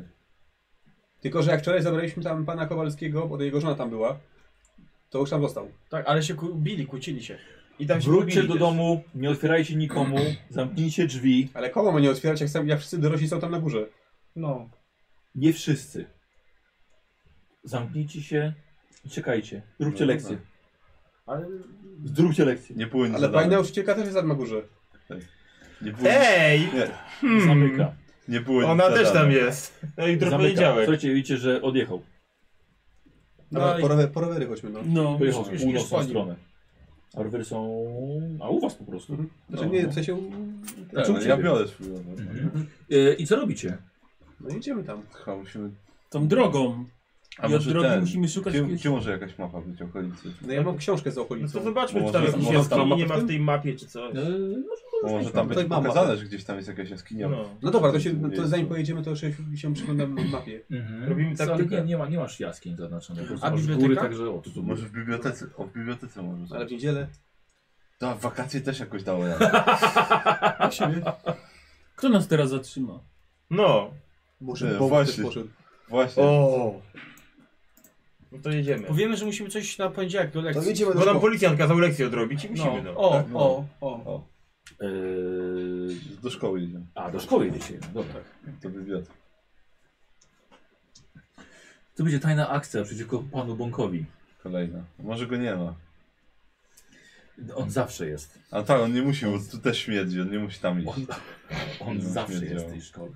Speaker 2: Tylko, że jak wczoraj zabraliśmy tam pana Kowalskiego, bo jego żona tam była, to już tam został.
Speaker 9: Tak, ale się ku- bili, kłócili się.
Speaker 10: I tam się
Speaker 3: Wróćcie
Speaker 10: pobili
Speaker 3: do
Speaker 10: też.
Speaker 3: domu, nie otwierajcie nikomu, zamknijcie drzwi.
Speaker 2: Ale komu ma nie otwierać, jak, sam, jak wszyscy dorośli są tam na górze?
Speaker 9: No.
Speaker 3: Nie wszyscy. Zamknijcie się i czekajcie. Zróbcie
Speaker 6: No,
Speaker 3: lekcję. Ale... Zróbcie lekcję.
Speaker 6: Nie płynie
Speaker 2: Ale pani nauczycielka też jest tam na górze.
Speaker 6: Nie było,
Speaker 10: Ej!
Speaker 3: Zamyka.
Speaker 6: nie było nic
Speaker 10: Ona też
Speaker 6: zadane.
Speaker 10: tam jest. No i jutro
Speaker 3: Zamyka.
Speaker 10: poniedziałek.
Speaker 3: Słuchajcie, widzicie, że odjechał.
Speaker 2: No,
Speaker 9: Dobra,
Speaker 2: po, rower, po rowery chodźmy, no.
Speaker 1: No.
Speaker 3: Pojechał w
Speaker 9: już- już
Speaker 3: północną
Speaker 9: po nim.
Speaker 3: stronę. A rowery są... A u was po prostu.
Speaker 2: Mhm. Znaczy,
Speaker 3: No,
Speaker 2: nie,
Speaker 3: no.
Speaker 2: w sensie...
Speaker 6: Tak,
Speaker 3: Znaczy u
Speaker 6: no, ja
Speaker 3: ciebie.
Speaker 6: biorę swój rower.
Speaker 3: Mhm. E, I co robicie?
Speaker 2: No idziemy tam.
Speaker 6: Chyba musimy...
Speaker 1: Tą drogą.
Speaker 6: A
Speaker 1: I od
Speaker 6: może
Speaker 1: drogi
Speaker 6: ten...
Speaker 1: musimy szukać
Speaker 6: Gdzie,
Speaker 1: jakiegoś-
Speaker 6: gdzie może jakaś mapa być okolicy?
Speaker 2: No ja mam książkę z
Speaker 10: No
Speaker 2: okolicą.
Speaker 10: to zobaczmy, czy
Speaker 6: Może-
Speaker 10: tam jakiejś
Speaker 6: może tam
Speaker 10: jaskini
Speaker 6: mapa
Speaker 10: nie
Speaker 6: w
Speaker 10: ma w tej mapie, czy coś.
Speaker 3: E, może-
Speaker 6: Bo może
Speaker 3: tam
Speaker 6: tam będzie
Speaker 2: jest mapa.
Speaker 6: pokazane, że gdzieś tam jest jakaś jaskinia.
Speaker 10: No.
Speaker 2: No dobra, to, się, no to zanim pojedziemy, to jeszcze się przyglądam na mapie.
Speaker 3: Mhm.
Speaker 10: Robimy
Speaker 3: Ale nie,
Speaker 10: taktykę.
Speaker 3: nie, ma, nie masz jaskiń zaznaczonych. po prostu
Speaker 9: A
Speaker 3: masz
Speaker 9: biblioteka?
Speaker 3: Góry, także o, tu,
Speaker 6: To
Speaker 3: tu,
Speaker 6: może w bibliotece, o w bibliotece może.
Speaker 2: Ale
Speaker 6: Ale...
Speaker 2: w niedzielę...
Speaker 6: Da, w wakacje też jakoś dało radę.
Speaker 1: Kto nas teraz zatrzyma?
Speaker 10: No.
Speaker 2: Może
Speaker 6: Nie,
Speaker 2: Bóg
Speaker 6: właśnie.
Speaker 2: też poszedł.
Speaker 6: Właśnie.
Speaker 7: O. No to jedziemy.
Speaker 9: Powiemy, że musimy coś na poniedziałek do lekcji.
Speaker 2: To jedziemy do
Speaker 7: Bo nam
Speaker 2: szkoły.
Speaker 7: policjant kazał lekcję odrobić
Speaker 9: no.
Speaker 7: i musimy, no.
Speaker 9: O,
Speaker 6: Tak, no.
Speaker 9: o, o.
Speaker 6: Eee, do szkoły idziemy.
Speaker 3: Yy, A, do szkoły jedziecie jednak, dobra.
Speaker 6: To wywiad.
Speaker 3: To będzie tajna akcja przeciwko panu Bąkowi.
Speaker 6: Kolejna. Może go nie ma.
Speaker 3: On zawsze jest.
Speaker 6: A tak, on nie musi, bo tu też śmierdzi, on nie musi tam iść.
Speaker 3: On, on
Speaker 6: Nie
Speaker 3: zawsze
Speaker 6: wiedziałem.
Speaker 3: jest w tej szkole.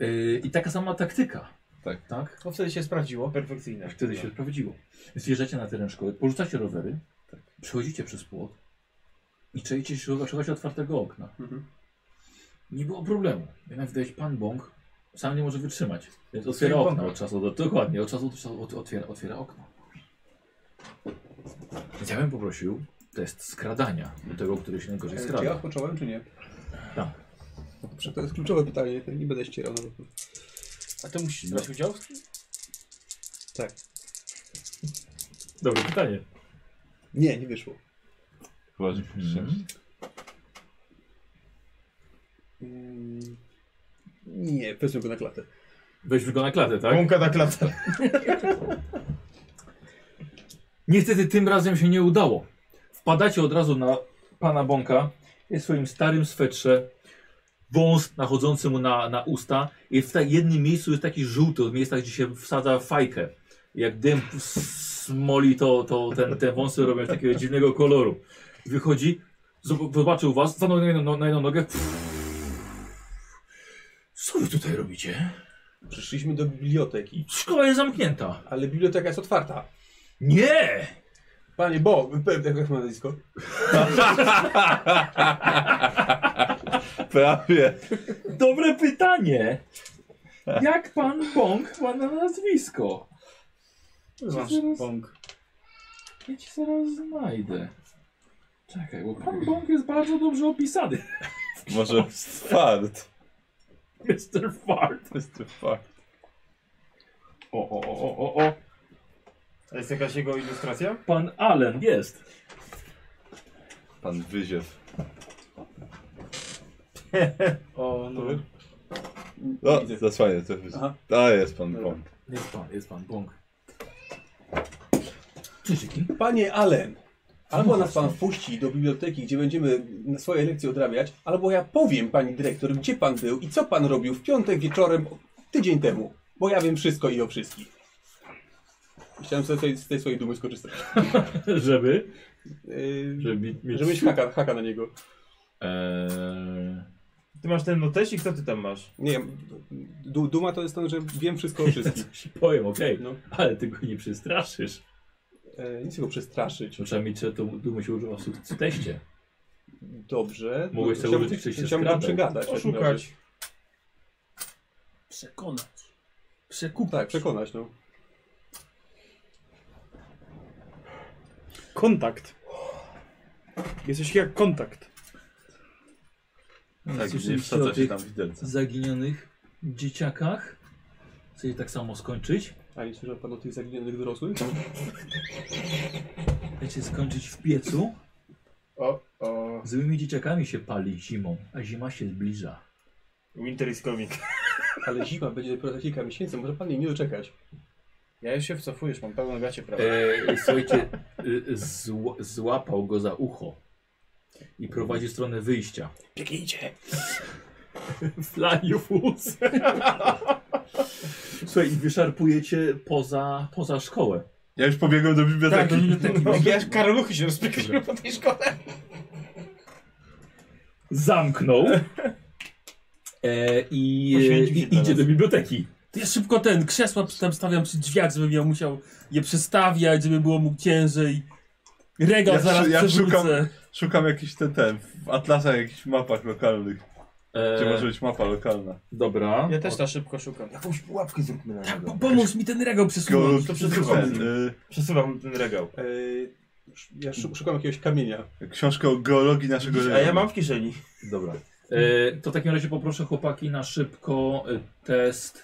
Speaker 3: Yy, I taka sama taktyka.
Speaker 6: Tak.
Speaker 3: tak?
Speaker 9: To wtedy się sprawdziło.
Speaker 7: Perfekcyjne.
Speaker 3: Wtedy się sprawdziło. Więc wjeżdżacie na teren szkoły, porzucacie rowery,
Speaker 2: Tak.
Speaker 3: przechodzicie przez płot i czajecie się, słuchacie otwartego okna.
Speaker 2: Mhm.
Speaker 3: Nie było problemu. Jednak widać pan Bąk sam nie może wytrzymać. Więc
Speaker 9: Otwiera
Speaker 3: otwiera okno
Speaker 9: bąka.
Speaker 3: od czasu do... Dokładnie, od czasu do czasu ot- otwiera, otwiera okno. Więc ja bym poprosił test skradania do tego, który się najgorzej
Speaker 2: Ale Czy ja
Speaker 3: skrada.
Speaker 2: odpocząłem, czy nie?
Speaker 3: Tak.
Speaker 2: Dobrze, to jest kluczowe pytanie, to nie będę ścierał na pewno.
Speaker 9: A ty musisz brać udział w tym?
Speaker 3: Dobre pytanie.
Speaker 2: Nie, nie wyszło.
Speaker 6: Chyba, że
Speaker 3: Mhm.
Speaker 2: Mm, Nie, wezmę go na klatę.
Speaker 3: Weźmy go na klatę, tak?
Speaker 7: Bąka na klatę.
Speaker 3: Niestety tym razem się nie udało. Wpadacie od razu na pana Bąka jest w swoim starym swetrze, wąs nachodzący mu na, na usta i w ta, jednym miejscu jest taki żółty, od miejsca, gdzie się wsadza fajkę. Jak dym smoli, to, to ten, te wąsy robią takiego dziwnego koloru. Wychodzi, zob- zobaczył was, stanął na jedną, no, na jedną nogę. Co wy tutaj robicie?
Speaker 2: Przyszliśmy do biblioteki,
Speaker 3: Szkoła jest zamknięta.
Speaker 2: ale biblioteka jest otwarta.
Speaker 3: Nie!
Speaker 2: Panie Bo, pewnie jak ma nazwisko.
Speaker 6: Prawie.
Speaker 3: Dobre pytanie. Jak pan Bąk ma na nazwisko?
Speaker 9: Masz
Speaker 3: zaraz-
Speaker 9: pąk.
Speaker 3: Ja ci zaraz znajdę. Czekaj, bo pan Bąk jest bardzo dobrze opisany.
Speaker 6: Może fart.
Speaker 3: Mr. Fart.
Speaker 6: To jest ten fart.
Speaker 3: O, o, o, o, o, o.
Speaker 7: A jest jakaś jego ilustracja?
Speaker 3: Pan Allen jest.
Speaker 6: Pan Wyziew.
Speaker 9: O, no.
Speaker 6: No, zasłania to jest.
Speaker 2: Aha.
Speaker 6: A, jest pan Bąk.
Speaker 3: Jest pan, jest pan Bąk. Cześć, Jaki.
Speaker 2: Panie Allen, albo nas pan wpuści do biblioteki, gdzie będziemy swoje lekcje odrabiać, albo ja powiem pani dyrektor, gdzie pan był i co pan robił w piątek wieczorem tydzień temu, bo ja wiem wszystko i o wszystkich. Chciałem sobie tej- z tej swojej dumy skorzystać.
Speaker 3: Żeby? tak-
Speaker 2: Yy,
Speaker 3: Żeby mieć...
Speaker 2: żebyś haka, haka na niego.
Speaker 3: Eee...
Speaker 7: Ty masz ten notesik, co ty tam masz?
Speaker 2: Nie, du, duma to jest to, że wiem wszystko o wszystkich.
Speaker 3: Ci powiem, okej.
Speaker 2: No.
Speaker 3: Ale ty go nie przestraszysz.
Speaker 2: E, nic go przestraszyć.
Speaker 3: To Trzeba mieć, że to dumy się używa w suk- teście.
Speaker 2: Dobrze.
Speaker 3: Mogłeś sobie
Speaker 2: Chciałbym-
Speaker 3: użyć, czy się
Speaker 2: Chciałbym go
Speaker 3: skradał.
Speaker 2: przegadać. w takim razie.
Speaker 7: Oszukać.
Speaker 1: Przekonać. Przekupić.
Speaker 2: Tak, przekonać, no.
Speaker 13: Kontakt. Jesteś jak kontakt.
Speaker 6: Tak, nie
Speaker 3: Słyszeliście o
Speaker 6: wsadza się
Speaker 3: tych
Speaker 6: tam widelca.
Speaker 3: zaginionych dzieciakach? Chcecie tak samo skończyć?
Speaker 2: A nie słyszał pan o tych zaginionych dorosłych?
Speaker 3: Chcecie skończyć w piecu?
Speaker 7: O, o.
Speaker 3: Złymi dzieciakami się pali zimą, a zima się zbliża.
Speaker 7: Winter is coming.
Speaker 2: Ale zima będzie dopiero za kilka miesięcy, może pan jej nie doczekać.
Speaker 9: Ja już się wycofuję, już mam pełną gacie prawa.
Speaker 3: E, słuchajcie, e, zł, złapał go za ucho i prowadzi w stronę wyjścia.
Speaker 2: Biegnijcie!
Speaker 3: Flaniufus! Słuchaj, i wyszarpujecie poza, poza szkołę.
Speaker 6: Ja już pobiegłem do
Speaker 7: Tak,
Speaker 6: biblioteki. No.
Speaker 9: Jak ja karoluchy się rozpykliśmy po tej szkole.
Speaker 3: Zamknął e, i,
Speaker 7: Poświęcił
Speaker 3: i
Speaker 7: się dla
Speaker 3: idzie
Speaker 7: nas.
Speaker 3: do biblioteki.
Speaker 1: Ja szybko ten krzesła tam stawiam przy drzwiach, żebym ja musiał je przestawiać, żeby było mu ciężej. Regał
Speaker 6: Ja
Speaker 1: zaraz
Speaker 6: przy- ja
Speaker 1: przerzucę.
Speaker 6: szukam- Szukam jakiś ten, ten, w atlasach, jakichś mapach lokalnych. Gdzie
Speaker 3: E,
Speaker 6: może być mapa
Speaker 7: No,
Speaker 6: lokalna?
Speaker 3: dobra.
Speaker 9: Ja też na szybko szukam.
Speaker 7: Jakąś pułapkę zróbmy na
Speaker 1: Tak,
Speaker 7: niego.
Speaker 1: po, pomóż mi ten regał przesunąć.
Speaker 7: to przesuwam.
Speaker 6: Ten, y,
Speaker 7: Przesuwam ten regał.
Speaker 2: Eee, ja szu- szukam jakiegoś kamienia.
Speaker 6: Książkę o geologii naszego
Speaker 7: A ja mam w kieszeni.
Speaker 3: Dobra. E, to w takim razie poproszę chłopaki na szybko e, test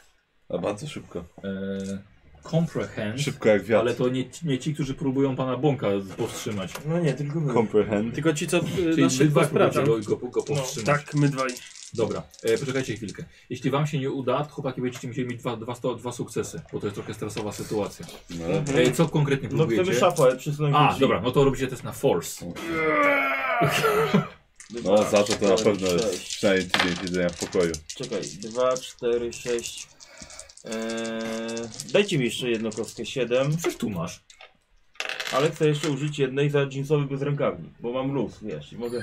Speaker 6: A bardzo szybko.
Speaker 3: e, comprehend,
Speaker 6: Szybko jak wiatr.
Speaker 3: ale to nie, nie ci, którzy próbują pana Bąka powstrzymać.
Speaker 7: No nie, tylko wy.
Speaker 6: Comprehend.
Speaker 13: Tylko ci, co y,
Speaker 3: Czyli
Speaker 13: na
Speaker 3: wy
Speaker 13: E, szybko
Speaker 3: dwa próbujecie
Speaker 13: sprawdzam.
Speaker 3: go, go, go powstrzymać.
Speaker 13: Tak, my dwaj.
Speaker 3: Dobra, e, poczekajcie chwilkę. Jeśli wam się nie uda, to chłopaki będziecie musieli mieć dwa, dwa, sto, dwa sukcesy, bo to jest trochę stresowa sytuacja. E, co konkretnie
Speaker 10: No
Speaker 3: próbujecie?
Speaker 10: chcemy szafę przysunąć do
Speaker 3: A,
Speaker 10: drzwi.
Speaker 3: dobra, no to robicie test na force.
Speaker 6: No za to to na
Speaker 10: Dwa,
Speaker 6: pewno jest
Speaker 10: sześć.
Speaker 6: przynajmniej tydzień siedzenia w pokoju.
Speaker 10: Czekaj, 2, 4, 6. Eee, Dajcie mi jeszcze jedną kostkę 7,
Speaker 3: Przecież tu masz.
Speaker 10: ale chcę jeszcze użyć jednej za jeansowy bez rękawni, bo mam luz, wiesz, i mogę.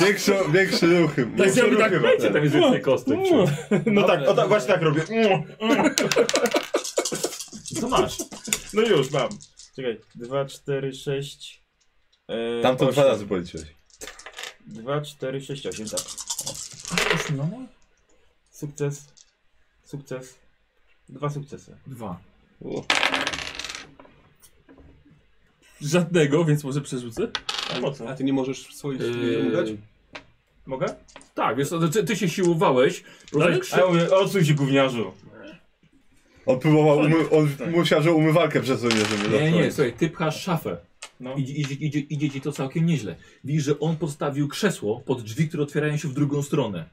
Speaker 6: Większo, większe ruchy.
Speaker 3: Tak,
Speaker 6: większe
Speaker 3: żeby tak,
Speaker 6: ruchy ma
Speaker 3: wiecie,
Speaker 6: ten.
Speaker 3: tam jest więcej kostek. czy-
Speaker 10: No tak, o, tak, właśnie tak robię.
Speaker 3: Co masz?
Speaker 10: No już mam. Czekaj, 2, 4, 6. e, tak.
Speaker 6: Tam to dwa razy policzyłeś.
Speaker 10: 2, 4, 6, 8, tak.
Speaker 3: No,
Speaker 10: Sukces. Sukces. Dwa sukcesy.
Speaker 3: dwa.
Speaker 1: Żadnego, więc może przerzucę?
Speaker 7: Po co?
Speaker 2: A ty nie możesz swoich
Speaker 3: Yy,
Speaker 2: yy... dać?
Speaker 10: Mogę?
Speaker 3: Tak, więc to ty, ty się siłowałeś. Rozumiem,
Speaker 10: A ja mówię, odsuń się gówniarzu.
Speaker 6: On próbował, umy, on musiał, że umywalkę przesunie, żeby
Speaker 3: Nie, nie,
Speaker 6: zacząć.
Speaker 3: słuchaj, ty pchasz szafę.
Speaker 10: No.
Speaker 3: Idzie, idzie, idzie, idzie ci to całkiem nieźle. Widzisz, że on podstawił krzesło pod drzwi, które otwierają się w drugą stronę.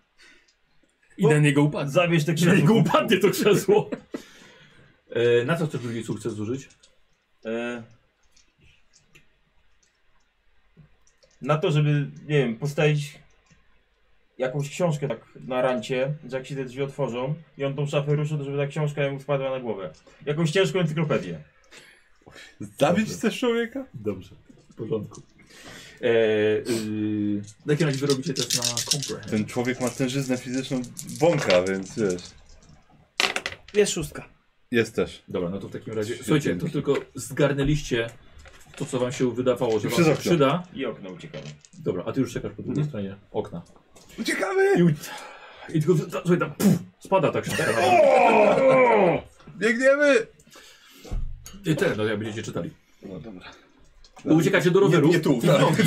Speaker 1: I na niego upadł.
Speaker 10: Zabierz te
Speaker 3: Czyli go upadnie to krzesło. E, na co chcesz drugi sukces zużyć?
Speaker 10: E, na to, żeby, nie wiem, postawić jakąś książkę tak na rancie, że jak się te drzwi otworzą i on tą szafę ruszy, to żeby ta książka mu spadła na głowę. Jakąś ciężką encyklopedię.
Speaker 6: Zabić chcesz człowieka?
Speaker 3: Dobrze, w porządku. E, y, na jakim razie wy robicie test na comprehend?
Speaker 6: Ten człowiek ma tężyznę fizyczną bąka, więc wiesz.
Speaker 13: Jest szóstka.
Speaker 6: Jest też.
Speaker 3: Dobra, no to w takim razie. Słuchajcie, to tylko zgarnęliście to, co wam się wydawało, że wam
Speaker 6: Przez
Speaker 3: się
Speaker 6: okno.
Speaker 3: przyda.
Speaker 10: I okno uciekamy.
Speaker 3: Dobra, a ty już czekasz po drugiej stronie okna.
Speaker 6: Uciekamy!
Speaker 3: I, i tylko, ta- słuchaj, tam puf, spada ta książka. na dół.
Speaker 6: Biegniemy!
Speaker 3: I ten, no jak będziecie czytali.
Speaker 6: No dobra.
Speaker 3: Bo uciekacie do roweru
Speaker 4: No, nie tu,
Speaker 3: i, w
Speaker 4: tak.
Speaker 3: nogi,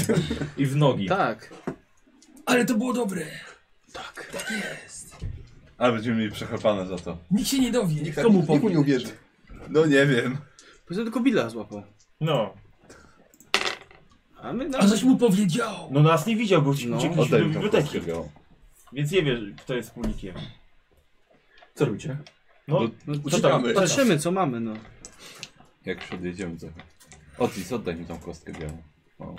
Speaker 3: i w nogi.
Speaker 5: Tak.
Speaker 1: Ale to było dobre.
Speaker 6: Ale będziemy mieli przecharpane za to.
Speaker 1: Nikt się nie dowie.
Speaker 2: Nikt mu nie uwierzy.
Speaker 6: No nie wiem.
Speaker 5: Poza tylko Billa złapał.
Speaker 10: No.
Speaker 5: A my
Speaker 1: A no,
Speaker 5: na...
Speaker 1: coś mu powiedział.
Speaker 10: No nas nie widział, bo uciekliśmy
Speaker 5: No.
Speaker 10: do
Speaker 6: Oddaj mi tą
Speaker 10: biblioteki.
Speaker 6: kostkę białą.
Speaker 10: Więc nie wie, kto jest wspólnikiem.
Speaker 3: Co robicie?
Speaker 10: No,
Speaker 5: No, to
Speaker 2: Uciekamy.
Speaker 5: Patrzymy, co mamy, no.
Speaker 6: Jak przedjedziemy trochę. Otis, oddaj mi tą kostkę białą. O.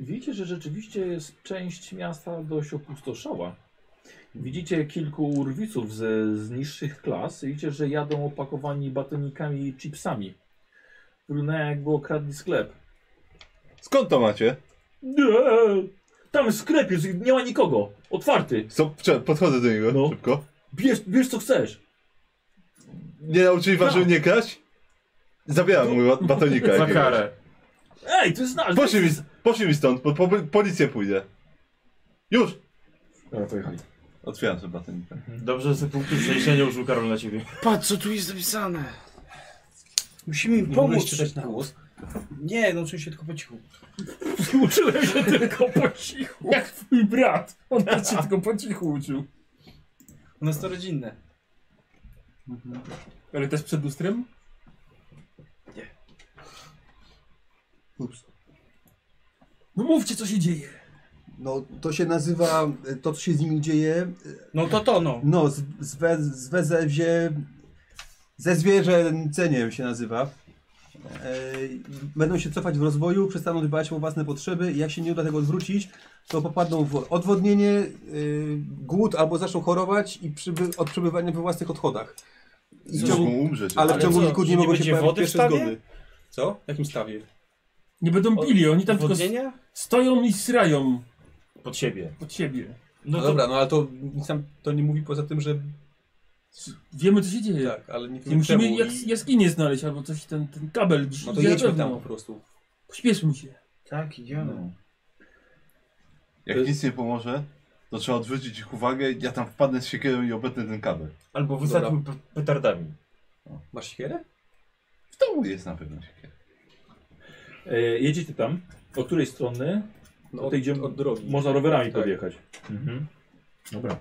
Speaker 3: Widzicie, że rzeczywiście jest część miasta dość opustoszała. Widzicie kilku urwiców ze, z niższych klas. Widzicie, że jadą opakowani batonikami i chipsami. Wyglądają jakby okradli sklep.
Speaker 6: Skąd to macie?
Speaker 3: Nie, tam sklep jest, nie ma nikogo. Otwarty.
Speaker 6: Co, cze- podchodzę do niego
Speaker 3: No.
Speaker 6: szybko.
Speaker 3: Bierz, bierz co chcesz.
Speaker 6: Nie nauczyli was,
Speaker 3: No.
Speaker 6: żeby nie kraść? Zabieram mój bat- batonika.
Speaker 10: za
Speaker 6: jakiegoś.
Speaker 10: karę.
Speaker 3: Ej, ty znasz.
Speaker 6: Poszli mi, poszli mi stąd, po, po, policję pójdę. Już!
Speaker 3: Dobra, pojechali.
Speaker 6: Otwieram sobie batonika.
Speaker 10: Dobrze, że sobie punktu szczęścia nie użył Karol na ciebie.
Speaker 5: Patrz, co tu jest zapisane.
Speaker 9: Musimy im
Speaker 2: Pomóż
Speaker 9: pomóc.
Speaker 2: czytać na głos.
Speaker 9: Nie, no oczywiście tylko po cichu.
Speaker 1: Uczyłem się tylko po cichu. Jak twój brat. On też się tylko po cichu uczył.
Speaker 9: U nas to rodzinne.
Speaker 1: Ale też przed lustrem? Nie. Ups. No mówcie, co się dzieje.
Speaker 2: No to się nazywa, e, to co się z nimi dzieje, e,
Speaker 9: No to to, no.
Speaker 2: No, z, z, we, z wezewzie, ze zwierzęceniem się nazywa. E, i będą się cofać w rozwoju, przestaną dbać o własne potrzeby i jak się nie uda tego odwrócić, to popadną w odwodnienie, e, głód albo zaczną chorować i przyby, od przebywania we własnych odchodach. I w ciągu,
Speaker 6: Mogą umrzeć.
Speaker 2: ale w ciągu
Speaker 9: co,
Speaker 2: kilku
Speaker 9: że
Speaker 2: dni
Speaker 9: nie
Speaker 2: mogą się
Speaker 9: będzie
Speaker 2: pojawić
Speaker 9: wody w
Speaker 2: pierwsze
Speaker 9: stawie? No
Speaker 2: zgody. Co? W jakim stawie?
Speaker 1: Nie będą pili, oni tam tylko s-
Speaker 9: Wodzenia?
Speaker 1: stoją i srają
Speaker 10: Pod siebie.
Speaker 1: pod siebie.
Speaker 2: No, dobra, no ale to nic nam to nie mówi poza tym, że
Speaker 1: Wiemy, co się dzieje.
Speaker 2: tak, ale nie
Speaker 1: I
Speaker 2: wiem czemu.
Speaker 1: musimy jas
Speaker 2: i-
Speaker 1: jaskinię znaleźć, albo coś, ten, ten kabel. gdzieś
Speaker 2: No to
Speaker 1: idzie na
Speaker 2: jedźmy
Speaker 1: pewno.
Speaker 2: tam po prostu.
Speaker 1: Pośpieszmy się.
Speaker 9: Tak, idziemy.
Speaker 6: No. Jak nic nie pomoże, to trzeba odwrócić ich uwagę, ja tam wpadnę z siekierą i obetnę ten kabel.
Speaker 10: Albo wysadł petardami.
Speaker 2: Masz siekierę?
Speaker 6: W domu jest na pewno siekiera.
Speaker 3: E, jedziecie tam. O której strony?
Speaker 2: No,
Speaker 3: Tutaj idziemy-
Speaker 2: od drogi.
Speaker 3: Można rowerami
Speaker 2: Tak.
Speaker 3: podjechać. Mhm. Dobra.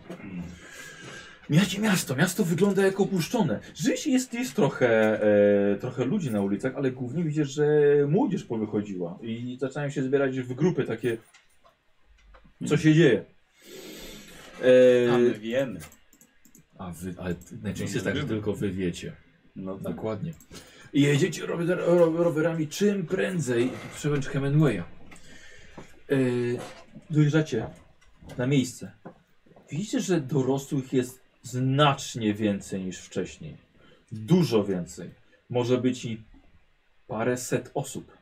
Speaker 3: Miacie miasto, miasto wygląda jak opuszczone. Rzeczywiście jest, jest trochę, e, trochę ludzi na ulicach, ale głównie widzisz, że młodzież powychodziła i zaczynają się zbierać w grupy takie, co się dzieje.
Speaker 5: A
Speaker 3: E,
Speaker 5: my wiemy.
Speaker 3: a wy, ale najczęściej jest tak, że tylko wy wiecie.
Speaker 6: No tak.
Speaker 3: Dokładnie. I Jedziecie rower, ro- rowerami czym prędzej przełęcz Hemingwaya. Yy, dojeżdżacie na miejsce. Widzicie, że dorosłych jest znacznie więcej niż wcześniej. Dużo więcej. Może być i paręset osób.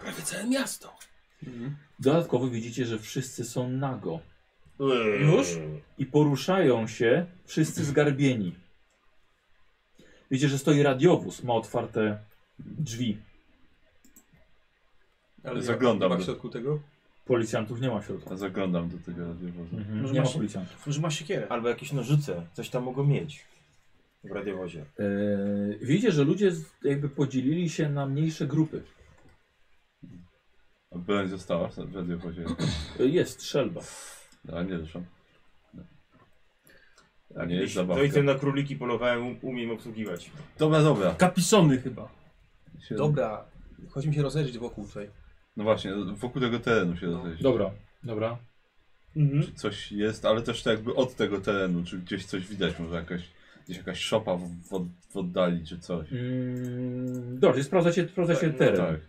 Speaker 1: Prawie całe miasto.
Speaker 3: Dodatkowo widzicie, że wszyscy są nago
Speaker 9: Już?
Speaker 3: i poruszają się wszyscy zgarbieni. Widzicie, że stoi radiowóz, ma otwarte drzwi.
Speaker 2: Ale
Speaker 6: Zaglądam
Speaker 2: nie ma
Speaker 6: do-
Speaker 2: w środku tego?
Speaker 3: Policjantów nie ma w środku. Mhm,
Speaker 6: Ja zaglądam do tego radiowozu.
Speaker 3: Nie ma policjantów.
Speaker 9: Może ma siekierę.
Speaker 10: Albo jakieś nożyce, coś tam mogą mieć w radiowozie.
Speaker 3: Yy, widzicie, że ludzie z- jakby podzielili się na mniejsze grupy.
Speaker 6: A broń została w radiowozie. No,
Speaker 3: Yy, jest strzelba.
Speaker 6: A nie, zresztą. A nie jest
Speaker 10: Jeśli
Speaker 6: zabawka.
Speaker 10: to idę na króliki polowałem, um- umiem obsługiwać.
Speaker 6: Dobra, dobra.
Speaker 1: Kapisony chyba.
Speaker 6: Się-
Speaker 2: Dobra, chodźmy się rozejrzeć wokół tutaj.
Speaker 6: No właśnie, wokół tego terenu się rozejrzeć.
Speaker 3: Dobra, dobra.
Speaker 6: Czy coś jest, ale też to jakby od tego terenu, czy gdzieś coś widać, może jakaś, gdzieś jakaś szopa w, w, od- w oddali, czy coś.
Speaker 3: Mm, dobrze, sprawdzacie, sprawdzacie teren.
Speaker 6: Tak.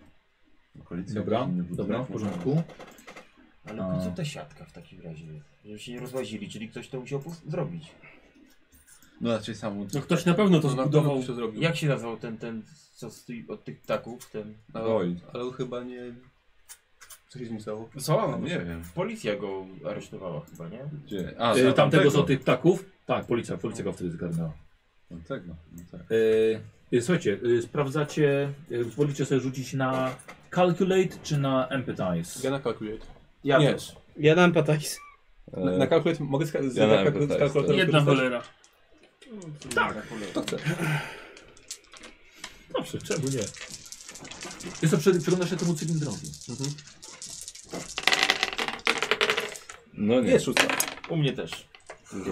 Speaker 6: no. Okolice,
Speaker 3: Dobra,
Speaker 6: jakiś inny budynek
Speaker 3: dobra, w
Speaker 6: może?
Speaker 3: porządku.
Speaker 10: Ale
Speaker 3: A.
Speaker 10: po co ta siatka w takim razie jest? Żeby się nie rozłazili, czyli ktoś to musiał pos- zrobić.
Speaker 6: No raczej samo.
Speaker 1: No ktoś na pewno to
Speaker 2: No na pewno
Speaker 1: zbudował.
Speaker 2: ktoś to zrobił.
Speaker 10: Jak się nazywał ten, ten, co z ty, od tych ptaków, ten...
Speaker 6: Oj,
Speaker 2: Ale on chyba nie... Co się z nim stało?
Speaker 10: Co?
Speaker 6: nie wiem.
Speaker 10: Policja go aresztowała chyba, nie?
Speaker 6: Gdzie? A,
Speaker 3: Yy,
Speaker 6: za
Speaker 3: tamtego z tych ptaków? Tak, policja, policja go wtedy zgarnęła.
Speaker 6: Tamtego, no tak.
Speaker 3: Yy, yy, słuchajcie, yy, sprawdzacie, yy, wolicie sobie rzucić na calculate czy na empathize?
Speaker 2: Ja na calculate.
Speaker 10: Ja
Speaker 2: Nie.
Speaker 10: też.
Speaker 13: Ja dam patajs.
Speaker 2: Na, na calculate mogę ska- z
Speaker 6: E, ja na tak,
Speaker 2: na kalku-
Speaker 6: empathize,
Speaker 2: z kalkulatorem
Speaker 1: Jedna
Speaker 2: korzystać?
Speaker 1: cholera.
Speaker 10: Tak.
Speaker 3: Dobrze, czemu nie? Jest to, przy- przyglądasz się temu cylindrowi.
Speaker 6: No nie.
Speaker 2: Jest szóstka.
Speaker 10: U mnie też.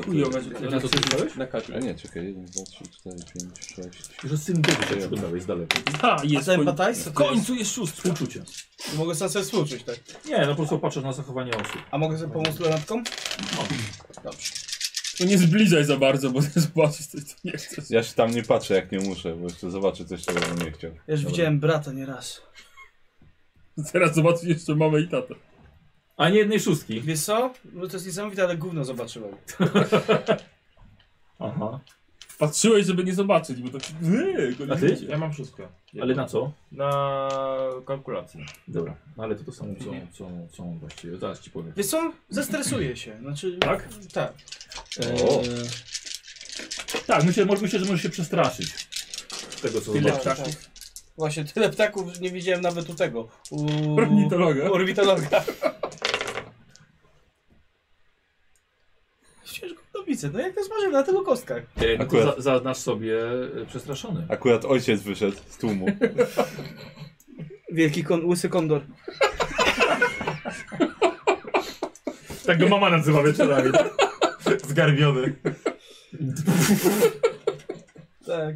Speaker 1: Chujowa rzucę.
Speaker 3: Na to ty rzucałeś?
Speaker 2: Na
Speaker 6: A
Speaker 2: calculate.
Speaker 6: nie, czekaj, 1, 2, 3, 4, 5, 6.
Speaker 3: Że z cylindrowi się przyglądałeś z daleka.
Speaker 1: Ha,
Speaker 9: A
Speaker 1: jest.
Speaker 9: ten
Speaker 1: koń-
Speaker 9: patajs?
Speaker 1: W końcu jest szóstka.
Speaker 3: Współczucie.
Speaker 9: Mogę sam sobie współczuć, tak?
Speaker 3: Nie, no po prostu patrzysz na zachowanie osób.
Speaker 9: A mogę sobie pomóc lornatką?
Speaker 1: No nie zbliżaj za bardzo, bo zobaczysz coś, co nie chcesz.
Speaker 6: Ja się tam nie patrzę jak nie muszę, bo jeszcze zobaczę coś, czego bym nie chciał.
Speaker 9: Ja już widziałem brata nieraz.
Speaker 1: Teraz zobaczysz jeszcze mamę i tatę.
Speaker 3: A nie jednej szóstki.
Speaker 9: Wiesz co? No to jest niesamowite, ale gówno zobaczyłem.
Speaker 3: Aha.
Speaker 1: Patrzyłeś, żeby nie zobaczyć, bo to... Eee, go nie
Speaker 3: A ty?
Speaker 1: widzi.
Speaker 10: Ja mam szóstkę.
Speaker 3: Ale na co?
Speaker 10: Na kalkulację.
Speaker 3: Dobra, no ale to to samo co, co, co on właściwie. Zaraz ci powiem.
Speaker 9: Wiesz co? Zestresuję się. Znaczy...
Speaker 3: Tak?
Speaker 9: Tak.
Speaker 3: Eee, tak, myślę, może- myślę, że możesz się przestraszyć. Z tego co
Speaker 1: Tyle
Speaker 3: zobaczysz.
Speaker 1: ptaków.
Speaker 9: Właśnie, tyle ptaków, że nie widziałem nawet u tego. U...
Speaker 1: Ornitologa.
Speaker 9: u Orbitologa. Ciężko to widzę. No jak to zmarzyłem na tylu kostkach.
Speaker 3: Eee, no to
Speaker 6: Akurat.
Speaker 3: za, zaznacz sobie e, przestraszony.
Speaker 6: Akurat ojciec wyszedł z tłumu.
Speaker 13: Wielki kon, łysy kondor.
Speaker 3: Tak go mama nazywa wieczorami.
Speaker 10: Zgarbiony.
Speaker 9: Tak.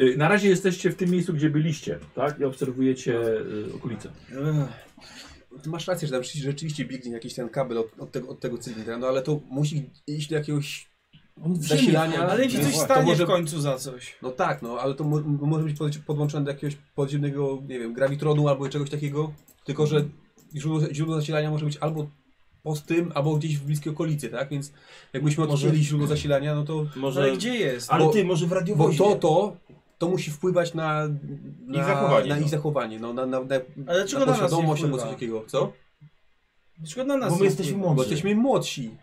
Speaker 3: Y, Na razie jesteście w tym miejscu, gdzie byliście, tak? I obserwujecie e, okolice.
Speaker 2: Ty Masz rację, że tam rzeczywiście- rzeczywiście biegnie jakiś ten kabel od, od, tego, od tego cylindra, no ale to musi iść do jakiegoś
Speaker 1: On w ziemię
Speaker 2: zasilania.
Speaker 9: Ale jeśli
Speaker 2: No
Speaker 9: coś
Speaker 2: właśnie,
Speaker 9: stanie
Speaker 2: to może-
Speaker 9: w końcu za coś.
Speaker 2: No tak, no ale to mo może być pod podłączone do jakiegoś podziemnego, nie wiem, grawitronu albo czegoś takiego. Tylko, że źródło, źródło zasilania może być albo post tym, albo gdzieś w bliskiej okolicy, tak? Więc jakbyśmy odkryli źródło zasilania, no to.
Speaker 10: Może...
Speaker 9: Ale gdzie jest?
Speaker 10: Ale
Speaker 2: Bo-
Speaker 10: ty, może w
Speaker 2: Bo
Speaker 10: radiowozie.
Speaker 2: to, to, to musi wpływać na, na
Speaker 10: zachowanie,
Speaker 2: Na
Speaker 10: no.
Speaker 2: ich zachowanie, no, na, na, na,
Speaker 9: Ale
Speaker 2: tak,
Speaker 9: czego na nas nie
Speaker 2: poświadomość albo
Speaker 9: wpływa?
Speaker 2: coś takiego, co?
Speaker 9: Dlaczego na nas
Speaker 10: Bo my
Speaker 9: nie
Speaker 10: jesteśmy
Speaker 9: wpływa?
Speaker 2: Bo
Speaker 10: mądrzy.
Speaker 2: jesteśmy młodsi.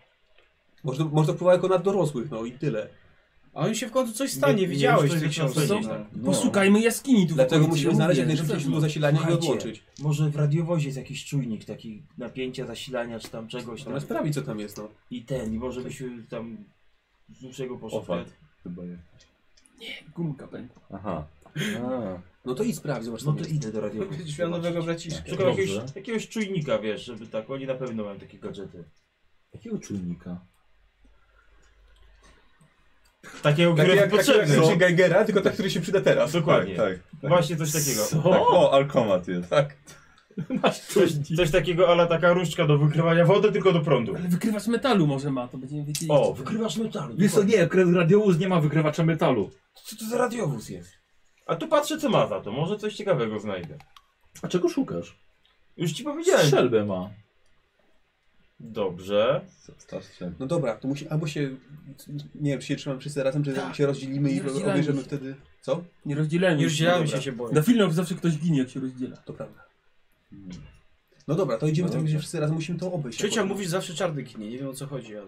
Speaker 2: Może, to- może to wpływa jako na dorosłych, no i tyle.
Speaker 9: A on się w końcu coś stanie, widziałeś
Speaker 10: już
Speaker 9: w tej
Speaker 10: coś
Speaker 9: książce.
Speaker 10: zacząłem
Speaker 9: No.
Speaker 10: powiedzieć,
Speaker 6: No.
Speaker 1: Poszukajmy jaskini tu.
Speaker 2: Dlatego
Speaker 1: wokół,
Speaker 2: musimy
Speaker 1: ja
Speaker 2: znaleźć jak
Speaker 1: mówię,
Speaker 2: najszybciej
Speaker 1: że-
Speaker 2: źródło zasilania i
Speaker 10: Słuchajcie,
Speaker 2: odłączyć.
Speaker 10: Może w radiowozie jest jakiś czujnik taki napięcia, zasilania czy tam czegoś tam.
Speaker 2: Trzeba sprawdzić, co tam jest, no.
Speaker 10: I ten, i może byśmy tam z dłuższego poszukali.
Speaker 6: Ofat. Chyba jest.
Speaker 1: Gumka pękła.
Speaker 6: Aha. A.
Speaker 2: No to idź sprawdź, zobacz, co
Speaker 10: No
Speaker 2: tam
Speaker 10: to
Speaker 2: jest.
Speaker 10: idę do
Speaker 9: Będziesz
Speaker 10: radiowozu.
Speaker 9: miał nowego braciszka.
Speaker 10: Szukam
Speaker 3: Dobrze.
Speaker 10: jakiegoś, jakiegoś czujnika, wiesz, żeby tak, oni na pewno mają takie gadżety.
Speaker 3: Jakiego czujnika?
Speaker 10: Takiego,
Speaker 4: Takie
Speaker 10: które
Speaker 4: jak, takie jak
Speaker 10: potrzebne.
Speaker 4: leci
Speaker 6: no.
Speaker 4: Geigera, tylko tak, który się przyda teraz.
Speaker 10: Dokładnie.
Speaker 6: Tak, tak.
Speaker 10: Właśnie coś takiego.
Speaker 6: Tak, o, alkomat jest.
Speaker 4: Tak.
Speaker 10: Coś, coś takiego, ale taka różdżka do wykrywania wody, tylko do prądu.
Speaker 1: Ale wykrywacz metalu może ma, to będziemy wiedzieli.
Speaker 10: O, wykrywasz metalu.
Speaker 3: Wiesz co, nie, kre- radiowóz nie ma wykrywacza metalu.
Speaker 4: Co to za radiowóz jest?
Speaker 10: A tu patrzę, co ma za to. Może coś ciekawego znajdę.
Speaker 3: A czego szukasz?
Speaker 10: Już ci powiedziałem.
Speaker 3: Strzelbę ma.
Speaker 10: Dobrze.
Speaker 6: Zostawcie.
Speaker 2: No dobra, to musi, albo się, nie wiem, czy się trzymam wszyscy razem, czy
Speaker 1: Tak.
Speaker 2: się rozdzielimy
Speaker 1: Nie
Speaker 2: i
Speaker 1: rozdzielajmy
Speaker 2: obejrzymy
Speaker 1: się.
Speaker 2: wtedy, co?
Speaker 1: Nie rozdzielajmy
Speaker 9: Już zielałem się,
Speaker 1: dobra.
Speaker 9: się boję.
Speaker 1: Na filmach zawsze ktoś ginie, jak się rozdziela.
Speaker 2: To prawda. No dobra, to idziemy w takim razie wszyscy razem, musimy to obejść.
Speaker 9: Ciocia
Speaker 2: jakoś.
Speaker 9: mówi że zawsze czarny ginie, nie wiem o co chodzi, ale...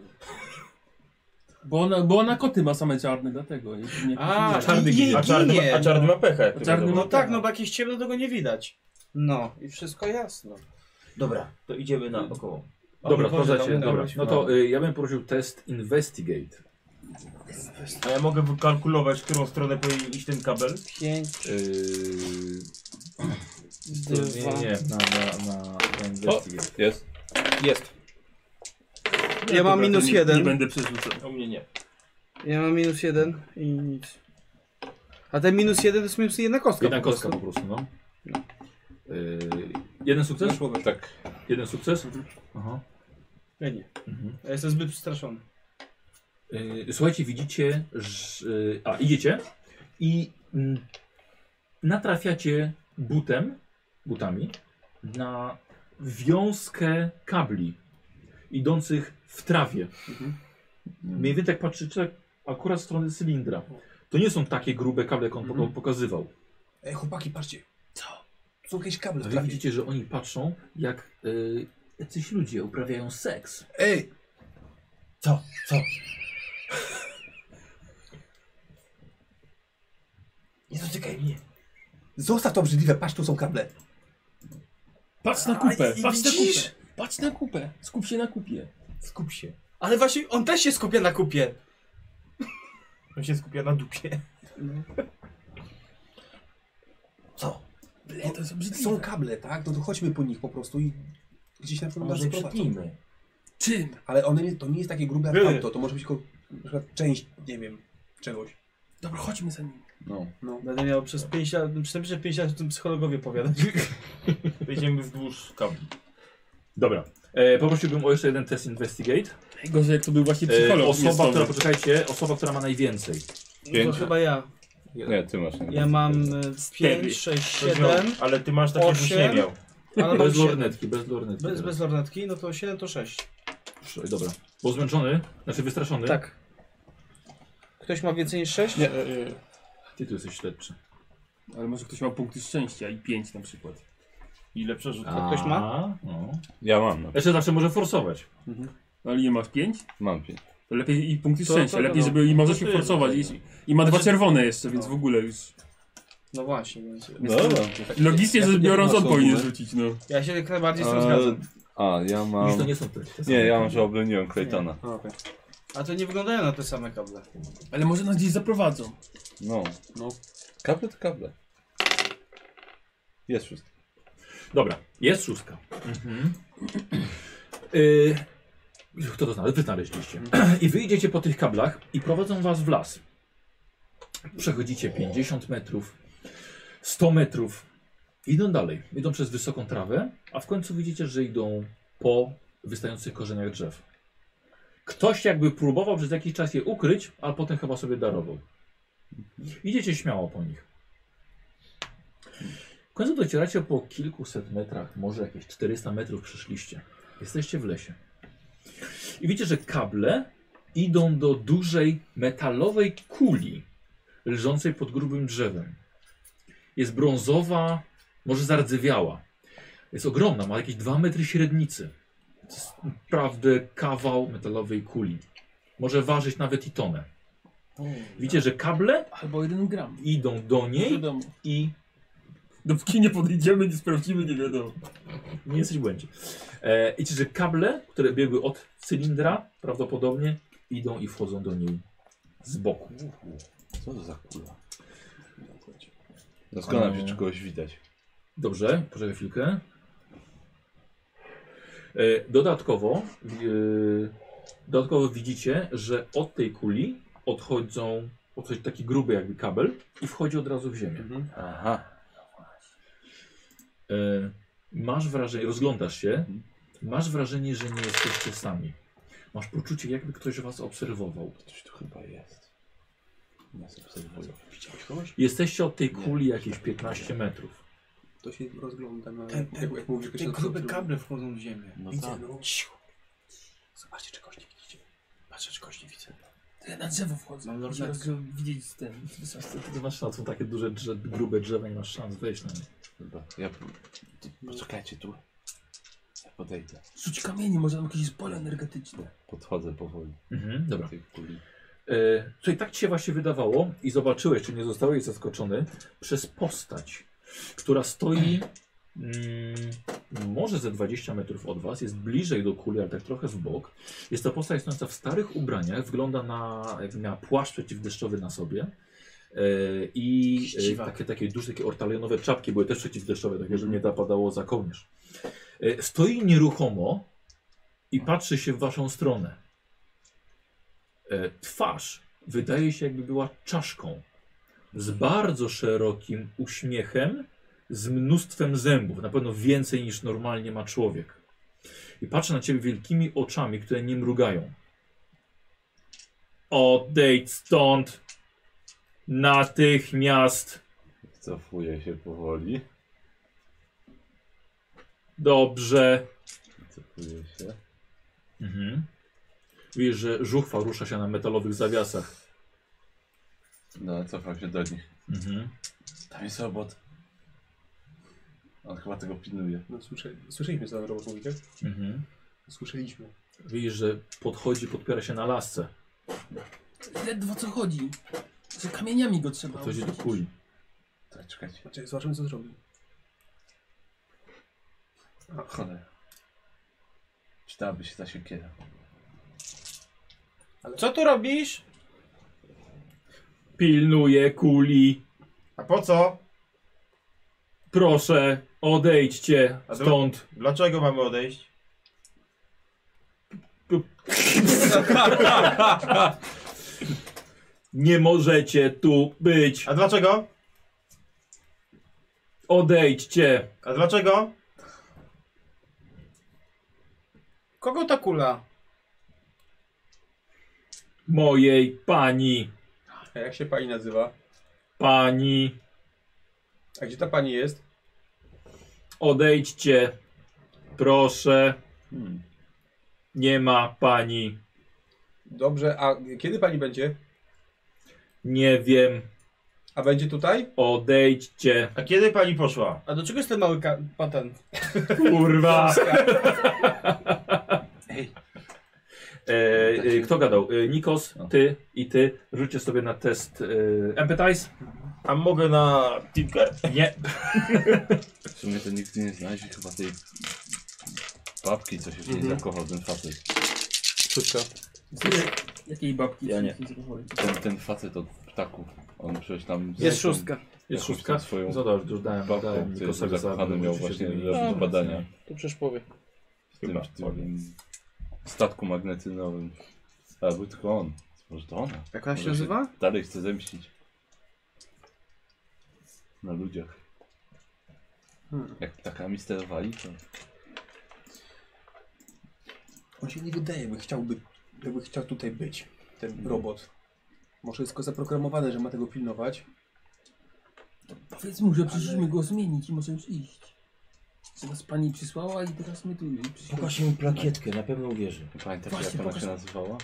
Speaker 1: Bo ona, bo ona koty ma same czarne, dlatego. jeśli nie-
Speaker 9: A,
Speaker 1: nie-
Speaker 9: czarny ginie.
Speaker 10: A czarny, ma- a czarny ma pechę.
Speaker 1: A czarny
Speaker 9: No
Speaker 1: ma-
Speaker 9: tak, no bo jakieś ciemno tego nie widać. No, i wszystko jasno.
Speaker 10: Dobra, to idziemy na około.
Speaker 3: Dobra,
Speaker 6: może tam
Speaker 3: proszę dobra.
Speaker 6: udałeś,
Speaker 3: No to y, ja bym prosił test investigate.
Speaker 10: A ja mogę wykalkulować, w którą stronę powinien iść ten kabel?
Speaker 13: Pięć,
Speaker 3: Yy,
Speaker 13: dwa.
Speaker 3: nie, nie, na, na, na, na investigate.
Speaker 6: Jest.
Speaker 9: Jest.
Speaker 13: Ja mam
Speaker 1: Dobra, to
Speaker 13: minus
Speaker 1: nie, Nie
Speaker 13: jeden.
Speaker 1: będę przerzucał.
Speaker 10: U mnie nie.
Speaker 13: Ja mam minus jeden i nic. A ten minus jeden to jest minus jedna kostka.
Speaker 3: Jedna
Speaker 13: po prostu.
Speaker 3: kostka po prostu, no. Y, jeden sukces?
Speaker 6: Tak.
Speaker 3: Jeden sukces? Aha.
Speaker 9: Ja nie.
Speaker 3: Mhm.
Speaker 9: Ja jestem zbyt przestraszony.
Speaker 3: Y, Słuchajcie, widzicie, że. y, A, idziecie i mm, natrafiacie butem, butami, na wiązkę kabli idących w trawie.
Speaker 2: Mhm.
Speaker 3: Mniej więcej jak patrzycie, tak akurat w stronę cylindra. To nie są takie grube kable, jak on poka- pokazywał.
Speaker 2: Mhm. Ej, chłopaki, patrzcie. Co? Są jakieś kable w
Speaker 3: Wy
Speaker 2: trawie.
Speaker 3: widzicie, że oni patrzą, jak y, jacyś ludzie uprawiają seks.
Speaker 2: Ej,
Speaker 10: Co? Co?
Speaker 2: nie dotykaj mnie. Zostaw to obrzydliwe, patrz, tu są kable.
Speaker 1: Patrz na kupę,
Speaker 9: i
Speaker 1: patrz na
Speaker 9: widzisz?
Speaker 1: kupę. Patrz na kupę. Skup się na kupie.
Speaker 10: Skup się.
Speaker 9: Ale właśnie on też się skupia na kupie.
Speaker 10: On się skupia na dupie.
Speaker 2: Co?
Speaker 1: Ble, to jest obrzydliwe.
Speaker 2: Są kable, tak? No to chodźmy po nich po prostu i gdzieś na
Speaker 10: To
Speaker 2: pewno nas
Speaker 10: może
Speaker 2: zaprowadzą.
Speaker 10: przetnijmy.
Speaker 1: Czym?
Speaker 2: Ale one nie, to nie jest takie grube jak
Speaker 10: Yy.
Speaker 2: tamto, to może być tylko na przykład część, nie wiem, czegoś.
Speaker 1: Dobra, chodźmy za nim.
Speaker 6: No.
Speaker 9: Będę miał przez 5 lat, przynajmniej przez 5 lat o tym psychologowie powiadać.
Speaker 10: Wejdziemy wzdłuż kabli.
Speaker 3: Dobra. E, poprosiłbym o jeszcze jeden test investigate.
Speaker 1: Gorzej, jak to był właśnie
Speaker 3: E,
Speaker 1: psycholog.
Speaker 3: osoba,
Speaker 1: miejscowy.
Speaker 3: która, poczekajcie, osoba, która ma najwięcej.
Speaker 9: No To
Speaker 6: Pięć.
Speaker 9: chyba ja.
Speaker 6: Nie, ty masz. Nie.
Speaker 9: Ja mam e,
Speaker 1: Cztery.
Speaker 9: 5, 6,
Speaker 10: To wziął,
Speaker 9: 7,
Speaker 10: Ale ty masz takie, jakbyś nie
Speaker 9: osiem.
Speaker 10: miał.
Speaker 9: ale mam
Speaker 3: Bez
Speaker 9: 7.
Speaker 3: lornetki, bez lornetki.
Speaker 9: No, Bez,
Speaker 3: teraz.
Speaker 9: bez lornetki, no to 7 to 6.
Speaker 3: Dobra. Bo zmęczony, znaczy wystraszony.
Speaker 13: Tak. Ktoś ma więcej niż sześć?
Speaker 1: Nie, e, e,
Speaker 3: Ty tu jesteś śledczy.
Speaker 1: ale może ktoś ma punkty szczęścia i pięć na przykład.
Speaker 10: Ile przerzutka?
Speaker 13: ktoś
Speaker 3: ma? No.
Speaker 6: Ja mam. No.
Speaker 3: Jeszcze zawsze może forsować.
Speaker 1: No ale nie masz pięć?
Speaker 6: Mam pięć.
Speaker 1: To lepiej i punkty
Speaker 13: To-
Speaker 1: szczęścia.
Speaker 13: to-
Speaker 1: lepiej,
Speaker 13: no.
Speaker 1: żeby i może
Speaker 10: To
Speaker 1: się
Speaker 10: tyle,
Speaker 1: forsować.
Speaker 10: tyle.
Speaker 1: I, I ma dwa czerwone jeszcze, więc w ogóle już.
Speaker 9: No właśnie, więc
Speaker 6: No,
Speaker 1: Logicznie
Speaker 2: Ja
Speaker 1: rzecz
Speaker 2: tu nie
Speaker 1: biorąc, on
Speaker 2: pomogę w
Speaker 1: powinien
Speaker 2: ogóle.
Speaker 1: rzucić, no.
Speaker 9: ja się jak najbardziej z tym
Speaker 6: A,
Speaker 9: zgadzam.
Speaker 6: a, ja
Speaker 3: Już to
Speaker 6: mam.
Speaker 3: nie są te. te same.
Speaker 6: Nie, ja mam, że obroniłem Claytona.
Speaker 9: A to nie wyglądają na te same kable.
Speaker 1: Ale może nas gdzieś zaprowadzą.
Speaker 6: No.
Speaker 2: No.
Speaker 6: Kable to kable. Jest wszystko.
Speaker 3: Dobra, jest szóstka. Y, Kto to znalazł? Wy znaleźliście. I wyjdziecie po tych kablach i prowadzą was w las. Przechodzicie 50 metrów, 100 metrów. Idą dalej. Idą przez wysoką trawę, a w końcu widzicie, że idą po wystających korzeniach drzew. Ktoś jakby próbował przez jakiś czas je ukryć, ale potem chyba sobie darował. Idziecie śmiało po nich. W końcu docieracie po kilkuset metrach, może jakieś 400 metrów przeszliście. Jesteście w lesie. I widzicie, że kable idą do dużej metalowej kuli leżącej pod grubym drzewem. Jest brązowa, może zardzewiała. Jest ogromna, ma jakieś 2 metry średnicy. To jest naprawdę kawał metalowej kuli. Może ważyć nawet i tonę. Widzicie, że kable
Speaker 1: Albo jeden gram.
Speaker 3: idą do
Speaker 1: Nie
Speaker 3: niej
Speaker 1: wiadomo.
Speaker 3: i
Speaker 1: Dopóki nie podejdziemy, nie sprawdzimy, nie wiadomo.
Speaker 3: Nie jesteś w błędzie. E, I czy że kable, które biegły od cylindra, prawdopodobnie idą i wchodzą do niej z boku.
Speaker 6: Co to za kula? Zastanawiam się, czy kogoś widać.
Speaker 3: Dobrze, poczekaj chwilkę. E, Dodatkowo, e, dodatkowo widzicie, że od tej kuli odchodzą, odchodzi taki gruby jakby kabel i wchodzi od razu w ziemię.
Speaker 6: Mhm. Aha.
Speaker 3: E, Masz wrażenie, rozglądasz się,
Speaker 6: Mhm.
Speaker 3: masz wrażenie, że nie jesteście sami. Masz poczucie, jakby ktoś was obserwował.
Speaker 6: Coś tu chyba jest. Nas obserwują.
Speaker 2: Widziałeś kogoś?
Speaker 3: Jesteście od tej kuli jakieś 15 metrów.
Speaker 2: To się rozgląda na...
Speaker 9: Ten- ten-
Speaker 2: jak, jak mówisz,
Speaker 9: Te grube kable wchodzą w ziemię.
Speaker 6: No
Speaker 2: Widzę,
Speaker 6: tak.
Speaker 2: no.
Speaker 9: Ciu.
Speaker 2: Zobaczcie, czegoś nie widzicie.
Speaker 9: Patrzę, czy kogoś nie widzę.
Speaker 1: Na drzewo wchodzą.
Speaker 9: Mam
Speaker 1: Mam
Speaker 9: lornetkę.
Speaker 1: widzieć z tym. z wysoka.
Speaker 3: Ty nie masz szans, są takie duże drze, grube drzewa, nie masz szans wejść na nie.
Speaker 6: Dobra, ja... ty- Poczekajcie tu. Ja podejdę.
Speaker 1: Rzuć kamienie, może tam jakieś pole energetyczne.
Speaker 6: Podchodzę powoli
Speaker 3: Mhm,
Speaker 6: do
Speaker 3: dobra.
Speaker 6: tej kuli.
Speaker 3: E, Czyli tak ci się właśnie wydawało i zobaczyłeś, czy nie zostałeś zaskoczony przez postać, która stoi mm, może ze 20 metrów od was, jest bliżej do kuli, ale tak trochę w bok. Jest to postać stojąca w starych ubraniach, wygląda na, jakby miała płaszcz przeciwdeszczowy na sobie. E, I e,
Speaker 9: Chciwa.
Speaker 3: takie, takie duże, takie ortalionowe czapki były też przeciwdeszczowe, takie, żeby nie zapadało za kołnierz. E, Stoi nieruchomo i patrzy się w waszą stronę. E, Twarz wydaje się, jakby była czaszką. Z bardzo szerokim uśmiechem, z mnóstwem zębów, na pewno więcej niż normalnie ma człowiek. I patrzy na ciebie wielkimi oczami, które nie mrugają. Odejdź stąd! Natychmiast!
Speaker 6: Cofuję się powoli.
Speaker 3: Dobrze.
Speaker 6: Cofuję się.
Speaker 3: Mhm. Widzisz, że żuchwa rusza się na metalowych zawiasach.
Speaker 6: No, cofam się do nich.
Speaker 3: Mhm.
Speaker 6: Tam jest robot. On chyba tego pilnuje.
Speaker 2: No, słysze, słyszeliśmy, co tam robot mówi, tak?
Speaker 3: Mhm.
Speaker 2: Słyszeliśmy.
Speaker 3: Widzisz, że podchodzi, podpiera się na lasce.
Speaker 1: Ledwo co chodzi. Że kamieniami go trzeba.
Speaker 3: Podchodzi do kuli.
Speaker 6: Tak, czekajcie.
Speaker 2: Znaczy, zobaczymy, co zrobi.
Speaker 6: Cholera. Przydałaby się ta siekiera.
Speaker 9: Co tu robisz?
Speaker 3: Pilnuje kuli.
Speaker 7: A po co?
Speaker 3: Proszę, odejdźcie
Speaker 7: A to-
Speaker 3: stąd.
Speaker 7: Dlaczego mamy odejść?
Speaker 3: Nie możecie tu być.
Speaker 7: A dlaczego?
Speaker 3: Odejdźcie.
Speaker 7: A dlaczego?
Speaker 9: Kogo ta kula?
Speaker 3: Mojej pani.
Speaker 2: A jak się pani nazywa?
Speaker 3: Pani.
Speaker 2: A gdzie ta pani jest?
Speaker 3: Odejdźcie. Proszę.
Speaker 6: Hmm.
Speaker 3: Nie ma pani.
Speaker 2: Dobrze, a kiedy pani będzie?
Speaker 3: Nie wiem.
Speaker 2: A będzie tutaj?
Speaker 3: Odejdźcie.
Speaker 7: A kiedy pani poszła?
Speaker 9: A do czego jest ten mały ka- patent?
Speaker 3: Kurwa.
Speaker 6: Ej,
Speaker 3: E, e, kto gadał? E, Nikos,
Speaker 6: No.
Speaker 3: ty i ty. Rzućcie sobie na test e, Empathize.
Speaker 7: A mogę na Tinker?
Speaker 3: Nie.
Speaker 6: w sumie to nikt nie znajdzie chyba tej babki, co się w niej
Speaker 13: Mhm.
Speaker 6: zakochał, ten facet.
Speaker 2: Szóstka.
Speaker 1: Jakiej babki?
Speaker 6: Ja nie.
Speaker 1: Zachowuj.
Speaker 6: Ten, ten facet od ptaków. On przecież tam... z
Speaker 13: Jest
Speaker 6: tą
Speaker 13: szóstka.
Speaker 3: Jest
Speaker 6: Jakąś
Speaker 3: szóstka.
Speaker 6: tam swoją
Speaker 3: Zadasz, już dałem,
Speaker 6: Babką,
Speaker 3: dałem
Speaker 6: który
Speaker 3: Nikosowi za
Speaker 6: zakochany miał właśnie do badania.
Speaker 13: To przecież powie.
Speaker 6: W tym, w tym statku magnetynowym. A był tylko on. Może to ona.
Speaker 13: Jak ona się
Speaker 6: Może
Speaker 13: nazywa?
Speaker 6: Dalej chce zemścić. Na ludziach. Jak ptakami sterowali, to...
Speaker 2: On się nie wydaje, by chciałby, jakby chciał tutaj być, ten robot. Może jest tylko zaprogramowane, że ma tego pilnować.
Speaker 1: Powiedz mu, że przyszliśmy go zmienić i może już iść. Że nas pani przysłała i teraz my tu
Speaker 2: No
Speaker 1: przyszliśmy.
Speaker 5: Pokaż mu plakietkę, na pewno uwierzy.
Speaker 6: Pamiętasz
Speaker 1: Właśnie,
Speaker 6: jak ona
Speaker 1: pokaż-
Speaker 6: się nazywała?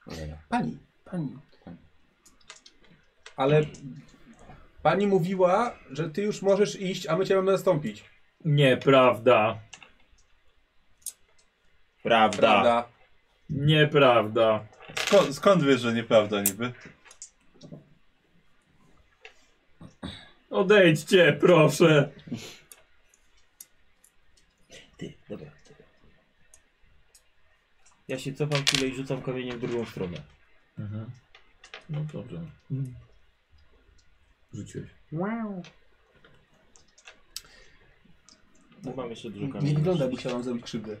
Speaker 6: Cholera.
Speaker 2: Pani.
Speaker 1: Pani.
Speaker 2: Ale pani mówiła, że ty już możesz iść, a my cię mamy zastąpić.
Speaker 3: Nieprawda.
Speaker 7: Prawda.
Speaker 2: Prawda.
Speaker 3: Nieprawda.
Speaker 6: Skąd, skąd wiesz, że nieprawda niby?
Speaker 3: Odejdźcie, proszę.
Speaker 5: Ty, dobra.
Speaker 10: Ja się cofam chwilę i rzucam kamienie w drugą stronę.
Speaker 3: Mhm. No dobrze. Rzuciłeś.
Speaker 10: Bo mam jeszcze dużo
Speaker 2: Tak. Nie
Speaker 10: kamieni.
Speaker 2: wygląda, jakby chciał nam zrobić krzywdę.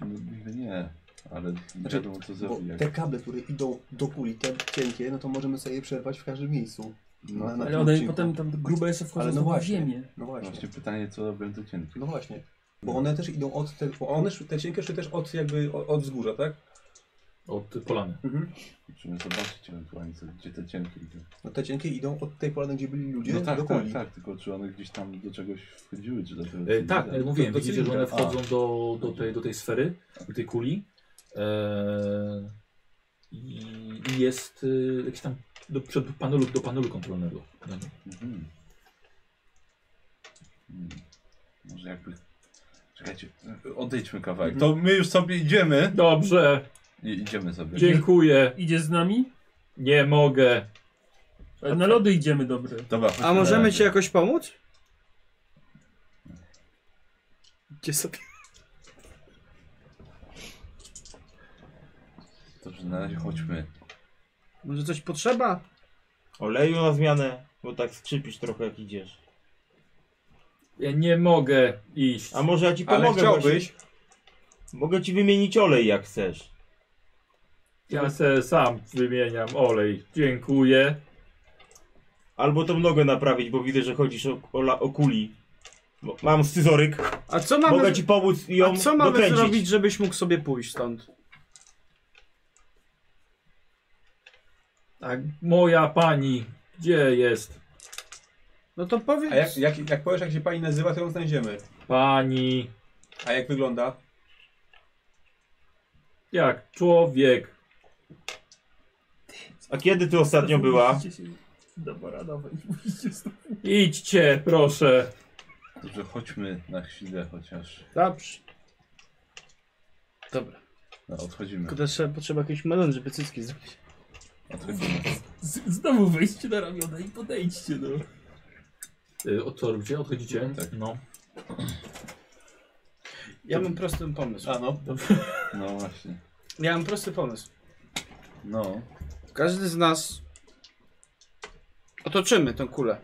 Speaker 6: No, niby nie, ale nie
Speaker 2: Znaczy,
Speaker 6: wiadomo co
Speaker 2: Bo
Speaker 6: zabijać.
Speaker 2: te kable, które idą do kuli, te cienkie, no to możemy sobie je przerwać w każdym miejscu.
Speaker 6: No,
Speaker 2: na- na-
Speaker 1: Ale one
Speaker 2: odcinku.
Speaker 1: potem tam grube jeszcze wchodzą
Speaker 2: Ale no
Speaker 1: znowu w
Speaker 2: właśnie.
Speaker 1: ziemię.
Speaker 2: No właśnie.
Speaker 6: Właśnie pytanie, co robią te cienki.
Speaker 2: No właśnie. Bo one też idą od te, bo one sz- te cienkie szły też od jakby o- od wzgórza, tak?
Speaker 3: Od polany.
Speaker 2: Mhm.
Speaker 6: Musimy zobaczyć ewentualnie, co, gdzie te cienki idą.
Speaker 2: No te cienkie idą od tej polany, gdzie byli ludzie,
Speaker 6: no tak,
Speaker 2: do
Speaker 6: tak,
Speaker 2: kuli.
Speaker 6: tak, tylko czy one gdzieś tam do czegoś wchodziły, czy do tego...
Speaker 3: E, tak,
Speaker 6: cylindra?
Speaker 3: e, mówiłem,
Speaker 6: Y, Do
Speaker 3: widzicie, że
Speaker 6: cylindra.
Speaker 3: one wchodzą
Speaker 6: A,
Speaker 3: do, do, tej, do tej sfery, do tej kuli. E, I i jest e, jakiś tam do, przed panelu, do panelu kontrolnego.
Speaker 6: mhm. Hmm. Może jakby... Czekajcie, odejdźmy kawałek. To my już sobie idziemy.
Speaker 3: Dobrze,
Speaker 6: I idziemy sobie.
Speaker 3: dziękuję.
Speaker 1: Idziesz z nami?
Speaker 3: Nie mogę.
Speaker 1: Ale Na lody idziemy dobre.
Speaker 6: Dobra,
Speaker 9: A możemy ci jakoś pomóc? Gdzie sobie?
Speaker 6: Dobrze, na razie chodźmy.
Speaker 9: Może coś potrzeba?
Speaker 10: Oleju na zmianę, bo tak skrzypisz trochę jak idziesz.
Speaker 3: Ja nie mogę iść.
Speaker 10: A może ja ci
Speaker 15: Ale
Speaker 10: pomogę
Speaker 15: chciałbyś?
Speaker 10: Właśnie. Mogę ci wymienić olej jak chcesz.
Speaker 3: Ja se sam wymieniam olej. Dziękuję.
Speaker 10: Albo tą nogę naprawić, bo widzę, że chodzisz o, o, la- o kuli. Bo Mam scyzoryk.
Speaker 9: A co
Speaker 10: Mogę
Speaker 9: mamy,
Speaker 10: ci pomóc ją
Speaker 9: a co mamy
Speaker 10: dokręcić.
Speaker 9: zrobić, żebyś mógł sobie pójść stąd?
Speaker 3: Tak, moja pani, gdzie jest
Speaker 9: No to
Speaker 2: A
Speaker 9: powiedz.
Speaker 2: jak, jak, jak powiesz, jak się pani nazywa, to ją znajdziemy.
Speaker 3: pani?
Speaker 2: A jak wygląda?
Speaker 3: Jak człowiek.
Speaker 10: A kiedy ty ostatnio była?
Speaker 1: Dobra, dawaj, idźcie stąd.
Speaker 3: Idźcie, proszę.
Speaker 6: Dobrze, chodźmy na chwilę chociaż.
Speaker 9: Dobrze. Dobra.
Speaker 6: No, odchodzimy.
Speaker 9: Tylko też potrzeba jakiejś melon, żeby cycki zrobić.
Speaker 6: Odchodzimy.
Speaker 1: Z- Znowu wejdźcie na ramiona i podejdźcie, no.
Speaker 3: Y, Od co robicie? Odchodzicie?
Speaker 6: Tak.
Speaker 3: No.
Speaker 9: Ja mam prosty pomysł.
Speaker 2: A no.
Speaker 6: No właśnie.
Speaker 9: Ja mam prosty pomysł.
Speaker 6: No.
Speaker 9: Każdy z nas otoczymy tę kulę.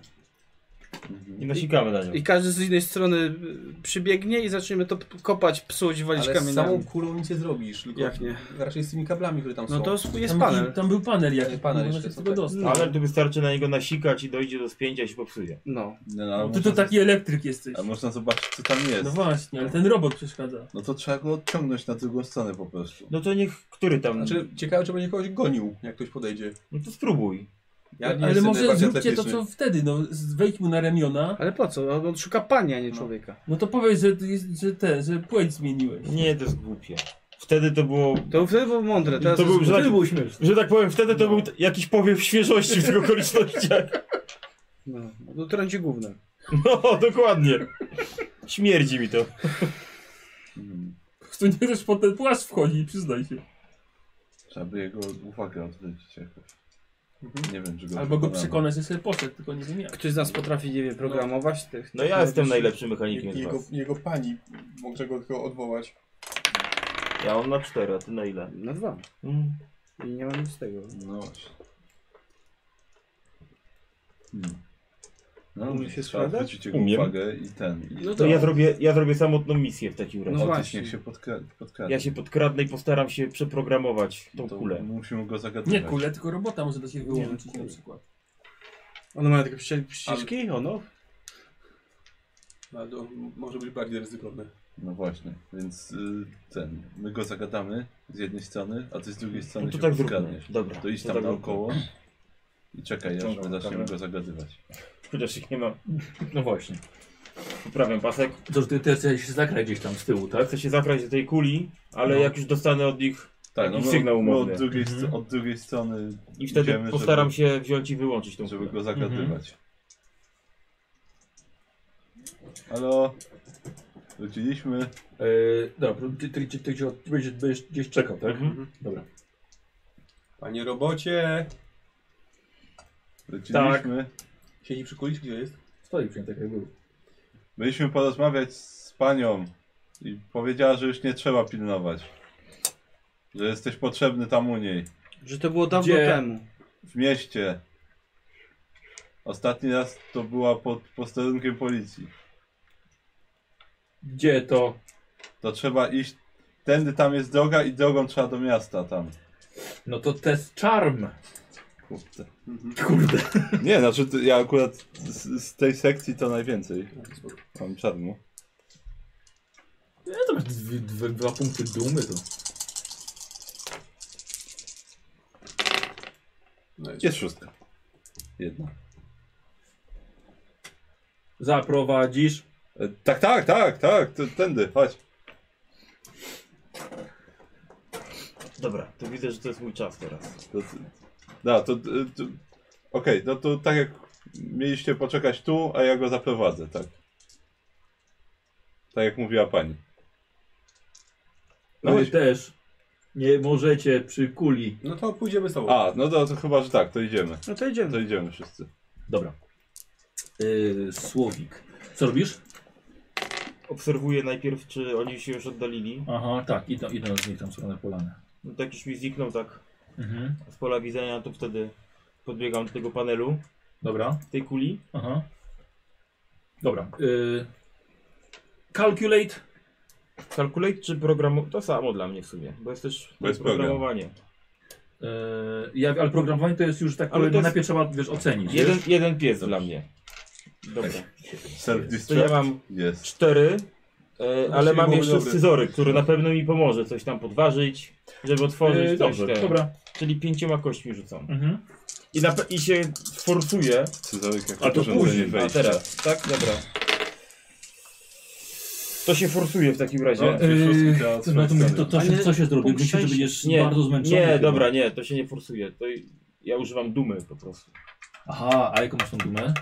Speaker 10: I nasikamy na nią.
Speaker 9: I każdy z innej strony y, przybiegnie i zaczniemy to p- kopać, psuć, walić
Speaker 2: Ale z
Speaker 9: kamieniami.
Speaker 2: samą kulą nic nie zrobisz, tylko
Speaker 9: Jak nie?
Speaker 2: raczej z tymi kablami, które tam
Speaker 9: No
Speaker 2: są.
Speaker 9: to sp- jest
Speaker 1: Tam,
Speaker 9: panel.
Speaker 1: tam był panel jakiś,
Speaker 2: Panel
Speaker 1: panel
Speaker 2: jeszcze,
Speaker 1: się z
Speaker 2: co
Speaker 1: tego
Speaker 2: tak.
Speaker 1: dostał.
Speaker 10: Ale tu wystarczy na niego nasikać i dojdzie do spięcia i się popsuje.
Speaker 9: No.
Speaker 6: no, no ale
Speaker 1: Ty
Speaker 6: można,
Speaker 1: to taki elektryk jesteś.
Speaker 6: a można zobaczyć co tam jest. No,
Speaker 1: No właśnie, ale ten robot przeszkadza.
Speaker 6: to trzeba go odciągnąć na drugą stronę po prostu.
Speaker 10: No to niech, który tam...
Speaker 2: Znaczy, ciekawe, czy będzie kogoś gonił, jak ktoś podejdzie.
Speaker 10: No to spróbuj.
Speaker 2: Ja nie
Speaker 1: ale
Speaker 2: jestem
Speaker 1: może
Speaker 2: najbardziej
Speaker 1: zróbcie to,
Speaker 2: atletyczny.
Speaker 1: co wtedy, no. z- Wejdź mu na ramiona.
Speaker 9: Ale po co? On- On szuka pani, a nie człowieka.
Speaker 1: No to powiedz, że, ty jest- że te, że płeć zmieniłeś.
Speaker 10: Nie, to jest głupie. Wtedy to było...
Speaker 9: To wtedy było mądre, teraz
Speaker 10: No To
Speaker 9: jest
Speaker 10: był
Speaker 9: głupie.
Speaker 10: żart.
Speaker 3: był śmieszny.
Speaker 10: Że tak powiem, wtedy
Speaker 2: No.
Speaker 10: to był t- jakiś powiew świeżości w tych okolicznościach.
Speaker 9: No, to trąci główne.
Speaker 10: No, dokładnie. Śmierdzi mi to.
Speaker 6: Mhm.
Speaker 1: To nie też pod ten płaszcz wchodzi, przyznaj się.
Speaker 6: Trzeba by jego uwagę odwrócić jakoś.
Speaker 1: Mhm.
Speaker 6: Nie wiem, czy go
Speaker 1: Albo go
Speaker 6: przekonamy.
Speaker 1: przekonać, że sobie poszedł, tylko nie wiem jak.
Speaker 9: Ktoś z nas potrafi, nie wiem, programować tych.
Speaker 10: No ja jestem
Speaker 9: najlepszy.
Speaker 10: najlepszym mechanikiem z
Speaker 2: jego,
Speaker 10: was.
Speaker 2: jego pani, może go tylko odwołać.
Speaker 10: Ja mam na 4, a ty na ile?
Speaker 9: Na No dwa.
Speaker 10: Mm.
Speaker 9: I nie mam nic z tego.
Speaker 6: No właśnie. Hmm. No,
Speaker 9: Umie
Speaker 6: dobrze,
Speaker 9: się
Speaker 6: trzeba
Speaker 9: skradać?
Speaker 6: zwrócić jego
Speaker 10: Umiem.
Speaker 6: uwagę i ten. I
Speaker 9: No
Speaker 10: To ja zrobię, ja zrobię samotną misję w takim razie.
Speaker 9: No
Speaker 6: Otyś
Speaker 9: właśnie.
Speaker 6: niech się podkra- podkradnie.
Speaker 10: Ja się podkradnę i postaram się przeprogramować tą
Speaker 6: To
Speaker 10: kulę.
Speaker 6: Musimy go zagadywać.
Speaker 1: Nie kule, tylko robota może da się wyłączyć na przykład.
Speaker 9: One mają takie przy- ścieżki? Ono?
Speaker 2: Ale No, to może być bardziej ryzykowne.
Speaker 6: No właśnie, więc y, ten, my go zagadamy z jednej strony, a ty z drugiej strony
Speaker 10: No to
Speaker 6: się
Speaker 10: tak zróbmy.
Speaker 6: podkradniesz.
Speaker 10: Dobra.
Speaker 6: To idź tam
Speaker 10: tak zróbmy.
Speaker 6: naokoło i czekaj, aż
Speaker 10: Ciągam
Speaker 6: my zaczniemy
Speaker 10: kamerę.
Speaker 6: go zagadywać.
Speaker 10: Chociaż ich nie ma.
Speaker 3: No właśnie.
Speaker 10: Poprawiam pasek.
Speaker 3: To, że ty, ty chcesz się zagrać gdzieś tam z tyłu,
Speaker 10: Ja
Speaker 3: tak?
Speaker 10: chcę się zakraść do tej kuli, ale
Speaker 3: No.
Speaker 10: jak już dostanę od nich
Speaker 6: Tak, no,
Speaker 10: Jakiś
Speaker 6: my-
Speaker 10: sygnał
Speaker 6: my
Speaker 10: umowny.
Speaker 6: od, drugiej, str-
Speaker 3: Mhm.
Speaker 6: od drugiej strony
Speaker 10: i wtedy
Speaker 6: idziemy,
Speaker 10: postaram
Speaker 6: żeby,
Speaker 10: się wziąć i wyłączyć tą
Speaker 6: żeby
Speaker 10: kulę.
Speaker 6: go zagadywać. Halo? Wróciliśmy.
Speaker 3: Yy, dobra, ty, ty, ty, ty, ty będziesz, będziesz gdzieś czekał, tak?
Speaker 10: Mhm.
Speaker 3: Dobra.
Speaker 2: Panie robocie!
Speaker 6: Wróciliśmy.
Speaker 2: Siedzi przy kuliczki, gdzie jest?
Speaker 3: Stoi tak, przyjęty jak był.
Speaker 6: Byliśmy porozmawiać z panią i powiedziała, że już nie trzeba pilnować. Że jesteś potrzebny tam u niej.
Speaker 9: Że to było dawno
Speaker 3: Gdzie?
Speaker 9: temu.
Speaker 6: W mieście. Ostatni raz to była pod posterunkiem policji.
Speaker 10: Gdzie to?
Speaker 6: To trzeba iść. Tędy tam jest droga i drogą trzeba do miasta tam.
Speaker 3: No to test charm.
Speaker 6: Kurde.
Speaker 3: Kurde.
Speaker 6: Nie, znaczy to ja akurat z, z tej sekcji to najwięcej. Mam czarnu.
Speaker 3: Ja to masz dwie, dwie, dwa punkty dumy to.
Speaker 6: Jest szóstka. Jedna.
Speaker 10: Zaprowadzisz?
Speaker 6: E, Tak, tak, tak, tak. To, tędy, chodź.
Speaker 10: Dobra, to widzę, że to jest mój czas teraz.
Speaker 6: To, to, da, to, to, to Okej, no to tak jak mieliście poczekać tu, a ja go zaprowadzę, tak. Tak jak mówiła pani. No
Speaker 3: No Wy
Speaker 6: chodź.
Speaker 3: też nie możecie przy kuli.
Speaker 4: No to pójdziemy z tobą.
Speaker 6: A, no to, to chyba, że tak, to idziemy.
Speaker 13: No to idziemy.
Speaker 6: To idziemy wszyscy.
Speaker 3: Dobra. Yy, Słowik. Co robisz?
Speaker 10: Obserwuję najpierw, czy oni się już oddalili.
Speaker 3: Aha, tak, idą, idą z nich tam są na polanę.
Speaker 10: No tak już mi zniknął tak
Speaker 3: Mhm.
Speaker 10: z pola widzenia, to wtedy podbiegam do tego panelu,
Speaker 3: Dobra.
Speaker 10: tej kuli.
Speaker 3: Aha. Dobra. Yy, calculate.
Speaker 10: Calculate czy program... To samo dla mnie w sumie, bo jest też
Speaker 6: Bo jest program.
Speaker 10: programowanie.
Speaker 3: Yy, ja, ale programowanie to jest już tak,
Speaker 10: Ale to
Speaker 3: ale
Speaker 10: jest-
Speaker 3: najpierw trzeba wiesz, ocenić.
Speaker 10: Jeden, jeden pies dla mnie. Dobra. To ja
Speaker 6: Self-destruct?
Speaker 10: mam
Speaker 6: Jest.
Speaker 10: cztery, e, ale mam
Speaker 4: byłoby
Speaker 10: jeszcze
Speaker 4: dobre.
Speaker 10: scyzoryk, który na pewno mi pomoże coś tam podważyć, żeby otworzyć
Speaker 3: Yy,
Speaker 10: coś
Speaker 3: dobrze,
Speaker 10: te.
Speaker 3: dobra.
Speaker 10: Czyli pięcioma kośćmi rzucam.
Speaker 3: Mhm.
Speaker 10: I, na, pe- I się forsuje.
Speaker 6: Scyzoryk jako
Speaker 10: A to
Speaker 6: urządzenie
Speaker 10: później, a
Speaker 6: wejścia.
Speaker 10: teraz, tak? Dobra. To się forsuje w takim razie.
Speaker 6: No, dwie
Speaker 10: E,
Speaker 6: szóstki działa z
Speaker 3: To, no
Speaker 6: trzech
Speaker 3: to, mówię,
Speaker 6: stron.
Speaker 3: to, to się,
Speaker 13: Ale
Speaker 3: co się zrobi?
Speaker 13: punkt
Speaker 3: Myślę, że
Speaker 13: szczęścia-
Speaker 3: będziesz
Speaker 10: nie,
Speaker 3: bardzo zmęczony.
Speaker 10: nie,
Speaker 3: chyba.
Speaker 10: dobra, nie, to się nie forsuje. To i- ja używam dumy po prostu.
Speaker 3: Aha, a jaką masz tą dumę?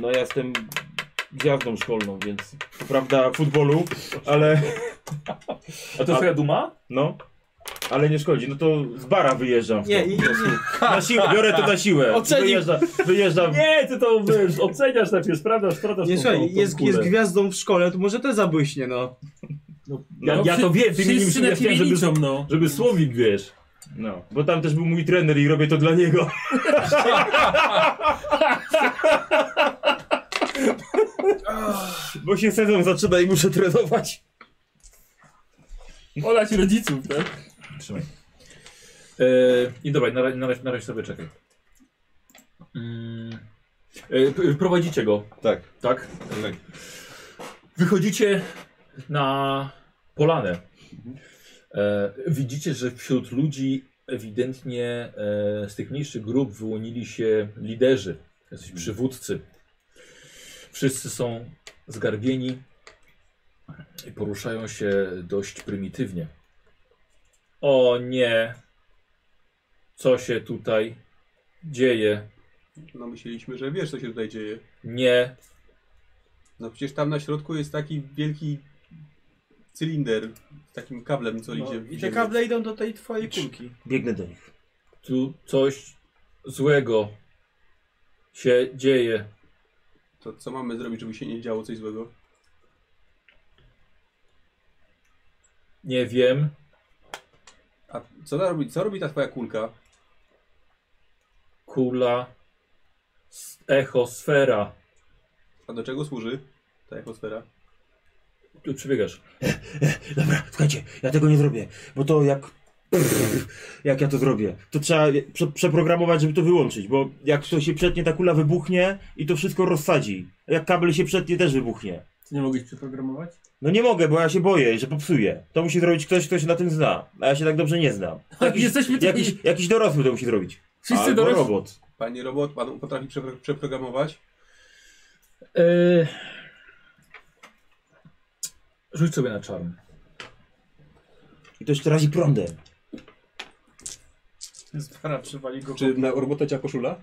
Speaker 10: No ja jestem gwiazdą szkolną, więc to prawda futbolu, ale
Speaker 3: A to jest twoja duma?
Speaker 10: no. Ale nie szkodzi, no to z bara wyjeżdżam. w
Speaker 13: Nie,
Speaker 10: to,
Speaker 13: nie,
Speaker 10: po prostu. Na siłę, biorę to na siłę.
Speaker 13: Ocenił.
Speaker 10: Wyjeżdżam, wyjeżdżam
Speaker 3: Nie, ty to wiesz, oceniasz najpierw, sprawdzasz, sprawdzasz
Speaker 13: Nie
Speaker 3: tą- tą-
Speaker 13: słuchaj,
Speaker 3: tą
Speaker 13: jest,
Speaker 3: kulę.
Speaker 13: jest gwiazdą w szkole, to może też zabłyśnie, no.
Speaker 10: No,
Speaker 3: Ja, ja to wiem, ty mi nim
Speaker 1: Wszyscy na
Speaker 3: przyjaźń,
Speaker 1: ciebie
Speaker 3: żeby,
Speaker 1: liczą, no.
Speaker 3: żeby słowik wiesz.
Speaker 10: No, bo tam też był mój trener i robię to dla niego. bo się sezon zaczyna i muszę trenować.
Speaker 1: Olać rodziców, tak?
Speaker 3: Trzymaj. E, I dobra, na, ra- na, razie- na razie sobie czekaj. Mm. E, p- prowadzicie go,
Speaker 6: Tak.
Speaker 3: tak? E, wychodzicie na polanę. E, widzicie, że wśród ludzi ewidentnie e, z tych mniejszych grup wyłonili się liderzy, jacyś przywódcy. Wszyscy są zgarbieni i poruszają się dość prymitywnie. O nie. Co się tutaj dzieje?
Speaker 4: No myśleliśmy, że wiesz co się tutaj dzieje.
Speaker 3: Nie.
Speaker 4: No przecież tam na środku jest taki wielki cylinder z takim kablem, co
Speaker 9: No,
Speaker 4: idzie w
Speaker 9: I te
Speaker 4: ziemię.
Speaker 9: kable idą do tej twojej kulki.
Speaker 10: Biegnę do nich.
Speaker 3: Tu coś złego się dzieje.
Speaker 4: To co mamy zrobić, żeby się nie działo coś złego?
Speaker 3: Nie wiem.
Speaker 4: A co, ona robi, co robi ta twoja kulka?
Speaker 3: Kula. S- Echosfera.
Speaker 4: A do czego służy ta ekosfera?
Speaker 3: Tu przybiegasz.
Speaker 10: Dobra, słuchajcie, ja tego nie zrobię, bo to jak... Jak ja to zrobię? To trzeba prze przeprogramować, żeby to wyłączyć, bo jak to się przetnie, ta kula wybuchnie i to wszystko rozsadzi. Jak kabel się przetnie, też wybuchnie.
Speaker 1: Ty nie mogłeś przeprogramować?
Speaker 10: No nie mogę, bo ja się boję, że popsuję. To musi zrobić ktoś, kto się na tym zna, a ja się tak dobrze nie znam. Jakiś,
Speaker 1: Jesteśmy tutaj-
Speaker 10: jakiś, jakiś dorosły to musi zrobić.
Speaker 1: Wszyscy
Speaker 10: Albo
Speaker 1: dorośli.
Speaker 10: robot.
Speaker 4: Panie robot, pan potrafi przepro- przeprogramować?
Speaker 3: Yy... Rzuć sobie na czarn.
Speaker 10: I to jeszcze razi prądem.
Speaker 9: Stara przywali go.
Speaker 4: Czy na robotę cię koszula?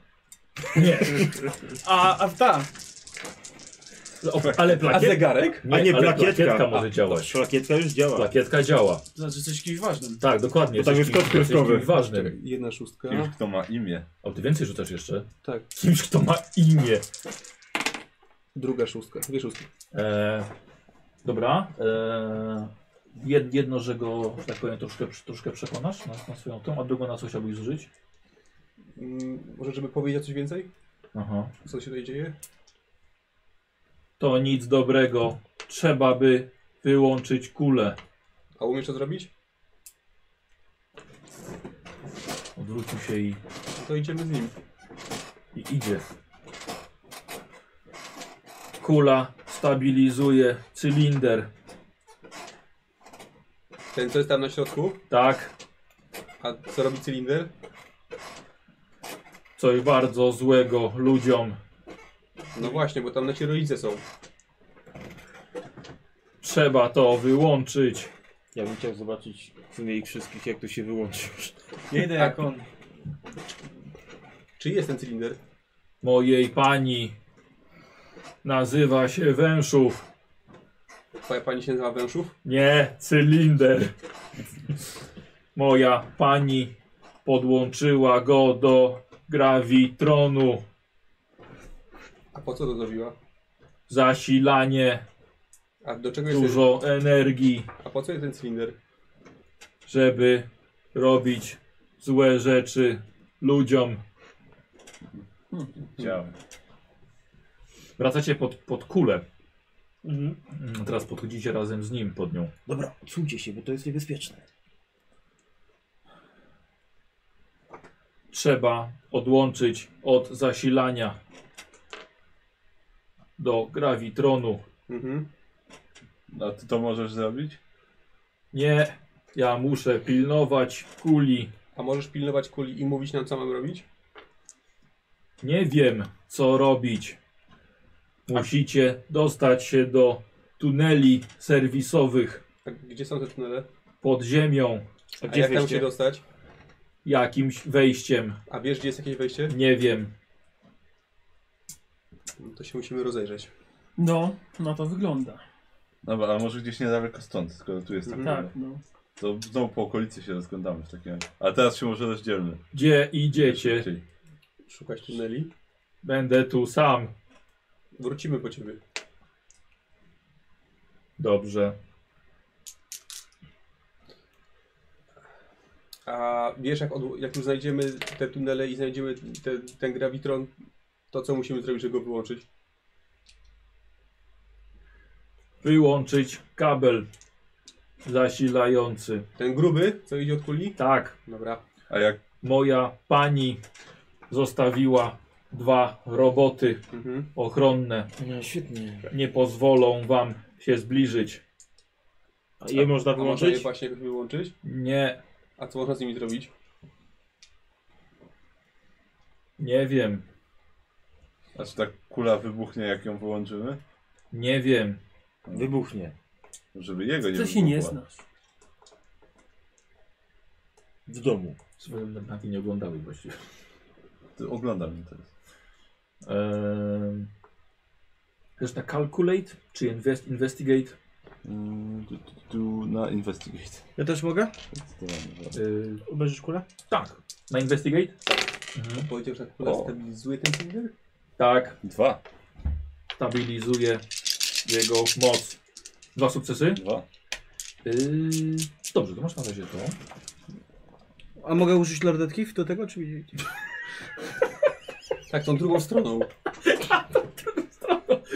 Speaker 9: A, a w ta.
Speaker 3: No, O, ale
Speaker 4: A
Speaker 3: plakiet...
Speaker 4: zegarek?
Speaker 10: A nie,
Speaker 3: ale
Speaker 10: plakietka.
Speaker 3: może
Speaker 10: A,
Speaker 3: działać.
Speaker 10: Plakietka już działa.
Speaker 3: Plakietka działa.
Speaker 9: Znaczy coś kimś ważnym.
Speaker 3: Tak, dokładnie.
Speaker 10: Bo tam
Speaker 3: Jesteś
Speaker 10: jest kod
Speaker 3: kimś- jesteś
Speaker 10: kreskowy.
Speaker 3: kimś ważnym.
Speaker 4: Czekaj, Jedna
Speaker 2: No.
Speaker 4: szóstka.
Speaker 6: Już kto ma imię.
Speaker 3: O, ty więcej rzucasz jeszcze?
Speaker 4: Tak.
Speaker 3: Kimś, kto ma imię.
Speaker 4: Druga szóstka. Dwie szóstki.
Speaker 3: E, dobra. E, jed, jedno, że go, że tak powiem, troszkę, troszkę przekonasz na, na swoją tą, a drugo na co chciałbyś zużyć?
Speaker 4: Mm, może żeby powiedzieć coś więcej?
Speaker 3: Aha.
Speaker 4: Co się tutaj dzieje?
Speaker 3: To nic dobrego. Trzeba by wyłączyć kulę.
Speaker 2: A umiesz to zrobić?
Speaker 3: Odwrócił się i,
Speaker 4: No
Speaker 2: To idziemy z nim.
Speaker 3: i idzie. Kula stabilizuje cylinder.
Speaker 2: Ten, co jest tam na środku?
Speaker 3: Tak,
Speaker 2: A co robi cylinder?
Speaker 3: coś bardzo złego ludziom.
Speaker 2: No właśnie, bo tam nasi rodzice są.
Speaker 3: Trzeba to wyłączyć.
Speaker 10: Ja bym chciał zobaczyć w sumie ich wszystkich, jak to się wyłączy.
Speaker 9: Jedę jak on.
Speaker 2: Czy jest ten cylinder?
Speaker 3: Mojej pani nazywa się Węszów.
Speaker 2: Twoja pani się nazywa Węszów?
Speaker 3: Nie, cylinder. Moja pani podłączyła go do grawitronu.
Speaker 2: A po co to zrobiła?
Speaker 3: Zasilanie,
Speaker 2: A do czego jest ten...
Speaker 3: dużo energii,
Speaker 2: A po co jest ten cylinder?
Speaker 3: żeby robić złe rzeczy ludziom.
Speaker 6: Działa.
Speaker 3: Wracacie pod, pod kulę. Mm, Teraz podchodzicie razem z nim pod nią.
Speaker 10: Dobra, odsuńcie się, bo to jest niebezpieczne.
Speaker 3: Trzeba odłączyć od zasilania do grawitronu.
Speaker 2: Mhm.
Speaker 6: A ty to możesz zrobić?
Speaker 3: Nie, ja muszę pilnować kuli.
Speaker 2: A możesz pilnować kuli i mówić nam, co mam robić?
Speaker 3: Nie wiem, co robić. Musicie dostać się do tuneli serwisowych
Speaker 2: A gdzie są te tunele?
Speaker 3: pod ziemią
Speaker 10: A
Speaker 2: A
Speaker 10: gdzie
Speaker 2: jak tam
Speaker 10: jesteście?
Speaker 2: się dostać?
Speaker 3: jakimś wejściem.
Speaker 2: A wiesz, gdzie jest jakieś wejście?
Speaker 3: Nie wiem.
Speaker 2: No To się musimy rozejrzeć.
Speaker 1: No, no to wygląda.
Speaker 6: Dobra, ale No może gdzieś niedaleko stąd, skoro tu
Speaker 3: Mm.
Speaker 6: jest tak.
Speaker 2: Mhm.
Speaker 1: Tak, no.
Speaker 6: To znowu po okolicy się rozglądamy w takim razie. A teraz się może rozdzielmy.
Speaker 3: Gdzie idziecie?
Speaker 6: Czyli
Speaker 2: Szukać tuneli.
Speaker 3: Będę tu sam.
Speaker 2: Wrócimy po ciebie.
Speaker 3: Dobrze.
Speaker 2: A wiesz, jak, od... jak już znajdziemy te tunele i znajdziemy te, ten grawitron, to co musimy zrobić, żeby go wyłączyć?
Speaker 3: Wyłączyć kabel zasilający.
Speaker 2: Ten gruby, co idzie od kuli?
Speaker 3: Tak,
Speaker 2: Dobra.
Speaker 6: A jak
Speaker 3: moja pani zostawiła dwa roboty
Speaker 2: Mhm.
Speaker 3: ochronne.
Speaker 16: No, świetnie.
Speaker 3: Nie pozwolą wam się zbliżyć.
Speaker 10: A je można
Speaker 2: A można je
Speaker 10: wyłączyć?
Speaker 2: właśnie wyłączyć?
Speaker 3: Nie,
Speaker 2: A co można z nimi zrobić?
Speaker 3: nie wiem,
Speaker 6: aż ta kula wybuchnie, jak ją wyłączymy?
Speaker 3: nie wiem.
Speaker 10: Wybuchnie.
Speaker 6: Żeby jego nie
Speaker 1: Co się nie
Speaker 6: wybuchła.
Speaker 1: znasz?
Speaker 10: W domu.
Speaker 3: Swoją naprawdę nie oglądały właściwie.
Speaker 6: Ty oglądam mnie teraz.
Speaker 3: Ehm, Też na calculate czy invest, investigate?
Speaker 6: Mm, tu, tu, tu, na investigate.
Speaker 17: Ja też mogę?
Speaker 6: Zdecydowanie. dobra.
Speaker 3: Yy,
Speaker 17: Obejrzysz kulę?
Speaker 3: tak, na investigate?
Speaker 2: Powiedział, że kula
Speaker 6: O.
Speaker 2: stabilizuje ten cylinder?
Speaker 3: Tak,
Speaker 6: Dwa.
Speaker 3: stabilizuje jego moc. Dwa sukcesy.
Speaker 6: Dwa.
Speaker 3: Yy, dobrze, to masz na razie to.
Speaker 17: A mogę użyć lordetki do tego, czy widzicie?
Speaker 2: Tak, tą drugą stroną.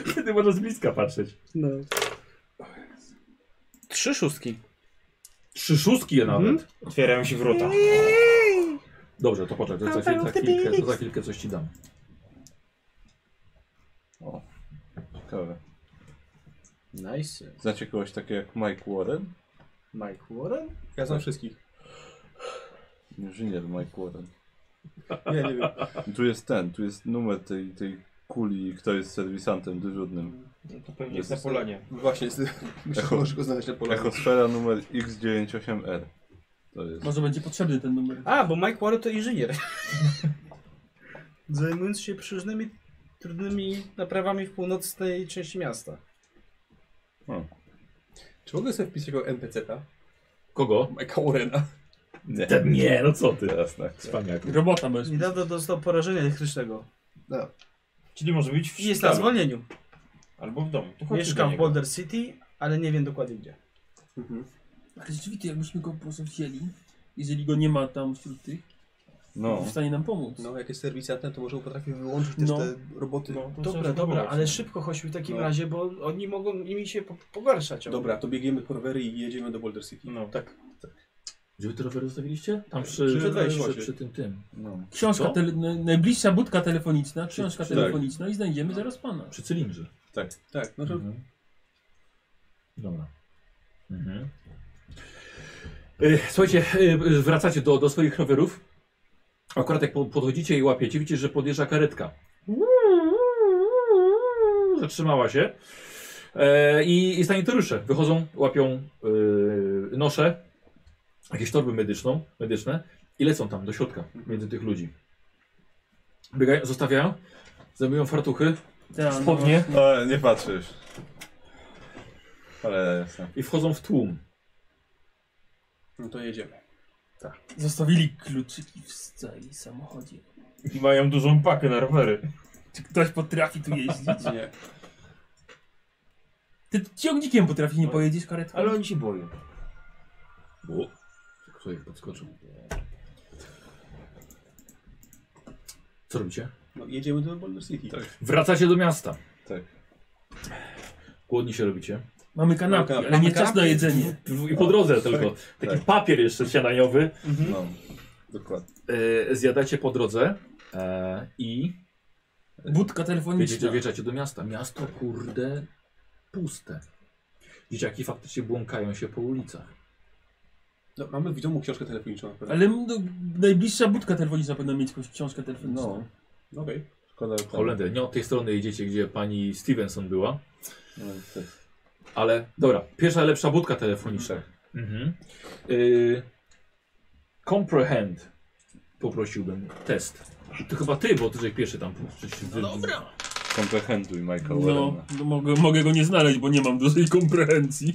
Speaker 3: Wtedy można z bliska patrzeć.
Speaker 17: No. Trzy szóstki.
Speaker 3: Trzy szóstki je nawet.
Speaker 10: Otwierają się wrota.
Speaker 3: Dobrze, to poczekaj, to za, chwil, za, chwilkę, to za chwilkę coś ci dam.
Speaker 6: O. Ciekawe.
Speaker 9: Nice.
Speaker 6: Znacie kogoś takiego jak Mike Warren?
Speaker 9: Mike Warren?
Speaker 2: Ja
Speaker 6: Tak.
Speaker 2: znam wszystkich.
Speaker 6: Inżynier Mike Warren.
Speaker 2: Ja nie wiem.
Speaker 6: Tu jest ten, tu jest numer tej, tej kuli i kto jest serwisantem dyżurnym.
Speaker 10: No to pewnie
Speaker 6: Jest
Speaker 10: jest na polanie.
Speaker 2: Właśnie, z- myślę, że
Speaker 6: Echo.
Speaker 2: możesz go znaleźć na polu.
Speaker 6: Echosfera numer X98R. To jest.
Speaker 1: Może będzie potrzebny ten numer.
Speaker 9: A, bo Mike Warren to inżynier. Zajmując się przeróżnymi trudnymi naprawami w północnej części miasta.
Speaker 2: Czy mogę sobie wpisać jako NPC-ta?
Speaker 3: Kogo?
Speaker 2: Michael Warrena.
Speaker 6: Nie,
Speaker 3: nie, no co ty.
Speaker 6: teraz tak.
Speaker 3: Spaniak.
Speaker 1: Robota bez.
Speaker 9: Niedawno dostał porażenia elektrycznego.
Speaker 10: Czyli może być w
Speaker 9: I jest na
Speaker 10: szpitalu.
Speaker 9: zwolnieniu.
Speaker 10: Albo w domu. To chodźcie do
Speaker 9: Mieszka w
Speaker 10: niego.
Speaker 9: Boulder City, ale nie wiem dokładnie gdzie.
Speaker 6: Mhm.
Speaker 1: Ale rzeczywiście, jakbyśmy go po prostu wzięli, jeżeli go nie ma tam wśród tych,
Speaker 6: No.
Speaker 1: w stanie nam pomóc.
Speaker 2: No, jak jest serwisantem, to może potrafi wyłączyć też
Speaker 1: No.
Speaker 2: te roboty.
Speaker 7: No, to trzeba
Speaker 9: Dobra,
Speaker 7: się
Speaker 9: dobra,
Speaker 7: powołać.
Speaker 9: ale szybko chodźmy w takim
Speaker 2: No.
Speaker 9: razie, bo oni mogą nimi się po- pogarszać.
Speaker 2: Dobra, to biegniemy po rowery i jedziemy do Boulder City.
Speaker 7: No.
Speaker 2: Tak.
Speaker 3: Gdzie wy te rowery zostawiliście? Tam przy,
Speaker 2: Przy
Speaker 3: przy,
Speaker 2: wejściu
Speaker 3: przy,
Speaker 2: właśnie.
Speaker 3: tym tym.
Speaker 6: no.
Speaker 1: Książka,
Speaker 3: Co?
Speaker 1: tele, na- najbliższa budka telefoniczna, książka
Speaker 6: Tak.
Speaker 1: telefoniczna i znajdziemy zaraz pana.
Speaker 3: Przy cylindrze.
Speaker 6: Tak.
Speaker 2: Tak, no to
Speaker 3: Mhm. Dobra. Mhm. E, Słuchajcie, e, wracacie do, do swoich rowerów. Akurat jak po- podchodzicie i łapiecie, widzicie, że podjeżdża karetka. Zatrzymała się. E, I, i sanitariusze wychodzą, łapią e, nosze, jakieś torby medyczną, medyczne i lecą tam do środka między tych ludzi. Biegają, zostawiają, zajmują fartuchy
Speaker 1: Ta,
Speaker 3: Spodnie?
Speaker 1: No,
Speaker 6: O, nie patrzę już. Ale jasne.
Speaker 3: i wchodzą w tłum.
Speaker 2: No to jedziemy.
Speaker 1: zostawili kluczyki w stoi samochodzie.
Speaker 10: I mają dużą pakę na rowery.
Speaker 1: Czy ktoś potrafi tu jeździć?
Speaker 2: Nie.
Speaker 1: Ty ciągnikiem potrafi nie pojedziesz karetką?
Speaker 10: Ale oni się boją.
Speaker 3: O, człowiek podskoczył. Co robicie?
Speaker 2: No, jedziemy do Boulder City.
Speaker 6: Tak.
Speaker 3: Wracacie do miasta.
Speaker 6: Tak.
Speaker 3: Głodni się robicie.
Speaker 1: Mamy kanapki, ale
Speaker 2: Mamy
Speaker 1: nie czas na
Speaker 2: kanapki.
Speaker 1: jedzenie.
Speaker 3: I po drodze tylko. Taki
Speaker 6: tak.
Speaker 3: papier jeszcze śniadaniowy.
Speaker 6: No. Dokładnie.
Speaker 3: E, zjadacie po drodze e, i
Speaker 1: Budka
Speaker 3: Wiecie,
Speaker 1: telefoniczna.
Speaker 3: wjeżdżacie do miasta. Miasto, kurde, puste. Dzieciaki faktycznie błąkają się po ulicach.
Speaker 2: No, mamy w domu książkę telefoniczną na pewno.
Speaker 1: Ale no, najbliższa budka telefoniczna powinna mieć jakąś książkę telefoniczną.
Speaker 6: No.
Speaker 2: Okej.
Speaker 6: Szkoda, że tam-
Speaker 3: Holendę, nie od tej strony jedziecie, gdzie pani Stevenson była.
Speaker 6: No, niestety.
Speaker 3: Ale dobra, pierwsza lepsza budka telefoniczna. Mhm. Y, comprehend poprosiłbym test. To chyba ty, bo ty żeś pierwszy tam przecież wy-
Speaker 6: Komprehenduj Michael
Speaker 1: No,
Speaker 6: Warrena.
Speaker 1: no mogę, mogę go nie znaleźć, bo nie mam dużej komprehencji.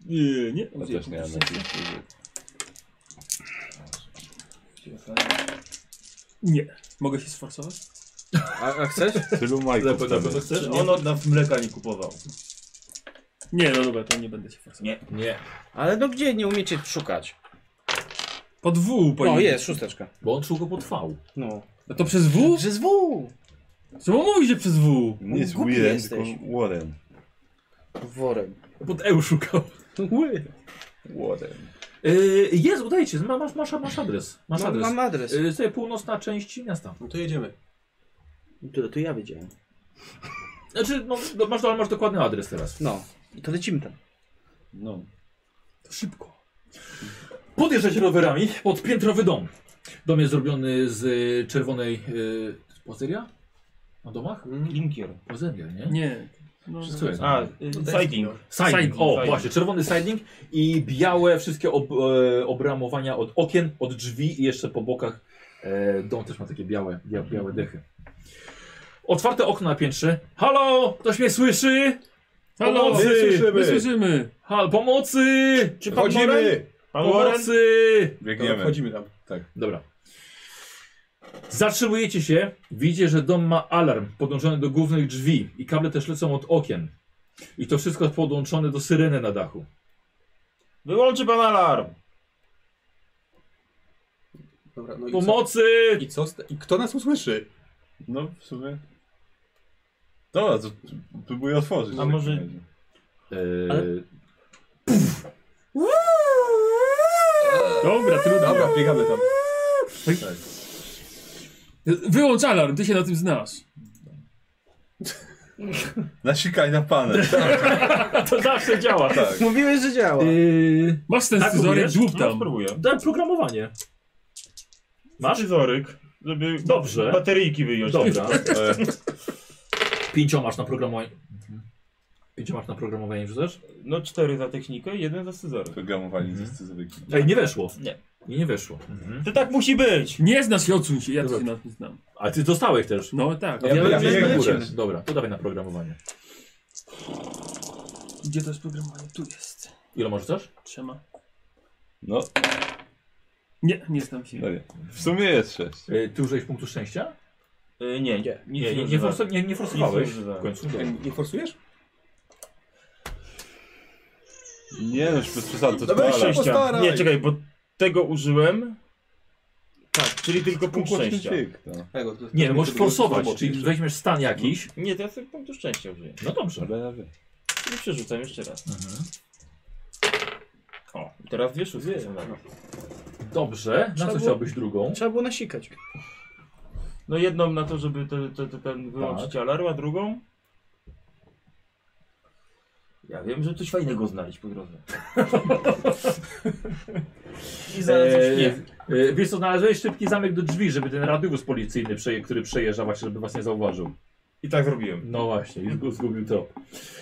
Speaker 1: Nie, nie.
Speaker 6: Ja też nie mam nadziei, że-
Speaker 1: Nie. Mogę się sforsować?
Speaker 13: A, a chcesz?
Speaker 6: Tylu
Speaker 3: Na
Speaker 6: Michael
Speaker 3: pewno- na pewno
Speaker 6: wtedy.
Speaker 3: chcesz?
Speaker 10: On od nas mleka nie kupował.
Speaker 1: Nie, no dobra, to nie będę się forsował.
Speaker 10: Nie.
Speaker 3: Nie,
Speaker 13: Ale no gdzie nie umiecie szukać?
Speaker 1: Po dwu
Speaker 13: No
Speaker 1: powinien-
Speaker 13: jest, szósteczka.
Speaker 3: bo on długo potrwał.
Speaker 13: No.
Speaker 1: No to przez W?
Speaker 13: Przez W!
Speaker 1: Czemu mówi, że przez W?
Speaker 6: Nie jest
Speaker 13: Głupi
Speaker 6: Warren,
Speaker 13: jesteś.
Speaker 6: tylko Warren.
Speaker 13: Worem.
Speaker 3: Pod Eł szukał.
Speaker 6: Warren.
Speaker 3: Y, jest, udajcie, ma- masz, masz, masz adres.
Speaker 9: No,
Speaker 3: Masz
Speaker 13: Mam,
Speaker 3: adres.
Speaker 13: mam adres.
Speaker 3: Y, Tutaj północna część miasta.
Speaker 2: No to jedziemy.
Speaker 13: To, to ja wiedziałem.
Speaker 3: Znaczy, no, do- masz, masz dokładny adres teraz.
Speaker 13: No. To lecimy tam.
Speaker 6: No.
Speaker 3: To szybko. Podjeżdżać rowerami pod piętrowy dom. Dom jest zrobiony z y, czerwonej... y, Pozeria? Na domach?
Speaker 10: Linkier.
Speaker 3: Pozeria, nie?
Speaker 1: Nie. No,
Speaker 6: Wszystko jest.
Speaker 10: Mm. A, y, siding.
Speaker 3: Siding.
Speaker 1: Siding,
Speaker 3: O,
Speaker 10: siding.
Speaker 3: właśnie, czerwony siding i białe wszystkie ob, e, obramowania od okien, od drzwi i jeszcze po bokach. E, dom też ma takie białe, bia,
Speaker 10: Mm.
Speaker 3: białe dechy. Otwarte okno na piętrze. Halo, ktoś mnie słyszy?
Speaker 1: Halo,
Speaker 3: Pomocy!
Speaker 1: my słyszymy.
Speaker 2: My
Speaker 1: My słyszymy.
Speaker 3: Hal, pomocy!
Speaker 10: Czy pan Moran?
Speaker 2: Chodzimy!
Speaker 10: Pan Moran?
Speaker 3: Pomocy!
Speaker 2: Dobra,
Speaker 6: Biegniemy. Tak.
Speaker 2: wchodzimy tam.
Speaker 3: Dobra. Zatrzymujecie się, widzicie, że dom ma alarm podłączony do głównych drzwi i kable też lecą od okien. I to wszystko jest podłączone do syreny na dachu.
Speaker 10: Wyłączy pan alarm!
Speaker 2: Dobra, no i co?
Speaker 3: Pomocy!
Speaker 2: I, co z te... I kto nas usłyszy?
Speaker 6: No w sumie. Dobra, to próbuję otworzyć.
Speaker 10: A może-
Speaker 3: Eee,
Speaker 1: Dobra, trudno.
Speaker 2: Dobra, biegamy tam.
Speaker 1: Wyłącz alarm, ty się na tym znasz.
Speaker 6: Nasikaj na panel.
Speaker 3: To zawsze działa.
Speaker 6: tak.
Speaker 13: Mówiłeś, że działa.
Speaker 3: Yy,
Speaker 1: Masz ten
Speaker 3: Tak
Speaker 1: scyzoryk,
Speaker 3: mówisz?
Speaker 1: dłub
Speaker 10: No,
Speaker 1: tam.
Speaker 10: spróbuję.
Speaker 3: daj programowanie. Masz?
Speaker 10: Scyzoryk, Znaczy, żeby
Speaker 3: Dobrze.
Speaker 10: bateryjki wyjąć.
Speaker 3: Dobra.
Speaker 6: E,
Speaker 3: Pięcioma masz na programowanie. Pięcioma masz na programowanie rzucasz?
Speaker 10: No cztery za technikę, jeden za scyzoryk.
Speaker 6: Programowanie ze scyzorykiem.
Speaker 3: Ej, nie weszło.
Speaker 10: Nie.
Speaker 3: Nie, nie weszło. Mhm.
Speaker 10: To tak musi być!
Speaker 1: Nie znasz się, odsuń się, ja tu
Speaker 3: Dobra.
Speaker 1: się na tym znam.
Speaker 3: A ty dostałeś też.
Speaker 1: No tak.
Speaker 6: Ja- ja- ja-
Speaker 3: na
Speaker 6: ja-
Speaker 3: górę.
Speaker 6: lecimy.
Speaker 3: Dobra, to dawaj na programowanie.
Speaker 1: Gdzie to jest programowanie? Tu jest.
Speaker 3: Ile masz rzucasz?
Speaker 1: Trzema.
Speaker 6: No,
Speaker 1: Nie, nie znam się.
Speaker 6: no nie. W sumie jest sześć.
Speaker 3: Yy, ty użyłeś punktu szczęścia?
Speaker 10: Y, nie,
Speaker 9: Nie,
Speaker 10: nic
Speaker 3: nie, nie,
Speaker 10: używam.
Speaker 3: forso, nie, nie forsowałeś.
Speaker 10: Nic nie
Speaker 3: W
Speaker 10: używałem.
Speaker 3: końcu.
Speaker 2: Ej, Nie forsujesz?
Speaker 6: Nie no, już bez przesady, to
Speaker 2: Dobra,
Speaker 6: dwa
Speaker 2: sześć.
Speaker 6: lata.
Speaker 10: Szczęścia.
Speaker 2: Postaraj.
Speaker 10: Nie, czekaj, bo Tego użyłem. Tak, czyli tylko punkt szczęścia.
Speaker 6: Dźwięk, no.
Speaker 2: Tego, to-
Speaker 3: Nie,
Speaker 2: to-
Speaker 3: możesz
Speaker 2: to było
Speaker 3: forsować,
Speaker 2: słabo
Speaker 3: czyli
Speaker 2: jeszcze.
Speaker 3: weźmiesz stan jakiś.
Speaker 10: Nie, to ja sobie punktu szczęścia użyję.
Speaker 3: No dobrze.
Speaker 6: Cholera wie.
Speaker 10: I przerzucam jeszcze raz. O, i teraz dwie szóstki są na dół.
Speaker 3: Dobrze, na
Speaker 9: Trzeba
Speaker 3: co
Speaker 9: było-
Speaker 3: chciałbyś drugą?
Speaker 9: Trzeba było nasikać.
Speaker 10: No jedną na to, żeby te, te, te, ten wyłączyć alarm, a drugą... Ja wiem, że coś fajnego znaleźć po drodze.
Speaker 9: I zaraz
Speaker 3: Eee,
Speaker 9: eee, nie.
Speaker 3: e, Wiesz co, znalazłeś szybki zamek do drzwi, żeby ten radiowóz policyjny, przeje, który przejeżdża właśnie, żeby was nie zauważył.
Speaker 10: I tak zrobiłem.
Speaker 3: No właśnie, i zgu- zgubił trop.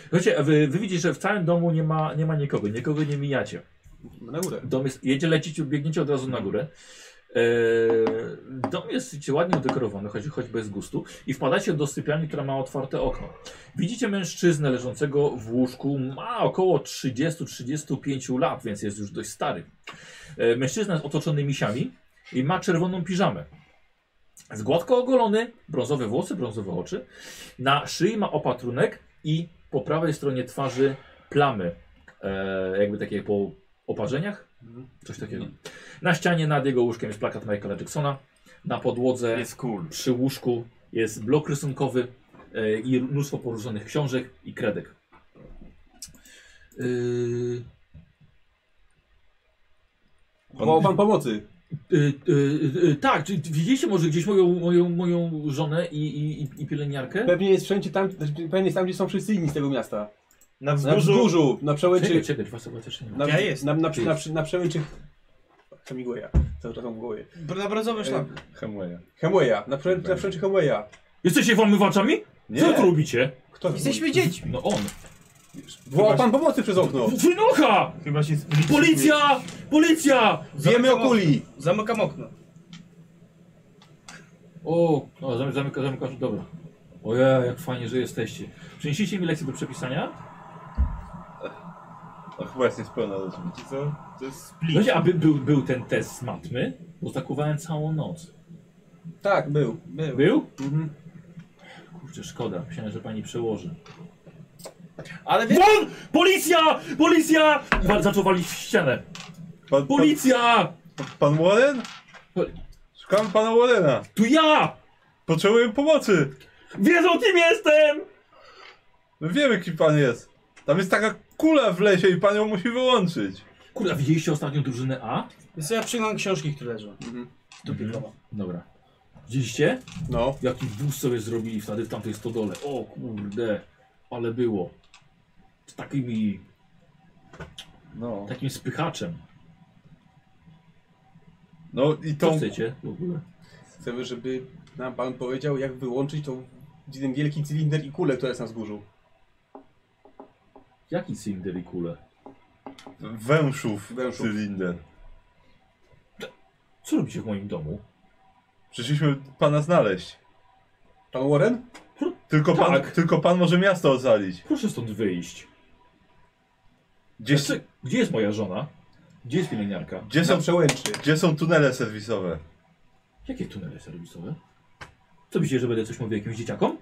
Speaker 3: Słuchajcie, a wy, wy widzicie, że w całym domu nie ma, nie ma nikogo, nikogo nie mijacie.
Speaker 2: Na górę.
Speaker 3: Dom jest, jedzie, lecicie, biegniecie od razu na górę. Eee, dom jest wiecie, ładnie udekorowany, choć, choć bez gustu. I wpadacie do sypialni, która ma otwarte okno. Widzicie mężczyznę leżącego w łóżku. Ma około 30-35 lat, więc jest już dość stary. Eee, mężczyzna jest otoczony misiami i ma czerwoną piżamę. Jest gładko ogolony, brązowe włosy, brązowe oczy. Na szyi ma opatrunek i po prawej stronie twarzy plamy. Eee, jakby takie po oparzeniach.
Speaker 9: Mhm.
Speaker 3: Coś takiego. Na ścianie nad jego łóżkiem jest plakat Michaela Jacksona. Na podłodze
Speaker 10: Jest cool.
Speaker 3: przy łóżku jest blok rysunkowy e, i mnóstwo poruszonych książek i kredek. Yy,
Speaker 2: Wołał pan pomocy.
Speaker 3: yy, yy, yy, tak, czy widzieliście może gdzieś moją, moją, moją żonę i, i, i- i pielęgniarkę?
Speaker 2: Pewnie jest wszędzie tam, znaczy, pewnie jest tam, gdzie są wszyscy inni z tego miasta.
Speaker 10: Na
Speaker 2: Na
Speaker 10: wzgórzu...
Speaker 2: wzgórzu,
Speaker 3: Czekaj,
Speaker 2: na przełęczy.
Speaker 3: czekaj, was chyba też nie ma.
Speaker 2: Na,
Speaker 9: Ja jestem.
Speaker 2: na, na, przy- na, przy- na przełęczy. Hemingwaya. Cały czas mam w głowie.
Speaker 9: Na brązowy szlak.
Speaker 6: Hemweja.
Speaker 2: Hemweya. Na, prze, na przełęczy Hemweya.
Speaker 3: Jesteście wamywaczami?
Speaker 6: Nie.
Speaker 3: Co tu robicie?
Speaker 2: Kto?
Speaker 9: Jesteśmy dziećmi.
Speaker 3: No on.
Speaker 2: Wołał pan pomocy przez okno.
Speaker 3: Wynocha!
Speaker 10: Chyba się spliczy-
Speaker 3: Policja! Policja!
Speaker 2: Wiemy o kuli.
Speaker 9: Zamykam okno.
Speaker 3: O, o zamy- zamyka, zamykasz, dobra. Ojej, jak fajnie, że jesteście. Przynieśliście mi lekcję do przepisania?
Speaker 6: No chyba jest niespełna do ciebie.
Speaker 10: Co? To jest split.
Speaker 3: Słuchajcie, No aby był, był ten test z matmy, bo zakuwałem całą noc.
Speaker 2: Tak, był.
Speaker 3: Był?
Speaker 2: Mhm.
Speaker 3: Kurczę, szkoda, myślałem, że pani przełoży.
Speaker 9: Ale wie...
Speaker 3: WON! Policja! Policja! Wa- Zaczął walić w ścianę.
Speaker 6: Pan, pan,
Speaker 3: Policja!
Speaker 6: pan Warren?
Speaker 3: Poli-
Speaker 6: Szukam pana Warrena.
Speaker 3: Tu ja!
Speaker 6: Potrzebuję pomocy.
Speaker 3: Wiedzą kim jestem!
Speaker 6: My wiemy, kim pan jest. Tam jest taka kula w lesie i pan ją musi wyłączyć.
Speaker 3: Kurwa, widzieliście ostatnią drużynę A? Mhm.
Speaker 9: Więc ja przyglądam książki, które leżą.
Speaker 2: Mhm.
Speaker 9: Dupikowa.
Speaker 3: Dobra. Widzieliście?
Speaker 2: No.
Speaker 3: Jaki wóz sobie zrobili wtedy w tamtej stodole. O kurde, ale było. Z takimi
Speaker 6: No.
Speaker 3: takim spychaczem.
Speaker 6: No i
Speaker 3: Co
Speaker 6: tą...
Speaker 3: chcecie w ogóle?
Speaker 2: Chcemy, żeby nam pan powiedział, jak wyłączyć tą, ten wielki cylinder i kulę, która jest na wzgórzu.
Speaker 3: Jaki cylinder i kule?
Speaker 6: Węszów,
Speaker 2: Węszów.
Speaker 6: cylinder.
Speaker 3: Co robicie w moim domu?
Speaker 6: Przyszliśmy pana znaleźć.
Speaker 2: Pan Warren?
Speaker 6: Tylko pan,
Speaker 3: Tak.
Speaker 6: tylko pan może miasto ocalić.
Speaker 3: Proszę stąd wyjść.
Speaker 6: Gdzieś,
Speaker 3: Znaczy, Gdzie jest moja żona? Gdzie jest pielęgniarka?
Speaker 6: gdzie,
Speaker 2: Na
Speaker 6: są,
Speaker 2: przełęczy.
Speaker 6: gdzie są tunele serwisowe?
Speaker 3: Jakie tunele serwisowe? Co myślicie, że będę coś mówił jakimś dzieciakom?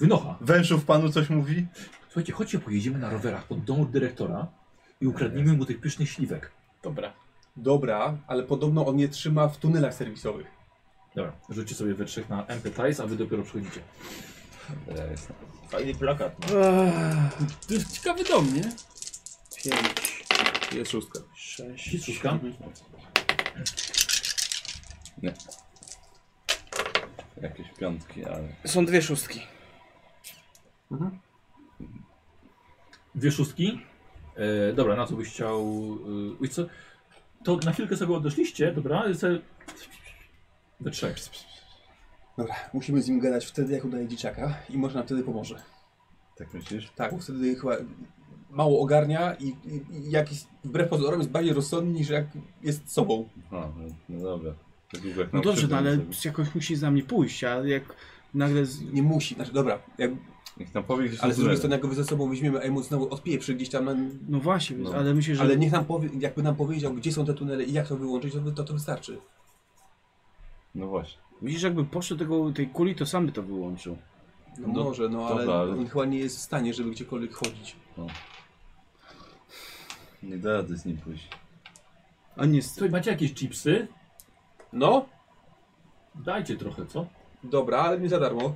Speaker 3: Wynocha.
Speaker 6: Węszów panu coś mówi?
Speaker 3: Słuchajcie, chodźcie, pojedziemy na rowerach pod dom dyrektora i ukradniemy mu tych pysznych śliwek.
Speaker 9: Dobra.
Speaker 2: Dobra, ale podobno on je trzyma w tunelach serwisowych.
Speaker 3: Dobra, rzućcie sobie we trzech na empathize, a wy dopiero przychodzicie.
Speaker 10: Fajny plakat. ma.
Speaker 1: To jest ciekawy dom, nie?
Speaker 2: Jest szóstka.
Speaker 3: Ciszuszka?
Speaker 6: Jakieś piątki, ale...
Speaker 13: Są dwie szóstki.
Speaker 3: Dwie szóstki. E, dobra, na co byś chciał... E, wiesz co? To na chwilkę sobie odeszliście, dobra? Se... We trzech.
Speaker 2: Dobra, musimy z nim gadać wtedy, jak udaje dzieciaka i może nam wtedy pomoże.
Speaker 6: Tak myślisz?
Speaker 2: Tak, bo wtedy chyba mało ogarnia i, i, i jak jest, wbrew pozorom jest bardziej rozsądny niż jak jest sobą.
Speaker 6: A, no dobra. Tak długo jak
Speaker 13: No
Speaker 6: nam
Speaker 13: dobrze, no
Speaker 6: krzywdę
Speaker 13: ale
Speaker 6: nie zrobi.
Speaker 13: jakoś musi za mnie pójść, a jak nagle... Z...
Speaker 2: Nie musi, znaczy dobra, jak,
Speaker 6: Niech nam powie, gdzie są
Speaker 2: ale z drugiej
Speaker 6: tunele.
Speaker 2: strony jak go ze sobą weźmiemy, a mu znowu odpieprzy gdzieś tam, na,
Speaker 13: No właśnie,
Speaker 6: No.
Speaker 13: ale myślę, że...
Speaker 2: ale niech nam powie, jakby nam powiedział, gdzie są te tunele i jak to wyłączyć, to, to, to wystarczy.
Speaker 6: No właśnie.
Speaker 13: Myślisz, jakby poszedł tego, tej kuli, to sam by to wyłączył.
Speaker 2: No,
Speaker 6: No,
Speaker 2: może, no ale
Speaker 6: dobra, ale-
Speaker 2: on chyba nie jest w stanie, żeby gdziekolwiek chodzić.
Speaker 6: Nie da rady z nim pójść. A nie z...
Speaker 3: Słuchaj, macie jakieś chipsy?
Speaker 2: No,
Speaker 3: Dajcie trochę, co?
Speaker 2: dobra, ale nie za darmo.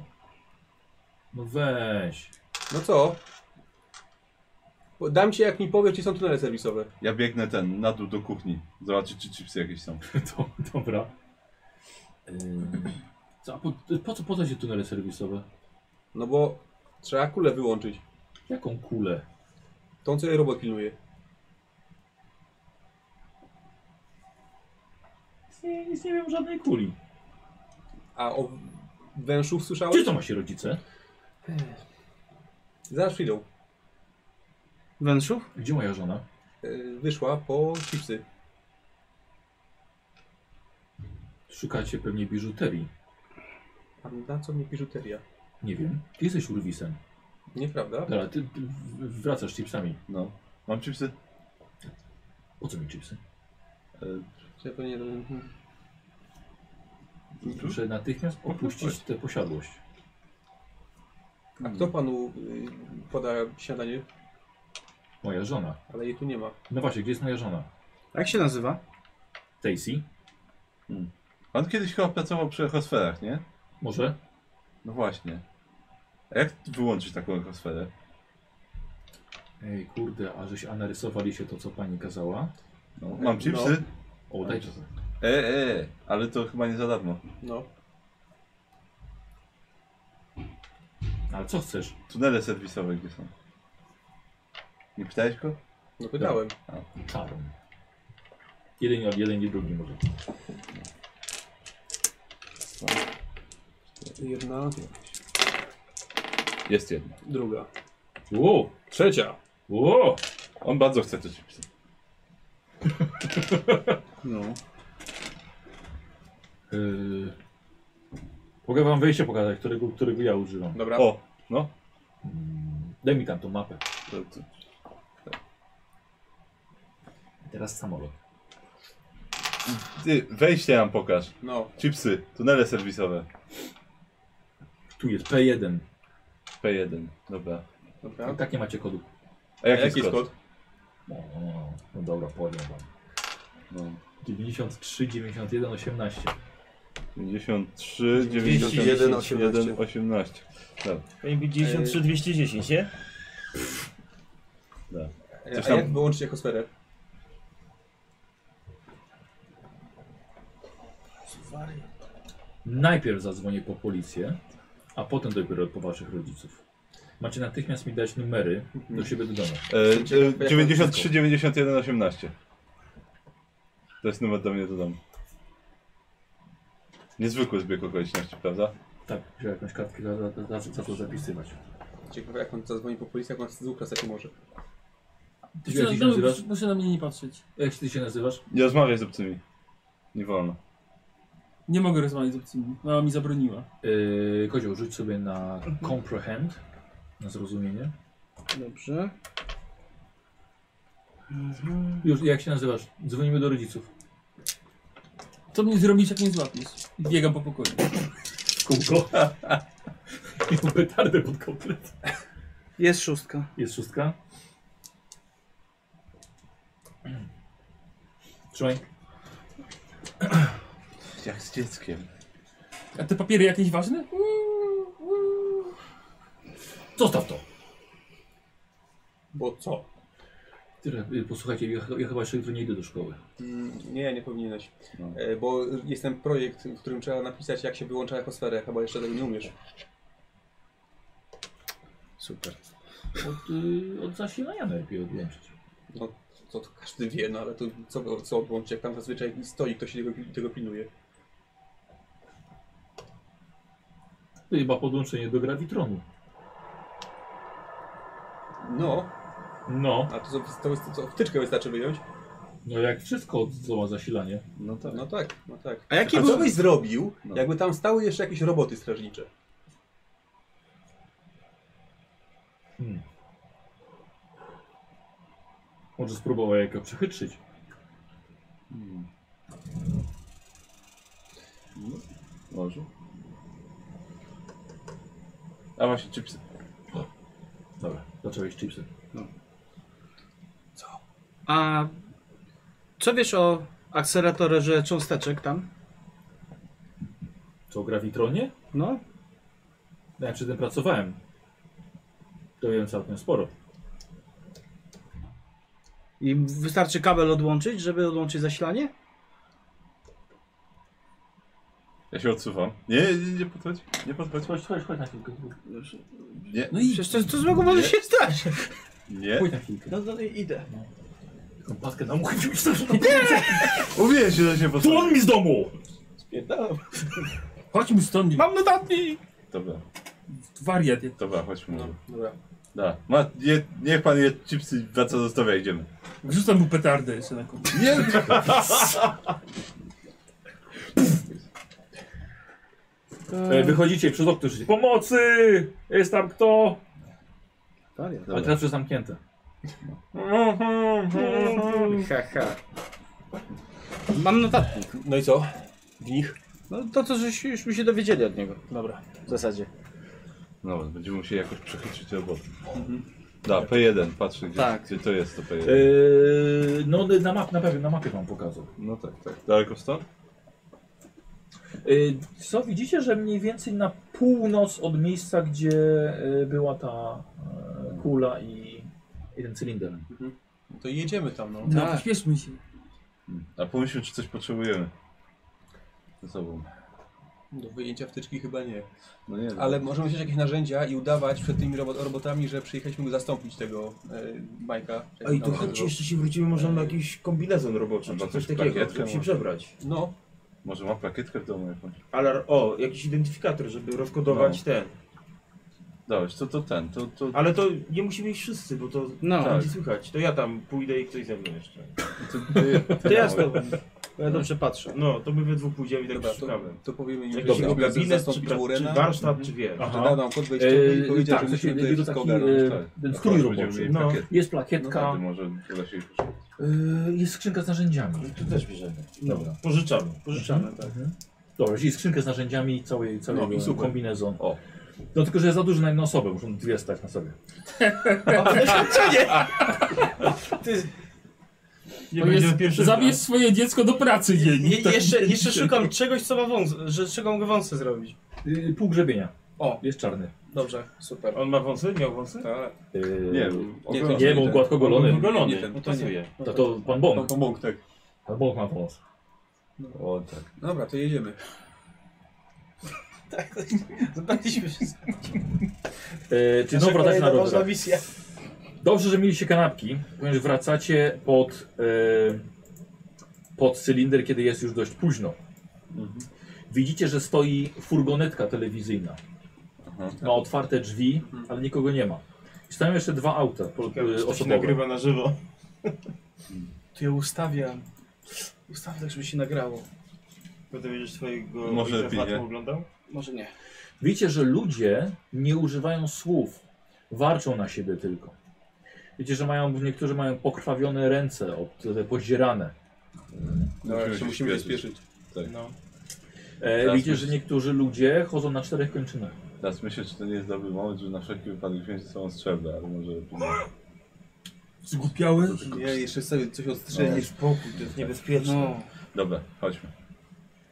Speaker 3: No weź.
Speaker 2: No co? Bo Dam ci jak mi powiesz, czy są tunele serwisowe.
Speaker 6: Ja biegnę ten, na dół do kuchni. Zobaczyć, czy chipsy jakieś są.
Speaker 3: To, dobra. Ym, Co, a po, po co po co się tunele serwisowe?
Speaker 2: No bo trzeba kulę wyłączyć.
Speaker 3: Jaką kulę?
Speaker 2: Tą, co jej robot pilnuje.
Speaker 3: Nic nie, nic nie wiem o żadnej kuli.
Speaker 2: A o wężów słyszałeś?
Speaker 3: Gdzie to ma się rodzice?
Speaker 2: Zaraz przyjdą.
Speaker 13: Węszów?
Speaker 3: Gdzie moja żona?
Speaker 2: Yy, Wyszła po chipsy.
Speaker 3: Szukacie pewnie biżuterii.
Speaker 2: A na co mi biżuteria?
Speaker 3: Nie wiem. Ty jesteś urwisem.
Speaker 2: Nieprawda?
Speaker 3: Dobra, ty, ty w- wracasz chipsami.
Speaker 6: No. Mam chipsy?
Speaker 3: Po co mi chipsy?
Speaker 2: Ja to nie wiem.
Speaker 6: Mhm.
Speaker 3: Muszę natychmiast opuścić tę posiadłość.
Speaker 2: A kto panu y, poda śniadanie?
Speaker 3: Moja żona.
Speaker 2: Ale jej tu nie ma.
Speaker 3: No właśnie, gdzie jest moja żona?
Speaker 13: Jak się nazywa?
Speaker 3: Stacy?
Speaker 6: Pan kiedyś chyba pracował przy ekosferach, nie?
Speaker 3: Może?
Speaker 6: No właśnie. A jak wyłączyć taką ekosferę?
Speaker 3: Ej, kurde, a żeś anarysowali się to, co pani kazała?
Speaker 6: No, mam chipsy?
Speaker 3: O, daj to.
Speaker 6: E, e, ale to chyba nie za darmo.
Speaker 2: No.
Speaker 3: Ale co chcesz?
Speaker 6: Tunele serwisowe gdzie są? Nie pytałeś go?
Speaker 2: No pytałem.
Speaker 3: Czarn. Jeden, jeden i drugi może.
Speaker 2: Jedna,
Speaker 6: Jest jedna.
Speaker 2: druga.
Speaker 3: Ło!
Speaker 2: Trzecia.
Speaker 3: Ło!
Speaker 6: On bardzo chce te chipsy.
Speaker 13: No.
Speaker 3: Yy... Mogę wam wejście pokazać, którego, którego ja używam.
Speaker 2: Dobra.
Speaker 6: O, no.
Speaker 3: Mm, Daj mi tam tą mapę.
Speaker 6: To, to.
Speaker 3: Teraz samolot.
Speaker 6: Ty, wejście nam pokaż.
Speaker 2: No.
Speaker 6: Chipsy, tunele serwisowe.
Speaker 3: Tu jest P1.
Speaker 6: P1, dobra.
Speaker 2: Dobra.
Speaker 3: I tak nie macie kodu.
Speaker 6: A
Speaker 2: A
Speaker 6: jaki, jest kod?
Speaker 3: No, no, no. no dobra, powiem wam.
Speaker 6: No.
Speaker 3: 93, 91, 18.
Speaker 6: 53, 91,
Speaker 4: 91,
Speaker 6: 18. 18. Dobra.
Speaker 10: Powinien być 93 210, nie?
Speaker 2: A
Speaker 6: tam-
Speaker 2: jak wyłączyć ekosferę?
Speaker 3: Najpierw zadzwonię po policję, a potem dopiero po waszych rodziców. Macie natychmiast mi dać numery do siebie do domu.
Speaker 6: E, e, 93, 91, 18. To jest numer do mnie do domu. Niezwykły zbieg okoliczności, prawda?
Speaker 3: Tak, wziąłem jakąś kartkę, za- za- za- zawsze zaczął zapisywać.
Speaker 2: Ciekawe jak on zadzwoni po policję, jak on z dwóch kasek może.
Speaker 3: Ty się, jak
Speaker 1: Proszę,
Speaker 3: się nazywasz?
Speaker 1: proszę no, na mnie nie patrzeć.
Speaker 3: Jak ty się nazywasz?
Speaker 6: Nie rozmawiaj z obcymi. Nie wolno.
Speaker 1: Nie mogę rozmawiać z obcymi. Mama mi zabroniła.
Speaker 3: Yy, Kozioł, rzuć sobie na comprehend, na zrozumienie.
Speaker 13: Dobrze.
Speaker 3: Już, jak się nazywasz? Dzwonimy do rodziców.
Speaker 1: Co mnie zrobisz, jak mnie złapiesz? I biegam po pokoju.
Speaker 3: W Kółko. I tą petardę pod komplet.
Speaker 13: Jest szóstka.
Speaker 3: Jest szóstka. Trzymaj.
Speaker 6: Jak z dzieckiem.
Speaker 1: A te papiery jakieś ważne?
Speaker 3: Zostaw to.
Speaker 2: Bo co?
Speaker 3: Tyle, y, posłuchajcie, ja, ja chyba jeszcze jutro nie idę do szkoły.
Speaker 2: Mm, nie, nie powinieneś.
Speaker 6: No.
Speaker 2: E, bo jest ten projekt, w którym trzeba napisać jak się wyłącza ekosferę. Chyba jeszcze tego nie umiesz.
Speaker 13: Super.
Speaker 3: Od, y, od zasilania najlepiej odłączyć.
Speaker 2: No to, to każdy wie, no ale to co, co odłączyć, jak tam zazwyczaj stoi, ktoś się tego, tego pilnuje.
Speaker 3: To chyba podłączenie do grawitronu.
Speaker 2: No,
Speaker 3: No,
Speaker 2: a to, to, to, to, wtyczkę wystarczy wyjąć.
Speaker 3: no jak wszystko co ma zasilanie.
Speaker 6: No tak.
Speaker 2: No tak, no tak.
Speaker 13: A jaki
Speaker 2: A
Speaker 13: był...
Speaker 2: co byś zrobił,
Speaker 6: No.
Speaker 2: jakby tam stały jeszcze jakieś roboty strażnicze?
Speaker 3: Hmm. Może spróbował jako przechytrzyć.
Speaker 6: Hmm. No, może. A właśnie, chipsy.
Speaker 3: Dobra, zacząłeś chipsy.
Speaker 13: A Co wiesz o akceleratorze cząsteczek tam?
Speaker 3: Co, o grawitronie?
Speaker 13: No,
Speaker 3: Ja przy tym pracowałem. To wiem całkiem sporo.
Speaker 13: I wystarczy kabel odłączyć, żeby odłączyć zasilanie?
Speaker 6: Ja się odsuwam. Nie, nie, nie podchodź. Nie podchodź.
Speaker 3: Chodź, chodź, chodź na chwilkę.
Speaker 6: Nie,
Speaker 1: No i
Speaker 13: Przecież to, to złego może
Speaker 6: Nie.
Speaker 13: się stać.
Speaker 6: nie.
Speaker 3: Pójdź na chwilkę.
Speaker 9: No to idę.
Speaker 3: Taką paskę na muchy mi Nie!
Speaker 6: Mówiłem ci, że się
Speaker 3: To
Speaker 6: postawię.
Speaker 3: on mi z domu!
Speaker 1: Chodźmy stąd,
Speaker 9: Mam notatnik!
Speaker 6: Dobra,
Speaker 1: wariat. jak-
Speaker 6: dobra, chodźmy. No,
Speaker 2: dobra.
Speaker 6: Da. Ma, je, niech pan je chipsy, na co zostawia, idziemy.
Speaker 1: Wrzucam mu petardę jeszcze na koniec.
Speaker 6: Nie!
Speaker 3: E, Wychodzicie przez okno życie. Pomocy! Jest tam kto? Ale teraz przez zamknięte.
Speaker 13: Haha. Mam notatnik.
Speaker 2: No i co? W nich?
Speaker 13: No to, to żeś- żeśmy się dowiedzieli od niego
Speaker 2: Dobra.
Speaker 13: w zasadzie.
Speaker 6: No, będziemy musieli jakoś przechycić robotę. Da, P1, patrzę gdzie,
Speaker 13: Tak.
Speaker 6: gdzie to jest to P1.
Speaker 3: Y- Eee, E, no na, map, na pewno na mapie wam pokazał.
Speaker 6: No tak, tak. Daleko stąd?
Speaker 3: Eee, co widzicie, że mniej więcej na północ od miejsca, gdzie e, była ta e, kula i, i ten cylinder.
Speaker 2: No to jedziemy tam, no.
Speaker 1: No,
Speaker 13: Tak.
Speaker 1: pośpieszmy się.
Speaker 6: A pomyślmy, czy coś potrzebujemy. Ze sobą.
Speaker 2: Do wyjęcia wtyczki chyba nie.
Speaker 6: No nie,
Speaker 2: Ale możemy wziąć jakieś narzędzia i udawać przed tymi robot robotami, że przyjechaliśmy zastąpić tego e, Majka.
Speaker 7: Ej, to
Speaker 2: no.
Speaker 7: chodźcie, jeszcze się wrócimy, może na jakiś kombinezon roboczy,
Speaker 6: Albo
Speaker 7: czy coś
Speaker 6: coś
Speaker 7: takiego,
Speaker 6: plakietkę
Speaker 7: żeby się
Speaker 6: może.
Speaker 7: przebrać.
Speaker 2: No,
Speaker 6: Może ma plakietkę w domu jakąś.
Speaker 7: Alar, o, jakiś identyfikator, żeby rozkodować
Speaker 6: No.
Speaker 7: ten.
Speaker 6: Dałeś, to, to ten, to, to,
Speaker 7: Ale to nie musimy iść wszyscy, bo to
Speaker 13: No.
Speaker 9: Tak.
Speaker 7: będzie słychać. To ja tam pójdę i ktoś ze mną jeszcze.
Speaker 6: to, ty, ty,
Speaker 13: To ja z tobą. Bo ja dobrze patrzę.
Speaker 7: No, to my we dwóch pójdziemy i tak
Speaker 2: dobra, to,
Speaker 7: szukamy.
Speaker 2: to powiemy im,
Speaker 7: Jakiś
Speaker 2: że
Speaker 7: jego
Speaker 2: mogę
Speaker 7: gabinet, czy,
Speaker 2: zastąpić
Speaker 7: pra- czy
Speaker 2: Warrena.
Speaker 7: warsztat, czy wie.
Speaker 3: Aha.
Speaker 2: Że dam kod wejściowy i
Speaker 3: Eee,
Speaker 2: powiedział,
Speaker 3: tak,
Speaker 2: że yy,
Speaker 3: w sensie
Speaker 2: musimy tutaj
Speaker 3: jego
Speaker 2: wszystko
Speaker 3: taki,
Speaker 2: ogarnąć. tak.
Speaker 3: e, ten strój roboczy.
Speaker 7: No.
Speaker 3: Jest
Speaker 6: Wtedy
Speaker 3: plakietka,
Speaker 6: może uda się ich użyć.
Speaker 3: eee, jest skrzynka z narzędziami.
Speaker 7: To też bierzemy.
Speaker 3: Dobra.
Speaker 7: Pożyczamy.
Speaker 13: Pożyczamy, tak.
Speaker 3: Dobra, czyli skrzynkę z narzędziami i cały, cały
Speaker 2: No i super.
Speaker 3: kombinezon.
Speaker 6: O.
Speaker 3: No tylko, że za dużo na jedną osobę, muszą dwie stać na sobie.
Speaker 7: Nie
Speaker 1: To
Speaker 7: będziemy
Speaker 1: jest-
Speaker 7: pierwszy
Speaker 1: Zabierz swoje dziecko do pracy dzień.
Speaker 9: Je, jeszcze, jeszcze szukam czegoś, co ma wąs, że, czego mogę wąsy zrobić.
Speaker 3: Yy, pół grzebienia.
Speaker 9: O.
Speaker 3: Jest czarny.
Speaker 9: Dobrze, super.
Speaker 7: On ma wąsy? Miał wąsy?
Speaker 2: Tak,
Speaker 3: Yy,
Speaker 6: Nie,
Speaker 2: nie,
Speaker 6: oglądam.
Speaker 3: nie, bo
Speaker 2: ten.
Speaker 3: gładko golony.
Speaker 7: Golony,
Speaker 2: Nie, ten-
Speaker 7: no to nie.
Speaker 3: To, to pan Bąk.
Speaker 2: to pomógł, tak.
Speaker 3: Pan Bąk ma wąs.
Speaker 6: O tak.
Speaker 2: Dobra, to jedziemy.
Speaker 9: Zabraliśmy wszystko.
Speaker 7: E,
Speaker 3: Yy, czy
Speaker 9: Nasza
Speaker 3: znowu wracacie na
Speaker 7: no,
Speaker 9: kolejna
Speaker 3: rower?
Speaker 9: ważna misja.
Speaker 3: Dobrze, że mieliście kanapki, ponieważ wracacie pod, e, pod cylinder, kiedy jest już dość późno.
Speaker 7: Mhm.
Speaker 3: Widzicie, że stoi furgonetka telewizyjna.
Speaker 6: Aha.
Speaker 3: Ma otwarte drzwi,
Speaker 7: Mhm.
Speaker 3: ale nikogo nie ma. I stoją jeszcze dwa auta po,
Speaker 7: Ciekawe,
Speaker 3: e,
Speaker 7: czy to się
Speaker 3: osobowe.
Speaker 7: nagrywa na żywo.
Speaker 9: To ja ustawiam. Ustawiam tak, żeby się nagrało.
Speaker 7: Bo ty będziesz twojego
Speaker 6: Może
Speaker 7: ojca
Speaker 6: lepiej,
Speaker 7: Fatma
Speaker 6: nie?
Speaker 7: oglądał?
Speaker 9: Może nie.
Speaker 3: Widzicie, że ludzie nie używają słów, warczą na siebie tylko. Widzicie, że mają, niektórzy mają pokrwawione ręce, od, e, te podzierane.
Speaker 2: Dobra, jeszcze musimy No, się spieszyć.
Speaker 7: No.
Speaker 3: E,
Speaker 6: Teraz
Speaker 3: widzicie,
Speaker 6: myśl-
Speaker 3: że niektórzy ludzie chodzą na czterech kończynach.
Speaker 6: Teraz myślę, czy to nie jest dobry moment, żeby na wszelki wypadek wziąć ze sobą strzelbę, ale może...
Speaker 1: Zgłupiałeś?
Speaker 2: Nie, jeszcze sobie coś
Speaker 6: No.
Speaker 2: ostrzelić.
Speaker 7: Spokój, to jest niebezpieczne.
Speaker 9: No.
Speaker 6: Dobra, chodźmy.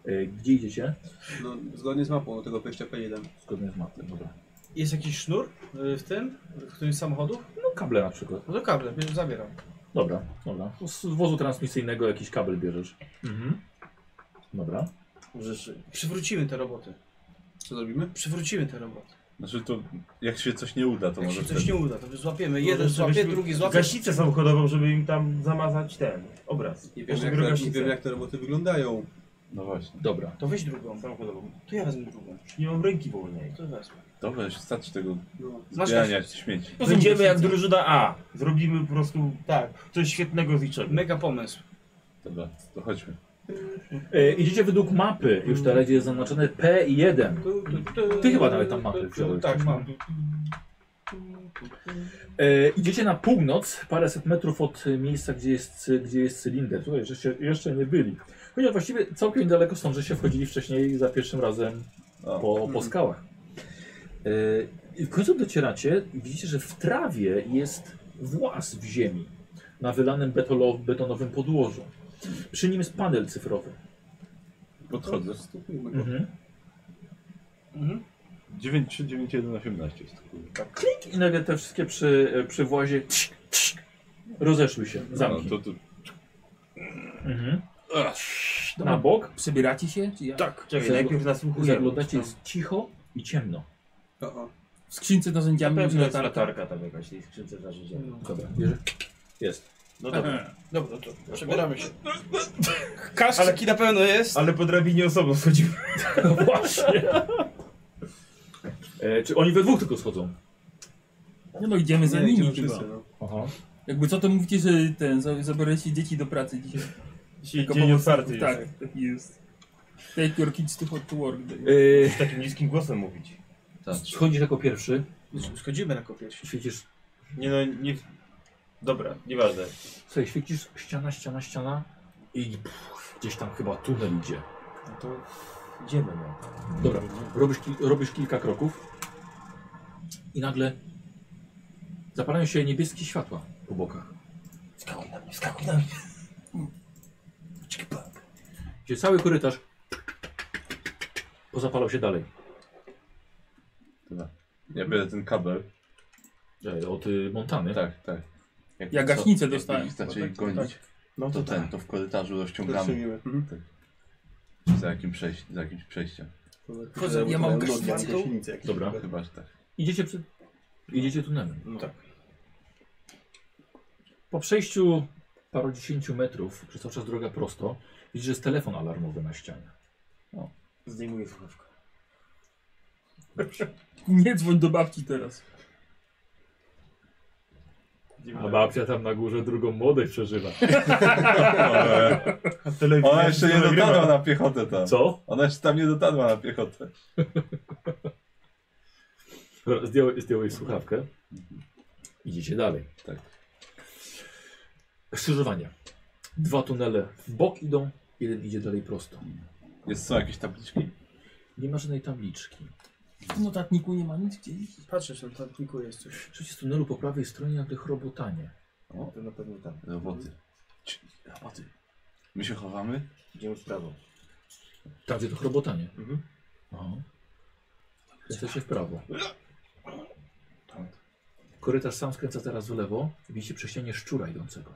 Speaker 3: E, gdzie idziecie?
Speaker 2: No, zgodnie z mapą tego wejścia P1.
Speaker 3: Zgodnie z mapą, dobra.
Speaker 9: Jest jakiś sznur y, w tym? W którymś samochodu?
Speaker 3: No kable na przykład.
Speaker 9: No to kable, bierz- zabieram.
Speaker 3: Dobra, dobra. Z wozu transmisyjnego jakiś kabel bierzesz. Mhm. Dobra.
Speaker 7: Możesz
Speaker 9: Przywrócimy te roboty.
Speaker 2: Co zrobimy?
Speaker 9: Przywrócimy te roboty.
Speaker 6: Znaczy to, jak się coś nie uda, to
Speaker 9: Jak
Speaker 6: może
Speaker 9: się coś
Speaker 6: wtedy.
Speaker 9: nie uda, to złapiemy. Jeden
Speaker 7: Może
Speaker 9: złapie,
Speaker 7: żebyśmy
Speaker 9: drugi złapie.
Speaker 7: Gaśnicę samochodową, żeby im tam zamazać ten obraz.
Speaker 2: Nie
Speaker 7: Żeby
Speaker 2: wiemy,
Speaker 7: druga
Speaker 2: jak, nie
Speaker 7: gaśnica.
Speaker 2: wiemy jak te roboty wyglądają.
Speaker 6: No właśnie.
Speaker 3: Dobra.
Speaker 9: To weź drugą.
Speaker 7: Samochodową.
Speaker 9: To ja wezmę drugą.
Speaker 7: Nie mam ręki wolnej.
Speaker 9: To wezmę.
Speaker 6: Dobra, już stać tego
Speaker 2: No.
Speaker 9: Masz
Speaker 6: zbierania śmieci.
Speaker 7: Będziemy jak drużyna A. Zrobimy po prostu
Speaker 9: Tak,
Speaker 7: coś świetnego z niczego.
Speaker 9: mega pomysł.
Speaker 6: Dobra, to chodźmy.
Speaker 3: E, idziecie według mapy. Już teraz jest zaznaczone P1.
Speaker 9: Tu, tu, tu,
Speaker 3: Ty chyba nawet tam mapy
Speaker 9: tu, tu,
Speaker 3: wziąłeś,
Speaker 9: Tak,
Speaker 3: nie?
Speaker 9: mam.
Speaker 3: E, idziecie na północ, paręset metrów od e, miejsca, gdzie jest, cy- gdzie jest cylinder. Tutaj żeście jeszcze nie byli. Chociaż właściwie całkiem niedaleko stąd, że się wchodzili wcześniej za pierwszym razem
Speaker 6: O.
Speaker 3: po, po skałach. E, i w końcu docieracie i widzicie, że w trawie jest włas w ziemi na wylanym betolo, betonowym podłożu. Przy nim jest panel cyfrowy.
Speaker 6: Podchodzę.
Speaker 2: Stukujmy go.
Speaker 3: Mhm.
Speaker 6: 9, 3, 9, 1, 18 jest to kurwa.
Speaker 3: tak. Klik i nagle te wszystkie przy, przy włazie rozeszły się,
Speaker 6: No,
Speaker 3: zamki.
Speaker 6: to, to
Speaker 3: Mhm. Na bok.
Speaker 1: Przebieracie się? Czy ja?
Speaker 7: Tak. Czekaj,
Speaker 3: Zaglo-
Speaker 7: najpierw nasłuchujemy.
Speaker 3: Zaglądacie, jest cicho i ciemno.
Speaker 2: O,
Speaker 1: W skrzynce z narzędziami
Speaker 7: Pewnie
Speaker 1: będzie
Speaker 7: jest
Speaker 1: latarka.
Speaker 7: latarka tam jakaś, w tej skrzynce w narzędziach.
Speaker 3: Dobra, bierze. Jest.
Speaker 7: No dobra.
Speaker 9: Dobra, to przebieramy się. Kaszki na pewno jest.
Speaker 7: Ale po drabinie osobno schodzimy.
Speaker 3: Właśnie. E, czy oni we dwóch tylko schodzą?
Speaker 1: No, no idziemy za
Speaker 2: Nie,
Speaker 1: nimi
Speaker 2: idziemy
Speaker 1: chyba.
Speaker 2: wszyscy, no.
Speaker 3: Aha.
Speaker 1: Jakby co to mówicie, że ten, za- zabieracie dzieci do pracy dzisiaj.
Speaker 7: Dzisiaj
Speaker 1: Tylko
Speaker 7: dzień
Speaker 1: po-
Speaker 7: otwarty jest.
Speaker 1: Tak, tak jest. Take your kids to, to work day.
Speaker 3: E,
Speaker 7: Z takim niskim głosem mówić.
Speaker 3: schodzisz jako pierwszy,
Speaker 9: Schodzimy na kopię.
Speaker 3: świecisz,
Speaker 7: Nie no, nie... Dobra, nieważne.
Speaker 3: słuchaj, świecisz ściana, ściana, ściana i pff, gdzieś tam chyba tunel idzie.
Speaker 7: No to idziemy no.
Speaker 3: Dobra, robisz, ki- robisz kilka kroków i nagle zapalają się niebieskie światła po bokach.
Speaker 7: Skakuj na mnie, skakuj na mnie.
Speaker 3: Gdzie cały korytarz pozapalał się dalej.
Speaker 6: tyle. Ja biorę ten kabel.
Speaker 3: E, Od y, Montany.
Speaker 6: Tak, tak. Jak
Speaker 1: Ja
Speaker 6: co-
Speaker 1: gaśnicę
Speaker 6: jak
Speaker 1: dostałem. tak,
Speaker 6: ich zaczęli gonić,
Speaker 7: No
Speaker 6: to ten, to w korytarzu rozciągamy
Speaker 2: Zaczynimy.
Speaker 6: za, jakim przejś za jakimś przejściem.
Speaker 1: Chodzę, ja mam gaśnicę.
Speaker 3: Dobra.
Speaker 6: Chyba, że tak.
Speaker 3: Idziecie, przy... Idziecie tunelem.
Speaker 7: No tak.
Speaker 3: Po przejściu parudziesięciu metrów, przez cały czas droga prosto, widzisz, że jest telefon alarmowy na ścianie.
Speaker 7: Zdejmuję słuchawkę.
Speaker 1: Nie dzwoń do babci teraz.
Speaker 3: A babcia tam na górze drugą młodość przeżywa.
Speaker 6: Ona jeszcze nie dotarła na piechotę tam.
Speaker 3: Co?
Speaker 6: Ona jeszcze tam nie dotarła na piechotę.
Speaker 3: Dobra, Zdjąłeś, zdjąłeś słuchawkę. Idziecie dalej.
Speaker 6: Tak.
Speaker 3: Skrzyżowania. Dwa tunele w bok idą, jeden idzie dalej prosto.
Speaker 6: Jest, są jakieś tabliczki?
Speaker 3: Nie ma żadnej tabliczki.
Speaker 1: W notatniku No tak, nie ma nic gdzie iść.
Speaker 9: Patrzę, czy tam kliku jest coś.
Speaker 3: Przecież z tunelu po prawej stronie nagle chrobotanie.
Speaker 7: To na pewno tam.
Speaker 6: Roboty. Ci- Roboty. My się chowamy?
Speaker 7: Idziemy w prawo.
Speaker 3: Tam gdzie to chrobotanie.
Speaker 7: Mhm.
Speaker 3: Aha. No. Jesteście w prawo. Tak. Korytarz sam skręca teraz w lewo. Widzicie prześcianie szczura idącego.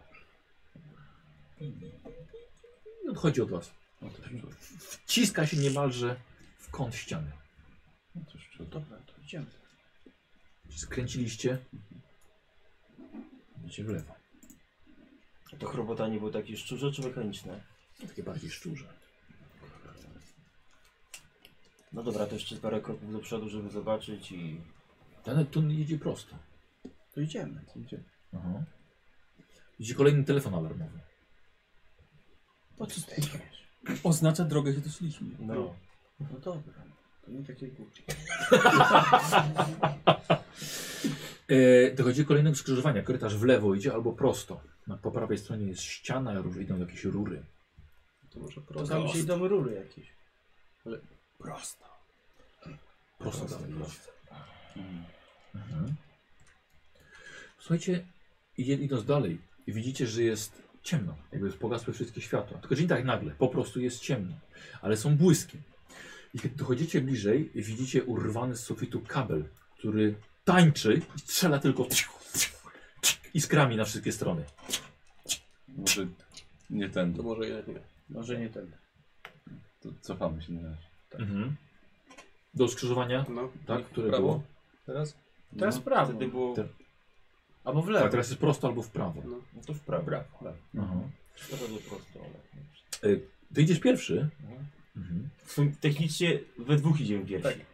Speaker 3: I Odchodzi od was.
Speaker 6: No to już
Speaker 3: Wciska się niemalże w kąt ściany.
Speaker 6: no to już czuł.
Speaker 9: Dobra, to idziemy.
Speaker 3: Skręciliście. Idziecie w lewo.
Speaker 7: A to chrobotanie było takie szczurze czy mechaniczne?
Speaker 3: Takie bardziej szczurze.
Speaker 7: No dobra, to jeszcze parę kroków do przodu, żeby zobaczyć i...
Speaker 3: Ten tunel idzie prosto.
Speaker 9: To idziemy.
Speaker 3: Aha. Idzie kolejny telefon alarmowy.
Speaker 9: Po co ty idziesz?
Speaker 1: Oznacza drogę, że doszliśmy.
Speaker 7: No.
Speaker 9: No dobra. To nie takie głupie.
Speaker 3: E, dochodzi do kolejnego skrzyżowania. Korytarz w lewo idzie albo prosto. Na, po prawej stronie jest ściana, róż, idą jakieś rury.
Speaker 9: To może prosto. To tam się idą rury jakieś.
Speaker 1: Prosto.
Speaker 3: Prosto dalej idzie. Mhm. Słuchajcie, idzie, idąc dalej i widzicie, że jest ciemno. Jakby pogasły wszystkie światła. Tylko, że nie tak nagle. Po prostu jest ciemno. Ale są błyski. I kiedy dochodzicie bliżej, widzicie urwany z sufitu kabel, który tańczy i strzela tylko iskrami na wszystkie strony.
Speaker 6: Może nie ten.
Speaker 2: To może jednak nie.
Speaker 9: Może nie ten.
Speaker 6: To cofamy się na razie.
Speaker 3: Mhm. Do skrzyżowania,
Speaker 2: No.
Speaker 3: tak, które
Speaker 2: prawo?
Speaker 3: było.
Speaker 2: Teraz?
Speaker 9: Teraz
Speaker 6: No.
Speaker 9: prawo.
Speaker 7: Wtedy było...
Speaker 3: Te-
Speaker 9: Albo w
Speaker 3: Tak,
Speaker 9: lewo.
Speaker 3: teraz jest prosto albo w prawo.
Speaker 2: No.
Speaker 7: No to w prawo. Brawo.
Speaker 3: Mhm.
Speaker 7: To będzie prosto, ale...
Speaker 3: E, Ty idziesz pierwszy.
Speaker 7: Mhm.
Speaker 3: Mhm.
Speaker 7: W sumie Technicznie we dwóch idziemy pierwsi.
Speaker 2: Tak.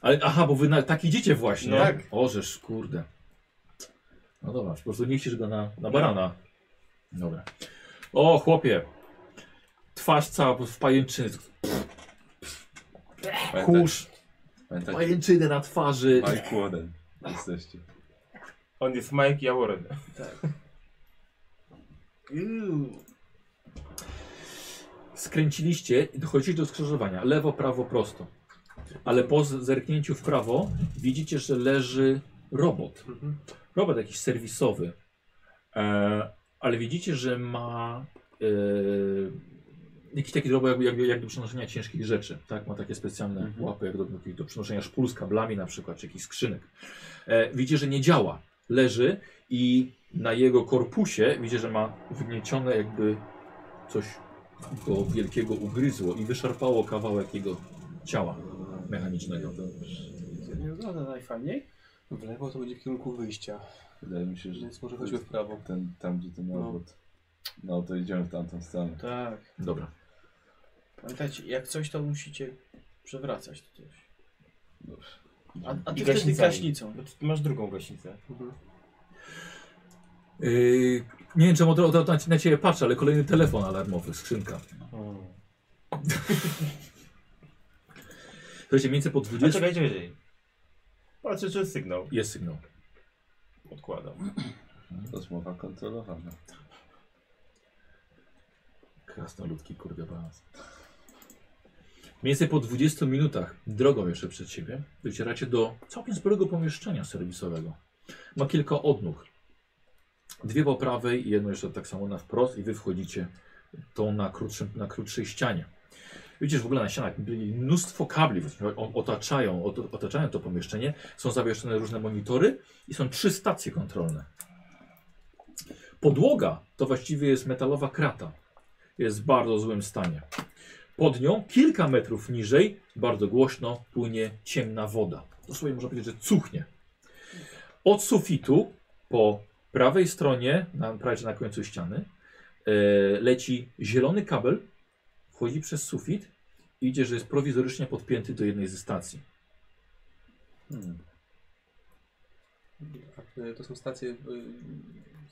Speaker 3: Ale aha, bo wy na, tak idziecie właśnie.
Speaker 7: No. Tak.
Speaker 3: Orzesz, kurde. No dobra, po prostu nie chcisz go na, na barana. Dobra. O, chłopie. Twarz cała w pajęczyny.
Speaker 6: Pamiętaj,
Speaker 3: Kurz,
Speaker 6: pamiętaj,
Speaker 3: pajęczyny na twarzy.
Speaker 6: Mike Warden. Jesteście.
Speaker 7: On jest Mike, ja Warren.
Speaker 9: Uuu.
Speaker 3: Skręciliście i dochodzicie do skrzyżowania. Lewo, prawo, prosto. Ale po z- zerknięciu w prawo widzicie, że leży robot. Robot jakiś serwisowy. E, ale widzicie, że ma Yy, jakiś taki drobek jak, jak, jak do przenoszenia ciężkich rzeczy, tak? Ma takie specjalne łapy jak do, do, do przenoszenia szpul z kablami na przykład, czy jakichś skrzynek. E, widzicie, że nie działa. Leży i na jego korpusie widzicie, że ma wgniecione jakby coś go wielkiego ugryzło i wyszarpało kawałek jego ciała mechanicznego.
Speaker 2: Nie wygląda najfajniej. W lewo to będzie w kierunku wyjścia,
Speaker 6: Wydaje mi No, się, że
Speaker 2: więc może chodźmy w prawo.
Speaker 6: ten, tam gdzie ten robot. No to idziemy w tamtą stronę.
Speaker 9: Tak.
Speaker 3: Dobra.
Speaker 9: Pamiętajcie, jak coś to musicie przewracać to coś.
Speaker 6: Dobrze.
Speaker 9: A, a
Speaker 10: I
Speaker 9: ty wtedy
Speaker 10: gaśnicami.
Speaker 9: gaśnicą.
Speaker 7: No
Speaker 10: Bo ty masz drugą gaśnicę.
Speaker 3: Yy, nie wiem czemu to, to, to na ciebie patrzę, ale kolejny telefon alarmowy, skrzynka.
Speaker 10: Hmm.
Speaker 3: Słuchajcie, mniej więcej po
Speaker 10: A
Speaker 3: 20
Speaker 10: czekaj, czekaj, czekaj. Patrzę, czy jest sygnał.
Speaker 3: jest sygnał.
Speaker 10: Odkładam.
Speaker 6: Rozmowa kontrolowana.
Speaker 3: Krasnoludki, kurde balans. Mniej więcej po 20 minutach drogą jeszcze przed siebie docieracie do całkiem sporego pomieszczenia serwisowego. Ma kilka odnóg. Dwie po prawej i jedno jeszcze tak samo na wprost i wy wchodzicie tą na, krótszym, na krótszej ścianie. Widzisz w ogóle na ścianach byli mnóstwo kabli, właśnie o- otaczają, ot- otaczają to pomieszczenie. Są zawieszone różne monitory i są trzy stacje kontrolne. Podłoga to właściwie jest metalowa krata jest w bardzo złym stanie. Pod nią, kilka metrów niżej, bardzo głośno płynie ciemna woda. Dosłownie można powiedzieć, że cuchnie. Od sufitu po prawej stronie, na, prawie że na końcu ściany, e, leci zielony kabel, wchodzi przez sufit i idzie, że jest prowizorycznie podpięty do jednej ze stacji.
Speaker 2: A, y, To są stacje... y,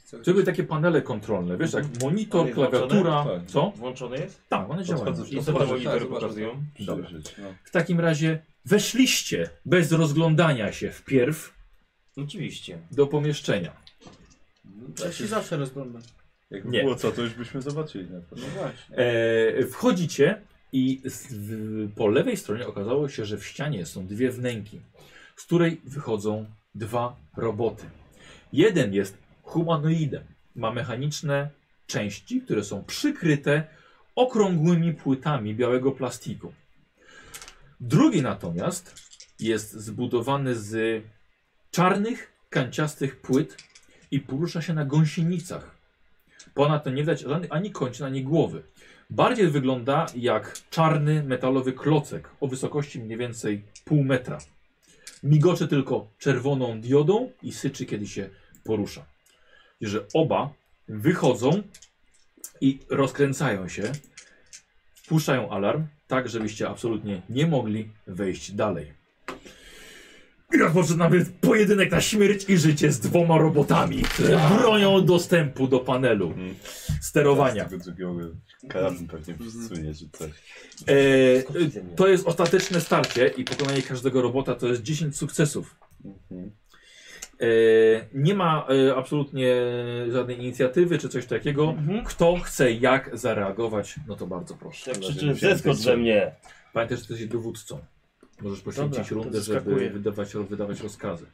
Speaker 2: co-
Speaker 3: To były takie panele kontrolne, wiesz, jak monitor,
Speaker 10: One włączone?
Speaker 3: klawiatura,
Speaker 6: Tak.
Speaker 3: co?
Speaker 10: Włączony jest?
Speaker 3: Tak, one działają.
Speaker 6: Podchodzę,
Speaker 10: I co te
Speaker 2: zobaczę,
Speaker 10: monitory
Speaker 2: tak, zobaczę.
Speaker 10: pokazują?
Speaker 3: Dobra.
Speaker 6: Przyjrzeć, no.
Speaker 3: W takim razie weszliście bez rozglądania się wpierw
Speaker 10: Oczywiście.
Speaker 3: do pomieszczenia.
Speaker 9: Ja się zawsze rozglądam.
Speaker 6: Jakby
Speaker 3: Nie.
Speaker 6: było co, to już byśmy zobaczyli na
Speaker 2: No
Speaker 6: pewno.
Speaker 3: E, wchodzicie i z, w, po lewej stronie okazało się, że w ścianie są dwie wnęki, z której wychodzą dwa roboty. Jeden jest humanoidem. Ma mechaniczne części, które są przykryte okrągłymi płytami białego plastiku. Drugi natomiast jest zbudowany z czarnych, kanciastych płyt i porusza się na gąsienicach. Ponadto nie widać żadnych ani kończyn, ani głowy. Bardziej wygląda jak czarny metalowy klocek o wysokości mniej więcej pół metra. Migocze tylko czerwoną diodą i syczy, kiedy się porusza. I Że oba wychodzą i rozkręcają się, wpuszczają alarm, tak żebyście absolutnie nie mogli wejść dalej. I rozpoczynamy pojedynek na śmierć i życie z dwoma robotami, które bronią dostępu do panelu
Speaker 6: Mm.
Speaker 3: sterowania.
Speaker 6: Tego drugiego karabin pewnie przesunie czy coś.
Speaker 3: E, e, to jest ostateczne starcie i pokonanie każdego robota to jest 10 sukcesów.
Speaker 6: Mhm.
Speaker 3: E, nie ma e, absolutnie żadnej inicjatywy czy coś takiego. Kto chce jak zareagować, no to bardzo
Speaker 7: Tak,
Speaker 3: proszę.
Speaker 10: Jak
Speaker 6: że
Speaker 10: krzyczy,
Speaker 6: wziąłem
Speaker 10: zeskocz
Speaker 6: ten
Speaker 10: ze mnie.
Speaker 3: Pamiętaj, że jesteś dowódcą. Możesz poświęcić
Speaker 9: Dobra,
Speaker 3: rundę,
Speaker 9: to
Speaker 3: żeby
Speaker 9: skakuję.
Speaker 3: wydawać, wydawać rozkazy.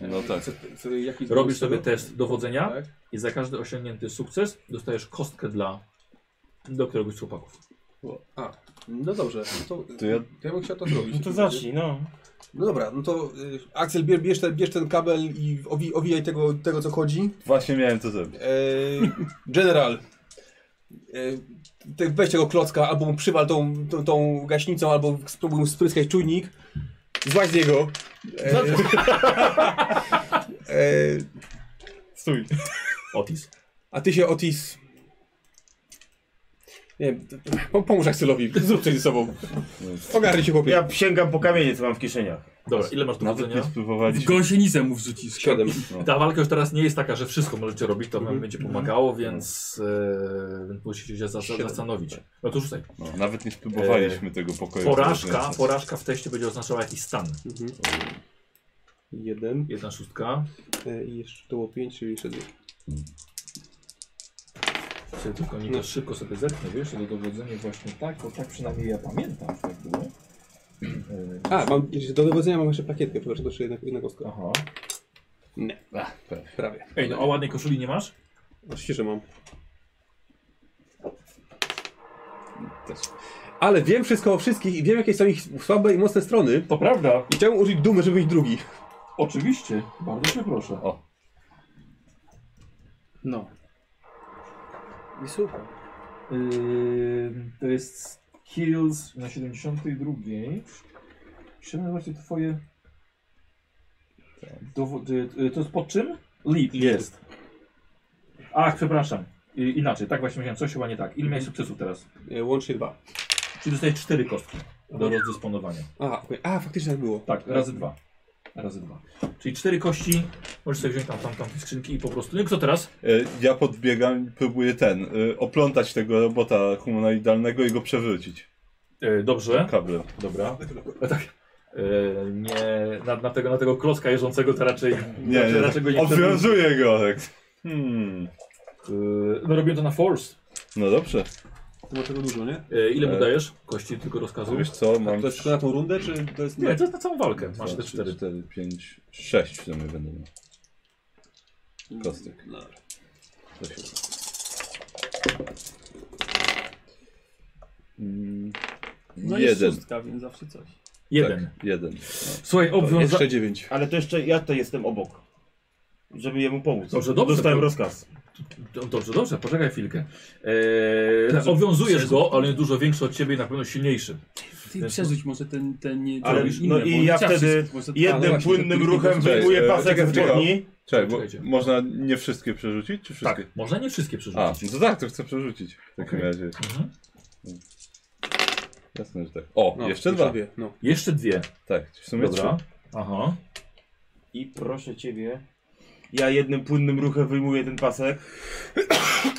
Speaker 6: No tak.
Speaker 2: co- co- jaki-
Speaker 3: Robisz sobie test dowodzenia
Speaker 2: Tak?
Speaker 3: i za każdy osiągnięty sukces dostajesz kostkę dla do któregoś z chłopaków.
Speaker 2: A, no dobrze. To,
Speaker 6: To ja-
Speaker 2: to ja bym chciał to zrobić.
Speaker 10: No to zacznij, no.
Speaker 2: No dobra, no to y, Axel, bier, bierz, ten, bierz ten kabel i owi, owijaj tego, tego, co chodzi.
Speaker 6: Właśnie miałem to zrobić.
Speaker 2: E, general, e, te, weź tego klocka, albo mu przywal tą, tą, tą gaśnicą, albo spróbuj mu spryskać czujnik. Złaź z niego. E, e,
Speaker 10: Stój.
Speaker 3: Otis.
Speaker 2: a ty się, Otis... Nie wiem, t- t- pom- pomóż Axelowi, zrób coś ze sobą. Ogarnij się, chłopie.
Speaker 10: Ja sięgam po kamienie, co mam w kieszeniach.
Speaker 3: Dobra, ile masz
Speaker 6: Nawet
Speaker 3: dowodzenia?
Speaker 6: nie
Speaker 1: W
Speaker 6: spróbowaliśmy.
Speaker 1: gąsienicę mu wrzucisz.
Speaker 2: Siedem.
Speaker 3: Ta walka już teraz nie jest taka, że wszystko możecie robić, to wam będzie pomagało, więc e, musicie się zas- zastanowić. No to rzucaj.
Speaker 6: No, nawet nie spróbowaliśmy tego pokoju.
Speaker 3: Porażka,
Speaker 6: rozwiązać.
Speaker 3: porażka w teście będzie oznaczała jakiś stan.
Speaker 2: Jeden.
Speaker 3: Jedna szóstka.
Speaker 2: E, I jeszcze to było pięć, czyli jeszcze dwie.
Speaker 3: Sobie tylko nie to szybko sobie zerknę, wiesz, to dowodzenie właśnie tak, bo tak przynajmniej ja pamiętam, że tak było. E,
Speaker 2: A, mam, do dowodzenia mam jeszcze plakietkę, przepraszam, to jeszcze jedna, jedna kostka.
Speaker 3: Aha.
Speaker 2: Nie. no.
Speaker 6: Ach, pewnie.
Speaker 2: Prawie.
Speaker 3: Ej, no a ładnej koszuli nie masz?
Speaker 2: Oczywiście, że mam. Ale wiem wszystko o wszystkich i wiem, jakie są ich słabe i mocne strony.
Speaker 3: To prawda.
Speaker 2: I chciałem użyć dumy, żeby ich drugi.
Speaker 3: Oczywiście. Bardzo cię proszę.
Speaker 6: O,
Speaker 9: No. I super.
Speaker 3: Yy, to jest Kills na 72. Chciałem zobaczyć twoje... Dowo- y, y, to jest pod czym? Lead. Jest. Ach, przepraszam. Y, inaczej, tak właśnie myślałem. Coś chyba nie tak. Ile miałeś sukcesów teraz?
Speaker 2: E, łącznie dwa.
Speaker 3: Czyli dostajesz cztery kostki do rozdysponowania.
Speaker 2: A, okej. A, faktycznie tak było.
Speaker 3: Tak, razy dwa. Razy dwa. Czyli cztery kości. Możesz sobie wziąć tam, tam, tam te skrzynki i po prostu. No i kto teraz?
Speaker 6: E, Ja podbiegam i próbuję ten, e, oplątać tego robota humanoidalnego i go przewrócić
Speaker 3: E, dobrze.
Speaker 6: kablem.
Speaker 3: Dobra. E, tak. E, nie, na, na, tego, na tego klocka jeżdżącego to raczej
Speaker 6: Nie,
Speaker 3: raczej,
Speaker 6: nie,
Speaker 3: Znaczy, raczej go
Speaker 6: nie
Speaker 3: nie przewrócisz.
Speaker 6: obwiązuję go. Tak. Hmm.
Speaker 3: E, No robię to na force.
Speaker 6: No dobrze.
Speaker 2: To ma tego dużo, nie?
Speaker 3: E, ile mu
Speaker 6: E.
Speaker 3: dajesz? Kości tylko rozkazujesz?
Speaker 6: Wiesz co,
Speaker 2: A
Speaker 6: mam...
Speaker 2: to jest tylko na tą rundę, czy to jest...
Speaker 3: Nie, to jest na całą walkę. Masz te
Speaker 6: Dwa,
Speaker 3: cztery.
Speaker 6: trzy, cztery, pięć, sześć w sumie będę miał. Kostek.
Speaker 2: Dobra.
Speaker 6: To się uda. Mm,
Speaker 1: No
Speaker 6: jeden.
Speaker 1: jest szóstka, więc zawsze coś.
Speaker 3: Jeden.
Speaker 6: Tak, jeden.
Speaker 3: Słuchaj,
Speaker 6: No.
Speaker 3: obwiąza...
Speaker 6: Jeszcze dziewięć.
Speaker 10: Ale to jeszcze ja to jestem obok. Żeby jemu pomóc.
Speaker 3: Dobrze, dobrze.
Speaker 10: Dostałem
Speaker 3: To-
Speaker 10: rozkaz.
Speaker 3: Do- no, Dobrze, dobrze, poczekaj chwilkę. E, obwiązujesz go, ale jest dużo większy od ciebie i na pewno silniejszy.
Speaker 1: Ty przerzuć może ten, ten nie...
Speaker 10: Ale-
Speaker 1: robisz
Speaker 10: no
Speaker 1: inne,
Speaker 10: i
Speaker 1: bo on
Speaker 10: ja
Speaker 1: chciał
Speaker 10: wtedy
Speaker 1: wszystko, może-
Speaker 3: no
Speaker 1: tak-
Speaker 10: Jednym
Speaker 1: Ale właśnie,
Speaker 10: płynnym
Speaker 1: żeby
Speaker 10: ruchem
Speaker 1: tylko-
Speaker 6: wyjmuje
Speaker 10: wyjmuję
Speaker 6: e,
Speaker 10: pasek
Speaker 6: czekaj,
Speaker 10: z
Speaker 6: czekaj.
Speaker 10: spodni.
Speaker 6: Czekaj, bo
Speaker 3: Czekajcie.
Speaker 6: można nie wszystkie przerzucić, czy wszystkie?
Speaker 3: Można nie wszystkie
Speaker 6: A,
Speaker 3: przerzucić.
Speaker 6: no to tak, to chcę przerzucić. W takim razie.
Speaker 3: Mhm.
Speaker 6: Jasne, że tak. O,
Speaker 2: No,
Speaker 6: jeszcze dwa.
Speaker 2: Dwie. No.
Speaker 3: Jeszcze dwie.
Speaker 6: Tak, w sumie
Speaker 3: Dobra. Aha.
Speaker 10: I proszę ciebie. Ja jednym płynnym ruchem wyjmuję ten pasek.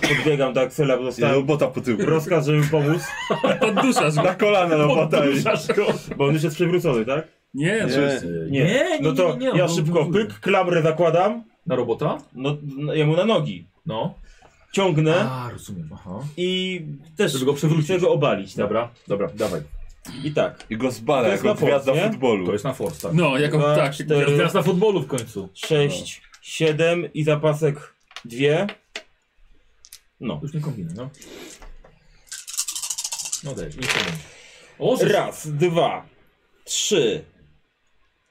Speaker 10: Podbiegam do Aksela, bo
Speaker 6: trzy. I
Speaker 10: dostałem
Speaker 6: robota no, po tyłku.
Speaker 10: rozkaz, żeby pomóc.
Speaker 1: Podduszasz go.
Speaker 6: Na kolana robota. i-
Speaker 3: Podruszasz go.
Speaker 10: Bo on już jest przewrócony, tak?
Speaker 1: Nie,
Speaker 6: Nie.
Speaker 1: no.
Speaker 3: Eee, Nie,
Speaker 10: Nie.
Speaker 3: nie,
Speaker 10: No to
Speaker 3: nie, nie, nie,
Speaker 10: ja
Speaker 3: on
Speaker 10: szybko
Speaker 3: wywiązuje.
Speaker 10: pyk, klamrę zakładam.
Speaker 3: Na robota?
Speaker 10: No, no jemu na nogi.
Speaker 3: No.
Speaker 10: Ciągnę
Speaker 3: A, rozumiem, aha.
Speaker 10: i też
Speaker 3: Żeby go przewrócić.
Speaker 10: chcę go obalić. Tak?
Speaker 3: Dobra, dobra, dawaj.
Speaker 10: I tak.
Speaker 6: I go
Speaker 10: To
Speaker 6: zbala,
Speaker 10: jest
Speaker 6: jak od
Speaker 10: na
Speaker 6: gwiazda
Speaker 10: fort, nie?
Speaker 6: futbolu.
Speaker 3: To jest na force, tak.
Speaker 1: No, jako
Speaker 10: Dwa,
Speaker 1: tak.
Speaker 10: cztery.
Speaker 3: Teraz na futbolu w końcu.
Speaker 10: 6, 7 i za pasek 2. No.
Speaker 3: Już nie kombinuj, no. No daj, nie kombinuj. O, że-
Speaker 10: Raz, dwa, trzy.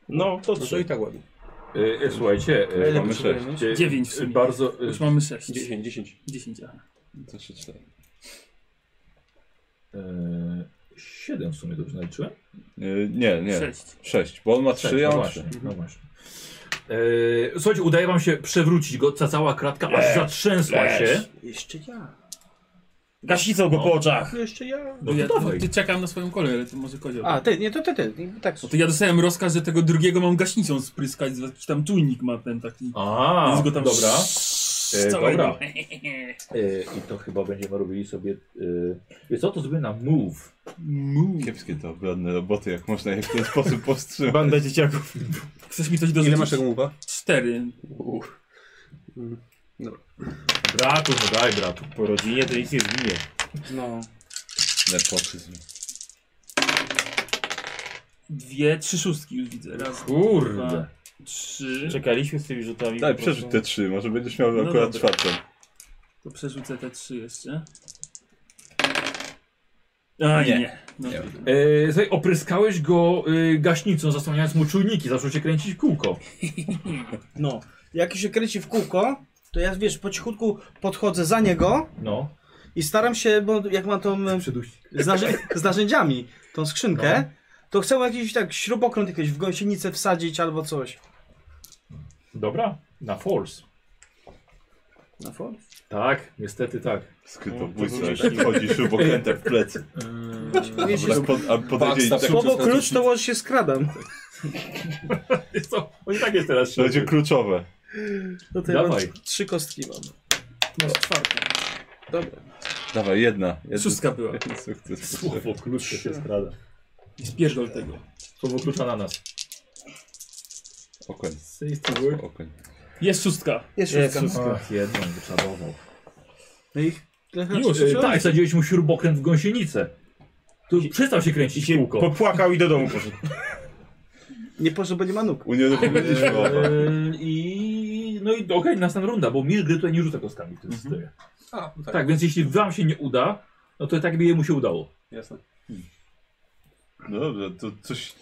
Speaker 10: No, to
Speaker 2: No to
Speaker 10: trzy.
Speaker 2: i tak ładnie.
Speaker 3: E, e, słuchajcie, e,
Speaker 6: Ile potrzebujemy?
Speaker 3: sześć. E,
Speaker 1: Dziewięć w
Speaker 3: e,
Speaker 1: sumie.
Speaker 3: Bardzo... e,
Speaker 1: Już mamy sześć.
Speaker 2: 10, 10.
Speaker 1: Dziesięć, aha.
Speaker 6: To jeszcze cztery.
Speaker 3: e, Siedem w sumie dobrze naliczyłem.
Speaker 6: Y, Nie, nie.
Speaker 1: Sześć.
Speaker 6: Sześć, bo on ma trzy,
Speaker 3: no
Speaker 6: ja mam
Speaker 3: właśnie,
Speaker 6: trzy.
Speaker 3: no właśnie. E, słuchajcie, udaje wam się przewrócić go, ta cała kratka aż zatrzęsła się.
Speaker 9: Jeszcze ja.
Speaker 10: Gasicą go po oczach.
Speaker 9: Jeszcze ja.
Speaker 3: No
Speaker 1: No ja
Speaker 3: to dawaj.
Speaker 1: ty czekam na swoją kolej, ale to może kozioł.
Speaker 9: A, ty, nie, to ty, ty. nie, Tak,
Speaker 1: No to ja dostałem rozkaz, że tego drugiego mam gaśnicą spryskać, jakiś tam czujnik ma ten taki.
Speaker 3: A,
Speaker 1: Więc go tam
Speaker 3: dobra. E,
Speaker 1: całego.
Speaker 3: dobra. E, I to chyba będziemy robili sobie... E, wiesz co, to zrobimy na move.
Speaker 1: Mów.
Speaker 6: Kiepskie te obronne roboty, jak można je w ten sposób powstrzymać.
Speaker 10: Banda dzieciaków.
Speaker 1: Chcesz mi coś dorzucić?
Speaker 2: Ile masz tego muwa?
Speaker 1: Cztery.
Speaker 3: Bratu, no daj bratu.
Speaker 10: Po rodzinie to nic nie zginie.
Speaker 9: no.
Speaker 6: Nepotyzm.
Speaker 1: Dwie, trzy szóstki już widzę. Raz, Tak.
Speaker 3: Kurde.
Speaker 1: trzy.
Speaker 10: Czekaliśmy z tymi rzutami.
Speaker 6: Daj,
Speaker 10: po prostu.
Speaker 6: przerzuć te trzy, może będziesz miał
Speaker 1: No
Speaker 6: akurat
Speaker 1: dobra.
Speaker 6: czwartą.
Speaker 1: To przerzucę te trzy jeszcze. A nie. No,
Speaker 6: Nie.
Speaker 1: trudno.
Speaker 3: E, słuchaj, opryskałeś go e, gaśnicą, zasłaniając mu czujniki, zaczął się kręcić w kółko.
Speaker 9: No. Jak się kręci w kółko, to ja wiesz, po cichutku podchodzę za niego
Speaker 3: No.
Speaker 9: i staram się, bo jak mam tą e, z, narzę- z narzędziami, tą skrzynkę, to chcę mu jakiś tak śrubokręt jakiś w gąsienicę wsadzić albo coś.
Speaker 3: Dobra, na force.
Speaker 9: Na force?
Speaker 3: Tak, niestety tak.
Speaker 6: Skrytobójca,
Speaker 10: No, to
Speaker 6: jak wchodzi szubokrętem w plecy.
Speaker 2: No,
Speaker 6: Dobra, pod, a podejdzie i tak...
Speaker 2: Backstab-
Speaker 9: Słowo klucz to może się skradam.
Speaker 3: Jest to, on i tak jest teraz
Speaker 6: To będzie
Speaker 3: ślepy.
Speaker 6: kluczowe.
Speaker 9: To to ja mam
Speaker 3: Dawaj.
Speaker 9: tr- trzy kostki mam.
Speaker 1: Masz czwartą.
Speaker 6: Dawaj, jedna. jedna.
Speaker 1: Szóstka była.
Speaker 6: Sukces.
Speaker 3: Słowo klucz to się skrada.
Speaker 1: I spierdol tego.
Speaker 3: Słowo klucza na nas.
Speaker 6: Okoń.
Speaker 3: Save the word.
Speaker 6: Okoń.
Speaker 1: Jest szóstka.
Speaker 9: Jest
Speaker 10: Jest
Speaker 9: szóstka.
Speaker 10: szóstka.
Speaker 3: Ach, jedną wyczarował.
Speaker 9: No i trochę
Speaker 10: Znaczy,
Speaker 3: Już, e, tak, wsadziłeś mu śrubokręt w gąsienicę. Tu przestał się
Speaker 10: I
Speaker 3: kręcić w
Speaker 10: się
Speaker 3: kółko.
Speaker 10: popłakał i do domu poszedł.
Speaker 9: Nie poszedł, bo nie ma nóg.
Speaker 6: Unieruchomiliśmy oba.
Speaker 3: Eee, I no i okej, następna runda, bo mistrz gry
Speaker 10: Mhm.
Speaker 3: tutaj
Speaker 10: Tak.
Speaker 3: nie rzuca kostkami w tym systemie.
Speaker 2: A, no
Speaker 3: Tak, więc jeśli wam się nie uda, no to tak by jemu się udało.
Speaker 2: Jasne.
Speaker 6: No dobrze, to coś...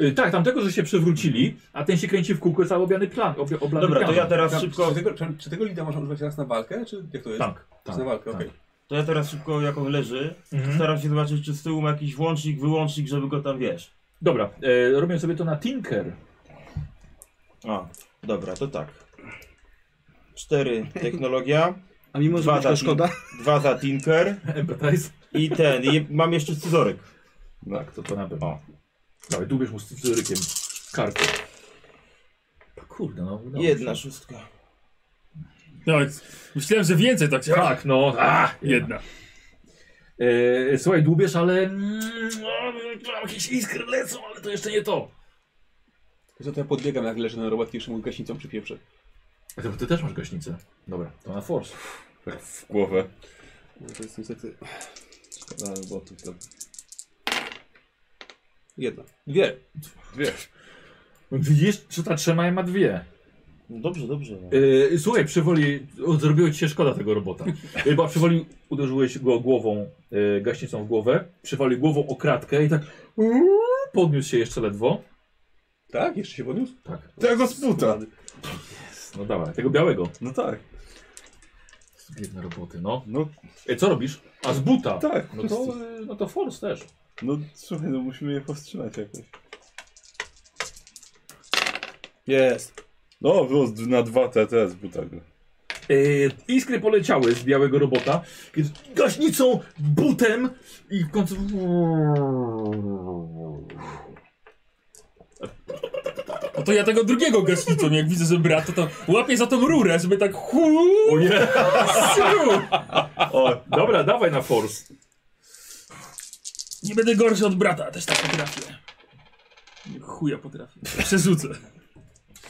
Speaker 3: Y, tak, tamtego, że się przewrócili, a ten się kręci w kółko cały obiany plan. Ob, oblany
Speaker 10: Dobra, to
Speaker 3: planem.
Speaker 10: ja teraz
Speaker 2: Czy-
Speaker 10: szybko.
Speaker 2: Czy tego, czy, czy tego lida można używać raz na walkę, czy jak to jest?
Speaker 3: Tak,
Speaker 2: Raz
Speaker 3: tak,
Speaker 2: na walkę,
Speaker 3: tak.
Speaker 2: okej.
Speaker 10: To ja teraz szybko, jak on leży,
Speaker 3: Mhm.
Speaker 10: staram się zobaczyć, czy z tyłu ma jakiś włącznik, wyłącznik, żeby go tam wiesz.
Speaker 3: Dobra, e, robię sobie to na Tinker.
Speaker 10: A, dobra, to tak. Cztery technologia,
Speaker 9: A mimo, że
Speaker 10: Dwa
Speaker 9: była
Speaker 10: taki-
Speaker 9: szkoda.
Speaker 10: dwa za Tinker
Speaker 3: Empathize.
Speaker 10: i ten. I mam jeszcze scyzoryk.
Speaker 3: Tak, to to na pewno. Dawaj, tu bierz mu z cyrykiem kartę. Pa, Kurde, no. udało
Speaker 10: Jedna
Speaker 3: się.
Speaker 10: szóstka.
Speaker 1: Nawet No, myślałem, że więcej tak się...
Speaker 3: Tak, no.
Speaker 1: A,
Speaker 3: tak,
Speaker 1: jedna.
Speaker 3: E, słuchaj, dłubiesz, ale... Mm, o, jakieś iskry lecą, ale to jeszcze nie to.
Speaker 2: Za to ja podbiegam, jak leży na robotki, jeszcze mu gaśnicą przypieprzę.
Speaker 3: A to, ty też masz gaśnicę. Dobra, to na force.
Speaker 6: Tak w głowę.
Speaker 2: No to jest niestety... Szkoda, bo tu to... Jedna. Dwie.
Speaker 6: Dwie.
Speaker 3: Widzisz, że ta trzyma ma dwie.
Speaker 10: No dobrze, dobrze. No.
Speaker 3: E, słuchaj, przywoli... o, Zrobiło ci się szkoda tego robota. E, bo przywoli uderzyłeś go głową, e, gaśnicą w głowę, przywalił głową o kratkę i tak... Podniósł się jeszcze ledwo.
Speaker 2: Tak? Jeszcze się podniósł?
Speaker 3: Tak.
Speaker 6: Tego sputa.
Speaker 3: No dawaj, tego białego.
Speaker 6: No tak.
Speaker 3: Biedne roboty, no.
Speaker 6: No,
Speaker 3: E, co robisz? A z buta.
Speaker 6: Tak,
Speaker 3: No to, e, no to force też.
Speaker 6: no słuchaj, no musimy je powstrzymać jakoś.
Speaker 2: Jest.
Speaker 6: No, było z- na dwa TT z butego.
Speaker 3: E, iskry poleciały z białego robota. Kiedy Gaśnicą, butem i w końcu...
Speaker 1: No to ja tego drugiego gaśnicą, jak widzę, że brat, to, to łapię za tą rurę, żeby tak hu.
Speaker 3: O nie! O, dobra, dawaj na force.
Speaker 1: Nie będę gorszy od brata, też tak potrafię. Chuja potrafię. Przerzucę.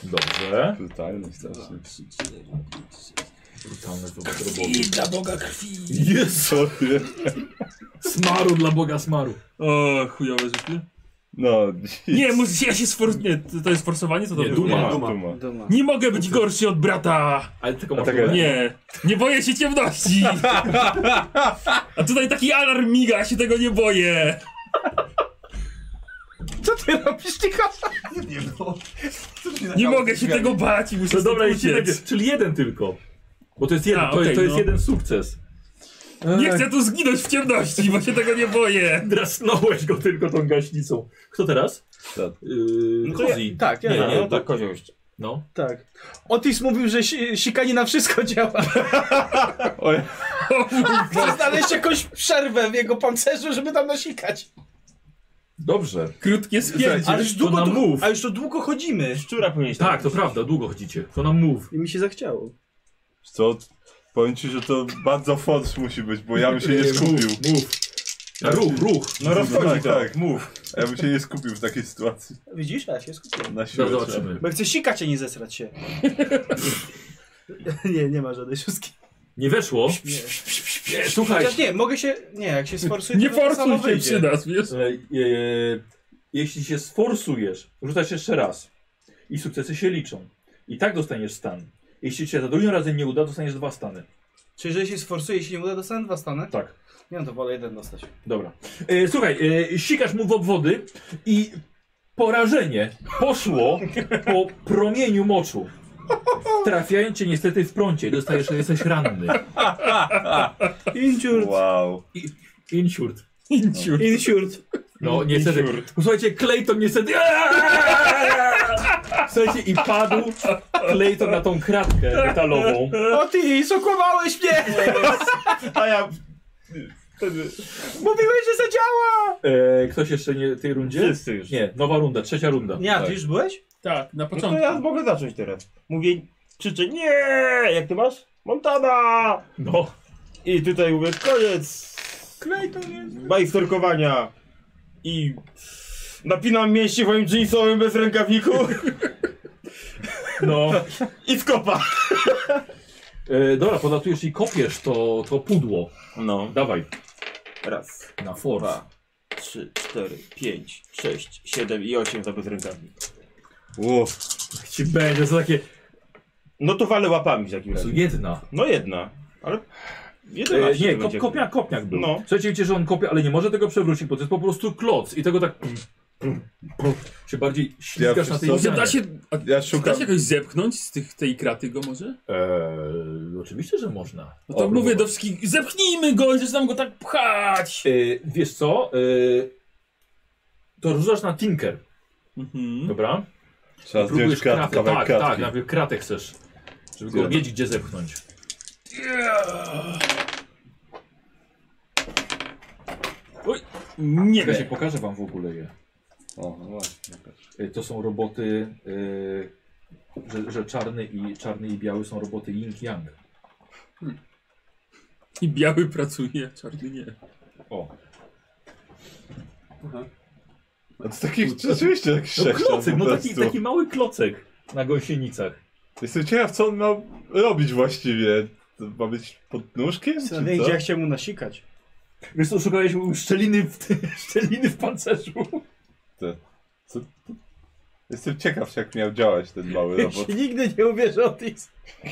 Speaker 3: Dobrze.
Speaker 6: Brutalny strasznie.
Speaker 3: Brutalne to
Speaker 1: I
Speaker 3: roboty.
Speaker 1: dla Boga krwi.
Speaker 3: Jezu!
Speaker 6: Co ty?
Speaker 3: Smaru dla boga smaru.
Speaker 1: O, chujowe rzeczy.
Speaker 6: No,
Speaker 1: Nie, musi, ja się sfor... Nie, to, to jest forsowanie, co to
Speaker 3: Nie,
Speaker 1: było?
Speaker 6: duma,
Speaker 3: duma.
Speaker 6: duma.
Speaker 1: Nie mogę być gorszy od brata.
Speaker 3: Ale tylko masz
Speaker 6: taka-
Speaker 3: nie.
Speaker 1: Nie, nie boję się ciemności. A tutaj taki alarm miga, ja się tego nie boję.
Speaker 9: Co ty robisz, ty
Speaker 2: Nie, no.
Speaker 1: Nie mogę się tego bać i muszę
Speaker 3: No
Speaker 1: stąd
Speaker 3: dobra, i
Speaker 1: uciec.
Speaker 3: jeden, czyli jeden tylko. Bo to jest jeden,
Speaker 1: A,
Speaker 3: to, jest-
Speaker 1: okej,
Speaker 3: to jest
Speaker 1: no.
Speaker 3: jeden sukces.
Speaker 1: Nie chcę tu zginąć w ciemności, bo się tego nie boję.
Speaker 3: Drasnąłeś go tylko tą gaśnicą. Kto teraz?
Speaker 6: Tak.
Speaker 3: Yy,
Speaker 9: to ja-
Speaker 3: Kozi.
Speaker 9: Tak, ja
Speaker 3: Nie,
Speaker 9: tak,
Speaker 3: nie.
Speaker 10: No tak, kozioł jeszcze.
Speaker 3: No.
Speaker 9: tak. Otis mówił, że si sikanie na wszystko działa.
Speaker 6: Oj,
Speaker 9: Chcę znaleźć jakąś przerwę w jego pancerzu, żeby tam nasikać.
Speaker 3: Dobrze.
Speaker 1: Krótkie spięcie.
Speaker 9: Ale już
Speaker 3: długo
Speaker 9: długo,
Speaker 3: nam tu- mów.
Speaker 9: a już to długo chodzimy.
Speaker 10: Szczura powinieneś
Speaker 3: Tak, to prawda, długo chodzicie. To nam mów.
Speaker 9: I mi się zachciało.
Speaker 6: co? Powiem ci, że to bardzo fons musi być, bo ja bym się nie skupił.
Speaker 3: Mów, mów. Ruch, ruch.
Speaker 10: No rozchodzi
Speaker 6: tak,
Speaker 10: to.
Speaker 6: tak, mów. Ja bym się nie skupił w takiej sytuacji.
Speaker 9: Widzisz, ja się skupiłem.
Speaker 6: Na
Speaker 3: No,
Speaker 6: siłę trzeba.
Speaker 3: zobaczymy.
Speaker 9: Bo chcę sikać, a nie zesrać się. nie, nie ma żadnej szóstki.
Speaker 3: Nie weszło.
Speaker 9: Nie.
Speaker 3: Nie, słuchaj.
Speaker 9: Chociaż nie, mogę się... Nie, jak się sforsuję,
Speaker 1: Nie
Speaker 9: to to samo
Speaker 1: forsuj się
Speaker 9: wyjdzie.
Speaker 1: przy nas, wiesz?
Speaker 3: E, e, jeśli się sforsujesz, rzucasz jeszcze raz i sukcesy się liczą. I tak dostaniesz stan. Jeśli cię za drugim razem nie uda, dostaniesz dwa stany.
Speaker 9: Czy jeżeli się sforsuję i się nie uda, dostanę dwa stany?
Speaker 3: Tak.
Speaker 9: Nie, no to wolę jeden dostać.
Speaker 3: Dobra. E, słuchaj, e, sikasz mu w obwody i porażenie poszło po promieniu moczu. Trafiając cię niestety w prącie, dostajesz, że jesteś ranny.
Speaker 9: Injured.
Speaker 6: Wow.
Speaker 3: Insured.
Speaker 1: Inciur.
Speaker 9: Insured.
Speaker 3: No, niestety. Słuchajcie, Clayton niestety. Słuchajcie, i padł Clayton na tą kratkę metalową.
Speaker 9: Otis, okłamałeś mnie!
Speaker 6: A ja...
Speaker 9: Mówiłeś, że zadziała!
Speaker 3: E, ktoś jeszcze nie w tej rundzie?
Speaker 10: Wszyscy już.
Speaker 3: Nie, nowa runda, trzecia runda.
Speaker 9: Nie, a ty już byłeś?
Speaker 1: Tak,
Speaker 10: No
Speaker 1: na
Speaker 10: to
Speaker 1: początku.
Speaker 10: ja mogę zacząć teraz. Mówię, krzyczę, nie! Jak ty masz? Montana!
Speaker 3: No.
Speaker 10: I tutaj mówię, koniec! Bajsterkowania! I napinam mięśnie w moim jeansowym bez rękawiku
Speaker 3: No.
Speaker 10: i skopa!
Speaker 3: E, dobra, podlatujesz i kopiesz to, to pudło.
Speaker 10: No.
Speaker 3: Dawaj,
Speaker 10: Raz,
Speaker 3: na force.
Speaker 10: dwa, trzy, cztery, pięć, sześć, siedem i osiem za bez rękawik.
Speaker 6: Uff.
Speaker 3: Ci będzie, to takie.
Speaker 10: No to walę łapami w takim razie.
Speaker 3: Jedna.
Speaker 10: No jedna. Ale
Speaker 3: E,
Speaker 18: 11
Speaker 3: nie,
Speaker 18: to
Speaker 3: ko
Speaker 18: będzie.
Speaker 3: kopniak, kopniak był.
Speaker 18: No.
Speaker 3: No. Słuchajcie, że on kopie, ale nie może tego przewrócić, bo to jest po prostu kloc i tego tak się bardziej ślizgasz na tej
Speaker 1: Może
Speaker 3: ścianie.
Speaker 1: da się, a,
Speaker 6: ja
Speaker 1: da
Speaker 6: szukam.
Speaker 1: się jakoś zepchnąć z tych, tej kraty go może?
Speaker 3: Eee, E, oczywiście, że można.
Speaker 1: No to mówię do wszystkich, zepchnijmy go i zaczynam go tak pchać.
Speaker 3: Eee, wiesz co? Eee, to rzucasz na Tinker. Dobra?
Speaker 6: Trzeba
Speaker 3: I próbujesz
Speaker 6: zdjąć krat-
Speaker 3: kratę,
Speaker 6: kawałek
Speaker 3: tak,
Speaker 6: kratki.
Speaker 3: tak, najpierw kratę chcesz. Żeby go
Speaker 6: Zjadam.
Speaker 3: wiedzieć, gdzie zepchnąć. Oj, nie. Ja się pokażę wam w ogóle je.
Speaker 6: O, no właśnie. patrz.
Speaker 3: Y, To są roboty, y, że, że czarny i, czarny i biały są roboty yin yang.
Speaker 1: I biały pracuje, czarny nie.
Speaker 3: O.
Speaker 6: A to taki, rzeczywiście taki
Speaker 3: No
Speaker 6: chrześcijan
Speaker 3: klocek,
Speaker 6: po
Speaker 3: no taki,
Speaker 6: prostu.
Speaker 3: taki mały klocek na gąsienicach.
Speaker 6: Jestem ciekaw, co on ma robić właściwie. To ma być pod nóżkiem? Czy
Speaker 9: Sylwia
Speaker 6: co?
Speaker 9: idzie, ja chciałem mu nasikać.
Speaker 3: Wiesz co, szukałeś szczeliny w, szczeliny w pancerzu.
Speaker 6: To- co? Jestem ciekaw, jak miał działać ten mały robot.
Speaker 9: nigdy nie uwierzy, Otis.
Speaker 3: E,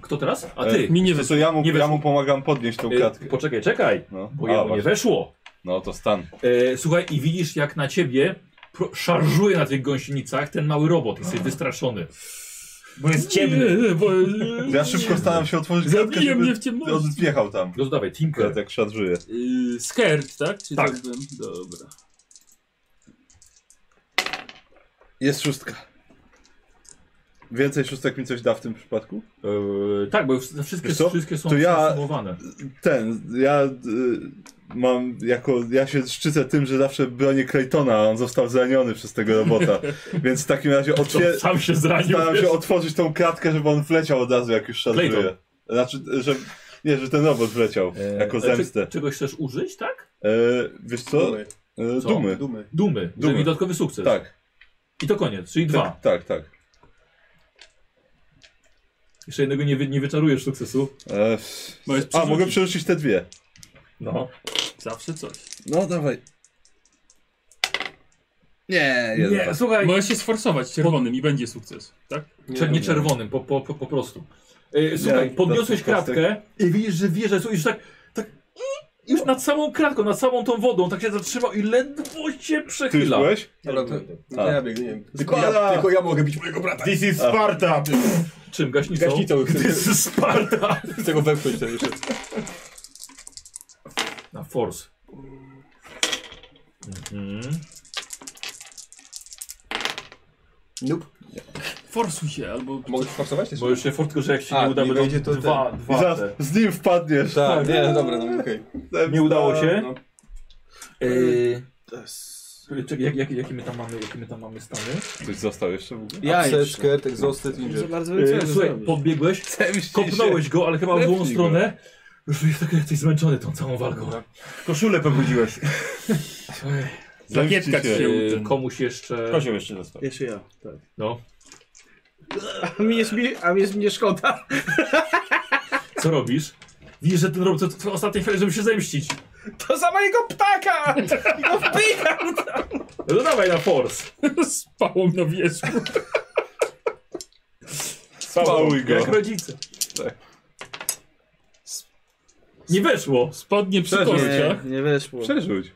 Speaker 3: kto teraz? A ty.
Speaker 6: E, to, to ja, mu, ja mu pomagam podnieść tą
Speaker 3: E,
Speaker 6: kratkę.
Speaker 3: Poczekaj, czekaj,
Speaker 6: No.
Speaker 3: bo
Speaker 6: A,
Speaker 3: ja mu nie
Speaker 6: właśnie.
Speaker 3: weszło.
Speaker 6: No to stan.
Speaker 3: E, słuchaj, i widzisz jak na ciebie pro- szarżuje na tych gąsienicach ten mały robot. Jesteś wystraszony.
Speaker 18: Bo jest ciemny.
Speaker 1: Nie, bo...
Speaker 3: No,
Speaker 6: Ja szybko staram się otworzyć
Speaker 1: Zabije
Speaker 6: kratkę, żeby
Speaker 1: mnie w ciemności.
Speaker 6: On wjechał tam.
Speaker 3: No to dawaj, Tinker.
Speaker 6: Ja tak szarżuję.
Speaker 1: Yy, scared, tak? Czy
Speaker 3: Tak.
Speaker 1: tak. Dobra.
Speaker 6: Jest szóstka. Więcej szóstek mi coś da w tym przypadku?
Speaker 3: E, tak, bo już wszystkie,
Speaker 6: Wiesz co?
Speaker 3: wszystkie są
Speaker 6: To ja-
Speaker 3: sumowane.
Speaker 6: Ten, ja y, mam jako, ja się szczycę tym, że zawsze bronię Claytona, a on został zraniony przez tego robota. Więc w takim razie otwier...
Speaker 3: To sam się zranił.
Speaker 6: staram się
Speaker 3: wiesz?
Speaker 6: otworzyć tą kratkę, żeby on wleciał od razu, jak już szarżuje.
Speaker 3: Clayton.
Speaker 6: Znaczy, że, nie, że ten robot wleciał,
Speaker 3: E,
Speaker 6: jako
Speaker 3: e,
Speaker 1: znaczy-
Speaker 6: zemstę.
Speaker 3: czy- Czegoś chcesz użyć, tak?
Speaker 6: E, wiesz co?
Speaker 2: Dumy.
Speaker 6: E,
Speaker 3: Co?
Speaker 2: Dumy.
Speaker 6: dumy.
Speaker 3: Dumy,
Speaker 6: Dumy.
Speaker 3: Dumy. dodatkowy sukces.
Speaker 6: Tak,
Speaker 3: I to koniec, czyli dwa.
Speaker 6: tak, tak, tak.
Speaker 3: Jeszcze jednego nie, wy, nie wyczarujesz sukcesu.
Speaker 6: E,
Speaker 1: Możesz
Speaker 6: a, mogę
Speaker 1: przerzucić.
Speaker 6: przerzucić te dwie.
Speaker 3: No.
Speaker 1: Zawsze coś.
Speaker 6: No, dawaj. Nie, jeden. tak.
Speaker 3: Nie, słuchaj,
Speaker 1: Możesz się sforsować czerwonym i będzie sukces, tak?
Speaker 3: Cze- nie czerwonym, po, po, po, po prostu. E,
Speaker 6: Nie,
Speaker 3: słuchaj,
Speaker 6: to-
Speaker 3: podniosłeś
Speaker 6: to- to- to-
Speaker 3: kratkę i widzisz, że wieża jest już tak, tak już nad samą kratką, nad samą tą wodą, tak się zatrzymał i ledwo się
Speaker 6: Ty już
Speaker 3: przechyla.
Speaker 6: byłeś?
Speaker 2: Dobra, to,
Speaker 6: A.
Speaker 2: to ja biegnę, nie wiem. Tylko
Speaker 6: Spada!
Speaker 2: ja, tylko ja mogę bić mojego brata.
Speaker 10: This is Sparta!
Speaker 3: Czym? Gaśnicą?
Speaker 2: Gaśnicą
Speaker 3: To jest Sparta.
Speaker 2: chcę go wepchnąć ten jeszcze.
Speaker 3: Na force. Mhm.
Speaker 2: Nope.
Speaker 1: Forsuj się, albo...
Speaker 2: Mogę forsować jeszcze?
Speaker 3: Bo już się fort, tylko że jak się
Speaker 2: A,
Speaker 3: nie uda,
Speaker 2: nie
Speaker 3: będą
Speaker 2: wejdzie, to
Speaker 3: dwa,
Speaker 6: I
Speaker 3: dwa
Speaker 6: zaraz
Speaker 3: te.
Speaker 6: z nim wpadniesz.
Speaker 2: Tak, nie, dobra, no okej.
Speaker 3: Nie udało się?
Speaker 2: No.
Speaker 3: E, czekaj, jak, jak, jakie my tam mamy, jakie my tam mamy stany?
Speaker 6: Ktoś został jeszcze w ogóle?
Speaker 9: Ja
Speaker 2: Upset, scared, exhausted,
Speaker 9: Za
Speaker 2: injured.
Speaker 9: bardzo nie
Speaker 3: E,
Speaker 9: chcę
Speaker 3: słuchaj,
Speaker 9: zrobić.
Speaker 3: podbiegłeś, kopnąłeś go, ale chyba w złą
Speaker 6: Lepnij
Speaker 3: stronę. Już jest tak, jesteś zmęczony tą całą walką.
Speaker 10: Koszulę pobudziłeś.
Speaker 3: Ej.
Speaker 6: Zemści
Speaker 1: Plakietka
Speaker 6: się.
Speaker 1: się-
Speaker 3: E,
Speaker 1: ten-
Speaker 3: komuś jeszcze...
Speaker 10: Kozioł jeszcze został.
Speaker 9: Jeszcze ja, tak.
Speaker 3: No,
Speaker 9: A mi jest, mi, a mi jest mnie szkoda.
Speaker 3: co robisz? Widzisz, że ten robot to twoja ostatnia chwila, żeby się zemścić.
Speaker 9: To za mojego ptaka! I go wpika!
Speaker 3: No to dawaj na force.
Speaker 1: Spałą na wierzchu.
Speaker 6: Spałuj
Speaker 10: No.
Speaker 6: go.
Speaker 3: Jak rodzice. Nie weszło.
Speaker 1: Spadnie przy
Speaker 6: Przeżył.
Speaker 9: Nie,
Speaker 1: kościach.
Speaker 9: nie weszło.
Speaker 6: Przerzuć.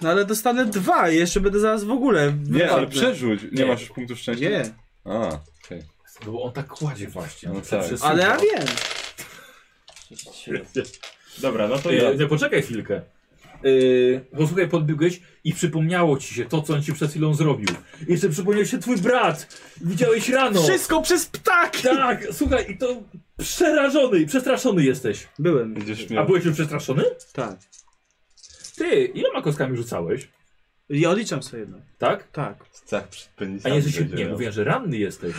Speaker 9: No ale dostanę dwa i jeszcze będę zaraz w ogóle
Speaker 6: Nie, ale
Speaker 9: wypadnę.
Speaker 6: przerzuć. Nie,
Speaker 9: Nie.
Speaker 6: masz już punktu szczęścia?
Speaker 9: Nie,
Speaker 6: A, okej.
Speaker 3: No Bo on tak kładzie właśnie.
Speaker 6: No
Speaker 3: on
Speaker 6: tak.
Speaker 3: przesuwa.
Speaker 9: ale ja wiem.
Speaker 10: Dobra, no to ja.
Speaker 3: E, nie, poczekaj chwilkę. Yy, posłuchaj, podbiegłeś i przypomniało ci się to, co on ci przed chwilą zrobił. Jeszcze przypomniał się twój brat. Widziałeś rano.
Speaker 9: Wszystko przez ptaki!
Speaker 3: Tak, słuchaj, i to przerażony i przestraszony jesteś.
Speaker 9: Byłem,
Speaker 6: Będziesz
Speaker 3: A
Speaker 6: miał...
Speaker 3: byłeś już przestraszony?
Speaker 9: tak.
Speaker 3: Ty, iloma kostkami rzucałeś?
Speaker 9: Ja odliczam sobie jedno.
Speaker 3: Tak?
Speaker 9: Tak.
Speaker 6: Tak, przed
Speaker 3: A
Speaker 6: penisami
Speaker 3: nie jesteś,
Speaker 6: będzie
Speaker 3: nie,
Speaker 6: miał.
Speaker 3: mówię, że ranny jesteś.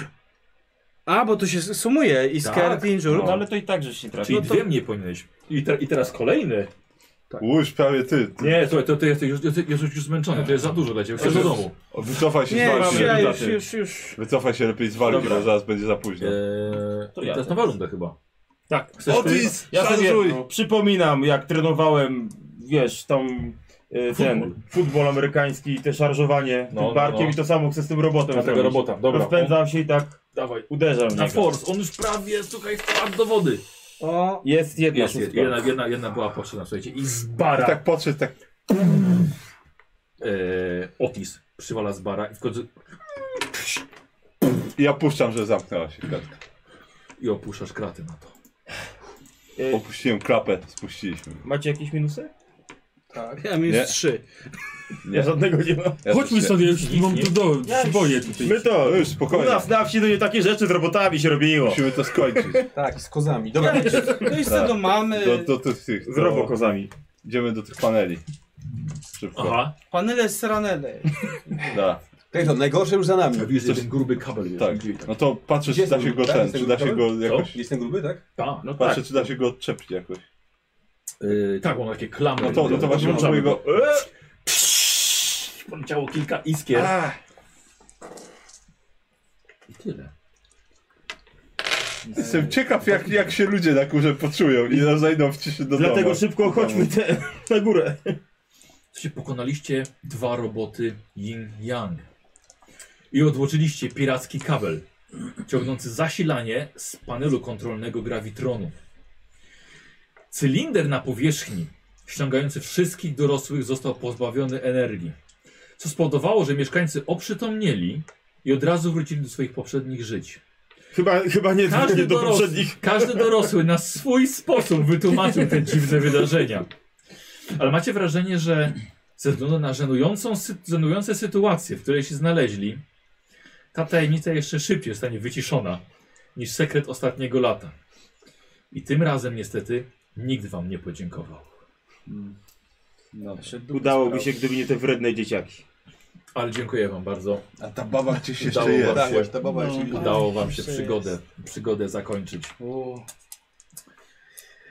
Speaker 9: A, bo to się sumuje i
Speaker 3: Tak,
Speaker 9: scared injured.
Speaker 10: No ale to i tak, żeś nie trafił.
Speaker 3: Czyli dwie mnie powinieneś. I, te, I teraz kolejny.
Speaker 6: Łóż, prawie ty.
Speaker 3: Nie, słuchaj, to ty jesteś już, jesteś, jesteś już zmęczony, to jest za dużo dla ciebie. Chcesz do domu.
Speaker 6: O, Wycofaj się
Speaker 9: Nie,
Speaker 6: z
Speaker 9: już,
Speaker 6: walki.
Speaker 9: ja,
Speaker 10: Dobra.
Speaker 9: już, już, już.
Speaker 6: Wycofaj się lepiej z walki,
Speaker 10: Dobra.
Speaker 6: bo zaraz będzie za późno.
Speaker 3: Eee,
Speaker 10: To
Speaker 3: to
Speaker 10: ja
Speaker 3: jest
Speaker 10: teraz.
Speaker 3: na warundę chyba.
Speaker 1: Tak.
Speaker 3: Chcesz
Speaker 6: Otis,
Speaker 10: Ja sobie
Speaker 6: szarżuj!
Speaker 10: no, przypominam, jak trenowałem, wiesz, tam e, ten futbol amerykański i te szarżowanie
Speaker 3: No,
Speaker 10: tym
Speaker 3: no,
Speaker 10: barkiem
Speaker 3: no.
Speaker 10: i to samo chcę z tym robotem
Speaker 3: Na tego
Speaker 10: zrobić.
Speaker 3: robota, dobra.
Speaker 10: Rozpędzam się i tak
Speaker 3: Dawaj.
Speaker 10: uderzam w
Speaker 3: Na
Speaker 10: niego.
Speaker 3: force, on już prawie, słuchaj, wpadł do wody.
Speaker 9: O.
Speaker 10: Jest jedna
Speaker 3: jest,
Speaker 10: szóstka.
Speaker 3: jedna, jedna, jedna była potrzebna, słuchajcie. I z bara...
Speaker 6: Tak podszedł, tak...
Speaker 3: E, Otis przywala z bara i w końcu...
Speaker 6: I ja puszczam, że zamknęła się kratka.
Speaker 3: I opuszczasz kraty na to.
Speaker 6: Opuściłem klapę, spuściliśmy.
Speaker 10: Macie jakieś minusy?
Speaker 9: Tak. Ja minus
Speaker 6: Nie.
Speaker 9: trzy.
Speaker 6: Nie. żadnego
Speaker 10: nie mam.
Speaker 6: Ja
Speaker 1: Chodźmy
Speaker 6: też
Speaker 1: sobie
Speaker 6: nie.
Speaker 1: już, mam tu do,
Speaker 10: Ja już-
Speaker 1: boję tutaj.
Speaker 10: My to,
Speaker 6: no już
Speaker 10: u
Speaker 6: spokojnie.
Speaker 10: nas na wsi to nie takie rzeczy z robotami się robiło.
Speaker 6: Musimy to skończyć.
Speaker 2: Tak, z kozami. Dobra,
Speaker 9: No i co do mamy.
Speaker 6: Do, do, tych- tych...
Speaker 10: Z robokozami.
Speaker 6: Idziemy do tych paneli. Szybko.
Speaker 3: Aha.
Speaker 9: Panele z ranele.
Speaker 6: Da.
Speaker 2: tak, to najgorsze już za nami.
Speaker 3: Widzisz, że ten gruby kabel jest.
Speaker 6: Tak. No to patrzę,
Speaker 2: Gdzie
Speaker 6: czy
Speaker 2: jest
Speaker 6: da się
Speaker 2: gruby?
Speaker 6: go
Speaker 2: Tam
Speaker 6: ten,
Speaker 2: jest ten
Speaker 6: czy da się
Speaker 2: gruby
Speaker 6: go jakoś...
Speaker 2: Jestem gruby, tak?
Speaker 3: Ta, no tak.
Speaker 6: Patrzę, czy da się go odczepić jakoś.
Speaker 3: Yy, tak, mam takie klamy.
Speaker 6: No to, no to właśnie
Speaker 3: Odłączamy
Speaker 6: próbuję go... E,
Speaker 3: go. Poleciało kilka iskier.
Speaker 6: A,
Speaker 3: I tyle.
Speaker 6: Jestem ciekaw, jak, jak się ludzie na górze poczują i nas znajdą w ciszy do
Speaker 10: Dlatego
Speaker 6: domu.
Speaker 10: szybko chodźmy te, na górę.
Speaker 3: Słuchajcie, pokonaliście dwa roboty yin-yang. I odłączyliście piracki kabel ciągnący zasilanie z panelu kontrolnego grawitronu. Cylinder na powierzchni, ściągający wszystkich dorosłych, został pozbawiony energii, co spowodowało, że mieszkańcy oprzytomnieli i od razu wrócili do swoich poprzednich żyć.
Speaker 10: Chyba, chyba nie, nie do
Speaker 3: doros-
Speaker 10: poprzednich.
Speaker 3: Każdy dorosły na swój sposób wytłumaczył te dziwne wydarzenia. Ale macie wrażenie, że ze względu na żenującą, sy- żenujące sytuację, w której się znaleźli, ta tajemnica jeszcze szybciej zostanie wyciszona niż sekret ostatniego lata. I tym razem niestety nikt wam nie podziękował.
Speaker 6: No.
Speaker 10: Udałoby się, gdyby nie te wredne dzieciaki.
Speaker 3: Ale dziękuję wam bardzo.
Speaker 6: A ta baba gdzieś
Speaker 3: Udało
Speaker 6: jeszcze
Speaker 3: wam
Speaker 6: jest.
Speaker 2: Tak,
Speaker 3: się.
Speaker 2: ta baba jeszcze widziała.
Speaker 3: Udało wam się
Speaker 9: Jeszcze
Speaker 3: przygodę, przygodę zakończyć.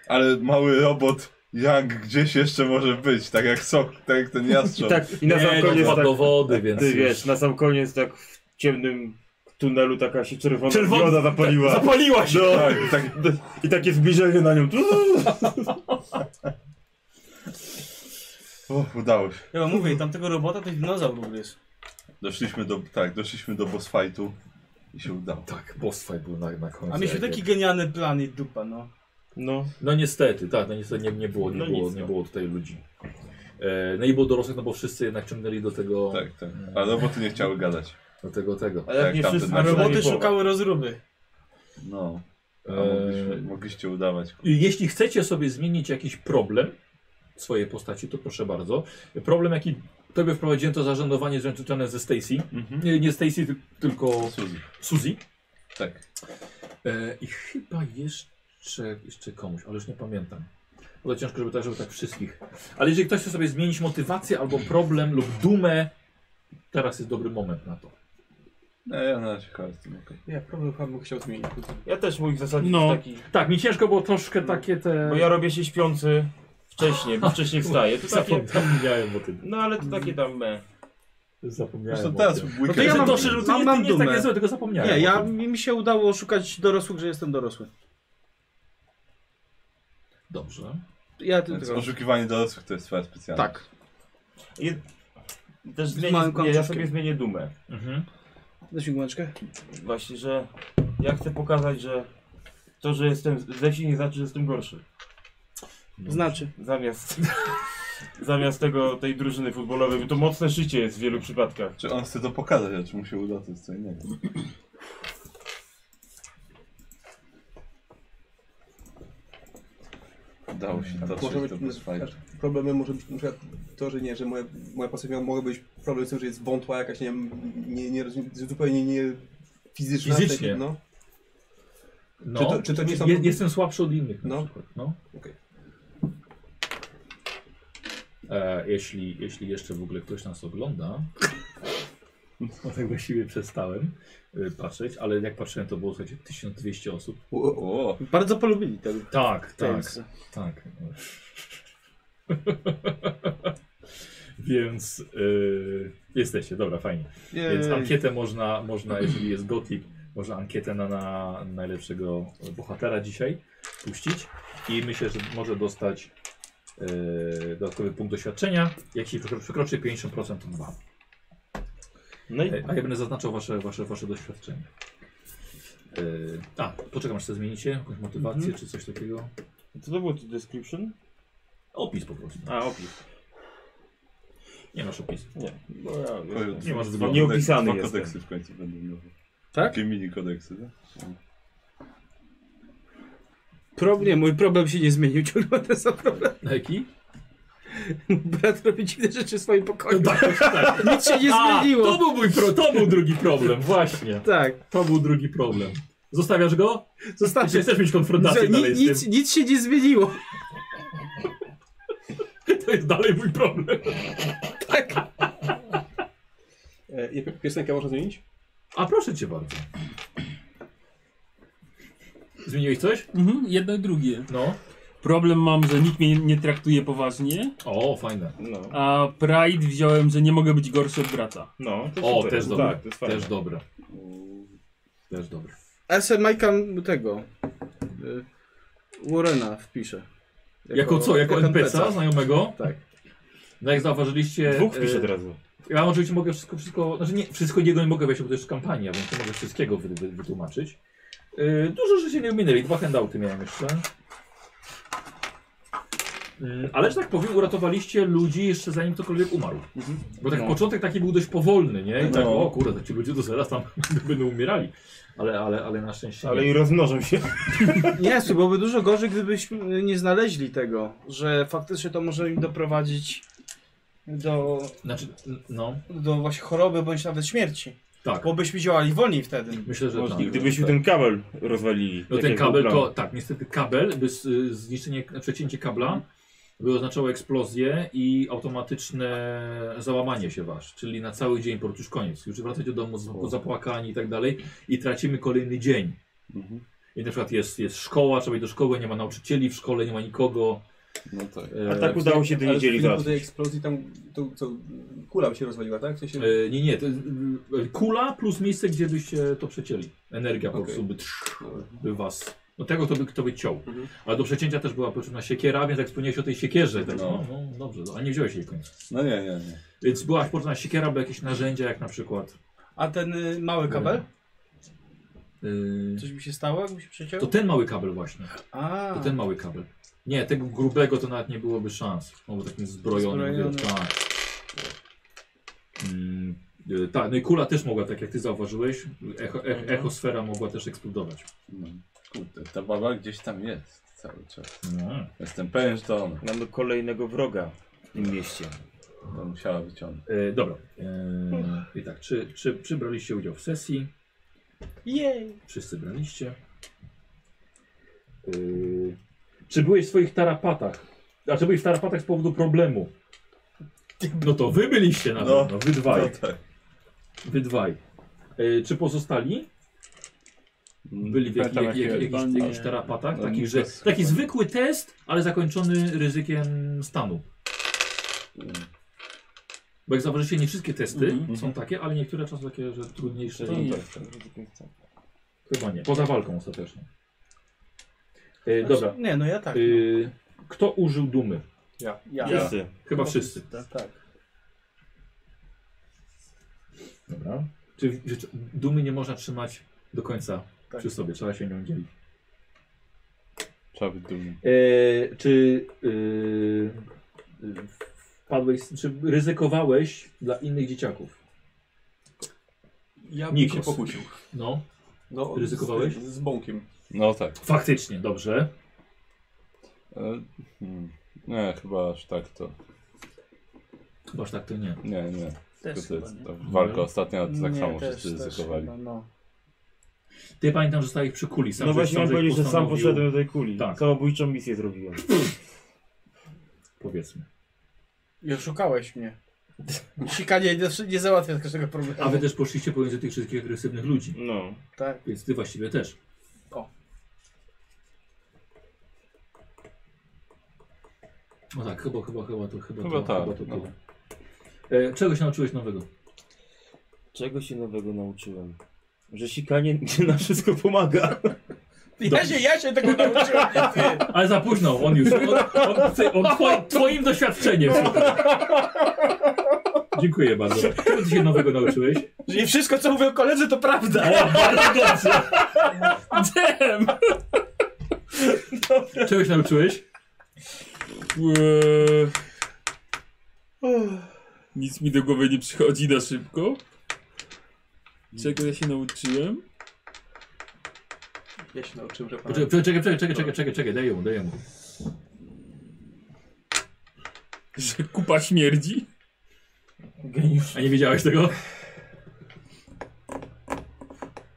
Speaker 6: Ale mały robot Yang gdzieś jeszcze może być, tak jak sok, tak jak ten
Speaker 10: I
Speaker 6: jastrząb.
Speaker 10: tak, i na sam
Speaker 3: Nie, no,
Speaker 10: koniec
Speaker 3: wpadł
Speaker 10: tak,
Speaker 3: do wody, więc
Speaker 10: ty
Speaker 3: już...
Speaker 10: wiesz, na sam koniec tak w ciemnym tunelu taka się czerwona
Speaker 3: Czerwona-
Speaker 10: Czerwona zapaliła.
Speaker 3: Zapaliła się!
Speaker 10: No,
Speaker 6: Tak, tak.
Speaker 10: I takie zbliżenie na nią.
Speaker 6: O, udało się.
Speaker 19: Ja wam mówię, tamtego robota to dinozaur ugryzł.
Speaker 6: Doszliśmy do, tak, doszliśmy do boss fightu i się udało.
Speaker 3: Tak, boss fight był na, na końcu.
Speaker 19: A mieliśmy taki genialny plan i dupa, no.
Speaker 10: No.
Speaker 3: No niestety, tak, no niestety nie, nie było, nie,
Speaker 10: No
Speaker 3: było,
Speaker 10: nic,
Speaker 3: nie
Speaker 10: no.
Speaker 3: było tutaj ludzi. E, no i było dorosłych, no bo wszyscy jednak ciągnęli do tego,
Speaker 6: Tak, tak. A roboty nie chciały gadać.
Speaker 3: do tego, tego.
Speaker 10: A jak
Speaker 6: Tak,
Speaker 10: nie
Speaker 6: tamten
Speaker 10: wszyscy,
Speaker 6: na
Speaker 19: A
Speaker 6: przynajmniej
Speaker 19: roboty szukały rozruby.
Speaker 6: No. A mogliśmy,
Speaker 3: E,
Speaker 6: mogliście udawać.
Speaker 3: i jeśli chcecie sobie zmienić jakiś problem w swojej postaci, to proszę bardzo. Problem jaki tobie wprowadziłem to zażenowanie związane ze Stacy.
Speaker 6: Mhm.
Speaker 3: Nie, nie Stacy, ty- tylko
Speaker 6: Suzy.
Speaker 3: Suzy.
Speaker 6: Tak.
Speaker 3: E, I chyba jeszcze, jeszcze komuś, ale już nie pamiętam. Bo to ciężko, żeby tak, żeby tak wszystkich. Ale jeżeli ktoś chce sobie zmienić motywację albo problem lub dumę, teraz jest dobry moment na to.
Speaker 6: No ja na razie kartę.
Speaker 2: Eee,
Speaker 19: Ja problem chyba bym chciał zmienić.
Speaker 10: Ja też mój w zasadzie
Speaker 1: No.
Speaker 10: jest taki.
Speaker 3: Tak, mi ciężko było troszkę takie te...
Speaker 10: Bo ja robię się śpiący wcześniej, bo wcześniej wstaję. To takie,
Speaker 3: Zapomniałem o tym.
Speaker 10: no ale to takie tam me.
Speaker 3: Zapomniałem
Speaker 6: Zresztą
Speaker 3: o
Speaker 6: teraz
Speaker 3: tym.
Speaker 6: w
Speaker 3: No
Speaker 6: weekend... Znaczy,
Speaker 3: to ja
Speaker 9: ja
Speaker 3: mam, to, że
Speaker 9: mam-
Speaker 3: to
Speaker 9: mam-
Speaker 3: nie, to
Speaker 9: mam
Speaker 3: nie jest takie
Speaker 9: dumę.
Speaker 3: złe, tylko zapomniałem
Speaker 9: Nie, ja,
Speaker 3: o tym.
Speaker 9: mi mi się udało szukać dorosłych, że jestem dorosły.
Speaker 3: Dobrze.
Speaker 9: Ja
Speaker 6: Więc
Speaker 9: tylko.
Speaker 6: oszukiwanie dorosłych to jest twoja specjalność.
Speaker 9: Tak.
Speaker 10: I też zmienię,
Speaker 9: małym
Speaker 10: nie, ja
Speaker 9: kamyczkiem.
Speaker 10: sobie zmienię dumę.
Speaker 3: Mhm.
Speaker 9: Weź mi gumeczkę.
Speaker 10: Właśnie, że ja chcę pokazać, że to, że jestem ze wsi nie znaczy, że jestem gorszy.
Speaker 9: Znaczy.
Speaker 10: Zamiast, zamiast tego, tej drużyny futbolowej, bo to mocne szycie jest w wielu przypadkach.
Speaker 6: Czy on chce to pokazać, a czy mu się uda, to jest co innego. Udało się
Speaker 2: Może
Speaker 6: dotrzeć
Speaker 2: być
Speaker 6: do boss fightu.
Speaker 2: tak. Problemem może być na przykład to, że nie, że moja, moja postać miała, mogła być problem z tym, że jest wątła jakaś, nie wiem, nie, nie, rozumiem, zupełnie nie fizyczna.
Speaker 3: Fizycznie.
Speaker 2: Tak, no.
Speaker 3: No.
Speaker 2: Czy to- czy to nie są-
Speaker 3: Je, jestem słabszy od innych na
Speaker 2: No.
Speaker 3: przykład. No.
Speaker 2: Okej.
Speaker 3: E, jeśli, jeśli jeszcze w ogóle ktoś nas ogląda, no tak właściwie przestałem y, patrzeć, ale jak patrzyłem to było słuchajcie 1200 osób.
Speaker 6: O,
Speaker 9: Bardzo polubili tego.
Speaker 3: Tak, tak,
Speaker 9: Tamesa.
Speaker 3: tak. Więc y, jesteście, dobra, fajnie. Więc ankietę można, można, jeżeli jest gotik, można ankietę na, na najlepszego bohatera dzisiaj puścić. I myślę, że może dostać e, dodatkowy punkt doświadczenia. Jak się przekro- przekroczy 50%, to dwa.
Speaker 10: No i No
Speaker 3: E, A ja będę zaznaczał wasze, wasze, wasze doświadczenie. Yy, a, poczekam, aż to zmienicie, jakąś motywację
Speaker 10: Mhm.
Speaker 3: czy coś takiego.
Speaker 10: Co to było tu description?
Speaker 3: Opis po prostu.
Speaker 10: A, opis.
Speaker 3: Nie masz opisu.
Speaker 10: Nie. No ja
Speaker 6: Koju-
Speaker 10: nie masz
Speaker 6: dwa
Speaker 10: zbyt
Speaker 6: kodeks-
Speaker 10: nieopisany
Speaker 6: Dwa
Speaker 10: jestem.
Speaker 6: kodeksy w końcu będą nowe.
Speaker 9: Tak?
Speaker 6: Takie mini kodeksy, tak?
Speaker 9: Problem, mój problem się nie zmienił, ciągle ten sam problem.
Speaker 3: Jaki?
Speaker 9: Brat robi dziwne rzeczy w swoim pokoju.
Speaker 3: tak.
Speaker 9: Nic się nie
Speaker 3: A,
Speaker 9: zmieniło.
Speaker 3: To był mój pro, to był drugi problem, właśnie.
Speaker 9: Tak.
Speaker 3: To był drugi problem. Zostawiasz go?
Speaker 9: Zostawiam.
Speaker 3: Czy chcesz mieć konfrontację
Speaker 9: Ni-
Speaker 3: dalej z
Speaker 9: nic,
Speaker 3: tym?
Speaker 9: nic się nie zmieniło.
Speaker 3: To jest dalej mój problem.
Speaker 9: Tak.
Speaker 2: E, jak- piosenkę można zmienić?
Speaker 3: A proszę cię bardzo. Zmieniłeś coś?
Speaker 1: Mhm, jedno i drugie.
Speaker 3: No.
Speaker 1: Problem mam, że nikt mnie nie traktuje poważnie.
Speaker 3: O, fajne.
Speaker 10: No.
Speaker 1: A Pride wziąłem, że nie mogę być gorszy od brata.
Speaker 10: No,
Speaker 3: O,
Speaker 2: Tak,
Speaker 3: też dobre. też dobre. Też dobre.
Speaker 9: Ja se Majka m- tego. y, Warrena wpiszę.
Speaker 3: Jako, co? Jako NPC-a znajomego?
Speaker 9: Tak.
Speaker 3: No jak zauważyliście...
Speaker 10: Dwóch wpiszę
Speaker 3: e,
Speaker 10: od razu.
Speaker 3: Ja oczywiście mogę wszystko, wszystko, znaczy nie, wszystko jednego nie mogę wejść, bo to jest kampania, więc nie mogę wszystkiego wy, wy, wytłumaczyć. Yy, dużo rzeczy nie ominęli, dwa handouty miałem jeszcze. Yy, ale że tak powiem, uratowaliście ludzi jeszcze zanim ktokolwiek umarł. Bo tak
Speaker 10: No.
Speaker 3: początek taki był dość powolny, nie? I tak,
Speaker 10: No.
Speaker 3: o kurde, ci ludzie to zaraz tam będą umierali. Ale, ale, ale na szczęście
Speaker 10: Ale
Speaker 3: nie.
Speaker 10: i rozmnożą się.
Speaker 9: Nie, słuchaj, byłoby dużo gorzej, gdybyśmy nie znaleźli tego, że faktycznie to może im doprowadzić do,
Speaker 3: Znaczy, n- no,
Speaker 9: do właśnie choroby bądź nawet śmierci.
Speaker 3: tak.
Speaker 9: Bo byśmy działali wolniej wtedy.
Speaker 3: Myślę, że
Speaker 10: Możliwe.
Speaker 3: tak.
Speaker 10: Gdybyśmy
Speaker 3: tak.
Speaker 10: ten kabel rozwalili.
Speaker 3: No
Speaker 10: tak
Speaker 3: ten
Speaker 10: jak był
Speaker 3: kabel
Speaker 10: plan.
Speaker 3: to, tak, niestety kabel, by z- y, zniszczenie, przecięcie kabla by oznaczało eksplozję i automatyczne załamanie się wasz, czyli na cały dzień po już koniec, już wracacie do domu z- zapłakani i tak dalej i tracimy kolejny dzień. I na przykład jest, jest szkoła, trzeba iść do szkoły, nie ma nauczycieli w szkole, nie ma nikogo.
Speaker 6: No tak.
Speaker 3: E,
Speaker 10: A tak udało się do niedzieli
Speaker 2: Ale w
Speaker 10: załatwić.
Speaker 2: tej eksplozji tam, to, co, kula by się rozwaliła, tak? W sensie...
Speaker 3: e, nie, nie, to, y, kula plus miejsce, gdzie byście to przecięli. Energia po
Speaker 2: Okej.
Speaker 3: prostu by, trz- by was, no tego to by kto by ciął. Ale do przecięcia też była potrzebna siekiera, więc jak wspomniałeś o tej siekierze, tak, no,
Speaker 6: No.
Speaker 3: no dobrze, no, a nie wziąłeś jej końca.
Speaker 6: No nie, nie, nie.
Speaker 3: Więc była potrzebna siekiera, by jakieś narzędzia, jak na przykład.
Speaker 9: A ten y, mały kabel?
Speaker 3: Yy,
Speaker 9: Coś mi się stało, jakby się przeciął?
Speaker 3: to ten mały kabel właśnie.
Speaker 9: A,
Speaker 3: To ten mały kabel. Nie, tego grubego to nawet nie byłoby szans. On był takim zbrojony.
Speaker 9: Zbrojony.
Speaker 3: mówię, Tak. Mm, yy, tak, no i kula też mogła, tak jak ty zauważyłeś, echo, ech,
Speaker 9: Mhm.
Speaker 3: echosfera mogła też eksplodować.
Speaker 6: No, kurde, ta baba gdzieś tam jest cały czas.
Speaker 3: No.
Speaker 6: Jestem pewien, że to ona.
Speaker 10: Mamy kolejnego wroga w tym mieście.
Speaker 6: No, musiała wyciągnąć.
Speaker 3: Yy, dobra. Yy, I tak, czy, czy, czy braliście udział w sesji?
Speaker 9: Jej.
Speaker 3: Wszyscy braliście. Yy, czy byłeś w swoich tarapatach? A czy byłeś w tarapatach z powodu problemu? No to wy byliście na
Speaker 6: No.
Speaker 3: pewno, wy dwaj.
Speaker 6: No tak.
Speaker 3: Wy dwaj. Yy, czy pozostali?
Speaker 1: Mm,
Speaker 3: Byli w jak,
Speaker 6: Pamiętam,
Speaker 3: jak, jak,
Speaker 6: jakie-
Speaker 3: jakichś-
Speaker 1: nie.
Speaker 3: jakichś tarapatach?
Speaker 6: No,
Speaker 3: Takich,
Speaker 6: nie
Speaker 3: że,
Speaker 6: bez-
Speaker 3: taki zwykły test, ale zakończony ryzykiem stanu. Bo jak zauważycie, nie wszystkie testy
Speaker 1: Mm. Mhm.
Speaker 3: są takie, ale niektóre czasem takie, że trudniejsze.
Speaker 1: To
Speaker 3: i-
Speaker 1: nie.
Speaker 3: Chyba nie. Poza walką ostatecznie. Yy, dobra.
Speaker 1: Znaczy-
Speaker 9: Nie, no ja tak. no.
Speaker 3: Y, kto użył dumy?
Speaker 2: Ja.
Speaker 9: Ja.
Speaker 3: Ja.
Speaker 10: Wszyscy.
Speaker 3: Chyba wszyscy.
Speaker 9: Tak.
Speaker 3: Dobra. Czy, w- czy dumy nie można trzymać do końca
Speaker 9: Tak.
Speaker 3: przy sobie, trzeba się nią dzielić.
Speaker 6: Trzeba być dumnym.
Speaker 3: E, czy e, wpadłeś, czy ryzykowałeś dla innych dzieciaków?
Speaker 2: Ja bym
Speaker 3: Nikos.
Speaker 2: się pokłócił.
Speaker 3: No,
Speaker 2: No,
Speaker 3: Ryzykowałeś?
Speaker 2: Z, z bąkiem.
Speaker 6: No tak.
Speaker 3: faktycznie, dobrze.
Speaker 6: E, hmm. Nie, chyba aż tak to.
Speaker 3: Chyba aż tak to nie.
Speaker 6: Nie, nie.
Speaker 20: Też
Speaker 6: to
Speaker 20: chyba
Speaker 6: jest
Speaker 20: nie.
Speaker 6: ta walka ostatnia, to tak
Speaker 9: Nie,
Speaker 6: samo
Speaker 9: też-
Speaker 6: wszyscy
Speaker 9: też
Speaker 6: ryzykowali.
Speaker 9: chyba, no.
Speaker 3: Ty pamiętam, że stałeś przy kuli. Sam
Speaker 10: No
Speaker 3: żeś-
Speaker 10: właśnie
Speaker 3: sam
Speaker 10: miałem
Speaker 3: żeś
Speaker 10: powiedzieć, że sam
Speaker 3: postanowił-
Speaker 10: poszedłem do tej kuli.
Speaker 3: Tak.
Speaker 10: Samobójczą misję zrobiłem.
Speaker 3: Powiedzmy.
Speaker 9: I oszukałeś mnie. Sikanie nie, nie załatwia każdego problemu.
Speaker 3: A wy też poszliście pomiędzy tych wszystkich agresywnych ludzi.
Speaker 10: No.
Speaker 9: Tak.
Speaker 3: Więc ty właściwie też.
Speaker 9: O.
Speaker 3: No tak, chyba, chyba, chyba to chyba,
Speaker 6: Chyba
Speaker 3: to,
Speaker 6: tak,
Speaker 3: chyba to
Speaker 6: no.
Speaker 3: tyle. E, czego się nauczyłeś nowego?
Speaker 10: Czego się nowego nauczyłem? Że sikanie na wszystko pomaga.
Speaker 9: Ja się, ja się tego nauczyłem, nie ty.
Speaker 3: Ale za późno, on już. On, on, on, on twoim, twoim doświadczeniem. słuchaj. Dziękuję bardzo. Czego ty się nowego nauczyłeś?
Speaker 9: Że nie wszystko, co mówią koledzy, to prawda.
Speaker 21: Damn!
Speaker 3: Czegoś nauczyłeś?
Speaker 21: Eee, Nic mi do głowy nie przychodzi na szybko. Czego ja się nauczyłem?
Speaker 9: Ja się nauczyłem, że
Speaker 3: Poczekaj, poczekaj, czekaj, czekaj, czekaj, czekaj, czekaj, daj mu, daj mu.
Speaker 21: Że kupa śmierdzi?
Speaker 3: A nie wiedziałeś tego?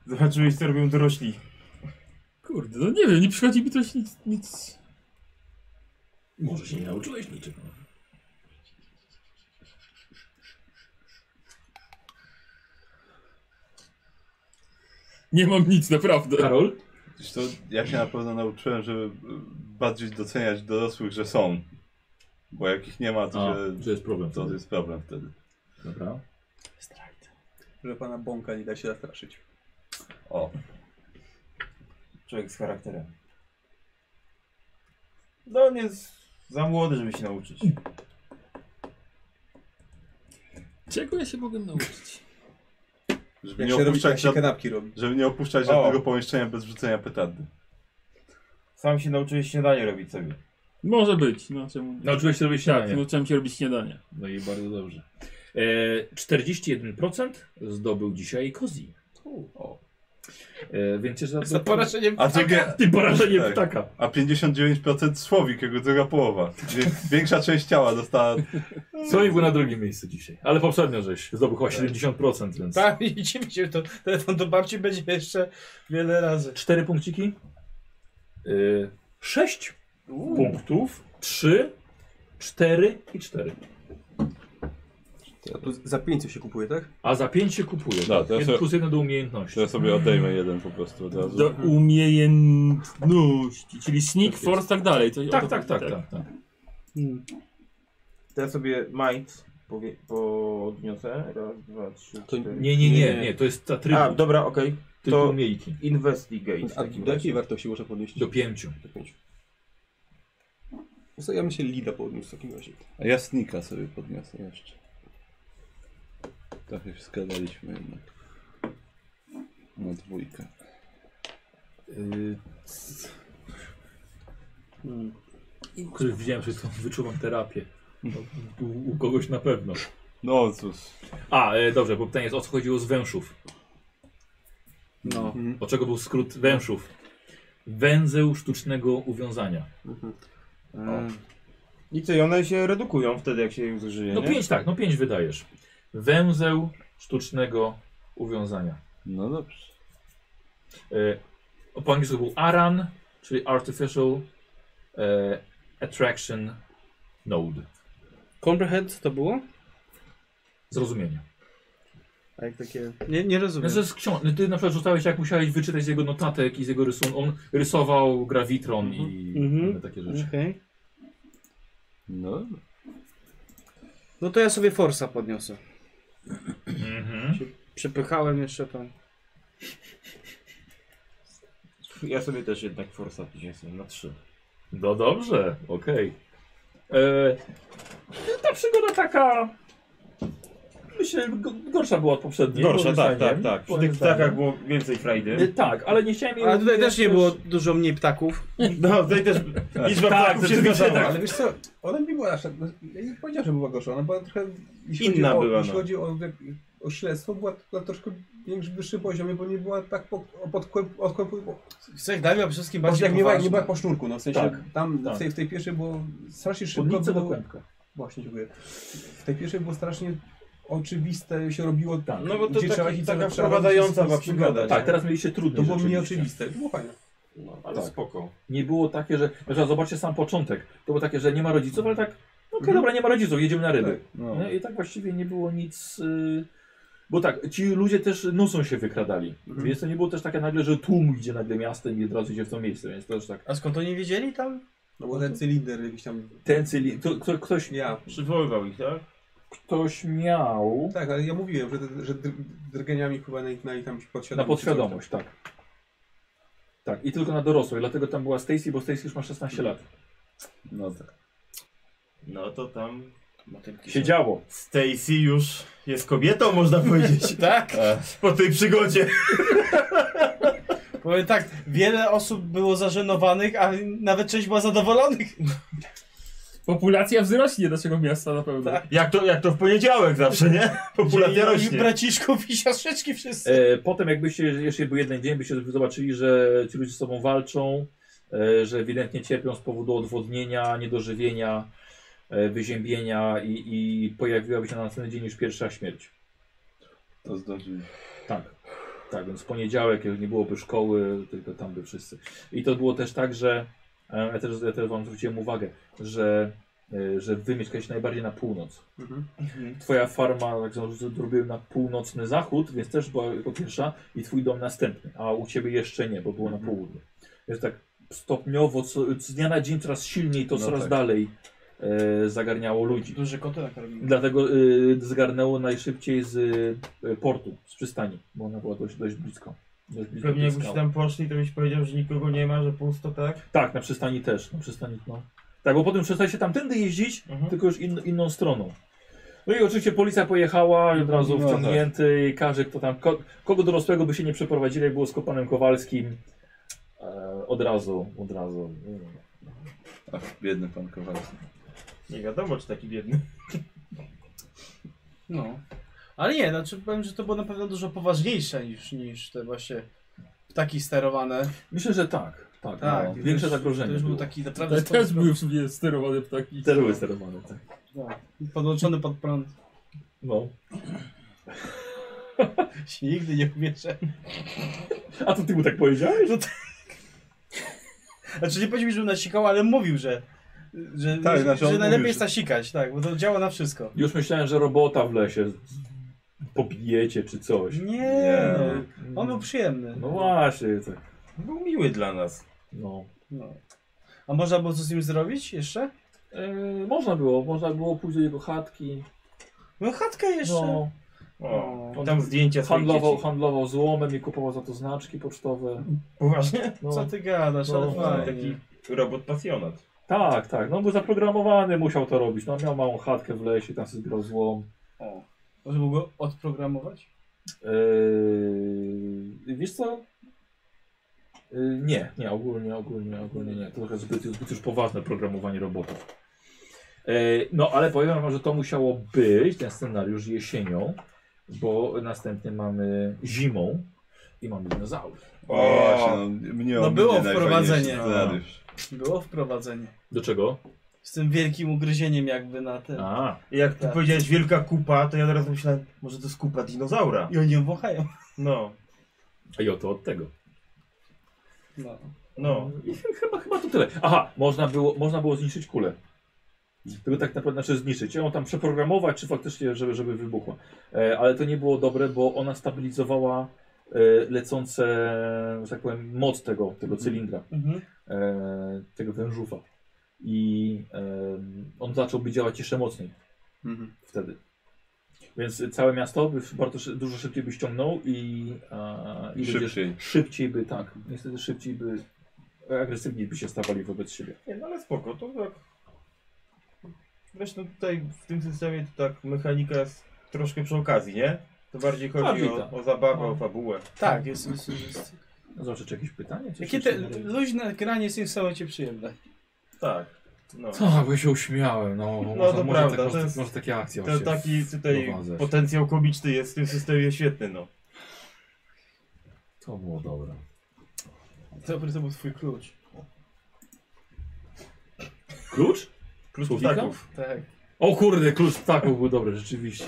Speaker 10: Zobaczyłeś, co robią dorośli.
Speaker 21: Kurde, no nie wiem, nie przychodzi mi coś nic. nic.
Speaker 3: Może się nie nauczyłeś niczego.
Speaker 21: Nie mam nic, naprawdę.
Speaker 3: Karol?
Speaker 6: Wiesz co, ja się na pewno nauczyłem, żeby y, bardziej doceniać dorosłych, że są. Bo jak ich nie ma, to,
Speaker 3: A,
Speaker 6: się,
Speaker 3: to jest problem
Speaker 6: To
Speaker 3: wtedy.
Speaker 6: jest problem wtedy.
Speaker 3: Dobra.
Speaker 2: Że pana bąka nie da się zastraszyć.
Speaker 6: O.
Speaker 10: Człowiek z charakterem. No on jest za młody, żeby się nauczyć.
Speaker 21: Czego ja się mogłem nauczyć?
Speaker 6: Żeby
Speaker 2: Jak
Speaker 6: nie
Speaker 2: się robi,
Speaker 6: opuszczać
Speaker 2: jak się
Speaker 6: żad-
Speaker 2: kanapki robi.
Speaker 6: Żeby nie opuszczać
Speaker 10: O.
Speaker 6: żadnego pomieszczenia bez rzucenia petardy.
Speaker 10: Sam się nauczyłeś śniadanie robić sobie.
Speaker 21: Może być, no czemu nie?
Speaker 3: Nauczyłeś się robić
Speaker 21: tak,
Speaker 3: śniadanie.
Speaker 21: nauczyłem się robić śniadanie.
Speaker 3: No i bardzo dobrze. E, 41% zdobył dzisiaj Kozi. E, więc jeszcze za
Speaker 9: porażeniem
Speaker 6: A ty,
Speaker 3: Ty porażeniem ptaka.
Speaker 6: A 59% słowik, jego druga połowa. Wie- Większa część ciała dostała.
Speaker 3: Słowik był na drugim miejscu dzisiaj. Ale poprzednio żeś zdobył
Speaker 6: Tak.
Speaker 3: chyba 70%, więc...
Speaker 9: Tak, i dziwi się, to telefon do babci będzie jeszcze wiele razy.
Speaker 3: Cztery punkciki. Y, Sześć punktów. Trzy, cztery i cztery.
Speaker 2: To za 500 się kupuje, tak?
Speaker 3: A za pięć się kupuje.
Speaker 6: No, to ja
Speaker 3: Jeden
Speaker 6: sobie-
Speaker 3: plus jeden do umiejętności.
Speaker 6: To ja sobie odejmę jeden po prostu od razu.
Speaker 21: Do umiejętności, czyli sneak,
Speaker 3: Tak jest.
Speaker 21: force, tak dalej. To,
Speaker 3: Tak,
Speaker 21: o to
Speaker 3: tak,
Speaker 21: chodzi,
Speaker 3: tak, tak, tak.
Speaker 10: To ja sobie might powie- podniosę. Raz, dwa, trzy,
Speaker 2: To
Speaker 10: cztery.
Speaker 3: Nie, nie, nie, nie, to jest atrybut.
Speaker 10: A, dobra, okej.
Speaker 3: Tylko
Speaker 10: To
Speaker 3: umiejki.
Speaker 10: investigate. w
Speaker 2: A
Speaker 10: takim
Speaker 2: do
Speaker 10: razie.
Speaker 2: jakiej wartości można podnieść?
Speaker 3: Do pięciu.
Speaker 2: Do pięciu. No to Ja bym się Lida podniósł w takim razie.
Speaker 6: A ja snika sobie podniosę jeszcze. Trochę się skadaliśmy jednak. Na dwójkę.
Speaker 3: Y, c- Kurde, Widziałem, że to wyczuwam terapię. U, u kogoś na pewno.
Speaker 6: No cóż.
Speaker 3: A, e, dobrze, bo pytanie jest o co chodziło z wężów.
Speaker 2: No.
Speaker 3: O czego był skrót wężów? Węzeł sztucznego uwiązania.
Speaker 10: Mm. I co, i one się redukują wtedy, jak się je zużyje,
Speaker 3: No
Speaker 10: nie?
Speaker 3: pięć tak, no pięć wydajesz. Węzeł sztucznego uwiązania.
Speaker 6: No dobrze.
Speaker 3: E, po angielsku był ARAN, czyli Artificial e, Attraction Node.
Speaker 13: Comprehend co to było?
Speaker 3: Zrozumienie.
Speaker 13: A jak takie... Nie, nie rozumiem.
Speaker 3: No, to jest książ- no, ty na przykład rzucałeś, jak musiałeś wyczytać z jego notatek i z jego rysun. On rysował grawitron i inne takie rzeczy.
Speaker 9: Mhm.
Speaker 13: Okej.
Speaker 6: No.
Speaker 13: No to ja sobie Forsa podniosę.
Speaker 3: Mhm.
Speaker 13: Się Przepychałem jeszcze tam.
Speaker 10: Ja sobie też jednak forsa podniosłem na trzy.
Speaker 3: No dobrze, okej. E, Ta przygoda taka. Myślę, go- gorsza była od poprzedniej.
Speaker 10: Gorsza,
Speaker 3: moim
Speaker 10: tak, tak,
Speaker 3: zdaniem.
Speaker 10: tak. Przy
Speaker 3: Moim
Speaker 10: tych
Speaker 3: zdaniem.
Speaker 10: ptakach było więcej frajdy.
Speaker 3: E, Tak, ale nie chciałem jej
Speaker 13: Ale tutaj też nie było
Speaker 3: też-
Speaker 13: dużo mniej ptaków.
Speaker 10: No, tutaj też liczba
Speaker 3: Tak,
Speaker 10: ptaków się
Speaker 3: rzeczywiście
Speaker 10: zgadzała.
Speaker 3: tak.
Speaker 2: Ale wiesz co, ona nie była nasza. Ja nie powiedziałem, że była gorsza, ona była trochę. Jeśli chodzi
Speaker 10: Inna
Speaker 2: o,
Speaker 10: była,
Speaker 2: Jeśli
Speaker 10: no.
Speaker 2: chodzi o, o śledztwo, była na troszkę większym, wyższym poziomie, bo nie była tak po, pod odkłębu.
Speaker 9: Chcesz, daj mi o wszystkim
Speaker 2: Bardziej
Speaker 9: bardziej
Speaker 2: jak nie była, jak nie
Speaker 9: poważne.
Speaker 2: była po sznurku, no w sensie
Speaker 3: Tak,
Speaker 2: tam
Speaker 3: tak.
Speaker 2: W, tej, w tej pierwszej było strasznie szybko.
Speaker 3: Spódnica do
Speaker 2: Było,
Speaker 3: kłębka.
Speaker 2: właśnie dziękuję. W tej pierwszej było strasznie oczywiste się robiło tak.
Speaker 10: No bo to taki-
Speaker 2: iść,
Speaker 10: taka
Speaker 2: co trzeba
Speaker 10: wprowadzająca
Speaker 2: robić, co- co trzeba
Speaker 10: była
Speaker 2: robić.
Speaker 10: przygoda,
Speaker 3: Tak, teraz mieliście
Speaker 2: To
Speaker 3: trudno.
Speaker 2: było mniej oczywiste, było fajne.
Speaker 10: No, ale spoko.
Speaker 3: Nie było takie, że. na przykład Zobaczcie sam początek. To było takie, że nie ma rodziców, ale tak. no Okej, dobra, nie ma rodziców, jedziemy na ryby.
Speaker 6: No.
Speaker 3: No i tak właściwie nie było nic. y, Bo tak, ci ludzie też nocą się wykradali. Więc to nie było też takie nagle, że tłum idzie nagle miastem i od razu idzie w to miejsce. Więc to już tak.
Speaker 9: A skąd oni wiedzieli tam?
Speaker 2: No bo ten cylinder jakiś tam.
Speaker 3: Ten cyli... to, to, ktoś,
Speaker 2: Ja.
Speaker 10: Przywoływał ich, tak?
Speaker 3: ktoś miał
Speaker 2: Tak, ale ja mówiłem, że, że dr- drgeniami wpływa na ich, na ich tam
Speaker 3: na
Speaker 2: podświadomość.
Speaker 3: podświadomość, tak. Tak, i tylko na dorosłych, dlatego tam była Stacy, bo Stacy już ma 16 lat.
Speaker 6: No tak.
Speaker 10: No to tam Siedziało. Stacy już jest kobietą, można powiedzieć. E,
Speaker 9: tak?
Speaker 10: Po tej przygodzie.
Speaker 9: Powiem tak, wiele osób było zażenowanych, a nawet część była zadowolonych.
Speaker 21: Populacja wzrośnie naszego miasta na pewno.
Speaker 10: Jak to, jak to w poniedziałek zawsze, nie? Populacja rośnie.
Speaker 9: braciszków i siostrzeczki wszyscy.
Speaker 3: E, potem jakbyście, jeszcze był jeden dzień, byście zobaczyli, że ci ludzie z sobą walczą, e, że ewidentnie cierpią z powodu odwodnienia, niedożywienia, e, wyziębienia i, i pojawiłaby się na następny dzień już pierwsza śmierć.
Speaker 6: To zdążyli.
Speaker 3: Tak. Tak, więc w poniedziałek jak nie byłoby szkoły, tylko tam by wszyscy. I to było też tak, że e, ja też, ja też wam zwróciłem uwagę, że, e, że wy mieszkacie najbardziej na północ.
Speaker 4: Mhm. Mhm.
Speaker 3: Twoja farma, tak zauważyłem, że zrobiłem na północny zachód, więc też była jako pierwsza i twój dom następny, a u ciebie jeszcze nie, bo było na południu. Więc tak stopniowo, co, z dnia na dzień coraz silniej to
Speaker 10: No
Speaker 3: coraz
Speaker 10: tak.
Speaker 3: dalej e, zagarniało ludzi.
Speaker 9: Duży kotelek robimy.
Speaker 3: Dlatego y, zgarnęło najszybciej z y, portu, z przystani, bo ona była dość, dość blisko. Dość blisko
Speaker 10: Pewnie
Speaker 3: bliskała.
Speaker 10: jakbyś tam poszli, to byś powiedział, że nikogo nie ma, że pusto, tak?
Speaker 3: Tak, na przystani też, na przystani, no. Tak, bo potem przestali się tamtędy jeździć,
Speaker 9: Mhm.
Speaker 3: tylko już in, inną stroną. No i oczywiście policja pojechała, i od razu
Speaker 6: No
Speaker 3: wciągnięty i każdy, kto tam, ko, kogo dorosłego by się nie przeprowadzili, jak było z Kopanem Kowalskim, e, od razu, od razu.
Speaker 6: Ach, biedny pan Kowalski.
Speaker 10: Nie wiadomo, czy taki biedny.
Speaker 9: No. Ale nie, znaczy powiem, że to było na pewno dużo poważniejsze niż, niż te właśnie ptaki sterowane.
Speaker 3: Myślę, że tak. Tak, no.
Speaker 9: to
Speaker 3: Większe
Speaker 9: już-
Speaker 3: zagrożenie
Speaker 9: To już był
Speaker 3: było.
Speaker 9: taki naprawdę...
Speaker 21: Te, też były w sumie sterowane ptaki.
Speaker 3: Też były sterowane, tak.
Speaker 9: Tak, Podłączony pod prąd.
Speaker 3: No.
Speaker 9: Się nigdy nie umierzę.
Speaker 3: A to ty mu tak powiedziałeś?
Speaker 9: No tak. Znaczy nie powiedział, że nasikał, ale mówił, że, że,
Speaker 3: Tak, znaczy on
Speaker 9: że najlepiej
Speaker 3: mówił,
Speaker 9: jest
Speaker 3: że-
Speaker 9: nasikać, tak, bo to działa na wszystko.
Speaker 3: Już myślałem, że robota w lesie pobijecie czy coś.
Speaker 9: Nie, no. On był przyjemny.
Speaker 3: No właśnie, tak.
Speaker 10: Był miły dla nas.
Speaker 3: No.
Speaker 9: No. A można było coś z nim zrobić jeszcze?
Speaker 3: Yy, można było, można było pójść do jego chatki.
Speaker 9: No chatkę jeszcze.
Speaker 3: No.
Speaker 10: O,
Speaker 3: On
Speaker 10: tam zdjęcia swoich
Speaker 3: handlował,
Speaker 10: dzieci.
Speaker 3: handlował złomem i kupował za to znaczki pocztowe.
Speaker 10: Poważnie?
Speaker 3: No.
Speaker 9: Co ty gadasz, ale
Speaker 10: No,
Speaker 9: fajnie.
Speaker 10: taki robot pasjonat.
Speaker 3: Tak, tak. No był zaprogramowany, musiał to robić. No miał małą chatkę w lesie, tam sobie zbierał złom.
Speaker 9: O. Może mógł go odprogramować?
Speaker 3: Yy, wiesz co? Yy, nie, nie, ogólnie, ogólnie, ogólnie nie. To trochę zbyt, zbyt już poważne programowanie robotów. Yy, no ale powiem wam, że to musiało być, ten scenariusz jesienią, bo następnie mamy zimą i mamy dinozaury.
Speaker 6: O, właśnie, no, mnie
Speaker 9: No
Speaker 6: ominie
Speaker 9: było
Speaker 6: najfajniejszy
Speaker 9: wprowadzenie.
Speaker 6: scenariusz.
Speaker 9: Było wprowadzenie.
Speaker 3: Do czego?
Speaker 9: Z tym wielkim ugryzieniem jakby na tym.
Speaker 3: A.
Speaker 10: I Jak ty
Speaker 9: Tak.
Speaker 10: powiedziałeś wielka kupa, to ja teraz myślałem, może to jest kupa dinozaura.
Speaker 9: I oni ją wąchają.
Speaker 10: No,
Speaker 3: I oto od tego.
Speaker 9: No.
Speaker 10: no.
Speaker 3: I chyba, chyba to tyle. Aha, można było, można było zniszczyć kulę. Tylko tak naprawdę, znaczy zniszczyć. Ją tam przeprogramować, czy faktycznie, żeby, żeby wybuchła. E, ale to nie było dobre, bo ona stabilizowała e, lecące, że tak powiem, moc tego, tego cylindra,
Speaker 9: Mhm.
Speaker 3: e, tego wężufa. I e, on zacząłby działać jeszcze mocniej
Speaker 4: Mhm.
Speaker 3: wtedy. Więc całe miasto by bardzo szy- dużo szybciej by ściągnął i, a, i ludzie
Speaker 6: Szybciej.
Speaker 3: szybciej by tak. Niestety szybciej by agresywniej by się stawali wobec siebie.
Speaker 10: Nie, no ale spoko, to tak. Zresztą tutaj w tym systemie to tak mechanika jest troszkę przy okazji, nie? To bardziej chodzi
Speaker 3: Bardziej tak.
Speaker 10: o, o zabawę,
Speaker 3: No.
Speaker 10: o fabułę.
Speaker 9: Tak, jest. jest, jest.
Speaker 3: Zobaczę, czy jakieś pytanie? Czy
Speaker 9: Jakie
Speaker 3: jeszcze
Speaker 9: te
Speaker 3: coś?
Speaker 9: luźne granie jest niesamowicie przyjemne.
Speaker 10: Tak. No.
Speaker 3: Tak, bo ja się uśmiałem, no.
Speaker 10: No
Speaker 3: może,
Speaker 10: to
Speaker 3: może, tak,
Speaker 10: prawda, to
Speaker 3: może,
Speaker 10: jest-
Speaker 3: może takie akcje
Speaker 10: To
Speaker 3: właśnie
Speaker 10: taki tutaj
Speaker 3: wprowadzę.
Speaker 10: potencjał komiczny jest w tym systemie świetny, no.
Speaker 3: To było dobre.
Speaker 9: Dobry to był twój klucz.
Speaker 3: Klucz?
Speaker 10: Klucz
Speaker 3: Słowika?
Speaker 10: ptaków.
Speaker 9: Tak,
Speaker 3: O kurde, klucz ptaków był dobry, rzeczywiście.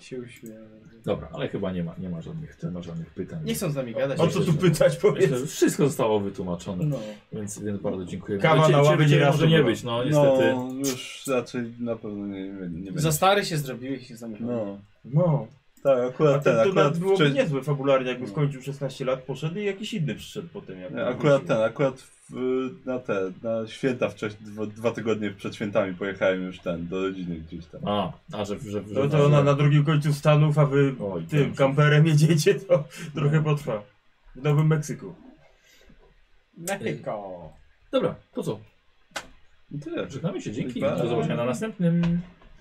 Speaker 9: się uśmiałem.
Speaker 3: Dobra, ale chyba nie ma, nie ma żadnych, nie ma żadnych pytań.
Speaker 9: Nie chcą z nami gadać.
Speaker 10: O co
Speaker 3: Myślę, że-
Speaker 10: tu tak, pytać,
Speaker 3: Myślę, że
Speaker 10: powiedz?
Speaker 3: wszystko zostało wytłumaczone,
Speaker 9: No.
Speaker 3: więc, więc bardzo dziękuję.
Speaker 10: Kawa
Speaker 3: Ale cie-
Speaker 10: na ławę
Speaker 3: ciebie
Speaker 10: nie raz
Speaker 3: może nie
Speaker 10: dobra.
Speaker 3: być, no niestety.
Speaker 6: No, już raczej na pewno nie, nie będzie.
Speaker 9: Za stary się zrobiłeś i się zamknął.
Speaker 6: No,
Speaker 10: No.
Speaker 6: tak,
Speaker 10: A
Speaker 6: akurat ten,
Speaker 10: ten, to nawet
Speaker 6: akurat, No.
Speaker 10: byłoby
Speaker 6: wcze-
Speaker 10: niezłe fabularnie, jakby skończył 16 lat, poszedł i jakiś inny przyszedł potem. Jak
Speaker 6: akurat ten, akurat w, na te, na święta wcześniej, dwa, dwa tygodnie przed świętami pojechałem już ten, do rodziny gdzieś tam.
Speaker 3: A, a że, że, że
Speaker 10: To, to ona na drugim końcu Stanów, a wy
Speaker 3: Oj,
Speaker 10: tym
Speaker 6: tak.
Speaker 3: dobrze.
Speaker 10: kamperem jedziecie, to trochę potrwa. W Nowym Meksyku.
Speaker 9: Mexico.
Speaker 3: Dobra, to co?
Speaker 22: I tyle.
Speaker 1: Żegnamy się, dzięki.
Speaker 22: Pa.
Speaker 1: Do zobaczenia na następnym.